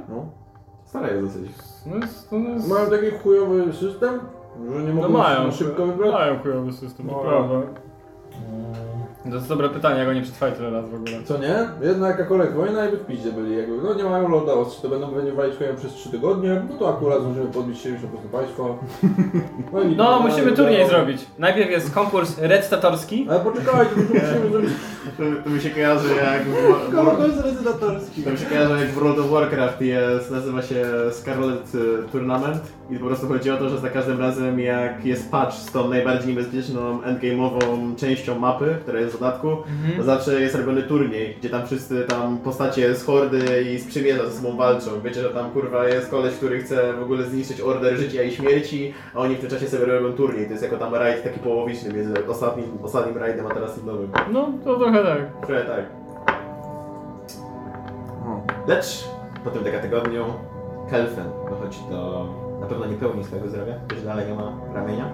S3: Stara jest dosyć.
S2: No jest, no jest...
S1: Mają taki chujowy system, że nie
S2: No
S1: mogą
S2: mają,
S1: szybko wybrać. Mm.
S2: Mają chujowy system, to
S1: No.
S2: prawda. To jest dobre pytanie, jak oni przetrwali tyle lat w ogóle.
S1: Co nie? Jedna jakakolwiek wojna i by w piździe byli. Jakby, no nie mają lorda ostrzy, to będą będzie walić kołem przez 3 tygodnie, no to akurat możemy podbić 70% państwo. No, i-
S2: No, musimy
S1: i-
S2: turniej
S1: no.
S2: zrobić. Najpierw jest konkurs recytatorski.
S1: Ale poczekaj, to musimy zrobić...
S8: To, to mi się kojarzy jak... w- w-
S1: jest rezydatorski.
S8: To mi się kojarzy jak w World of Warcraft jest, nazywa się Scarlet y, Tournament i po prostu chodzi o to, że za każdym razem jak jest patch z tą najbardziej niebezpieczną endgame'ową częścią mapy, która jest w dodatku, to zawsze jest robiony turniej, gdzie tam wszyscy tam postacie z hordy i z przymierza ze sobą walczą. Wiecie, że tam kurwa jest koleś, który chce w ogóle zniszczyć order życia i śmierci, a oni w tym czasie sobie robią turniej. To jest jako tam rajd taki połowiczny między ostatnim, ostatnim rajdem a teraz tym nowym.
S2: No, to trochę tak.
S8: Trochę tak.
S2: No.
S3: Lecz po tym tygodniu Kelfen dochodzi do... Na pewno nie pełni swojego zdrowia, gdyż dalej nie ma ramienia,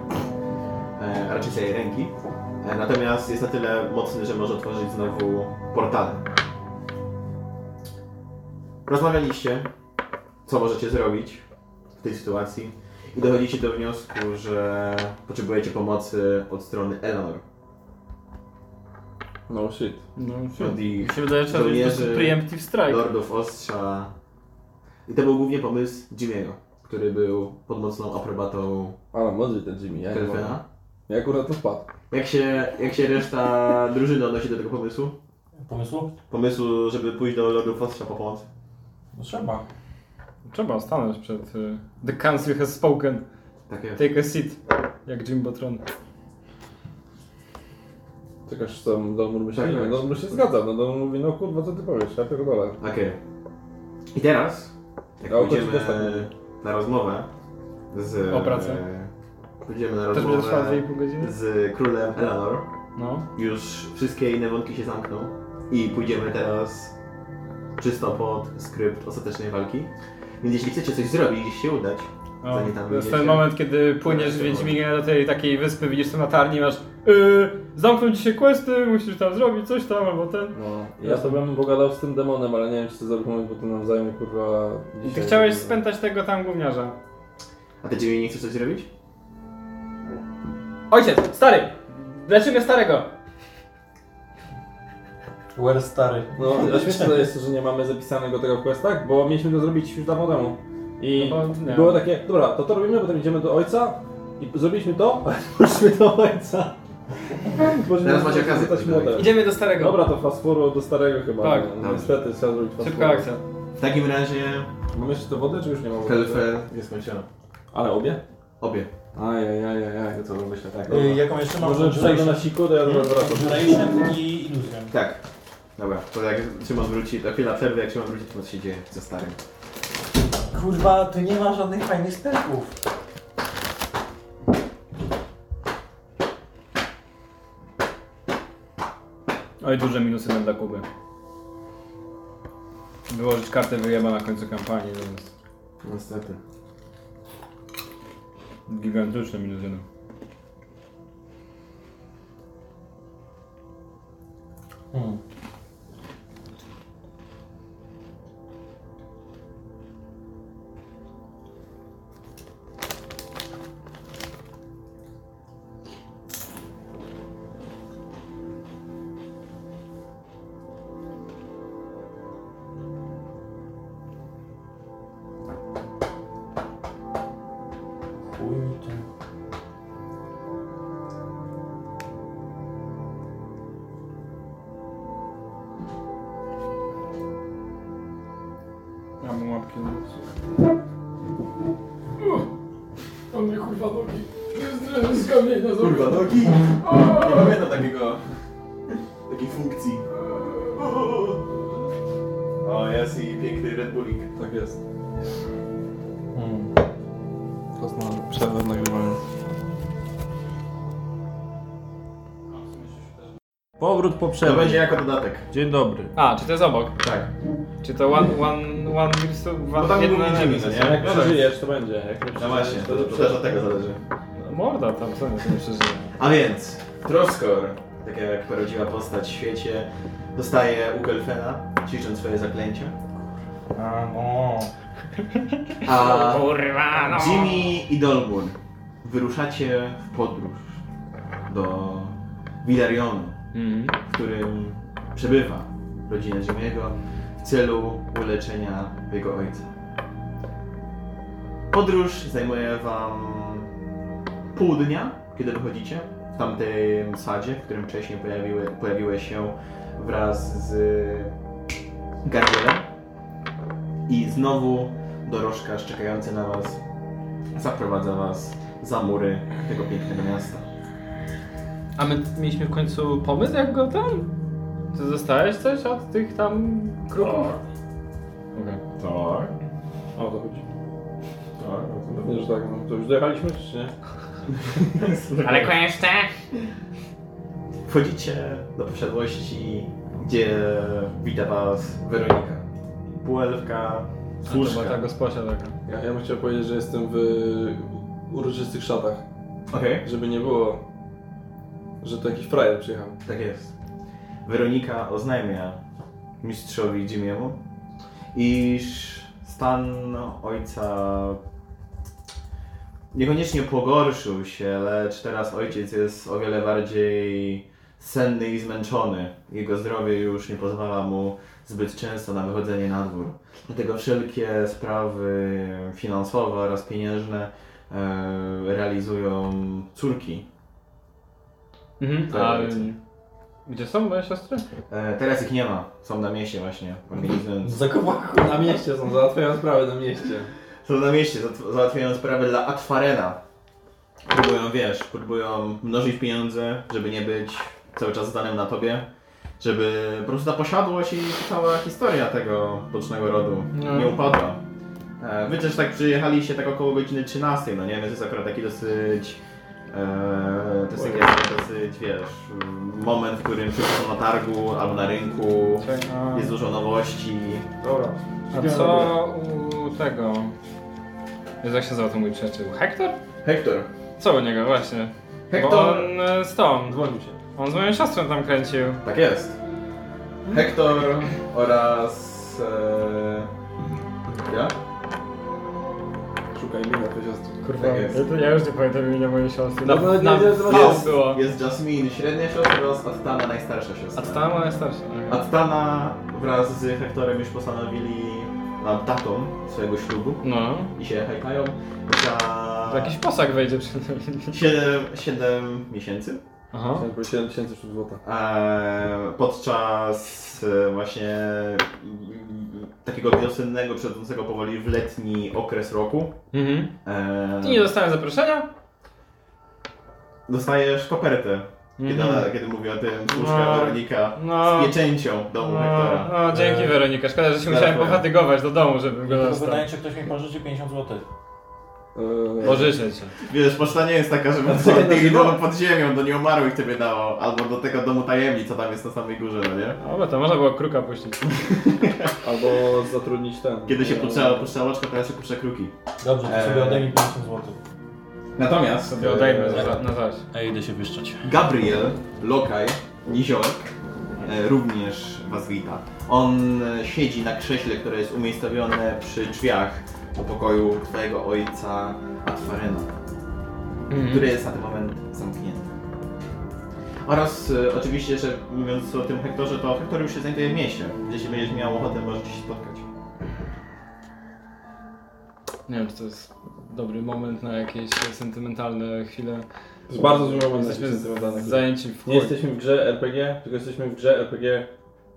S3: e, a raczej tej ręki. E, natomiast jest na tyle mocny, że może otworzyć znowu portale. Rozmawialiście, co możecie zrobić w tej sytuacji i dochodzicie do wniosku, że potrzebujecie pomocy od strony Eleanor.
S1: No shit.
S2: No,
S3: Od ich
S2: mi się wydaje, że trzeba zrobić po prostu
S3: Żołnierze-
S2: preemptive strike.
S3: Lordów Ostrza. I to był głównie pomysł Jimmy'ego, który był pod mocną aprobatą
S1: Ale mądry ten Jimmy, ja nie mogę.
S3: Kelfena.
S1: Ja akurat to wpadł.
S3: Jak się, jak się reszta drużyny odnosi do tego pomysłu?
S4: Pomysłu?
S3: Pomysłu, żeby pójść do Lordów Ostrza po pomoc?
S4: No trzeba.
S2: Trzeba stanąć przed... y, The council has spoken.
S3: Tak Takie.
S2: Take a seat. Jak Jim Botron.
S1: Czekasz co Domur myśli?
S3: Tak,
S1: Tak,
S3: tak.
S1: no Domur się zgadza, no Domur mówi, no kurwa co ty powiesz, ja pierdolę.
S3: Okej. I teraz, jak
S1: Ja o to
S3: pójdziemy
S1: też tak mówię.
S3: na rozmowę z... e,
S2: O pracę.
S3: Pójdziemy na
S2: Też będzie trwała
S3: rozmowę
S2: 2,5 godziny?
S3: z królem Eleanor.
S2: No.
S3: Już wszystkie inne wątki się zamkną i pójdziemy teraz czysto pod skrypt ostatecznej walki. Więc jeśli chcecie coś zrobić, gdzieś się udać,
S2: O,
S3: Zanim tam
S2: No, to jest ten
S3: wyjdziecie.
S2: moment, kiedy płyniesz Wiedźminem do tej takiej wyspy, widzisz tę latarnię i masz yy, zamknął ci się questy, musisz tam zrobić coś tam albo ten.
S1: No, ja sobie bym pogadał z tym demonem, ale nie wiem czy to zrobimy, bo to nam zajmie kurwa
S2: I
S1: dzisiaj.
S2: ty chciałeś spętać tego tam gówniarza.
S3: a ty dziewięć nie chcesz coś zrobić?
S2: Ojciec, stary! Leczymy starego!
S4: Where stary?
S1: No, a śmieszne to jest, że nie mamy zapisanego tego w questach, bo mieliśmy to zrobić już dawno temu. I
S2: No bo nie.
S1: było takie, dobra, to to robimy, potem idziemy do ojca i zrobiliśmy to, ale poszliśmy do ojca. Boże,
S3: Teraz
S1: nie
S3: macie
S1: chcę
S3: okazję
S1: zapytać
S3: tego
S1: młode.
S2: Idziemy do starego.
S1: Dobra, to fast forward do starego chyba.
S2: Tak.
S1: no,
S3: Dobrze.
S1: niestety trzeba zrobić fast
S2: Szybka
S1: forward.
S2: akcja.
S3: W takim razie
S1: Mam jeszcze te wody, czy już nie mam wody?
S3: Kelfę jest skończona.
S1: Ale obie?
S3: Obie.
S1: Ajajajajaj.
S3: Ja to myślę tak.
S4: Y, jaką jeszcze mam?
S1: Może przejdę na siku, to ja
S2: Hmm?
S1: wracam.
S4: Duration i illusion.
S3: Tak. Dobra, to jak Szymon wróci, to chwila przerwy, jak Szymon wróci, to co się dzieje ze starym.
S4: Kurwa, tu nie ma żadnych fajnych spelków.
S2: Oj, duże minusy będą dla Kuby. Wyłożyć kartę wyjeba na końcu kampanii, no więc
S3: Niestety.
S2: gigantyczne no. minus jeden.
S4: Hmm. Chuj mi to.
S2: Ja mam łapki.
S3: Kurwa, nogi! Nie pamiętam takiego... takiej funkcji. O, jest i piękny Red Bullik.
S1: Tak jest.
S4: Hmm.
S1: To znam. Przerwę nagrywania.
S11: Powrót po
S3: To będzie
S11: przerwie.
S3: jako dodatek.
S11: Dzień dobry.
S2: A, czy to jest obok?
S3: Tak.
S2: Czy to one, one, one, virus-
S3: No tam
S2: one,
S3: był
S2: jedna
S3: widzimy,
S1: A
S3: no nie?
S1: jak przeżyjesz, to będzie. Jak nie
S3: No właśnie, to,
S1: przeżyjesz,
S3: to też od tego zależy.
S2: Morda tam, co nie, to nie przeżyje.
S3: A więc, Troskor, tak jak parodziła postać w świecie, dostaje u Gelfena, ćwicząc swoje zaklęcia.
S4: A no.
S3: A
S2: Kurwa, no!
S3: Jimmy i Dolbun, wyruszacie w podróż do Vilarionu,
S2: Mhm.
S3: w którym przebywa rodzina Jimmy'ego w celu uleczenia jego ojca. Podróż zajmuje wam pół dnia, kiedy wychodzicie w tamtym sadzie, w którym wcześniej pojawiły, pojawiłeś się wraz z Gardielem. I znowu dorożkarz czekający na was zaprowadza was za mury tego pięknego miasta.
S2: A my mieliśmy w końcu pomysł, jak go tam? Ty zostałeś coś od tych tam kruków?
S18: Tak.
S1: O, to chodzi. Tak, pewnie, że tak. No, to już dojechaliśmy, czy nie?
S2: Ale koniecznie!
S3: Wchodzicie do posiadłości, gdzie wita was Weronika. Półelfka,
S2: Słuszka. Ta gosposia taka.
S1: Ja, ja bym chciał powiedzieć, że jestem w uroczystych szatach.
S3: Okej,
S1: Żeby nie było, że to jakiś frajer przyjechał.
S3: tak jest. Weronika oznajmia mistrzowi Jimiemu, iż stan ojca niekoniecznie pogorszył się, lecz teraz ojciec jest o wiele bardziej senny i zmęczony. Jego zdrowie już nie pozwala mu zbyt często na wychodzenie na dwór. Dlatego wszelkie sprawy finansowe oraz pieniężne e, realizują córki.
S2: Mhm. A gdzie są moje siostry?
S3: E, teraz ich nie ma, są na mieście właśnie, organizując
S4: Zakopaku.
S1: Na mieście są, załatwiają sprawy na mieście.
S3: Są na mieście, zat- załatwiają sprawy dla Aquarena. Próbują, wiesz, próbują mnożyć pieniądze, żeby nie być cały czas zdanym na tobie, żeby po prostu ta posiadłość i cała historia tego bocznego rodu nie upadła. E, Wy też tak przyjechaliście tak około godziny 13, no nie? Więc jest akurat taki dosyć... E, to jest taki akurat dosyć, wiesz, moment, w którym wszyscy są na targu albo na rynku,
S2: a-
S3: jest dużo nowości.
S1: Dobra.
S2: A co u tego? Jezu, Jak się zwał ten mój przyjaciel? Hektor?
S3: Hektor.
S2: Co u niego, właśnie? Bo
S3: Hektor.
S2: on e, z tą,
S1: Dzwonił się.
S2: on z moją siostrą tam kręcił.
S3: Tak jest. Hektor oraz... E, ja?
S1: Szukaj mina, to jest...
S2: Kurwa,
S3: Tak jest.
S2: ja, to ja już nie pamiętam imienia mojej siostry.
S1: No,
S2: Dawno-
S1: nie,
S2: dawno
S1: nie,
S2: temu
S1: nie,
S3: Jest,
S2: było.
S3: jest Jasmine, średnia siostra oraz Attana, najstarsza siostra.
S2: A to tam ona jest starsza.
S3: Attana wraz z Hektorem już postanowili nad datą swojego ślubu
S2: No,
S3: i się hajkają za
S2: to jakiś posag wejdzie przynajmniej.
S3: 7, 7 miesięcy.
S2: Aha.
S1: 7 tysięcy sztuk złota.
S3: Eee, podczas e, właśnie mm, takiego wiosennego, przechodzącego powoli w letni okres roku.
S2: Mhm.
S3: Eee,
S2: Ty nie dostałem zaproszenia?
S3: Dostajesz kopertę, kiedy,
S2: Mhm.
S3: kiedy mówi o tym słuszka
S2: No.
S3: Weronika
S2: No.
S3: z pieczęcią domu
S2: No,
S3: Hektora.
S2: no, dzięki
S3: Eee,
S2: Weronika, szkoda, że się
S3: zaraz
S2: musiałem
S3: powiem.
S2: pofatygować do domu, żebym go
S4: Tylko
S2: dostał.
S4: wydaje czy ktoś mi pożyczy 50 zł.
S1: Eee,
S2: Pożyczę cię.
S3: Wiesz, poczta nie jest taka, żeby do tego domu pod ziemią, do nieumarłych tobie dało, albo do tego domu tajemnic, co tam jest na samej górze, no nie?
S2: O, bo to można było kruka puścić.
S1: Albo zatrudnić ten.
S3: Kiedy się
S1: eee,
S3: puszczało, puszczało oczko, teraz się puszcza kruki.
S4: Dobrze, to sobie
S3: Eee.
S4: odejmij 50 zł.
S3: Natomiast...
S2: Sobie odejmę za- na zaś.
S11: Ja idę się wyszczać.
S3: Gabriel, lokaj, niziołek, e, również was wita. On e, siedzi na krześle, które jest umiejscowione przy drzwiach do pokoju twojego ojca Atfarena, który jest na ten moment zamknięty. Oraz e, oczywiście, że mówiąc o tym Hektorze, to Hektor już się znajduje w mieście. Jeśli będziesz miał ochotę, możecie się spotkać.
S2: Nie wiem, czy to jest dobry moment na jakieś sentymentalne chwile.
S1: To jest bardzo zły moment.
S2: Jesteśmy
S1: Jesteśmy
S2: z- zajęci w
S1: Nie
S2: chuj.
S1: jesteśmy w grze RPG, tylko jesteśmy w grze RPG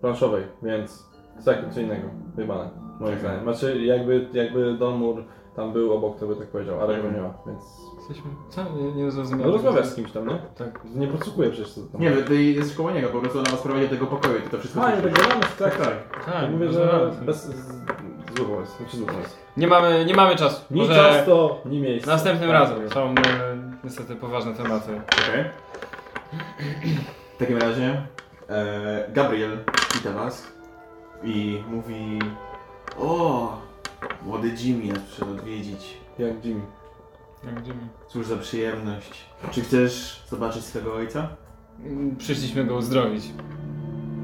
S1: planszowej, więc tak co innego, wybane, moim zdaniem. Znaczy jakby, jakby Domur tam był obok, to by tak powiedział, ale go nie ma, więc...
S2: Jesteśmy... Co? Nie, nie zrozumiałem.
S1: No rozmawiasz z kimś tam, nie?
S2: No, Tak.
S1: Nie podsłuchuję przecież co tam.
S3: Nie, wy- ty jesteś koło niego, po prostu ona was prowadzi do tego pokoju, ty to wszystko
S1: A, nie, tak
S3: słyszysz.
S1: gadamy, tak, tak.
S2: Tak,
S1: Mówię, że
S2: rozmawiamy.
S1: bez... z- Zły pomysł, znaczy zły pomysł.
S2: Nie mamy, nie mamy czasu.
S1: Ni
S2: Może
S1: czas to, ni miejsce.
S2: następnym
S1: Tak,
S2: razem.
S1: tak.
S2: Są e, niestety poważne tematy.
S3: Okej. W takim razie e, Gabriel wita was i mówi O, młody Jimmy nas przyszedł odwiedzić.
S1: Jak Jimmy.
S2: Jak będziemy-
S3: Cóż za przyjemność. Czy chcesz zobaczyć swego ojca?
S2: Mm, Przyszliśmy go uzdrowić.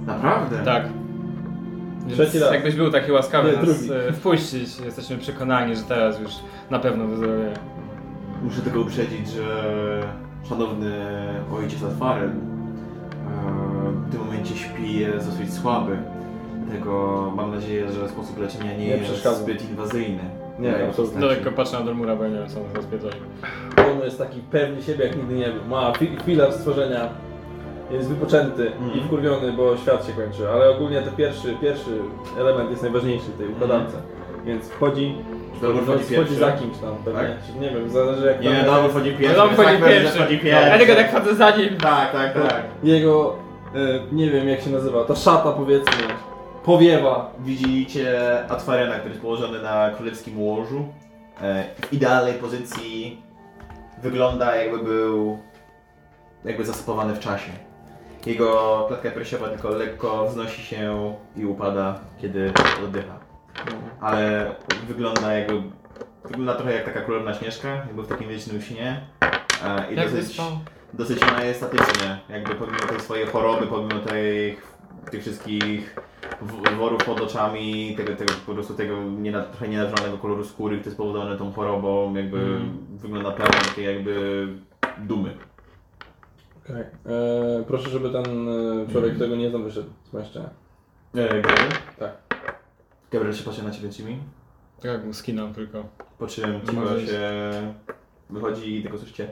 S3: Naprawdę?
S2: Tak. Więc
S1: Trzeci raz.
S2: Jakbyś był taki łaskawy
S1: Nie,
S2: nas
S1: drugi.
S2: e, wpuścić, jesteśmy przekonani, że teraz już na pewno wyzdrowieje.
S3: Znaczy. Muszę tylko uprzedzić, że szanowny ojciec Alfaren e, w tym momencie śpi jest dosyć słaby. Dlatego mam nadzieję, że sposób leczenia nie, jest
S1: przeszkadza.
S3: zbyt inwazyjny. Tak.
S1: Nie,
S3: Dla jego
S1: absolutnie.
S3: postaci.
S2: Daleko patrzę na Dormura, bo ja nie wiem, co on rozpierdolił.
S1: On jest taki pewny siebie jak nigdy nie był. Ma fi- filar stworzenia, jest wypoczęty
S3: Mhm.
S1: i wkurwiony, bo świat się kończy. Ale ogólnie to pierwszy, pierwszy element jest najważniejszy w tej układance. Więc wchodzi,
S3: Dalmor Mhm. wchodzi pierwszy.
S1: za kimś tam pewnie.
S3: Tak?
S1: Czy Nie wiem, zależy jak
S3: Nie, no,
S1: tam-
S3: Dom wchodzi pierwszy.
S2: Dom No, wchodzi
S3: Zakmer
S2: pierwszy.
S3: tak Wchodzi
S2: Ja
S3: pierwszy.
S2: tylko tak chodzę za nim.
S3: Tak, tak, tak.
S1: Jego, e, nie wiem jak się nazywa, ta szata powiedzmy, powiewa.
S3: Widzicie Atwarena, który jest położony na królewskim łożu. E, W idealnej pozycji wygląda jakby był jakby zasapowany w czasie. Jego klatka piersiowa tylko lekko wznosi się i upada, kiedy oddycha. Ale wygląda jakby... Wygląda trochę jak taka królewna śnieżka, jakby w takim wiecznym śnie. E, I
S2: Jak
S3: dosyć...
S2: wyspał?
S3: dosyć majestatycznie, jakby pomimo tej swojej choroby, pomimo tej, tych wszystkich w- worów pod oczami, tego, tego po prostu tego nie, trochę nienaturalnego koloru skóry, który jest powodowany tą chorobą, jakby wygląda pełen takiej jakby dumy.
S1: Okay. proszę, żeby ten e,
S3: Mhm.
S1: człowiek, którego nie znam, wyszedł z pomieszczenia.
S3: E, Gabriel?
S1: Tak.
S3: Gabriel się patrzy na ciebie, Jimmy,
S2: Tak jak mu skinam tylko.
S3: po czym
S2: Może
S3: cicho
S2: jest.
S3: się wychodzi i tylko słyszycie,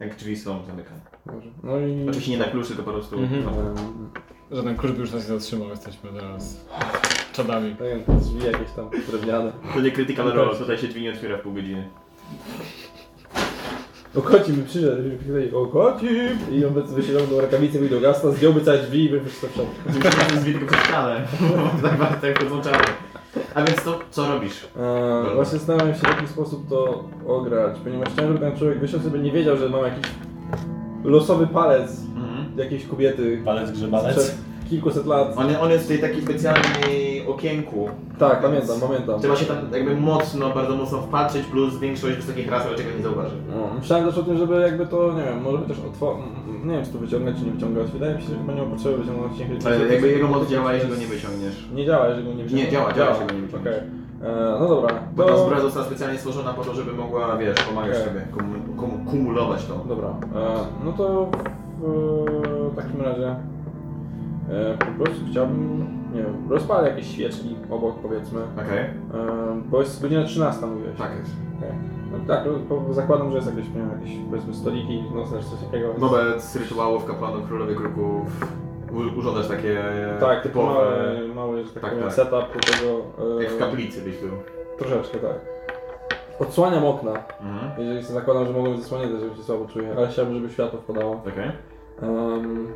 S3: jak drzwi są zamykane.
S1: Dobrze. No i...
S3: Oczywiście nie na klucz, tylko po prostu...
S2: Mm. Mhm.
S3: No.
S1: Em,
S2: Żaden klucz by już nas nie zatrzymał, jesteśmy teraz czadami.
S1: nie wiem, drzwi jakieś tam drewniane.
S2: No tak.
S3: To nie krytyka, ale tutaj się drzwi nie otwiera w pół godziny.
S1: O koci mi przyszedł, żeby powiedzieli, o koci! I on by wyciągnął rękawicę i do gasta, zdjąłby całe drzwi i by wyszedł E,
S3: Z widku przez ścianę. Tak bardzo jak podłączamy. A więc to, co robisz?
S1: Eee, właśnie starałem się w jaki sposób to ograć, ponieważ chciałem, żeby ten człowiek wyszedł, żeby nie wiedział, że mam jakiś losowy palec
S3: Mhm.
S1: jakiejś kobiety
S11: Palec grzebalec.
S1: sprzed kilkuset lat.
S3: On, on jest w tej takiej specjalnej okienku.
S1: Tak, pamiętam, pamiętam.
S3: Trzeba się tam jakby mocno, bardzo mocno wpatrzeć, plus większość wysokich ras raczej go nie zauważy.
S1: No, myślałem też o tym, żeby jakby to, nie wiem, może chociaż otworzyć, nie wiem czy to wyciągać czy nie wyciągać, wydaje mi się, że chyba nie ma potrzeby wyciągnąć niech
S3: Ale jakby jego moc działa, jeśli go nie wyciągniesz.
S1: Nie działa, jeżeli go nie wyciągniesz.
S3: działa, działa, jeśli go nie wyciągniesz.
S1: Okej. Eee, No dobra,
S3: Bo ta
S1: to...
S3: zbroja została specjalnie stworzona po to, żeby mogła, wiesz, pomagać
S1: Okej.
S3: sobie, kumu, kumu, kumulować to.
S1: Dobra, e, no to w, e, takim razie e, po prostu chciałbym, nie wiem, rozpalę jakieś świeczki obok powiedzmy, e,
S3: Okej,
S1: bo jest godzina 13 mówiłeś.
S3: tak jest.
S1: No, tak, no, po- zakładam, że jest jakieś, nie wiem, jakieś powiedzmy stoliki, no znaczy coś takiego.
S3: Wobec rytuałów kapłanów królowej kruków u- urządzasz takie
S1: Tak,
S3: typowe,
S1: mały, mały że tak,
S3: Tak,
S1: powiem,
S3: tak.
S1: setup do tego. e,
S3: jak w kaplicy byś był.
S1: Troszeczkę, tak. Odsłaniam okna,
S3: Mhm.
S1: jeżeli sobie zakładam, że mogą być zasłonięte, żeby się słabo czuję, ale chciałbym, żeby światło wpadało.
S3: Okej.
S1: Um,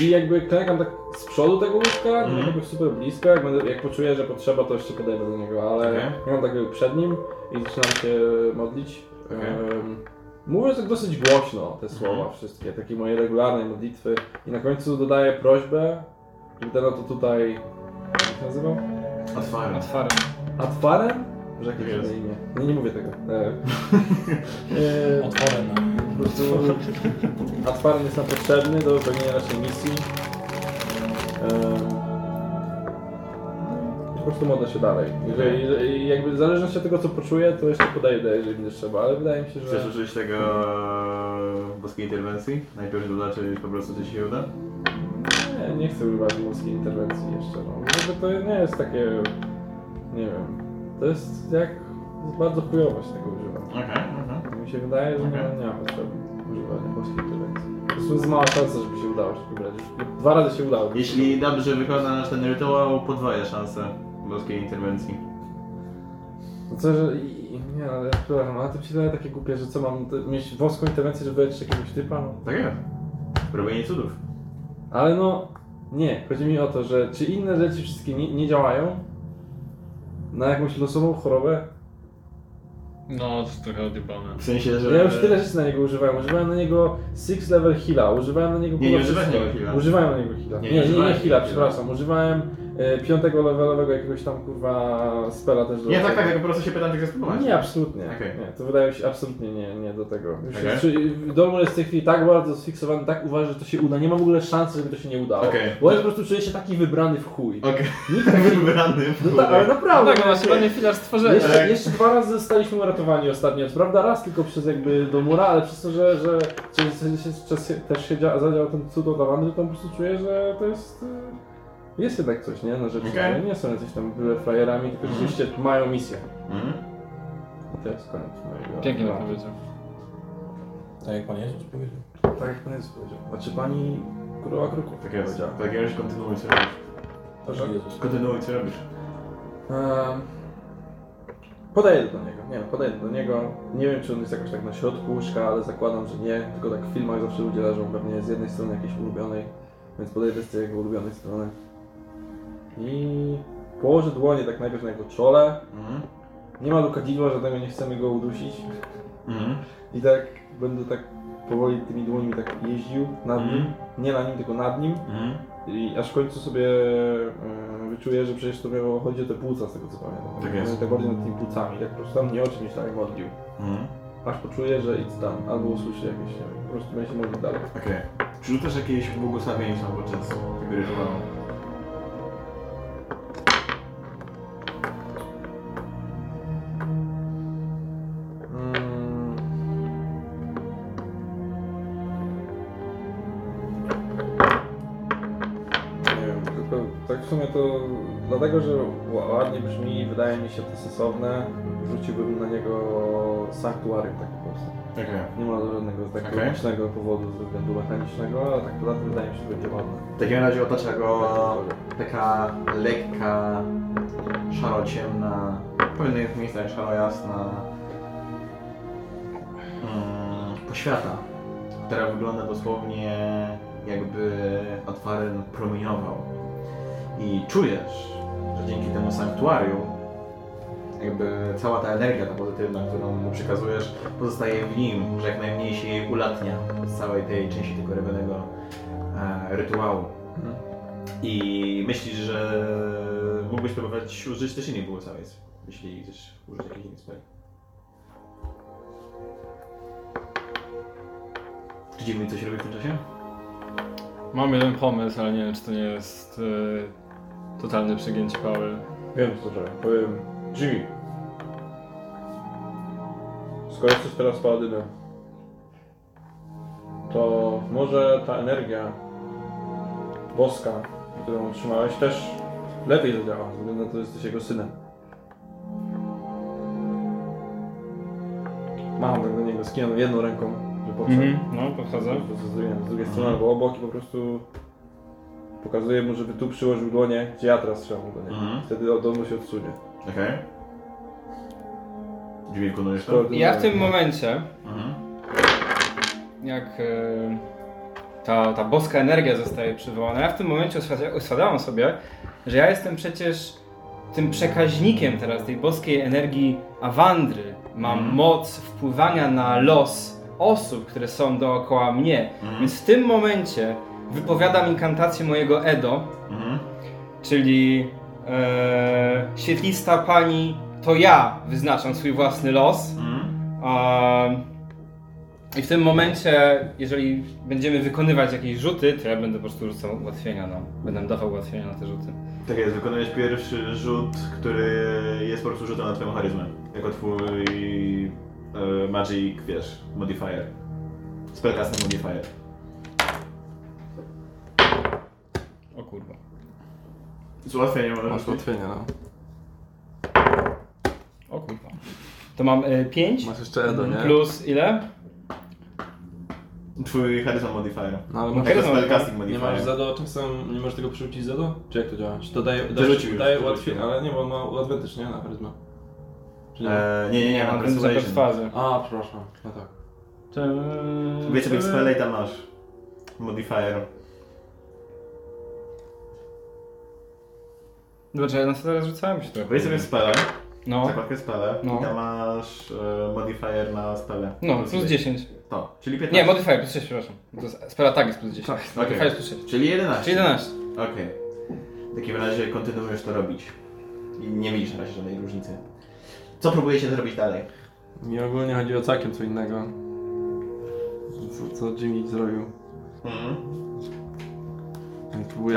S1: I jakby klękam tak z przodu tego łóżka, nie
S3: Mhm.
S1: jakoś super blisko, jak, będę, jak poczuję, że potrzeba, to jeszcze podejdę do niego, ale
S3: Okej.
S1: okay. mam tak jakby przed nim i zaczynam się modlić.
S3: Okej.
S1: Em, mówię tak dosyć głośno te słowa
S3: Mhm.
S1: wszystkie, takie moje regularne modlitwy i na końcu dodaję prośbę, żeby ten oto tutaj, jak się nazywał?
S3: Otwarłem.
S2: Otwarł.
S1: Atwarem? Że jakieś
S3: Jest.
S1: inne imię. No nie mówię tego. E, e,
S11: Otworem.
S1: po prostu Atwarem jest nam potrzebny do wypełnienia naszej misji. Em, Po prostu modlę się dalej. Jeżeli, jeżeli, jakby w zależności od tego co poczuję, to jeszcze podejdę, jeżeli będzie trzeba, ale wydaje mi się,
S3: Chcesz
S1: że...
S3: użyć tego e, boskiej interwencji? Najpierw zobaczyć po prostu, czy ci się uda?
S1: Nie, nie chcę używać morskiej interwencji jeszcze. No. Jakby to nie jest takie... Nie wiem. To jest jak... Bardzo chujowo się tego używa.
S3: Okej, mhm. okej.
S1: Mi się wydaje, że
S3: Okej.
S1: nie, nie ma potrzeby używania polskiej interwencji. Po prostu jest mała szansa, żeby się udało się wybrać. Dwa razy się udało.
S3: Jeśli dobrze wykonasz ten rytuał, podwoję szansę boskiej interwencji.
S1: No Co, że... i- i- Nie, ale przepraszam, ale to mi się daje takie głupie, że co mam, te- mieć włoską interwencję, żeby leczyć jakiegoś typa? No.
S3: Tak jest. Robienie cudów.
S1: Ale no... Nie, chodzi mi o to, że czy inne rzeczy wszystkie nie, nie działają na jakąś losową chorobę?
S2: No, to jest trochę odjebane.
S3: W sensie, że...
S1: Ja już tyle rzeczy na niego używałem. Używałem na niego six level heala, używałem na niego...
S3: Nie, nie
S1: kurwa,
S3: używaj
S1: wszystko.
S3: tego heala.
S1: Używałem na niego heala. Nie, nie, nie, nie heala, przepraszam. Używałem e, piątego levelowego jakiegoś tam kurwa spela też do
S3: Nie, tak,
S1: tego. No
S3: tak, ja po prostu się pytam, czy chcesz spróbować.
S1: Nie, absolutnie.
S3: Okej.
S1: Nie, to wydaje mi się absolutnie nie, nie do tego. Już
S3: Okej.
S1: okay. Dormor jest w tej chwili tak bardzo sfiksowany, tak uważa, że to się uda. Nie ma w ogóle szansy, żeby to się nie udało.
S3: Okej.
S1: Bo ja po prostu czuję się taki wybrany w chuj.
S3: Okej,
S1: Nikt tak się...
S3: wybrany w
S1: No tak, ale
S2: No
S1: naprawdę.
S2: tak, masz
S1: nie-
S2: ładny filar stworzenia.
S3: tak.
S1: jeszcze, jeszcze dwa razy zostaliśmy uratowani ostatnio, co prawda raz tylko przez jakby do mura, ale przez to, że, że przez, przez, przez, też się dzia, zadział ten cud od Awandy, to po prostu czuję, że to jest... y, Jest jednak coś, nie? Na rzeczy,
S3: Okej. Mhm.
S1: nie? nie są jacyś tam byle frajerami, tylko rzeczywiście mają misję.
S3: Mm?
S1: I to jest koniec mojego...
S2: Pięknie to
S1: tematu.
S2: powiedział.
S11: Tak jak pan Jezus powiedział.
S1: Tak jak pan jest powiedział. Znaczy pani królowa kruków
S3: Tak jest,
S1: powiedziała.
S3: tak jak Tak. już kontynuuj, co robisz.
S1: Proszę.
S11: Jezus.
S3: Kontynuuj, co robisz.
S1: Ehm, Podaję do niego, nie wiem, podaję do niego. Nie wiem, czy on jest jakoś tak na środku łóżka, ale zakładam, że nie. Tylko tak w filmach zawsze ludzie leżą pewnie z jednej strony jakiejś ulubionej, więc podejdę z tej jego ulubionej strony. I położę dłonie tak najpierw na jego czole.
S3: Mhm.
S1: Nie ma lukadidła żadnego, nie chcemy go udusić.
S3: Mhm.
S1: I tak będę tak powoli tymi dłońmi tak jeździł nad nim.
S3: Mhm.
S1: Nie na nim, tylko nad nim.
S3: Mhm.
S1: I aż w końcu sobie e, wyczuję, że przecież to miało chodzi o te płuca, z tego co pamiętam.
S3: Tak jest.
S1: Tak bardziej nad tymi płucami, tak po prostu tam nie o czymś tam modlił.
S3: Mhm.
S1: Aż poczuję, że idź tam, albo usłyszę jakieś, nie wiem, po prostu będzie się modlił dalej.
S3: Okej. Czy rzucasz jakieś błogosławieństwo podczas tego rytuału?
S1: Mm. Nie wiem, tylko tak w sumie to dlatego, że ła- ładnie brzmi, wydaje mi się to stosowne, wrzuciłbym na niego sanktuarium tak po prostu.
S3: Okej.
S1: Nie ma żadnego takiego
S3: Okej.
S1: mocnego powodu ze względu mechanicznego, ale tak poza tym wydaje mi się, że będzie ładne. Tak
S3: W takim razie otacza go taka lekka, szaro-ciemna, w pewnych miejscach szaro-jasna mm, poświata, która wygląda dosłownie jakby otwarem promieniował. I czujesz, że dzięki temu sanktuarium jakby cała ta energia ta pozytywna, którą mu przekazujesz, pozostaje w nim, że jak najmniej się jej ulatnia z całej tej części tego rewelnego e, rytuału. I myślisz, że mógłbyś próbować użyć też innej błogosławieństw, jeśli chcesz użyć jakichś innych spell. Czy dziwny coś robi w tym czasie?
S2: Mam jeden pomysł, ale nie wiem, czy to nie jest y, totalne przegięcie pały.
S1: Wiem co zrobię. Powiem, Jimmy. Skoro jesteś teraz paladynem, to może ta energia boska, którą otrzymałeś, też lepiej zadziała, ze względu na to, że jesteś jego synem. Mam tak do niego skierowaną jedną ręką, że podszedł.
S2: No, podchodzę.
S1: Po prostu zrobiłem z drugiej strony albo obok i po prostu pokazuję mu, żeby tu przyłożył dłonie, gdzie ja teraz trzymam dłonie.
S3: Mhm.
S1: Wtedy od domu się odsunie.
S3: Okej. Drzwi wykonujesz to?
S1: Koordynuję.
S2: Ja w tym momencie,
S3: Mhm.
S2: jak y, ta, ta boska energia zostaje przywołana, ja w tym momencie uswada- uswadalam sobie, że ja jestem przecież tym przekaźnikiem teraz tej boskiej energii Awandry. Mam
S3: Mhm.
S2: moc wpływania na los osób, które są dookoła mnie.
S3: Mhm.
S2: Więc w tym momencie wypowiadam inkantację mojego Edo,
S3: Mhm.
S2: czyli e, świetlista pani, to ja wyznaczam swój własny los.
S3: Mhm.
S2: Em, I w tym momencie, jeżeli będziemy wykonywać jakieś rzuty, to ja będę po prostu rzucał ułatwienia, no. Będę dawał ułatwienia na te rzuty.
S3: Tak jest, wykonujesz pierwszy rzut, który jest po prostu rzutem na twoją charyzmę. Jako twój e, magic, wiesz, modifier. Spellcasting modifier.
S2: O kurwa.
S3: Z ułatwieniem możesz
S1: Masz
S3: rzucić.
S1: ułatwienie, no.
S2: O kurwa. To mam 5
S1: Masz jeszcze Edo, nie?
S2: plus ile?
S3: Twój charyzma modifier.
S1: No ale
S2: No,
S1: masz...
S2: charyzma.
S3: Spellcasting
S1: Nie
S3: modifier.
S1: masz Zedo, czasem nie możesz tego przerzucić Zedo? Czy jak to działa? Czy to daje, daje,
S3: Przerzucił
S1: daje,
S3: już,
S1: daje
S3: przerzucił.
S1: ułatwienie, ale nie, bo on ma advantage, nie? Na charyzmę. Czy nie?
S3: E, nie, nie, nie, na
S2: mam ten
S3: persuasion.
S2: fazę.
S1: A, przepraszam, no tak.
S3: Wiecie, jak spele i tam masz. Modifier.
S2: Dobrze, ja na co teraz rzucałem się trochę.
S3: Wejdź sobie Tak. w spele,
S2: No,
S3: zakładkę spele
S2: No.
S3: i tam masz e, modifier na spele.
S2: no, plus 10.
S3: To, czyli 15.
S2: Nie, modifier plus 6, przepraszam. To jest, spell attack jest plus 10.
S1: Tak,
S2: modifier
S3: okej.
S2: jest plus 6.
S3: Czyli 11.
S2: Czyli 11.
S3: Okej. W takim razie kontynuujesz to robić. I nie widzisz na razie żadnej różnicy. Co próbujecie zrobić dalej?
S1: Mi ogólnie chodzi o całkiem co innego. Co, co Jimmy zrobił. Próbuję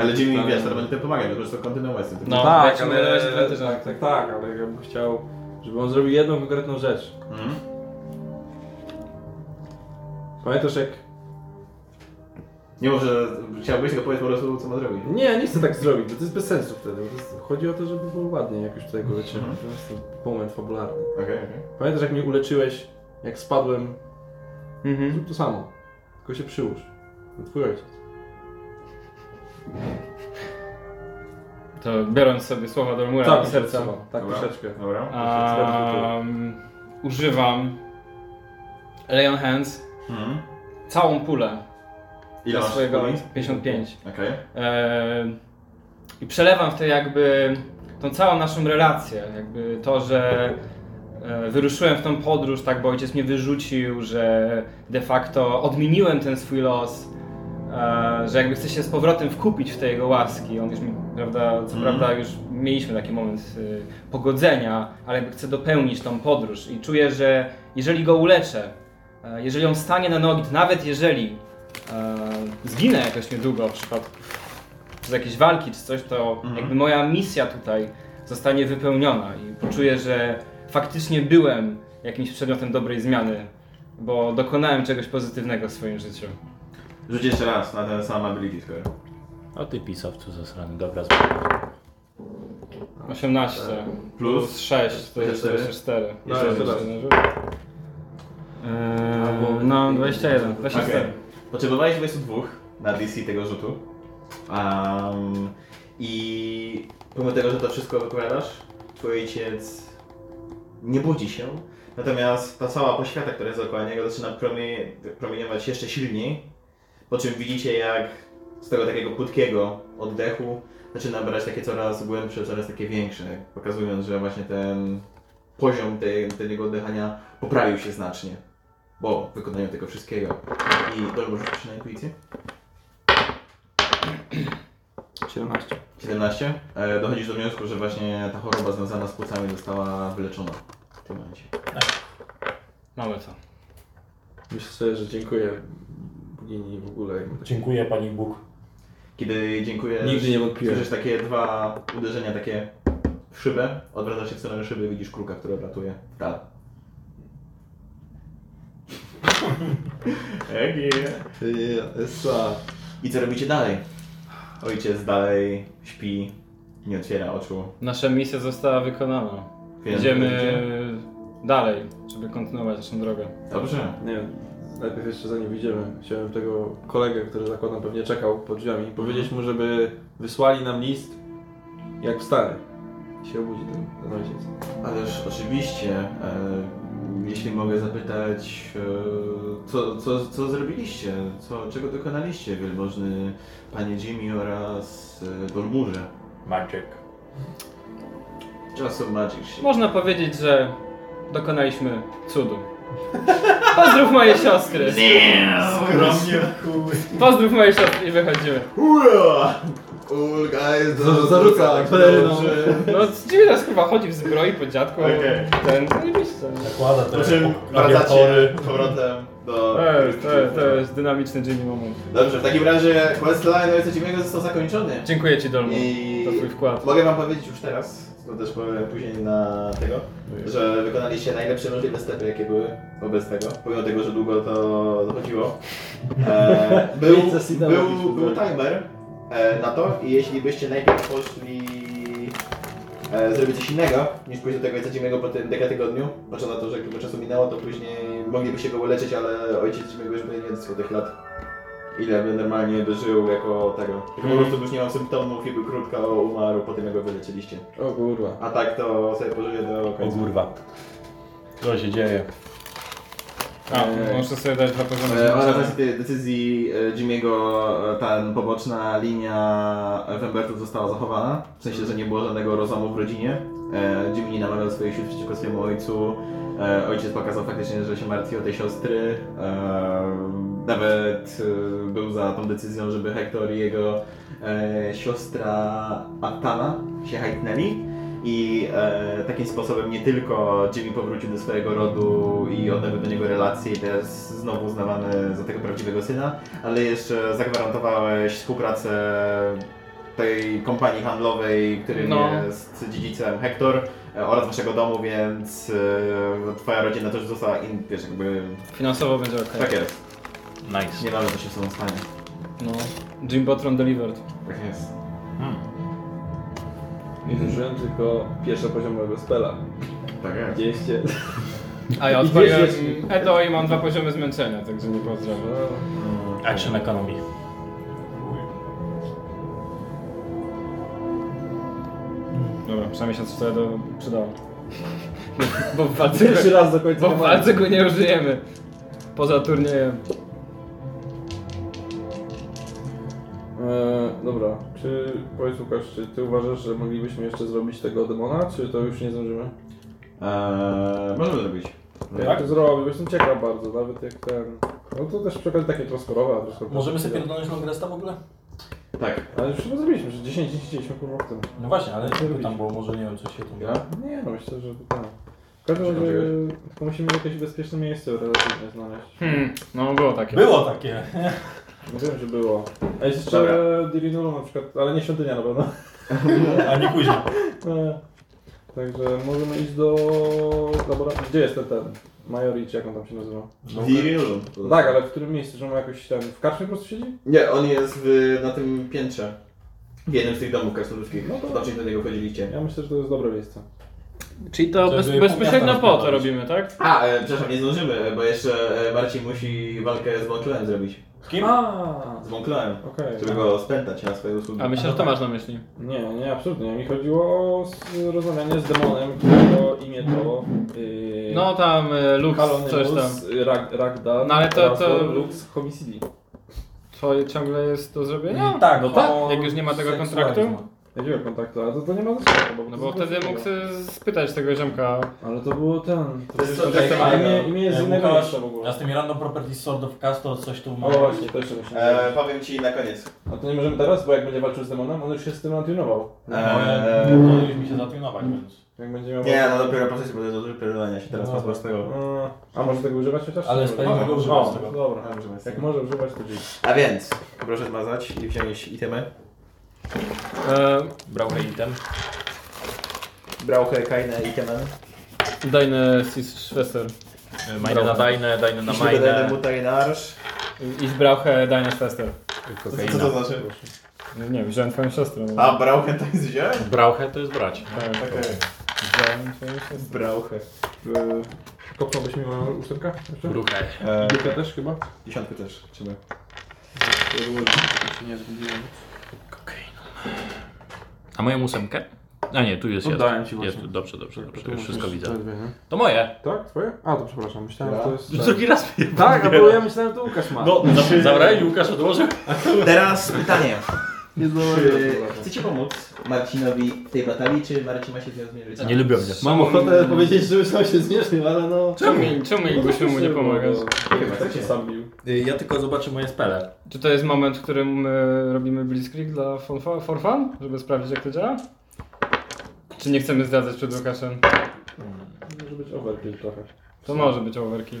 S3: Mhm. Ale Jimmy,
S1: tam-
S3: wiesz, to będzie pomagać, bo to jest to kontynuacja.
S2: No,
S1: tak,
S2: jak się
S1: ale,
S2: wydaje, się wydaje, że-
S1: tak, tak, tak, ale ja bym chciał, żeby on zrobił jedną konkretną rzecz.
S3: Mhm.
S1: Pamiętasz jak...
S3: Nie mów, że chciałbyś tylko powiedzieć po prostu, co ma zrobić.
S1: Nie, nie chcę tak zrobić, bo to jest bez sensu wtedy. bo To jest... Chodzi o to, żeby było ładnie, jak już tutaj go leczymy.
S3: Mhm.
S1: To jest moment fabularny.
S3: Okej, okej.
S1: Pamiętasz jak mnie uleczyłeś, jak spadłem?
S2: Mhm.
S1: Zrób to samo, tylko się przyłóż. To Twój ojciec.
S2: To biorąc sobie słowa do mura
S1: Tak,
S2: do serca.
S1: Tak,
S3: Dobra.
S1: troszeczkę.
S3: Dobra.
S2: Um, używam Lay on Hands
S3: Mhm.
S2: całą pulę
S3: Ile
S2: dla
S3: masz
S2: swojego
S3: kuli?
S2: 55.
S3: Okej.
S2: Em, I przelewam w to jakby tą całą naszą relację, jakby to, że e, wyruszyłem w tą podróż, tak, bo ojciec mnie wyrzucił, że de facto odmieniłem ten swój los, e, że jakby chcę się z powrotem wkupić w te jego łaski. On już mi, prawda, co
S3: Mhm.
S2: prawda już mieliśmy taki moment y, pogodzenia, ale jakby chcę dopełnić tą podróż i czuję, że jeżeli go uleczę, e, jeżeli on stanie na nogi, to nawet jeżeli e, zginę jakoś niedługo w przypadku z jakiejś walki czy coś, to
S3: Mhm.
S2: jakby moja misja tutaj zostanie wypełniona i poczuję, że faktycznie byłem jakimś przedmiotem dobrej zmiany, bo dokonałem czegoś pozytywnego w swoim życiu.
S3: Rzuć jeszcze raz na ten sam ability score.
S11: O ty pisowcu zasrany, dobra,
S2: 18 plus 6 to jest
S3: 24.
S2: 24.
S1: No,
S2: Jeszcze
S1: jeszcze raz.
S2: jeden rzut. Eee, no 21, 24.
S3: Okej. Potrzebowałeś 22 na DC tego rzutu. Am, I pomimo tego, że to wszystko wypowiadasz, twój ojciec nie budzi się, Natomiast ta cała poświata, która jest dookoła niego, zaczyna promie- promieniować jeszcze silniej. Po czym widzicie, jak z tego takiego płytkiego oddechu zaczyna brać takie coraz głębsze, coraz takie większe, pokazując, że właśnie ten poziom tej, tego oddychania poprawił się znacznie. Po wykonaniu tego wszystkiego. I dobrze, może rzucić na intuicję?
S1: 17.
S3: 17. E, dochodzisz do wniosku, że właśnie ta choroba związana z płucami została wyleczona w tym momencie.
S2: Mamy co.
S1: Myślę sobie, że dziękuję bogini w ogóle.
S11: Dziękuję Pani Bóg.
S3: Kiedy dziękuję.
S1: Nigdy nie wątpiłem.
S3: Słyszysz takie dwa uderzenia, takie w szybę, odwracasz się w stronę szyby, widzisz kruka, który oblatuje w dal. I co robicie dalej? Ojciec dalej śpi, nie otwiera oczu.
S2: Nasza misja została wykonana.
S3: Wiem,
S2: Idziemy
S3: widzicie?
S2: dalej, żeby kontynuować naszą drogę.
S3: Dobrze.
S1: Nie wiem, najpierw jeszcze zanim wyjdziemy, chciałem tego kolegę, który zakładam pewnie czekał pod drzwiami, powiedzieć mu, żeby wysłali nam list, jak wstanie. Się obudzi ten, ten ojciec.
S3: Ależ oczywiście, e, jeśli mogę zapytać, e, co, co, co zrobiliście? Co, czego dokonaliście, wielmożny panie Jimmy oraz e, Bormurze?
S11: Maciek.
S3: Czasem Magic się
S2: Można powiedzieć, że dokonaliśmy cudu. Pozdrów moje siostry!
S3: Skromnie.
S2: Pozdrów moje siostry i wychodzimy.
S3: Ura! Ulga jest
S1: Za- zarzuca peleryną.
S2: No dziwi nas chyba chodzi w zbroi po dziadku.
S3: Okej.
S2: Ten, no nie wiesz co.
S11: Zakłada
S3: Po
S11: teraz
S3: czym wracacie powrotem do...
S2: To jest, to jest, to jest dynamiczny Jimmy moment.
S3: Dobrze, w takim razie questline Ojca Dziwnego został zakończony.
S2: Dziękuję ci Dolmu
S3: I
S2: za twój wkład.
S3: mogę wam powiedzieć już teraz, to też powiem później na tego,
S2: No
S3: że wykonaliście najlepsze możliwe stepy, jakie były wobec tego, pomimo tego, że długo to dochodziło. E, był,
S1: Nic zasinęło
S3: był,
S1: jakiś
S3: był
S1: tutaj.
S3: timer e, na to i jeśli byście najpierw poszli e, zrobić coś innego, niż pójść do tego ojca dziwnego po tym deka tygodniu, patrząc na to, że jakby czasu minęło, to później moglibyście go uleczyć, ale ojciec dziwnego już by nie dostał tych lat. Ile by normalnie dożył jako tego. Tylko po prostu już nie mam symptomów i by krótko umarł po tym, jak go wyleczyliście.
S1: O kurwa.
S3: A tak to sobie pożyję do
S11: O
S3: końca.
S11: kurwa. Co się dzieje?
S2: A, muszę sobie dać dwa poziomy.
S3: E, Oraz
S2: zmęczenia.
S3: racji tej decyzji e, Jimmy'ego e, ten poboczna linia Wembertów została zachowana. W sensie, że nie było żadnego rozumu w rodzinie. E, Jimmy nie namawiał swoich sił przeciwko swojemu ojcu. E, Ojciec pokazał faktycznie, że się martwi o tej siostry. E, Nawet e, był za tą decyzją, żeby Hector i jego e, siostra Attana się hajtnęli. I e, takim sposobem nie tylko Jimmy powrócił do swojego rodu i odnowił do niego relacje i teraz znowu uznawany za tego prawdziwego syna, ale jeszcze zagwarantowałeś współpracę tej kompanii handlowej, którym
S2: No.
S3: jest dziedzicem Hector e, oraz waszego domu, więc e, twoja rodzina też została in, wiesz, jakby...
S2: Finansowo będzie ok.
S3: Tak jest.
S11: Nice.
S3: Nie mamy co się z tobą stanie.
S2: No. Jim Botron delivered.
S3: Tak jest.
S1: Nie zużyłem tylko pierwszy poziom mojego spela.
S3: Tak jest.
S1: 200.
S2: A ja
S1: I
S2: odpaliłem
S1: wiesz, jest-
S2: Edo i mam dwa poziomy zmęczenia, także nie
S1: No.
S2: pozdrawiam.
S11: Action Economy.
S2: Dobra, przynajmniej się co Edo przydało. Bo w walce,
S1: Pierwszy raz do końca
S2: bo w
S1: nie
S2: walce go nie użyjemy. Poza turniejem.
S1: E, dobra, czy powiedz Łukasz, czy ty uważasz, że moglibyśmy jeszcze zrobić tego demona, czy to już nie zdążymy?
S3: Eee, możemy zrobić.
S1: Jak to zrobię, bo jestem ciekaw bardzo, nawet jak ten... No to też przekaz takie troskorowe, a troskorowe.
S11: Możemy sobie pierdolnąć Longresta w ogóle?
S3: Tak.
S1: Ale już chyba zrobiliśmy, że 10 dzień siedzieliśmy kurwa w tym.
S11: No właśnie, ale
S1: Co robić?
S11: tam było, może nie wiem, co się tu
S3: Ja?
S1: Nie no, myślę, że tak. W każdym razie
S3: Przechodziłeś?
S1: tylko musimy jakieś bezpieczne miejsce relatywnie znaleźć.
S2: Hmm, no było takie.
S11: Było takie.
S1: No wiem, że było. A jeszcze
S3: Dobra.
S1: Divinulu na przykład, ale nie świątynia na pewno.
S11: A nie później.
S1: E, Także możemy iść do laboratorium. Gdzie jest ten ten? Majori, czy jak on tam się nazywa?
S3: Virilu.
S1: No tak, ale w którym miejscu, że on ma jakoś ten... W karczmie po prostu siedzi?
S3: Nie, on jest w, na tym piętrze. W jednym z tych domów krasnoludzkich. No to znaczy do niego chodziliście.
S1: Ja myślę, że to jest dobre miejsce.
S2: Czyli to
S11: Żeby
S2: bez,
S11: pół
S2: bezpośrednio
S11: miasta
S2: po to
S11: rozprowadzić.
S2: robimy, tak?
S3: A, e, przepraszam, nie zdążymy, bo jeszcze e, Marcin musi e, walkę z Montrealem zrobić.
S1: Kim? A,
S3: Z Wąklem,
S1: okej.
S3: żeby go spętać na swoje usługi.
S2: A myślę, że to masz na myśli.
S1: Nie, nie, absolutnie. Mi chodziło o s- rozmawianie z demonem, którego imię to... Yy,
S2: No tam y, Lux,
S1: Kalonymus,
S2: coś tam.
S1: Rag, Ragda,
S2: No ale to-
S1: oraz
S2: to-
S1: Lux Homicidi.
S2: To ciągle jest do zrobienia?
S4: Tak, no
S1: tak.
S2: Jak już nie ma tego kontraktu?
S1: Jakiego kontaktu? Ale to, to nie ma znaczenia. to
S2: No bo
S1: jest
S2: wtedy
S1: bez
S2: mógł
S1: tego.
S2: sobie spytać tego ziomka.
S1: Ale to było ten... To
S3: jest
S1: było-
S3: co, tak,
S1: a imię, imię jest z
S4: E,
S1: innego
S4: Łukasz,
S1: miejsca w
S4: A
S1: ogóle.
S4: z tym Random Properties Sword of Castor coś tu ma.
S1: O właśnie, to jeszcze musimy
S3: E,
S1: zrobić.
S3: powiem ci na koniec.
S1: A to nie możemy teraz, bo jak będzie walczył z demonem, on już się z tym antunował.
S4: Moje,
S3: E,
S1: no.
S4: to już mi się zatrenować,
S1: mm.
S4: więc...
S1: Jak będzie miał...
S3: nie, no dopiero po bo to jest dużo pierdolenia się teraz
S1: No.
S3: masz po tego.
S1: Mm, A może tego używać chociaż?
S4: Ale z tego
S1: O,
S4: mogę używać
S1: o,
S4: tego.
S3: no,
S1: Dobra. Jak może używać, to dziś.
S3: A więc, proszę zmazać i wziąć itemy.
S2: E,
S9: Brauche item.
S3: Brauche, kajne, itemen.
S2: dajny Schwester.
S9: E, Majne na dajne, dajne na
S3: Majne.
S9: majne.
S3: Mutajenarsz.
S2: Ich brauche deine Schwester.
S3: Co, co co to znaczy?
S2: No Nie, wziąłem twoją siostrę. No.
S3: A, brauche to jest wziąłem?
S9: Brauche to jest brać.
S2: Tak,
S3: Okej.
S2: wziąłem twoją siostrę.
S3: Brauche.
S1: E, Kopnąłbyś mi moją ósemkę jeszcze?
S9: Bruche.
S3: E,
S1: Dupę też chyba?
S3: dziesiątkę też, trzeba.
S1: Nie zgubiłem.
S9: A moją ósemkę? A nie, tu jest
S1: Oddałem
S9: jest.
S1: ci właśnie.
S9: Jest tu, dobrze, dobrze, dobrze. Już
S1: Tu
S9: wszystko
S1: masz
S9: widzę.
S1: te dwie, nie?
S9: To moje.
S1: Tak? Twoje? A, to przepraszam, myślałem, że to jest...
S9: raz mnie
S1: Tak, a bo ja myślałem, że to Łukasz ma.
S9: No, za- zabrałeś Łukasz odłożył?
S3: Teraz pytanie. Czy chcecie pomóc Marcinowi w tej batalii, czy Marcin ma się z nią zmierzyć?
S9: Nie lubią mnie.
S1: Mam ochotę powiedzieć, że już tam się zmierzył, ale no...
S2: Czemu, czemu Iguszu mu nie pomagasz?
S1: Chyba tak się sam bił.
S4: Ja tylko zobaczę moje spele.
S2: Czy to jest moment, w którym my robimy Blitzkrieg dla fun, for fun? Żeby sprawdzić jak to działa? Czy nie chcemy zdradzać przed Łukaszem?
S1: Może być overkill trochę.
S2: To może być overkill.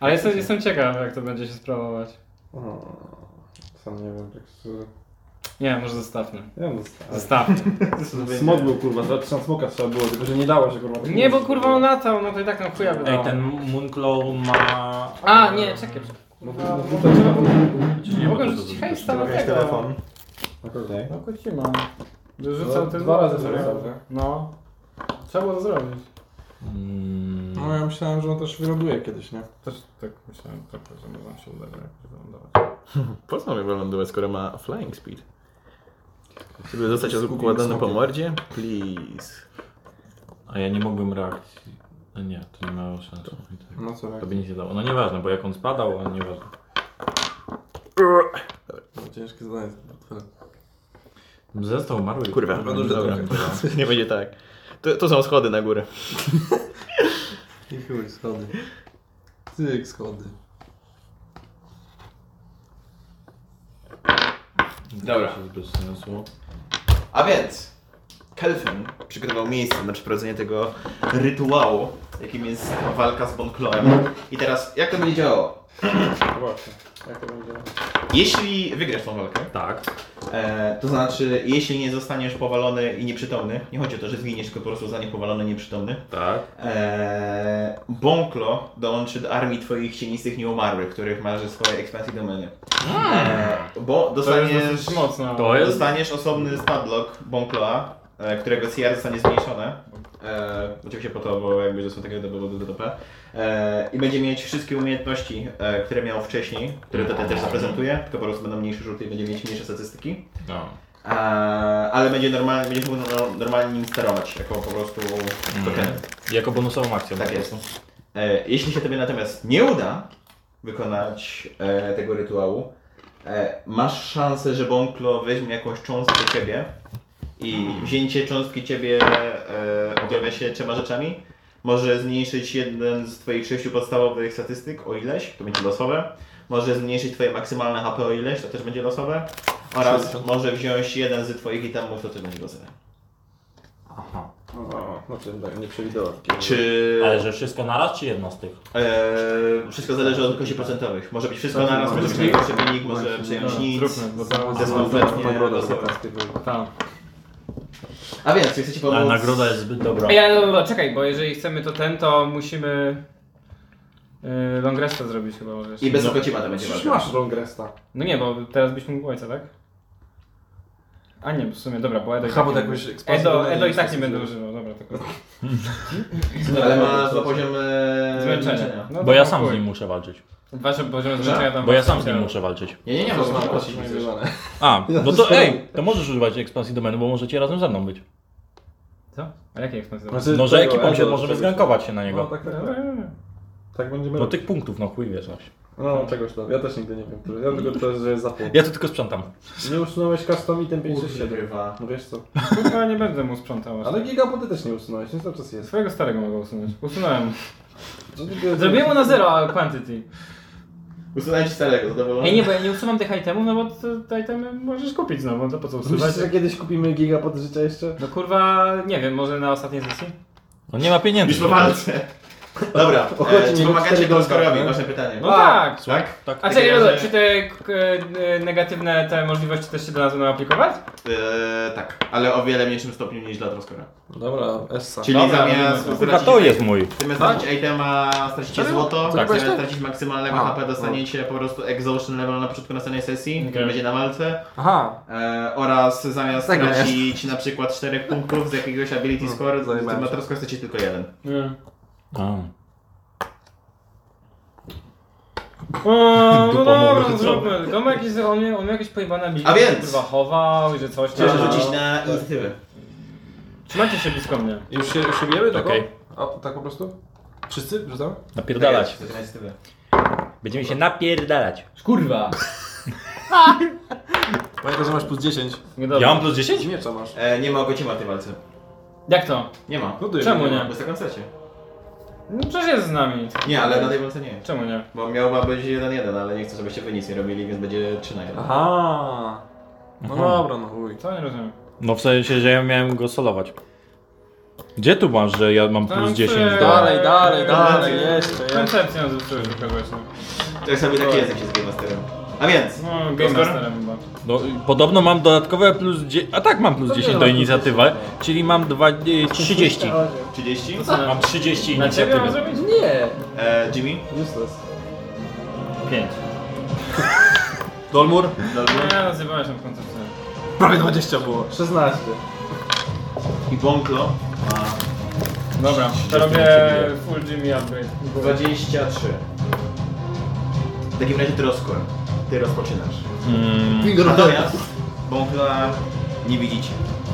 S2: Ale jestem, jestem ciekaw jak to będzie się sprawować.
S1: O, Sam nie wiem, tak szczerze.
S2: Nie, może zostawmy.
S1: Ja bym został.
S2: Zostawmy.
S1: Smok był kurwa, za trzeba smoka trzeba było, tylko że nie dało się kurwa.
S2: Nie, bo kurwa on latał, no to i tak nam chuja
S4: Ej,
S2: wydało.
S4: ten Moonclaw ma...
S2: A, nie, czekaj.
S1: No to-
S2: A,
S1: no
S2: bo-
S1: to-
S9: Nie
S2: Mogę
S9: to
S2: rzucić
S9: to-
S2: hejsta na
S3: Jakiś
S2: tego.
S3: telefon. Okej.
S2: No koci mam. Rzucał
S1: No,
S2: ten...
S1: dwa razy rzucał, tak?
S2: No. Trzeba było to zrobić.
S9: Mm,
S1: No ja myślałem, że on też wyląduje kiedyś, nie?
S2: Też tak myślałem trochę, że może nam się uda wylądować.
S8: Po co mam wylądować, skoro ma flying speed? Żeby zostać
S1: Skubił
S8: układany po
S1: smokiem.
S8: mordzie? Please.
S9: A ja nie mogłem reakcji. No Nie, to nie miało sensu. I tak.
S1: No co,
S9: To by nic nie dało. No nieważne, bo jak on spadał, a nieważne.
S1: ciężkie zadanie.
S9: Został umarły.
S8: Kurwa,
S9: Dobra,
S8: dobrze,
S9: dobra.
S8: Nie będzie tak. To, to są schody na górę.
S1: I chuj, schody. Cyk, schody.
S9: Dobra. To jest bez sensu.
S3: A więc, Kelvin przygotował miejsce na przeprowadzenie tego rytuału, jakim jest walka z Bonkloem. I teraz, jak to będzie działało?
S1: Właśnie, jak to będzie?
S3: Jeśli wygrasz tą walkę,
S9: Tak.
S3: e, to znaczy, jeśli nie zostaniesz powalony i nieprzytomny, nie chodzi o to, że zginiesz, tylko po prostu zostaniesz powalony i nieprzytomny,
S9: Tak.
S3: e, Bonklo dołączy do armii twoich cienistych nieumarłych, których masz ze swojej ekspansji domeny. E, bo
S2: To
S3: dostaniesz...
S2: jest dosyć mocno.
S9: To jest.
S3: Dostaniesz osobny spadlock Bonkloa, e, którego CR zostanie zmniejszone. E, oczywiście po to, bo jakby został takiego do DDP. E, I będzie mieć wszystkie umiejętności, e, które miał wcześniej, które tutaj też zaprezentuje, tylko po prostu będą mniejsze rzuty i będzie mieć mniejsze statystyki.
S9: No.
S3: E, ale będzie normalnie, będzie mógł no- normalnie nim sterować, jako po prostu token.
S9: Jako bonusową akcją.
S3: Tak
S9: po
S3: jest.
S9: prostu.
S3: E, jeśli się tobie natomiast nie uda wykonać e, tego rytuału, e, masz szansę, że Bonklo weźmie jakąś cząstkę ciebie i wzięcie cząstki ciebie e, objawia się trzema rzeczami. Może zmniejszyć jeden z twoich sześciu podstawowych statystyk o ileś, to będzie losowe. Może zmniejszyć twoje maksymalne HP o ileś, to też będzie losowe. Oraz może wziąć jeden z twoich itemów, to też będzie losowe.
S9: Aha.
S1: O, znaczy tak, nie przewidywał takiego.
S3: Czy...
S9: Ale że wszystko naraz, czy jedno z tych?
S3: Eee, wszystko zależy od wielkości procentowych. Może być wszystko naraz, może być najgorszy wynik, może przejąć nic.
S2: no, Zróbmy, bo to...
S3: To jest kompletnie losowe.
S2: Tam.
S3: A więc, czy chcecie
S1: No.
S9: Ale
S3: pomóc?
S9: nagroda jest zbyt dobra.
S2: Ej, ale dobra, dobra, czekaj, bo jeżeli chcemy to ten, to musimy... Yy, long resta zrobić chyba No możesz.
S3: I bez Okocima to będzie
S1: Przecież
S3: walka.
S1: masz Longresta.
S2: No nie, bo teraz byś mógł ojca, tak? A nie, w sumie, dobra, bo Edo i
S1: Chyba
S2: tak nie-
S1: jakąś ekspansję
S2: Edo,
S1: do
S2: Edo i
S1: niej
S2: tak nie
S1: stosuje.
S2: będę używał, dobra, tylko
S3: Ale masz dwa poziomy
S2: zmęczenia. No
S11: Bo ja
S2: to
S11: sam z
S2: chuj.
S11: nim muszę walczyć.
S2: Dwa poziomy zmęczenia tam
S11: Bo ja sam z
S2: właśnie
S11: nim
S2: chciałem.
S11: muszę walczyć.
S3: Nie, nie, nie,
S1: Może
S3: można
S1: mam
S3: płacić.
S1: płacić niezbywalne.
S11: A, no to ej, to możesz używać ekspansji domeny, bo możecie razem ze mną być.
S2: Co? A jakie ekspansje?
S11: No, że ekipą się możemy zgankować się na
S1: No
S11: niego.
S1: tak, tak, tak. Tak będziemy
S11: No
S1: robić.
S11: tych punktów, no chuj wiesz. no.
S1: No czegoś tam, ja też nigdy nie wiem. który. Ja tylko to, że jest za pół.
S11: Ja to tylko sprzątam.
S1: Nie usunąłeś custom item 57.
S3: Kurwa.
S1: No wiesz co?
S2: Kurwa, nie będę mu sprzątał.
S1: Ale
S2: Ale
S1: gigaboty też nie usunąłeś, nie cały czas jest.
S2: swojego starego mogę usunąć. Usunąłem.
S1: Co ty wiesz?
S2: Zrobiłem mu na zero quantity.
S3: Usunąć starego, zadowolony.
S2: Ej, nie, bo ja nie usuwam tych itemów, no bo te, te itemy możesz kupić znowu, to po co usuwać?
S1: Myślisz, że kiedyś kupimy gigaboty życia jeszcze?
S2: No kurwa, nie wiem, może na ostatniej sesji?
S11: No nie ma
S3: Już
S11: pieniędzy.
S3: po walce. Dobra,
S1: Ochodzi
S3: e, czy
S1: mi
S3: pomagacie
S1: cztery
S3: Gąskorowi?
S1: golda,
S3: Ważne pytanie.
S2: No tak!
S3: Tak?
S11: Tak.
S2: A czekaj, Rodo, czy te k- e, negatywne te możliwości też się do nas będą aplikować?
S3: E, tak, ale o wiele mniejszym stopniu niż dla Gąskora.
S1: Dobra, Essa.
S3: Czyli
S2: Dobra,
S3: zamiast
S2: dobra.
S11: Kurwa,
S3: stracić,
S11: to jest mój.
S3: zamiast stracić itema, stracicie złoto,
S1: Tak.
S3: zamiast stracić maksymalnego
S1: A,
S3: HP, dostaniecie po prostu exhaustion level na początku następnej sesji, który
S2: Okej.
S3: będzie na walce.
S1: Aha,
S3: E, oraz zamiast
S1: Tak,
S3: tracić na przykład 4 punktów z jakiegoś ability score, z
S1: No, zajebałem się.
S3: materasko chcecie tylko jeden.
S2: Nie.
S11: A.
S2: O, no
S11: Dupa mu
S2: dobra, no
S11: wyrzucona.
S2: zróbmy. Tylko ma jakieś, on, miał- on miał jakieś pojebane
S3: A
S2: miliony,
S3: więc!
S2: kurwa chował i że coś
S3: Chciałem
S2: tam.
S3: rzucić na inicjatywę.
S2: Trzymajcie się blisko mnie.
S1: już się, już się bijemy taką?
S11: Okej.
S1: O, tak po prostu? Wszyscy wrzucamy?
S11: Napierdalać.
S3: Tak, na inicjatywę.
S11: Będziemy się napierdalać.
S2: Kurwa!
S1: Pamiętaj, że masz plus 10.
S11: Ja mam plus 10?
S1: Z miecza masz.
S3: E, nie ma ogocima w tej walce.
S2: Jak to?
S3: Nie ma.
S1: No to
S2: Czemu
S1: ja-
S2: nie?
S3: Bo jest na koncercie.
S2: No przecież jest z nami.
S3: Nie, ale na tej walce nie.
S2: Czemu nie?
S3: Bo miała być 1-1, ale nie chcę, żebyście wy nic nie robili, więc będzie 3 na 1.
S1: Aha. No dobra, no chuj.
S2: Co nie rozumiem?
S11: No w sensie, że ja miałem go solować. Gdzie tu masz, że ja mam plus
S2: Tam
S11: 10?
S2: przy-
S11: do-
S1: Dalej, dalej, dalej,
S2: Eee,
S1: jeszcze, jeszcze.
S2: Koncepcję zepsułeś tylko właśnie.
S3: Czasami taki język się z Game Masterem. A więc,
S2: No, Game Masterem chyba.
S11: No, podobno mam dodatkowe plus 10. A tak, mam plus 10 do inicjatywy,
S1: no.
S11: czyli mam dwa, y, 30.
S3: 30.
S11: Mam 30
S2: Na ciebie mam
S11: inicjatywy.
S2: zrobić?
S1: Nie.
S3: E, Jimmy,
S1: Useless.
S2: Pięć.
S1: Dolmur?
S3: Dolby
S2: Nie, nazywałeś tam koncepcję.
S1: Prawie 20 było. 16.
S3: i Bonklo
S2: Dobra, to robię full Jimmy upgrade.
S3: 23. W takim razie ty rozkłem. Ty rozpoczynasz. Natomiast Bonkla nie widzicie.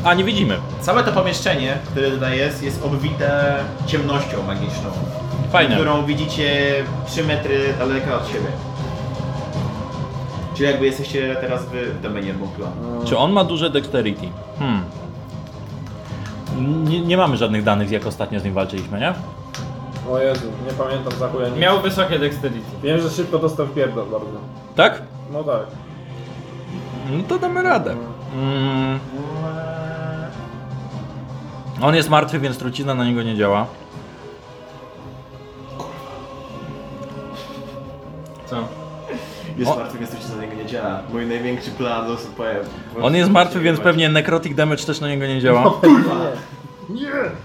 S11: A, nie widzimy.
S3: Całe to pomieszczenie, które tutaj jest, jest obwite ciemnością magiczną,
S11: Fajnie.
S3: którą widzicie 3 metry daleka od siebie. Czyli jakby jesteście teraz wy w domenie Bonkla.
S11: Czy on ma duże dexterity? Hmm. Nie, nie mamy żadnych danych, jak ostatnio z nim walczyliśmy, nie?
S1: O Jezu, nie pamiętam za chuja nic.
S2: Miał wysokie dexterity.
S1: Wiem, że szybko dostał w pierdol bardzo.
S11: Tak?
S1: No tak.
S11: No to damy radę. Mm. On jest martwy, więc trucizna na niego nie działa.
S2: Co?
S3: Jest
S11: O-
S3: martwy, więc to się za niego nie działa. Mój największy plan do powiem.
S11: On jest martwy, więc pewnie necrotic damage też na niego nie działa.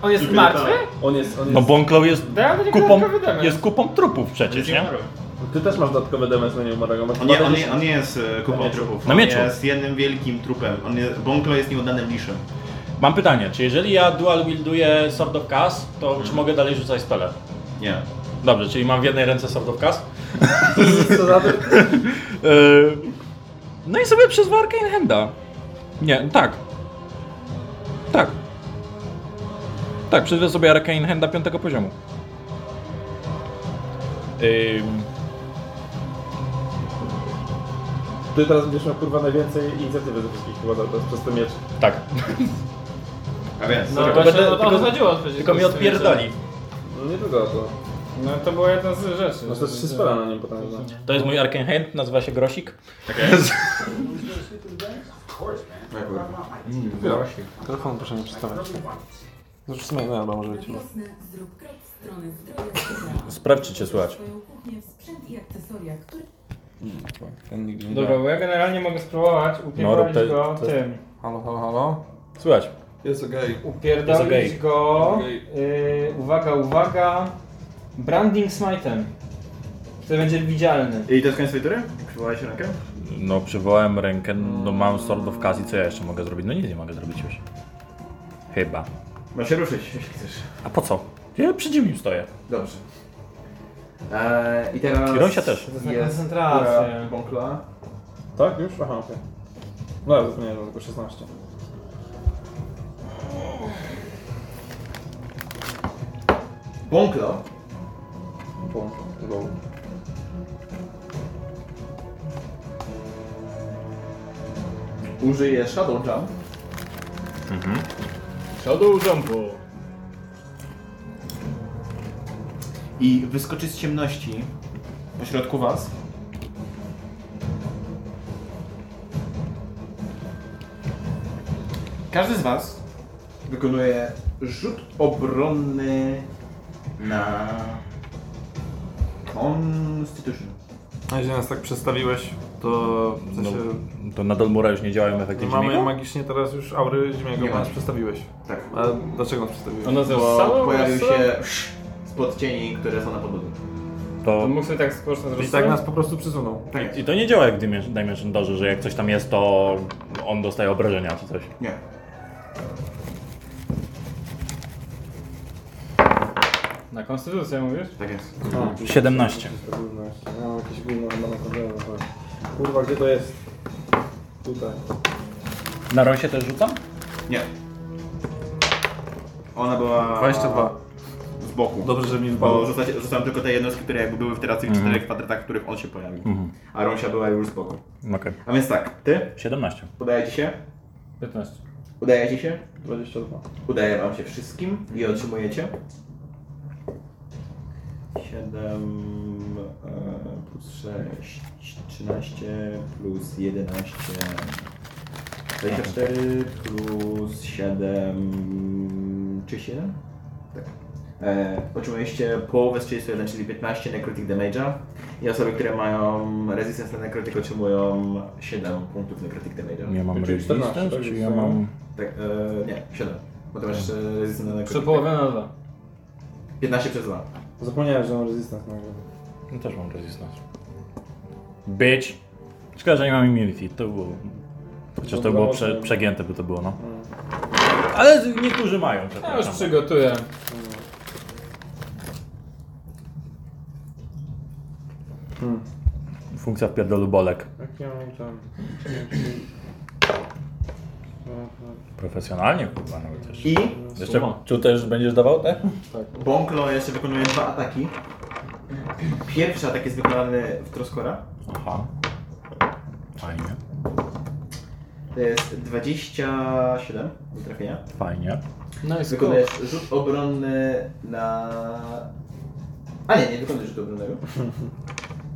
S2: On jest
S3: Dziękuję,
S2: martwy?
S1: On jest, on jest.
S11: No Bonklow jest
S2: Dałem do niego
S11: kupą,
S2: dodatkowy damage.
S11: jest kupą trupów przecież, nie?
S1: Ty też masz dodatkowy damage na nieumarłego. masz
S3: On nie, on
S1: 20.
S3: nie, on nie jest e,
S1: Na
S3: kupą
S1: mieczu.
S3: trupów.
S11: Na
S3: On
S11: mieczu.
S3: jest jednym wielkim trupem. On jest, Bonklo jest nieudanym liszem.
S11: Mam pytanie, czy jeżeli ja dual wielduję Sword of Cast, to czy mogę dalej rzucać spele?
S3: Nie.
S11: Dobrze, czyli mam w jednej ręce Sword of Cast.
S1: Co za to?
S11: Yy, No i sobie przez warkę Handa. Nie, tak. Tak. Tak, przyzwę sobie Arcane Handa piątego poziomu. Ym,
S1: Ty teraz będziesz miał kurwa najwięcej inicjatywy ze wszystkich chyba teraz przez ten miecz.
S11: tak,
S3: A więc,
S2: No
S11: Tylko
S2: to się
S11: będę-
S2: od-
S11: tylko-
S2: odchodziło od
S11: tylko mi odpierdoli.
S1: No nie tylko to.
S2: No to była jedna z rzeczy.
S1: Masz też trzy spela na nim potem. No.
S11: To jest mój Arcane Hand, nazywa się Grosik.
S1: Telefon proszę nie przestawiać. Zresztą w sumie nie albo może być.
S19: Zrób krok w stronę zdrowia.
S11: Sprawdź, czy cię słychać.
S19: Swoją kuchnię, sprzęt i akcesoria, które
S1: Ten nigdy nie
S2: Dobra, bo ja generalnie mogę spróbować upierdolić
S11: No, to-
S2: go
S11: to-
S2: tym.
S1: Halo, halo, halo.
S11: Słychać.
S1: Jest okej.
S11: Jest okej.
S2: Upierdolić go.
S1: Okej.
S2: y, uwaga, uwaga. Branding Smite'em. Który będzie widzialny.
S3: I to jest koniec swojej tury? Przywołałeś rękę?
S11: No, przywołałem rękę, no mam Sword of Kazi, co ja jeszcze mogę zrobić? No nic nie mogę zrobić już. Chyba.
S3: Masz się ruszyć, jeśli chcesz.
S11: A po co? Ja przy Jimim stoję.
S3: Dobrze. Eee, I teraz...
S11: Kirosia też.
S3: Jest
S2: Koncentrację.
S3: bąkla.
S1: Tak? Już? Aha, okej. No, to zmieniłem tylko 16.
S3: Bąkla?
S1: Połączę. Lol.
S3: Użyję Shadow Jump.
S20: Shadow Jumpu.
S3: i wyskoczy z ciemności pośrodku was. Każdy z was wykonuje rzut obronny na Constitution.
S1: A jeżeli nas tak przestawiłeś, to w sensie...
S11: No, To na Dolmura już nie działają efekty
S1: nie mamy
S11: Jimiego?
S1: magicznie teraz już aury Zimiego,
S3: Nie
S1: bo nas
S3: ma.
S1: przestawiłeś.
S3: Tak.
S1: A dlaczego nas przestawiłeś?
S2: Ona
S3: Bo
S2: została?
S3: pojawił się spod cieni, które są na podłodze.
S2: To
S11: To...
S2: mógł sobie tak skorzystać
S1: I tak nas po prostu przysunął.
S11: I to nie działa jak w Dimension- Dimension Dorze, że jak coś tam jest, to on dostaje obrażenia czy coś.
S3: Nie.
S2: Na konstytucję mówisz?
S3: Tak jest.
S11: 17.
S1: Ja mam jakieś gówno chyba na kontrolę. Kurwa, gdzie to jest? Tutaj.
S11: Na Rosie też rzucam?
S3: Nie. Ona była...
S1: 22.
S3: Z boku.
S1: Dobrze, że Mhm. mi
S3: Bo
S1: wypadło.
S3: rzucacie- rzucałem tylko te jednostki, które jakby były w teraz tych czterech kwadratach, w których on się pojawił.
S1: Mhm.
S3: A Rąsia była już z boku.
S11: Okej.
S3: A więc tak, ty,
S11: 17.
S3: udaje ci się,
S2: 15.
S3: udaje ci się,
S1: 22.
S3: udaje wam się wszystkim i otrzymujecie. 7 e, plus 6, 13 plus 11, 24 plus 7, 37? Tak. E, otrzymujecie połowę z 31, czyli 15 necrotic damage'a i osoby, które mają resistance na necrotic otrzymują 7 punktów necrotic damage'a.
S11: Ja mam
S1: Czyli 14,
S11: resistance, czy ja
S1: tak?
S11: mam...
S3: Tak, e, nie, 7. Bo to masz e, resistance na necrotic.
S2: Czy połowę na dwa.
S3: 15 przez 2.
S1: Zapomniałem, że mam resistance nagle.
S11: No też mam resistance. Bitch! Szkoda, że nie mam immunity, to było... Chociaż to
S1: Dobra,
S11: było
S1: może-
S11: prze, przegięte by to było, no.
S1: Hmm.
S11: Ale niektórzy mają, że tak
S2: Ja już przygotuję.
S1: Hmm.
S11: Funkcja wpierdolu bolek.
S1: Jak ja mam tam...
S11: Profesjonalnie kurwa nawet też.
S3: I
S11: Jeszcze, czy też będziesz dawał te?
S3: Bonklo jeszcze wykonuje dwa ataki. Pierwszy atak jest wykonany w Troskora.
S11: Aha. Fajnie.
S3: To jest 27 do trafienia.
S11: Fajnie.
S2: No i
S3: Wykonujesz rzut obronny na... A nie, nie wykonujesz rzutu obronnego.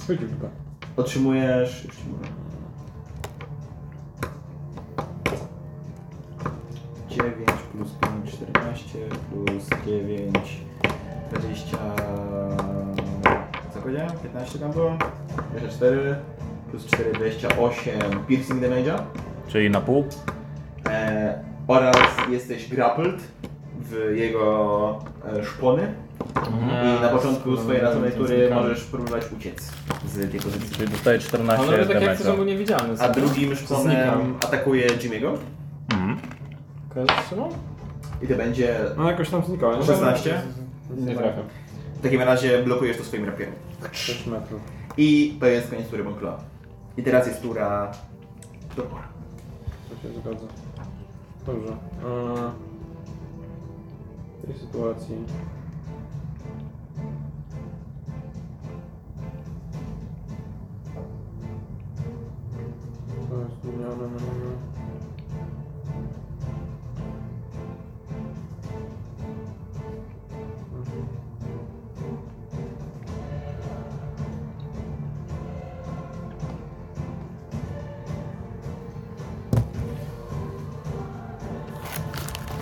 S1: Chodź już go.
S3: Otrzymujesz... już ci mówię. 9 plus 5, 14 plus 9, 20... Co powiedziałem? 15 tam było? 24 plus 4, 28 piercing damage'a.
S11: Czyli na pół?
S3: E, oraz jesteś grappled w jego e, szpony. I na początku swojej razem, tury możesz próbować uciec z tej pozycji.
S11: Czyli dostaje 14
S2: Panowie tak jak
S11: damage'a.
S2: to są niewidzialne.
S3: A drugim szponem
S2: Znikam.
S3: atakuje Jimmy'ego
S11: Mhm.
S3: i to będzie.
S1: No jakoś tam znikał. nie?
S3: 16?
S2: Nie trafiam.
S3: W takim razie blokujesz to swoim rapierem.
S1: 6 metrów.
S3: I to jest koniec tury Bonkla. I teraz jest tura. Dobra.
S1: To się zgadza. Dobrze. Eee, W tej sytuacji. To jest zmienione na mamy.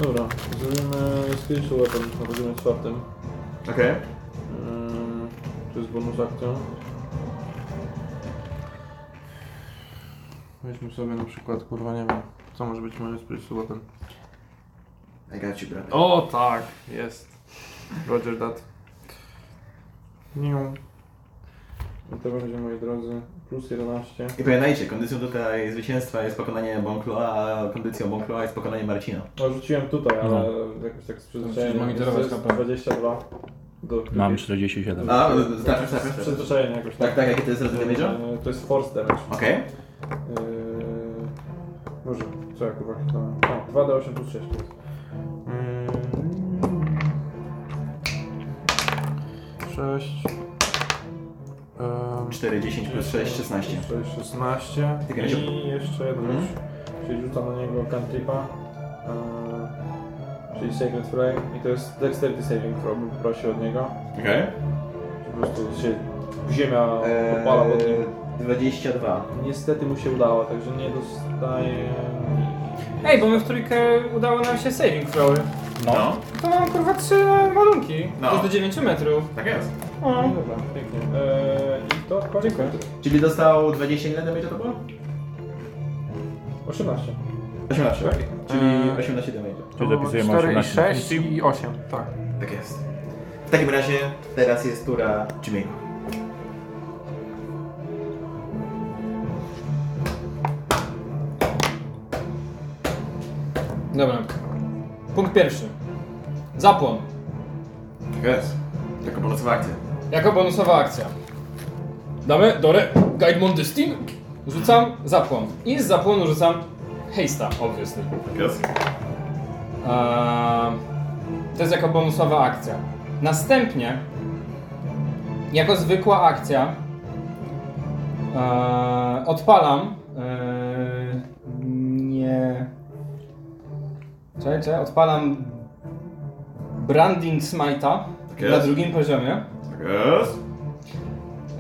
S1: Dobra, zrobimy skillshu weapon na poziomie czwartym.
S3: Okej.
S1: Eee, To jest bonus akcja. Weźmy sobie na przykład, kurwa nie wiem, co może być moim skillshu weapon.
S3: I got you, brother.
S1: O tak, jest. Roger that. Nią. I to będzie, moi drodzy, plus 11.
S3: I pamiętajcie, kondycją tutaj zwycięstwa jest pokonanie Bonkloa, a kondycją Bonkloa jest pokonanie Marcina.
S1: No, rzuciłem tutaj, ale jakoś tak z przyzwyczajenia.
S2: No. monitorować
S1: To jest
S2: kampanię.
S1: 22 do
S11: Mam 47.
S3: A,
S1: z-
S3: tak,
S1: z
S3: tak.
S1: przyzwyczajenia jakoś
S3: Tak, tak, jakie to jest razy damage'a?
S1: E, To jest force damage.
S3: Okej.
S1: Yy, może, co ja kurwa czytałem? O, 2D8 plus 6 plus. Yy, 6.
S3: 4, 10 plus 6, 16.
S1: 6, 16.
S3: Tylko ja się-
S1: I jeszcze jeden
S3: Mhm.
S1: hmm? Czyli rzucam na niego cantripa. Yy, czyli Sacred Flame. I to jest Dexterity Saving Throw, bym prosił od niego.
S3: Okej.
S1: Po prostu się ziemia
S3: Eee,
S1: podpala pod nim.
S3: 22.
S1: Niestety mu się udało, także nie dostaje...
S2: Ej, bo my w trójkę udało nam się saving throwy.
S3: No.
S2: To mam kurwa trzy warunki.
S3: No.
S2: No. do 9 metrów. E,
S3: Tak jest.
S2: O.
S1: No dobra, pięknie. Eee, I to koniec.
S3: Czyli dostał 20 ile damage'a to było?
S1: 18.
S3: 18, tak? Czyli
S21: Eee.
S3: 18 damage'a.
S11: Czyli zapisujemy
S21: 4 i
S11: 18.
S21: 6 i 8, tak.
S3: Tak jest. W takim razie teraz jest tura Jimmy'ego.
S2: Dobra. Punkt pierwszy. Zapłon.
S3: Tak jest. Jako bonusowa akcja.
S2: Jako bonusowa akcja. Damy do re... Guide Mondestin. Rzucam zapłon. I z zapłonu rzucam hejsta, obviously.
S3: Tak jest.
S2: Eee, to jest jako bonusowa akcja. Następnie, jako zwykła akcja, eee, odpalam. eee, nie. Czekaj, czekaj, odpalam Branding Smite'a
S3: jest.
S2: na drugim poziomie.
S3: Tak jest.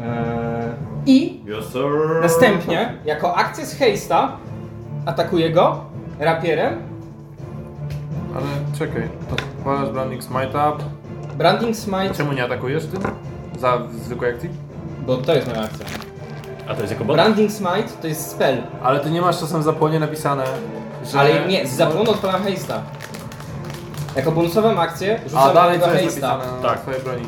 S2: Eee, I
S3: Yes, sir.
S2: następnie, jako akcję z Heista, atakuję go rapierem.
S21: Ale czekaj, to walasz Branding Smite'a.
S2: Branding Smite,
S21: Czemu nie atakujesz tym? Za zwykłej akcji?
S2: bo to jest moja akcja.
S22: A to jest jako bonus?
S2: Branding Smite to jest spell,
S21: Ale ty nie masz czasem w zapłonie napisane, że...
S2: ale nie, z zapłonu odpalam hejsta. Jako bonusową akcję
S21: A
S2: rzucam
S21: dalej
S2: na
S21: co jest
S2: hejsta.
S21: napisane na
S22: Tak.
S21: twojej broni?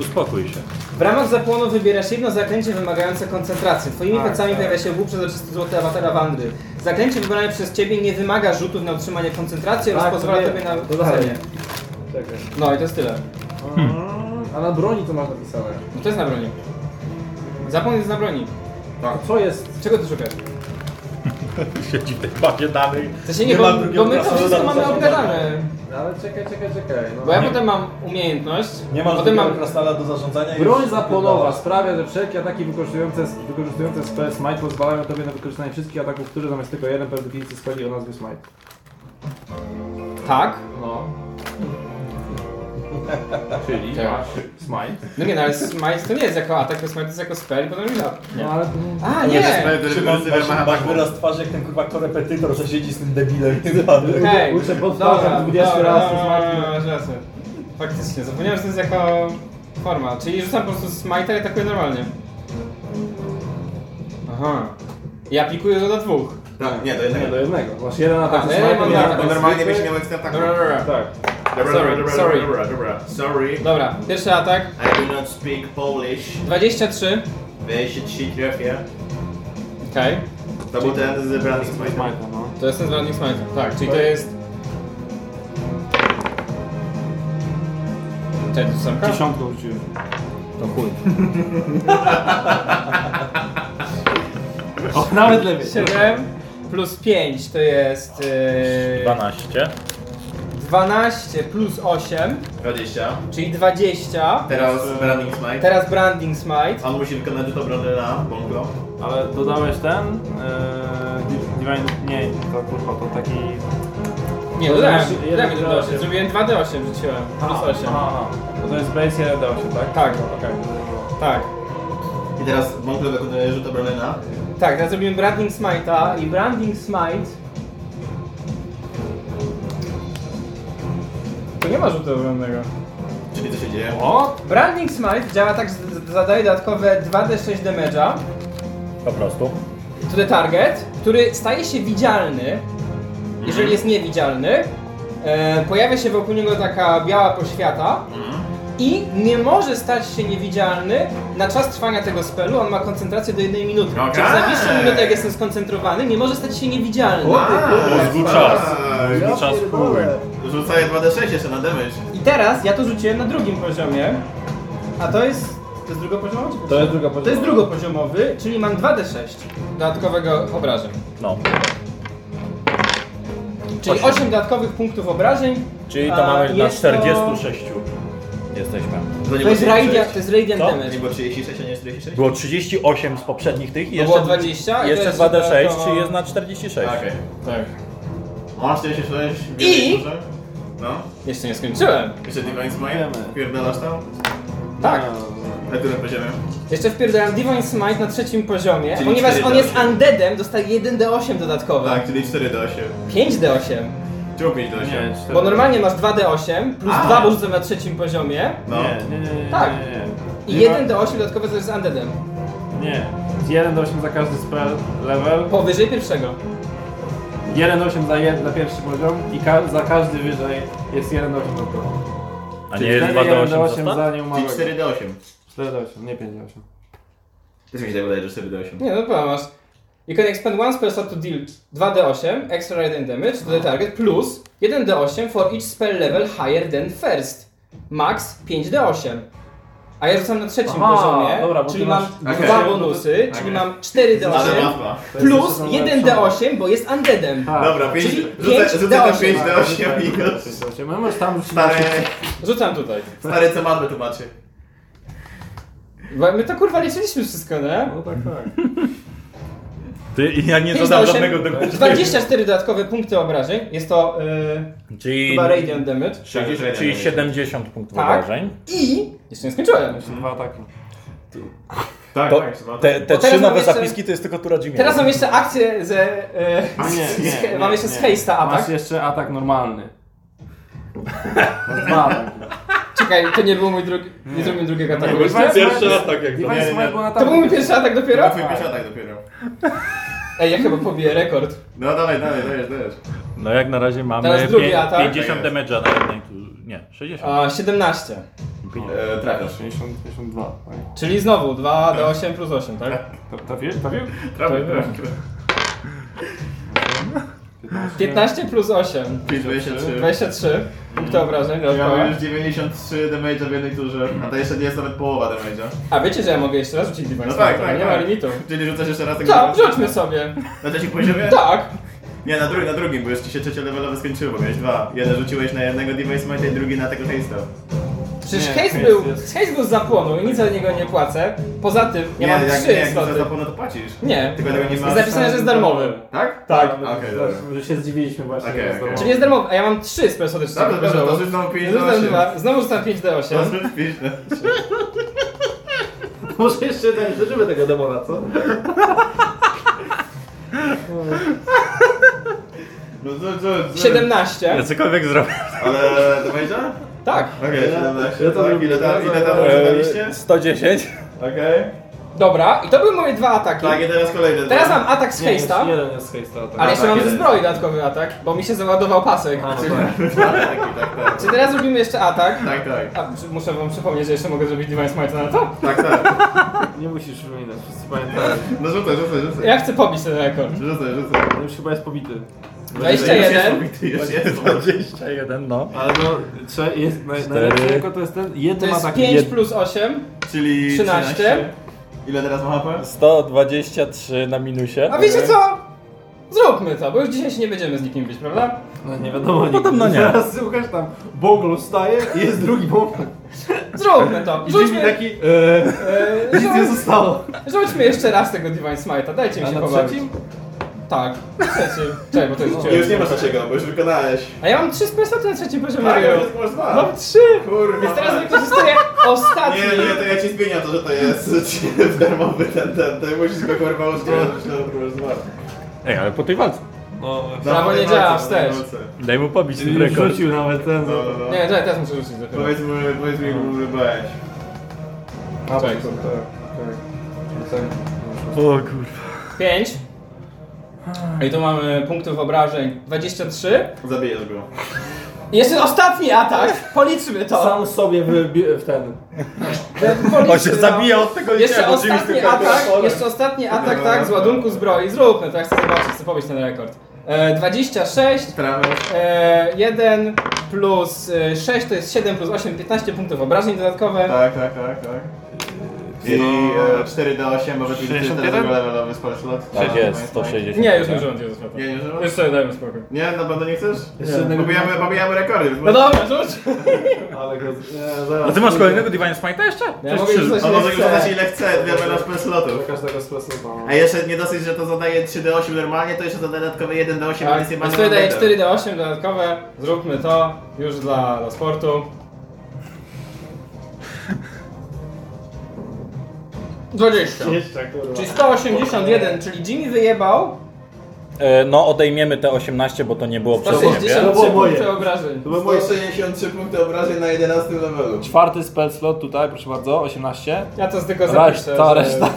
S22: Uspokój się.
S2: W ramach zapłonu wybierasz jedno zaklęcie wymagające koncentracji. Twoimi
S21: Tak,
S2: plecami
S21: tak.
S2: pojawia się łuk przezroczysty złoty awatara Wandry. Zaklęcie wybrane przez ciebie nie wymaga rzutów na utrzymanie koncentracji
S1: Tak,
S2: oraz
S1: to
S2: pozwala
S1: wiem.
S2: tobie na
S1: To dalej.
S2: cenie.
S1: Czekaj.
S2: No i to jest tyle.
S1: A na broni to masz napisane.
S2: No to jest na broni. Zapłon jest na broni.
S1: A co jest?
S2: Czego ty szukasz?
S22: Siedzi w tej bazie dalej.
S2: W sensie nie, bo, bo my to wszystko mamy obgadane.
S1: Ale czekaj, czekaj, czekaj. No.
S2: Bo ja potem mam umiejętność,
S4: Nie masz
S2: potem mam
S4: drugiego krasnala do zarządzania i
S1: Broń
S4: już-
S1: zapłonowa sprawia, że wszelkie ataki wykorzystujące, wykorzystujące spell smite pozwalają tobie na wykorzystanie wszystkich ataków, które zamiast tylko jeden per definicji speli o nazwie smite.
S2: tak.
S1: No. Czyli
S2: Tak.
S1: masz smite.
S2: No nie, no ale smite to nie jest jako atak, to smite jest jako spell, potem już
S1: No ale...
S2: A, nie! Okej,
S4: Szymon, masz, masz wyraz twarzy jak ten kurwa korepetytor, co siedzi z tym debilem i wypadł.
S2: okay.
S1: Uczę powtarzam 20 razy smite.
S2: masz rację. Faktycznie, zapomniałem, że to jest jako forma, czyli rzucam po prostu smite i atakuję normalnie. Aha. I aplikuję to na dwóch.
S3: Tak, nie, do
S1: Nie, do
S3: jednego.
S1: jednego. Masz jeden atak
S2: A,
S1: ze
S2: ja
S1: smite,
S2: mam
S1: jeden
S2: tak,
S1: atak
S3: Bo
S1: ze
S3: normalnie byś
S1: zwykłej.
S3: miał ekstra ataku.
S2: Dobra, dobra,
S1: Tak.
S3: No, Dobra,
S2: Sorry,
S3: dobra, dobra,
S2: sorry.
S3: dobra, dobra. Sorry.
S2: dobra. Pierwszy atak,
S3: I do not speak Polish.
S2: 23.
S3: Weź się trzy trafia.
S2: Okej,
S3: To był ten z Branding Smite.
S1: Smite, no.
S2: to jest ten z Branding Smite. Tak, czyli to jest... Cześć, to samka?
S1: Dziesiątką rzuciłem.
S2: To chuj.
S1: O, nawet lepiej.
S2: 7 plus 5 to jest e,
S11: 12.
S2: 12 plus 8,
S3: 20.
S2: czyli 20.
S3: Teraz Branding Smite.
S2: Teraz Branding Smite.
S3: On musi wykonać rzut obrony na Bongo.
S1: Ale dodałeś ten? Yy, div- divine... Nie, to kurwa, to taki...
S2: Nie,
S1: To
S2: dodałem,
S1: znaczy jeden
S2: dodałem
S1: plus
S2: mi 2D8.
S1: osiem.
S2: Zrobiłem 2D8 rzuciłem. Plus 8.
S1: aha. To, to jest base 1 dał się, tak?
S2: Tak.
S1: Okej.
S2: Tak.
S3: I teraz Bongo wykonuje rzut obrony na...
S2: Tak, teraz zrobiłem Branding Smite'a i Branding Smite. To nie ma rzutu obronnego.
S3: Czyli co się dzieje?
S2: O! Branding Smite działa tak, że z- zadaje dodatkowe 2D6 damage'a.
S22: Po prostu.
S2: to the target, który staje się widzialny, jeżeli jest niewidzialny. E, pojawia się wokół niego taka biała poświata i nie może stać się niewidzialny na czas trwania tego spelu. On ma koncentrację do jednej minuty.
S3: Okej.
S2: Przez najbliższą minutę, jak jestem skoncentrowany, nie może stać się niewidzialny.
S3: Zgu czas, chuj. Rzucaję 2d6 jeszcze na damage.
S2: I teraz ja to rzuciłem na drugim poziomie, a to jest... To jest drugopoziomowy? czy
S23: To jest drugopoziomowy.
S2: To jest drugopoziomowy, czyli mam 2d6 dodatkowego obrażeń.
S11: No.
S2: Czyli 8, dodatkowych punktów obrażeń.
S11: Czyli
S2: a
S11: to mamy na
S2: jest to-
S11: 46 jesteśmy.
S3: To nie
S2: To jest
S3: było
S2: radiant,
S3: 36?
S2: to jest radiant
S11: Co?
S2: damage.
S3: Nie było 36, a nie 46?
S11: Było 38 z poprzednich tych i
S2: To
S11: jeszcze,
S2: było 20, a
S11: jeszcze
S2: to jest
S11: 2D6,
S2: dodatkowo-
S11: czyli jest na 46.
S3: Okej.
S2: Tak.
S3: Mam 46,
S2: I-
S3: może? No.
S2: Jeszcze nie skończyłem.
S3: Jeszcze Divine Smite? Pierdolasz tam?
S2: Tak.
S3: Na którym poziomie?
S2: Jeszcze wpierdalam Divine Smite na trzecim poziomie,
S3: Czyli
S2: ponieważ
S3: cztery
S2: on
S3: do
S2: jest
S3: osiem.
S2: undeadem, dostaje 1d8 dodatkowe.
S3: Tak, czyli 4 do 8.
S2: 5d8.
S3: Czemu 5 do 8?
S1: Nie, cztery.
S2: Bo normalnie masz 2d8 plus
S3: A.
S2: 2 bo rzucam na trzecim poziomie
S3: No.
S1: Nie, nie, nie, nie, nie,
S2: Tak.
S1: nie,
S2: i
S1: Nie
S2: 1d8 dodatkowe to jest undeadem.
S1: ma- Nie. 1 do 8 za każdy spell level,
S2: Powyżej pierwszego.
S1: 1 do 8 za, jed, za pierwszy poziom i ka za każdy wyżej jest 1 do 8 za to.
S11: A nie jest 2 do 8
S1: za
S3: Czyli
S1: nieumarłego.
S3: 4 do 8.
S1: 4 do 8, nie 5 do 8.
S3: Też mi się tak wydaje, że 4 do 8.
S2: Nie, no dobra, masz. You can expend one spell slot to deal 2d8 extra radiant damage to the target plus 1d8 for each spell level higher than first. Max 5d8. A ja rzucam na trzecim
S1: Aha,
S2: poziomie,
S1: dobra, bo
S2: czyli
S1: ty
S2: mam
S3: masz-
S2: dwa
S3: Okej.
S2: bonusy, czyli
S3: Okej.
S2: mam
S3: Ale
S2: 4d8
S3: mapa.
S2: plus 1d8, bo jest undeadem.
S1: Tak.
S3: Dobra, 5,
S2: Czyli
S3: rzucę,
S2: pięć
S3: rzucę
S2: do
S3: na
S2: osiem.
S3: 5 do 8 i już.
S1: No masz tam
S3: Stare,
S2: Rzucam tutaj.
S3: stare co mamy tłumaczy.
S2: Bo My to kurwa liczyliśmy wszystko, nie?
S1: No tak, tak.
S11: Ty, ja nie
S2: 5
S11: zadam
S2: do 8,
S11: żadnego dokumentu.
S2: 24 dodatkowe punkty obrażeń. Jest to yy,
S11: Czyli,
S2: chyba radiant damage.
S11: czyli, czyli 70 punktów
S2: Tak.
S11: obrażeń.
S2: I jeszcze nie skończyłem.
S1: Dwa ataki.
S3: Tak,
S11: To
S3: tak, trzeba-
S11: te, te
S2: Bo teraz
S11: trzy nowe
S2: mamy jeszcze-
S11: zapiski to jest tylko tura Jimmy.
S2: Teraz mam jeszcze akcję ze... E,
S1: A nie,
S2: z-
S1: nie,
S2: z-
S1: nie,
S2: mam jeszcze z
S1: nie.
S2: Haste'a atak.
S1: Masz jeszcze atak normalny. Masz Dwa ataki.
S2: Czekaj, to nie był mój drugi... Nie, zrobiłem drugiego ataku.
S1: bo
S2: jeszcze?
S1: Pierwszy
S11: tak.
S3: atak jak
S1: Divine
S3: Nie, nie,
S1: Smite
S3: nie.
S1: był na
S2: to był mój pierwszy atak
S3: To
S2: dopiero?
S3: twój pierwszy atak dopiero.
S2: Ej, ja chyba pobiję rekord.
S3: No dalej, dalej, dajesz, dajesz.
S11: No jak na razie mamy
S2: Teraz drugi
S11: pię-
S2: atak.
S11: 50 damage'a na jednej turze. Nie, 60.
S2: A, 17.
S3: E, trafiasz.
S1: 60, 62. tak.
S2: Czyli znowu 2 do 8 plus 8, tak?
S1: To- Trafił? Trafił?
S3: Trafiasz, trafiasz.
S2: 15 plus 8.
S3: 53.
S2: 23 punkty obrażeń.
S3: Mhm. Ja mam
S2: dodatkowe.
S3: już 93 damage'a w jednej turze, a to jeszcze nie jest nawet połowa damage'a.
S2: A wiecie, że ja mogę jeszcze raz rzucić Divine
S3: No tak,
S2: Smite'a,
S3: tak,
S2: Tak, Nie ma
S3: tak.
S2: limitu.
S3: Czyli rzucasz jeszcze raz tak
S2: Tak, rzućmy sobie.
S3: Na trzecim poziomie?
S2: Tak.
S3: Nie, na drugim, na drugim, bo już ci się trzecie levelowe skończyło, bo miałeś dwa. Jeden rzuciłeś na jednego Device Smite, drugi na tego Haste'a.
S2: Przecież
S1: Nie,
S2: Hayes
S1: Hayes
S2: był,
S1: jest-
S2: Hayes był z zapłonu i nic za niego nie płacę. Poza tym, ja mam
S3: jak,
S2: trzy
S3: nie, jak
S2: sloty.
S3: za zapłonę to płacisz.
S2: Nie,
S3: Tylko tego nie
S2: jest
S3: masz.
S2: napisane, że jest darmowy.
S3: Tak?
S1: Tak.
S3: Okej,
S1: Okej,
S3: dobra.
S1: Że się zdziwiliśmy właśnie.
S3: Okej,
S1: że
S3: okej.
S1: zdołał.
S2: Czyli jest darmowy, a ja mam trzy spelsody
S3: Dobra, dobra, to rzuć znowu 5 do 8.
S2: Znowu rzucam 5D8.
S3: Może jeszcze ten, życzymy tego demona, co? No co, co, co?
S2: 17.
S11: Cokolwiek zrobię.
S3: Ale damage'a?
S2: Tak,
S3: Okej, 17.
S1: ja to
S3: Tak,
S1: lubię.
S3: ile tam, ile tam
S11: Eee,
S3: zadaliście?
S11: 110.
S3: Okej.
S2: dobra, i to były moje dwa ataki.
S3: Tak, i teraz kolejny.
S2: Teraz mam atak z
S1: Nie, jeszcze
S2: Haysta,
S1: Jeden jest Hejsta. tak.
S2: ale jeszcze mam ze
S3: Tak, jeden.
S2: zbroi dodatkowy atak, bo mi się załadował pasek.
S1: no
S3: Tak, tak, tak.
S2: Czy teraz robimy jeszcze atak?
S3: Tak, tak.
S2: A, czy- muszę wam przypomnieć, że jeszcze mogę zrobić Divine Smite na to?
S3: Tak, tak.
S1: Nie musisz wymieniać, wszyscy pamiętają.
S3: No rzucaj, rzucaj, rzucaj.
S2: Ja chcę pobić ten rekord.
S3: Rzucaj, rzucaj.
S1: On Już chyba jest pobity. No
S2: 21.
S3: Już jest pobity, Już jest.
S11: 21, no.
S1: Ale no, trze- jest, naj, najlepszy jako to jest ten
S2: To
S1: jeden
S2: jest
S1: atak.
S2: 5 plus 8,
S3: Czyli
S2: 13.
S3: Ile teraz ma HP?
S11: 123 na minusie.
S2: A wiecie co? Zróbmy to, bo już dzisiaj się nie będziemy z nikim bić, prawda?
S1: No nie wiadomo nigdy.
S11: Podobno nie.
S1: Teraz Łukasz tam bągl staje i jest drugi bągl.
S2: Zróbmy to!
S1: I Jimmy
S2: Rzućmy,
S1: taki, eee,
S2: e,
S1: nic nie
S2: rzuć,
S1: zostało.
S2: rzućmy jeszcze raz tego Divine Smite'a, dajcie mi
S1: A
S2: się
S1: na
S2: pobawić.
S1: trzecim?
S2: Tak, na trzecim. Czekaj, bo to jest
S3: No. Już nie
S2: ciężko.
S3: masz takiego, bo już wykonałeś.
S2: A ja mam 3 spesety na trzecim poziomie.
S3: Tak,
S2: Rio.
S3: już masz dwa.
S2: Mam 3!
S3: Kurwa. tak.
S2: No. Więc teraz wykorzystuję ostatni.
S3: Nie, nie, to ja ci zmieniam to, że to jest darmowy ten, ten, ten. Musisz go kurwa uszczędzić, no kurwa zmarł.
S11: Ej, ale po tej walce.
S1: No,
S2: Prawo nie działa, wstecz.
S11: Daj mu pobić ten rekord.
S1: rzucił nawet ten.
S3: No, no, no.
S2: Nie, czekaj, teraz muszę rzucić dopiero.
S3: Powiedz mu, powiedz mi, kurwa, weź.
S2: Czekaj.
S11: O kurwa.
S2: 5. I tu mamy punktów obrażeń 23.
S3: Zabijesz go.
S2: Jeszcze ostatni atak! Policzmy to!
S4: Sam sobie w, w ten.
S2: Policzmy, no. Jeszcze
S4: liczenia, bo Jimmy
S2: ostatni
S4: tylko
S2: atak,
S4: chore.
S2: jeszcze ostatni atak, tak, z ładunku zbroi. Zróbmy, tak, chcę zobaczyć, chcę pobić ten rekord. E, 26, e, 1 plus e, 6 to jest 7 plus 8, 15 punktów obrażeń dodatkowe.
S3: Tak, tak, tak, tak. I e, 4D8, może być
S2: 61?
S3: levelowy spell slot.
S24: Tak
S3: Tak,
S24: jest,
S3: tak.
S24: 160.
S25: Nie, już nie używam tego spoko.
S3: Nie, nie używasz?
S25: Już sobie dajmy spokój.
S3: Nie, na pewno nie chcesz?
S25: Jeszcze jednego
S3: Pobijamy,
S25: dnia.
S3: pobijamy rekordy.
S25: No dobra, rzuć!
S3: Ale go...
S1: e,
S24: A ty masz kolejnego Divine Smite'a jeszcze? Przecież trzy.
S3: A może go zadać znaczy, ile chce, dwie będą spell slotów.
S1: Każdego speslotu.
S3: A jeszcze nie dosyć, że to zadaje 3D8 normalnie, to jeszcze zada dodatkowe
S25: Tak,
S3: 1D8, więc nie
S25: więc
S3: mamy
S25: tutaj daje
S3: momentu.
S25: 4D8 dodatkowe, zróbmy to, już dla, dla sportu.
S2: Czyli 181, czyli Jimmy wyjebał
S24: E, No odejmiemy te 18, bo to nie było przez ciebie.
S2: 163 punkty obrażeń.
S3: To było moje 63 punkty obrażeń na 11 levelu.
S4: Czwarty spell slot tutaj, proszę bardzo, 18.
S25: Ja to tylko zapiszę,
S4: Reszta,
S25: że-
S4: reszta.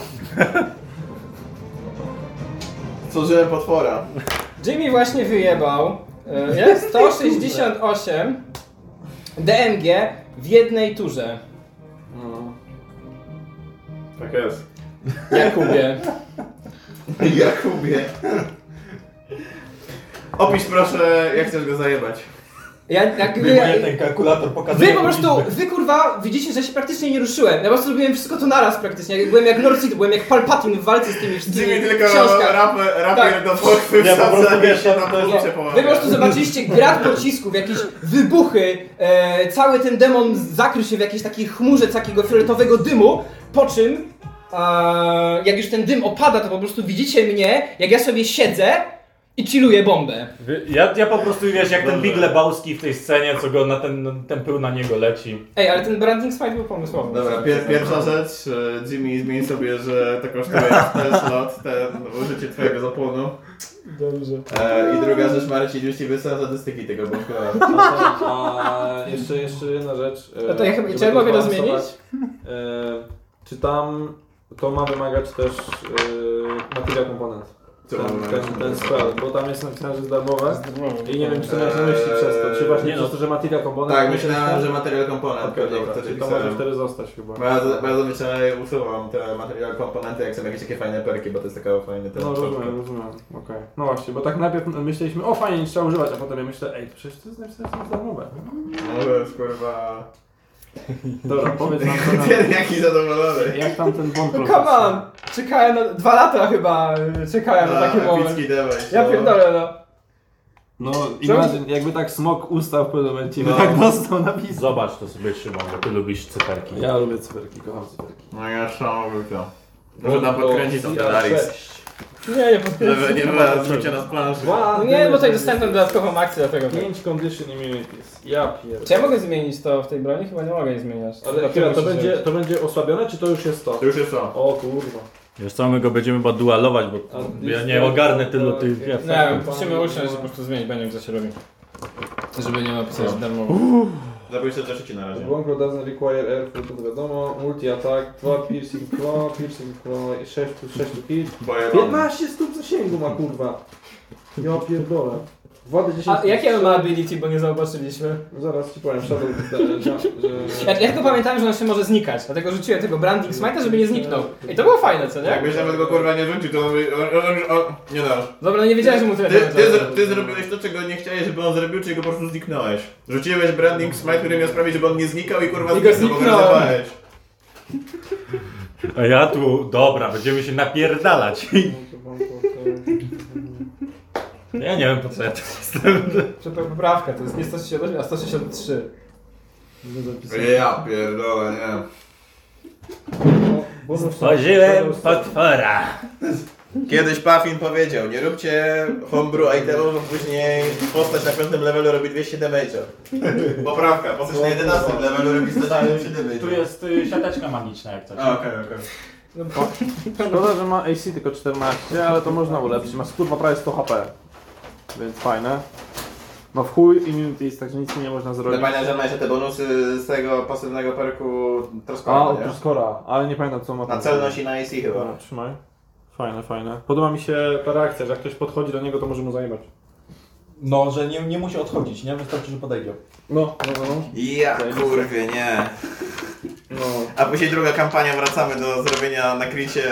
S3: Co żyłem potwora.
S2: Jimmy właśnie wyjebał e, jak 168 DMG w jednej turze.
S1: Tak jest.
S2: Jakubie.
S3: Jakubie. Opisz proszę, jak chcesz go zajebać.
S2: Ja, jak wy,
S3: Wyjmuję
S2: ten kalkulator, Wy po prostu, wy kurwa, widzicie, że się praktycznie nie ruszyłem. Ja po prostu robiłem wszystko to naraz praktycznie. Jak byłem jak Norcid, byłem jak Palpatine w walce z tymi wszystkimi
S3: Jimmy tylko
S2: książkach.
S3: rapy- rapier do no pochwy
S2: Ja po prostu
S3: wsadza i
S2: wiesz,
S3: się na policzę
S2: Wy
S3: pomaga.
S2: po prostu zobaczyliście grad pocisków, jakieś wybuchy, e, cały ten demon zakrył się w jakiejś takiej chmurze takiego fioletowego dymu, po czym e, jak już ten dym opada, to po prostu widzicie mnie, jak ja sobie siedzę i chilluję bombę.
S11: Ja, ja po prostu wiesz, jak ten
S2: Dobrze.
S11: Big Lebowski w tej scenie, co go na ten, ten pył na niego leci.
S2: Ej, ale ten branding smite był pomysłowy.
S3: Dobra, pier pierwsza rzecz, e, Jimmy zmień sobie, że to kosztuje ten slot, ten użycie twojego zapłonu.
S4: Dobrze.
S3: E, I druga rzecz, Marcin, już ci wysłałem statystyki tego bąka.
S1: A jeszcze, jeszcze jedna rzecz. e,
S2: No to ja chyba-
S1: żeby
S2: czy ja mogę to
S1: zbalansować.
S2: zmienić?
S1: E, Czy tam to ma wymagać też e, materiał komponent?
S3: Co
S1: Ten,
S3: ma
S1: ten,
S3: wymagać?
S1: ten spell, bo tam jest napisane, że jest darmowe i nie wiem,
S2: tak.
S1: czy to miałeś na
S3: Eee,
S1: myśli przez to, czy właśnie
S3: nie
S1: przez
S3: no.
S1: to, że materiał komponent...
S3: Tak, myślałem, że materiał komponent.
S1: Okej,
S3: pewnie,
S1: dobra,
S3: to ci
S1: czyli to
S3: pisałem.
S1: może wtedy zostać chyba.
S3: Bo ja z- bardzo myślę, usuwam te materiały komponenty, jak są jakieś takie fajne perki, bo to jest taka fajna ten
S1: No rozumiem, rozumiem, okej. No właśnie, bo tak najpierw myśleliśmy, o fajnie, nie trzeba używać, a potem ja myślę, ej, przecież to jest napisane, że jest darmowe.
S3: No to jest kurwa...
S1: Dobra, powiedz nam co tam-
S3: Ten jaki zadowolony.
S1: Jak tam ten bond
S2: No come on! Czekałem na... Dwa lata chyba y, czekałem na
S1: A,
S2: taki moment.
S1: epicki
S3: damage,
S2: Ja
S1: no.
S2: pierdolę no.
S1: No, imagine, jakby tak smok ustał w pewnym momencie, by tak dostał na pizdę.
S11: Zobacz to sobie Szymon, bo ty lubisz cyferki.
S1: Ja lubię cyferki, kocham cyferki.
S3: No ja szalę lubię. Może tam podkręcić tam ten Aris.
S2: Nie, nie podkręcę.
S3: Żeby nie było zbicia na planszy.
S2: No nie, bo tutaj dostałem tam dodatkową akcję do tego.
S1: 5 condition immunities. Ja pierdolę.
S2: Czy ja mogę zmienić to w tej broni? Chyba nie mogę jej zmieniać.
S1: Ale chwila, to będzie, to będzie osłabione, czy to już jest to? To
S3: już jest to.
S1: O kurwa.
S11: Wiesz co, my go będziemy chyba dualować, bo ja nie ogarnę tylu tych
S25: Nie
S2: Tak.
S25: wiem, musimy usiąść i po prostu zmienić, będziemy co się robi. Żeby nie napisać
S3: No.
S25: darmowo.
S3: Zabój się rzeczy na razie.
S1: Blanco doesn't require airflow, to wiadomo. Multi-attack, 2 piercing claw, piercing claw i 6 plus 6 to hit.
S3: Bajerony.
S1: 15 stóp zasięgu ma kurwa. Ja pierdolę. Wady 10
S2: A jakie on ma ability, bo nie zobaczyliśmy?
S1: Zaraz ci powiem, Shadow
S2: Ja, ja tylko pamiętałem, że on się może znikać, dlatego rzuciłem tego Branding Smite'a, żeby nie zniknął. I to było fajne, co nie?
S3: Jakbyś nawet go kurwa nie rzucił, to on by... on- on- on- Nie dasz.
S2: Dobra, no nie wiedziałem, że mu tyle
S3: Ty,
S2: damage'a
S3: ty, zro-
S2: zrobił.
S3: ty zrobiłeś to, czego nie chciałeś, żeby on zrobił, czyli go po prostu zniknąłeś. Rzuciłeś branding smite, który miał sprawić, żeby on nie znikał i kurwa
S2: I go
S3: zniknął, bo
S2: zniknąłem.
S3: wylewałeś.
S11: A ja tu, dobra, będziemy się napierdalać. Ja nie wiem po co ja tu jestem.
S2: Przepraszam, poprawka, to jest nie 168, a 163.
S3: Ja pierdolę, nie.
S11: Spożyłem potwora.
S3: Kiedyś Puffin powiedział, nie róbcie homebrew itemów, bo później postać na piątym levelu robi 200 damage'a. Poprawka, postać na 11 levelu robi 170 damage'a.
S11: Tu jest y, siateczka magiczna jak coś.
S3: A, okej, okej.
S2: No,
S1: Szkoda, że ma AC tylko 14, ale to można ulepszyć. Masz kurwa prawie 100 HP. Więc fajne. Ma w chuj immunities, także nic mi nie można zrobić.
S3: Normalnie, No że ma jeszcze te bonusy z tego pasywnego perku Troskora,
S1: A,
S3: nie?
S1: od skora, ale nie pamiętam co ma.
S3: Na celność i na AC chyba.
S1: Dobra, trzymaj. Fajne, fajne. Podoba mi się ta reakcja, że jak ktoś podchodzi do niego, to może mu zajebać.
S4: No, że nie, nie musi odchodzić, nie? Wystarczy, że podejdzie.
S1: No, no, no.
S3: Ja kurwie, nie.
S2: No.
S3: A później druga kampania, wracamy do zrobienia na kricie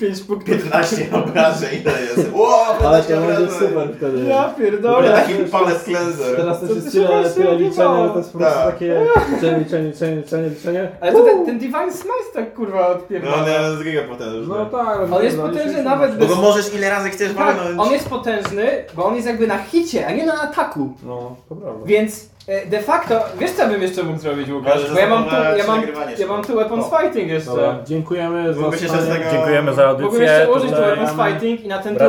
S2: 5 punktów.
S3: 15 obrażeń. To jest. Ło,
S1: Ale
S3: 15
S1: to będzie
S3: obrażeń.
S1: super wtedy.
S2: Ja pierdolę.
S3: Będzie taki palec cleanser.
S1: Teraz też
S2: Co
S1: jest
S2: ty się
S1: tyle,
S2: właśnie
S1: tyle liczenia,
S2: odjebało?
S1: ale to jest po prostu
S2: Tak.
S1: takie liczenie, liczenie, liczenie, liczenie, liczenie.
S2: Ale to ten, ten Divine Slice tak kurwa odpierdala.
S3: No, z giga potężny.
S1: No tak,
S2: On jest potężny nawet
S3: No Bo no, go możesz ile razy chcesz
S2: tak,
S3: walnąć.
S2: on jest potężny, bo on jest jakby na hicie, a nie na ataku.
S1: No, to prawda.
S2: Więc e, de facto, wiesz co bym jeszcze mógł zrobić Łukasz?
S1: Ale
S2: Bo ja mam tu,
S1: zastanawiałem
S2: ja
S1: się
S2: mam,
S1: nagrywanie
S2: ja mam tu weapons fighting jeszcze.
S1: Dobra, dziękujemy za
S3: Mógłbyś jeszcze z
S1: słuchanie.
S3: tego-
S11: Dziękujemy za
S2: Mogłem
S11: audycję.
S2: jeszcze ułożyć tu
S11: tutaj.
S2: weapons fighting i na ten tu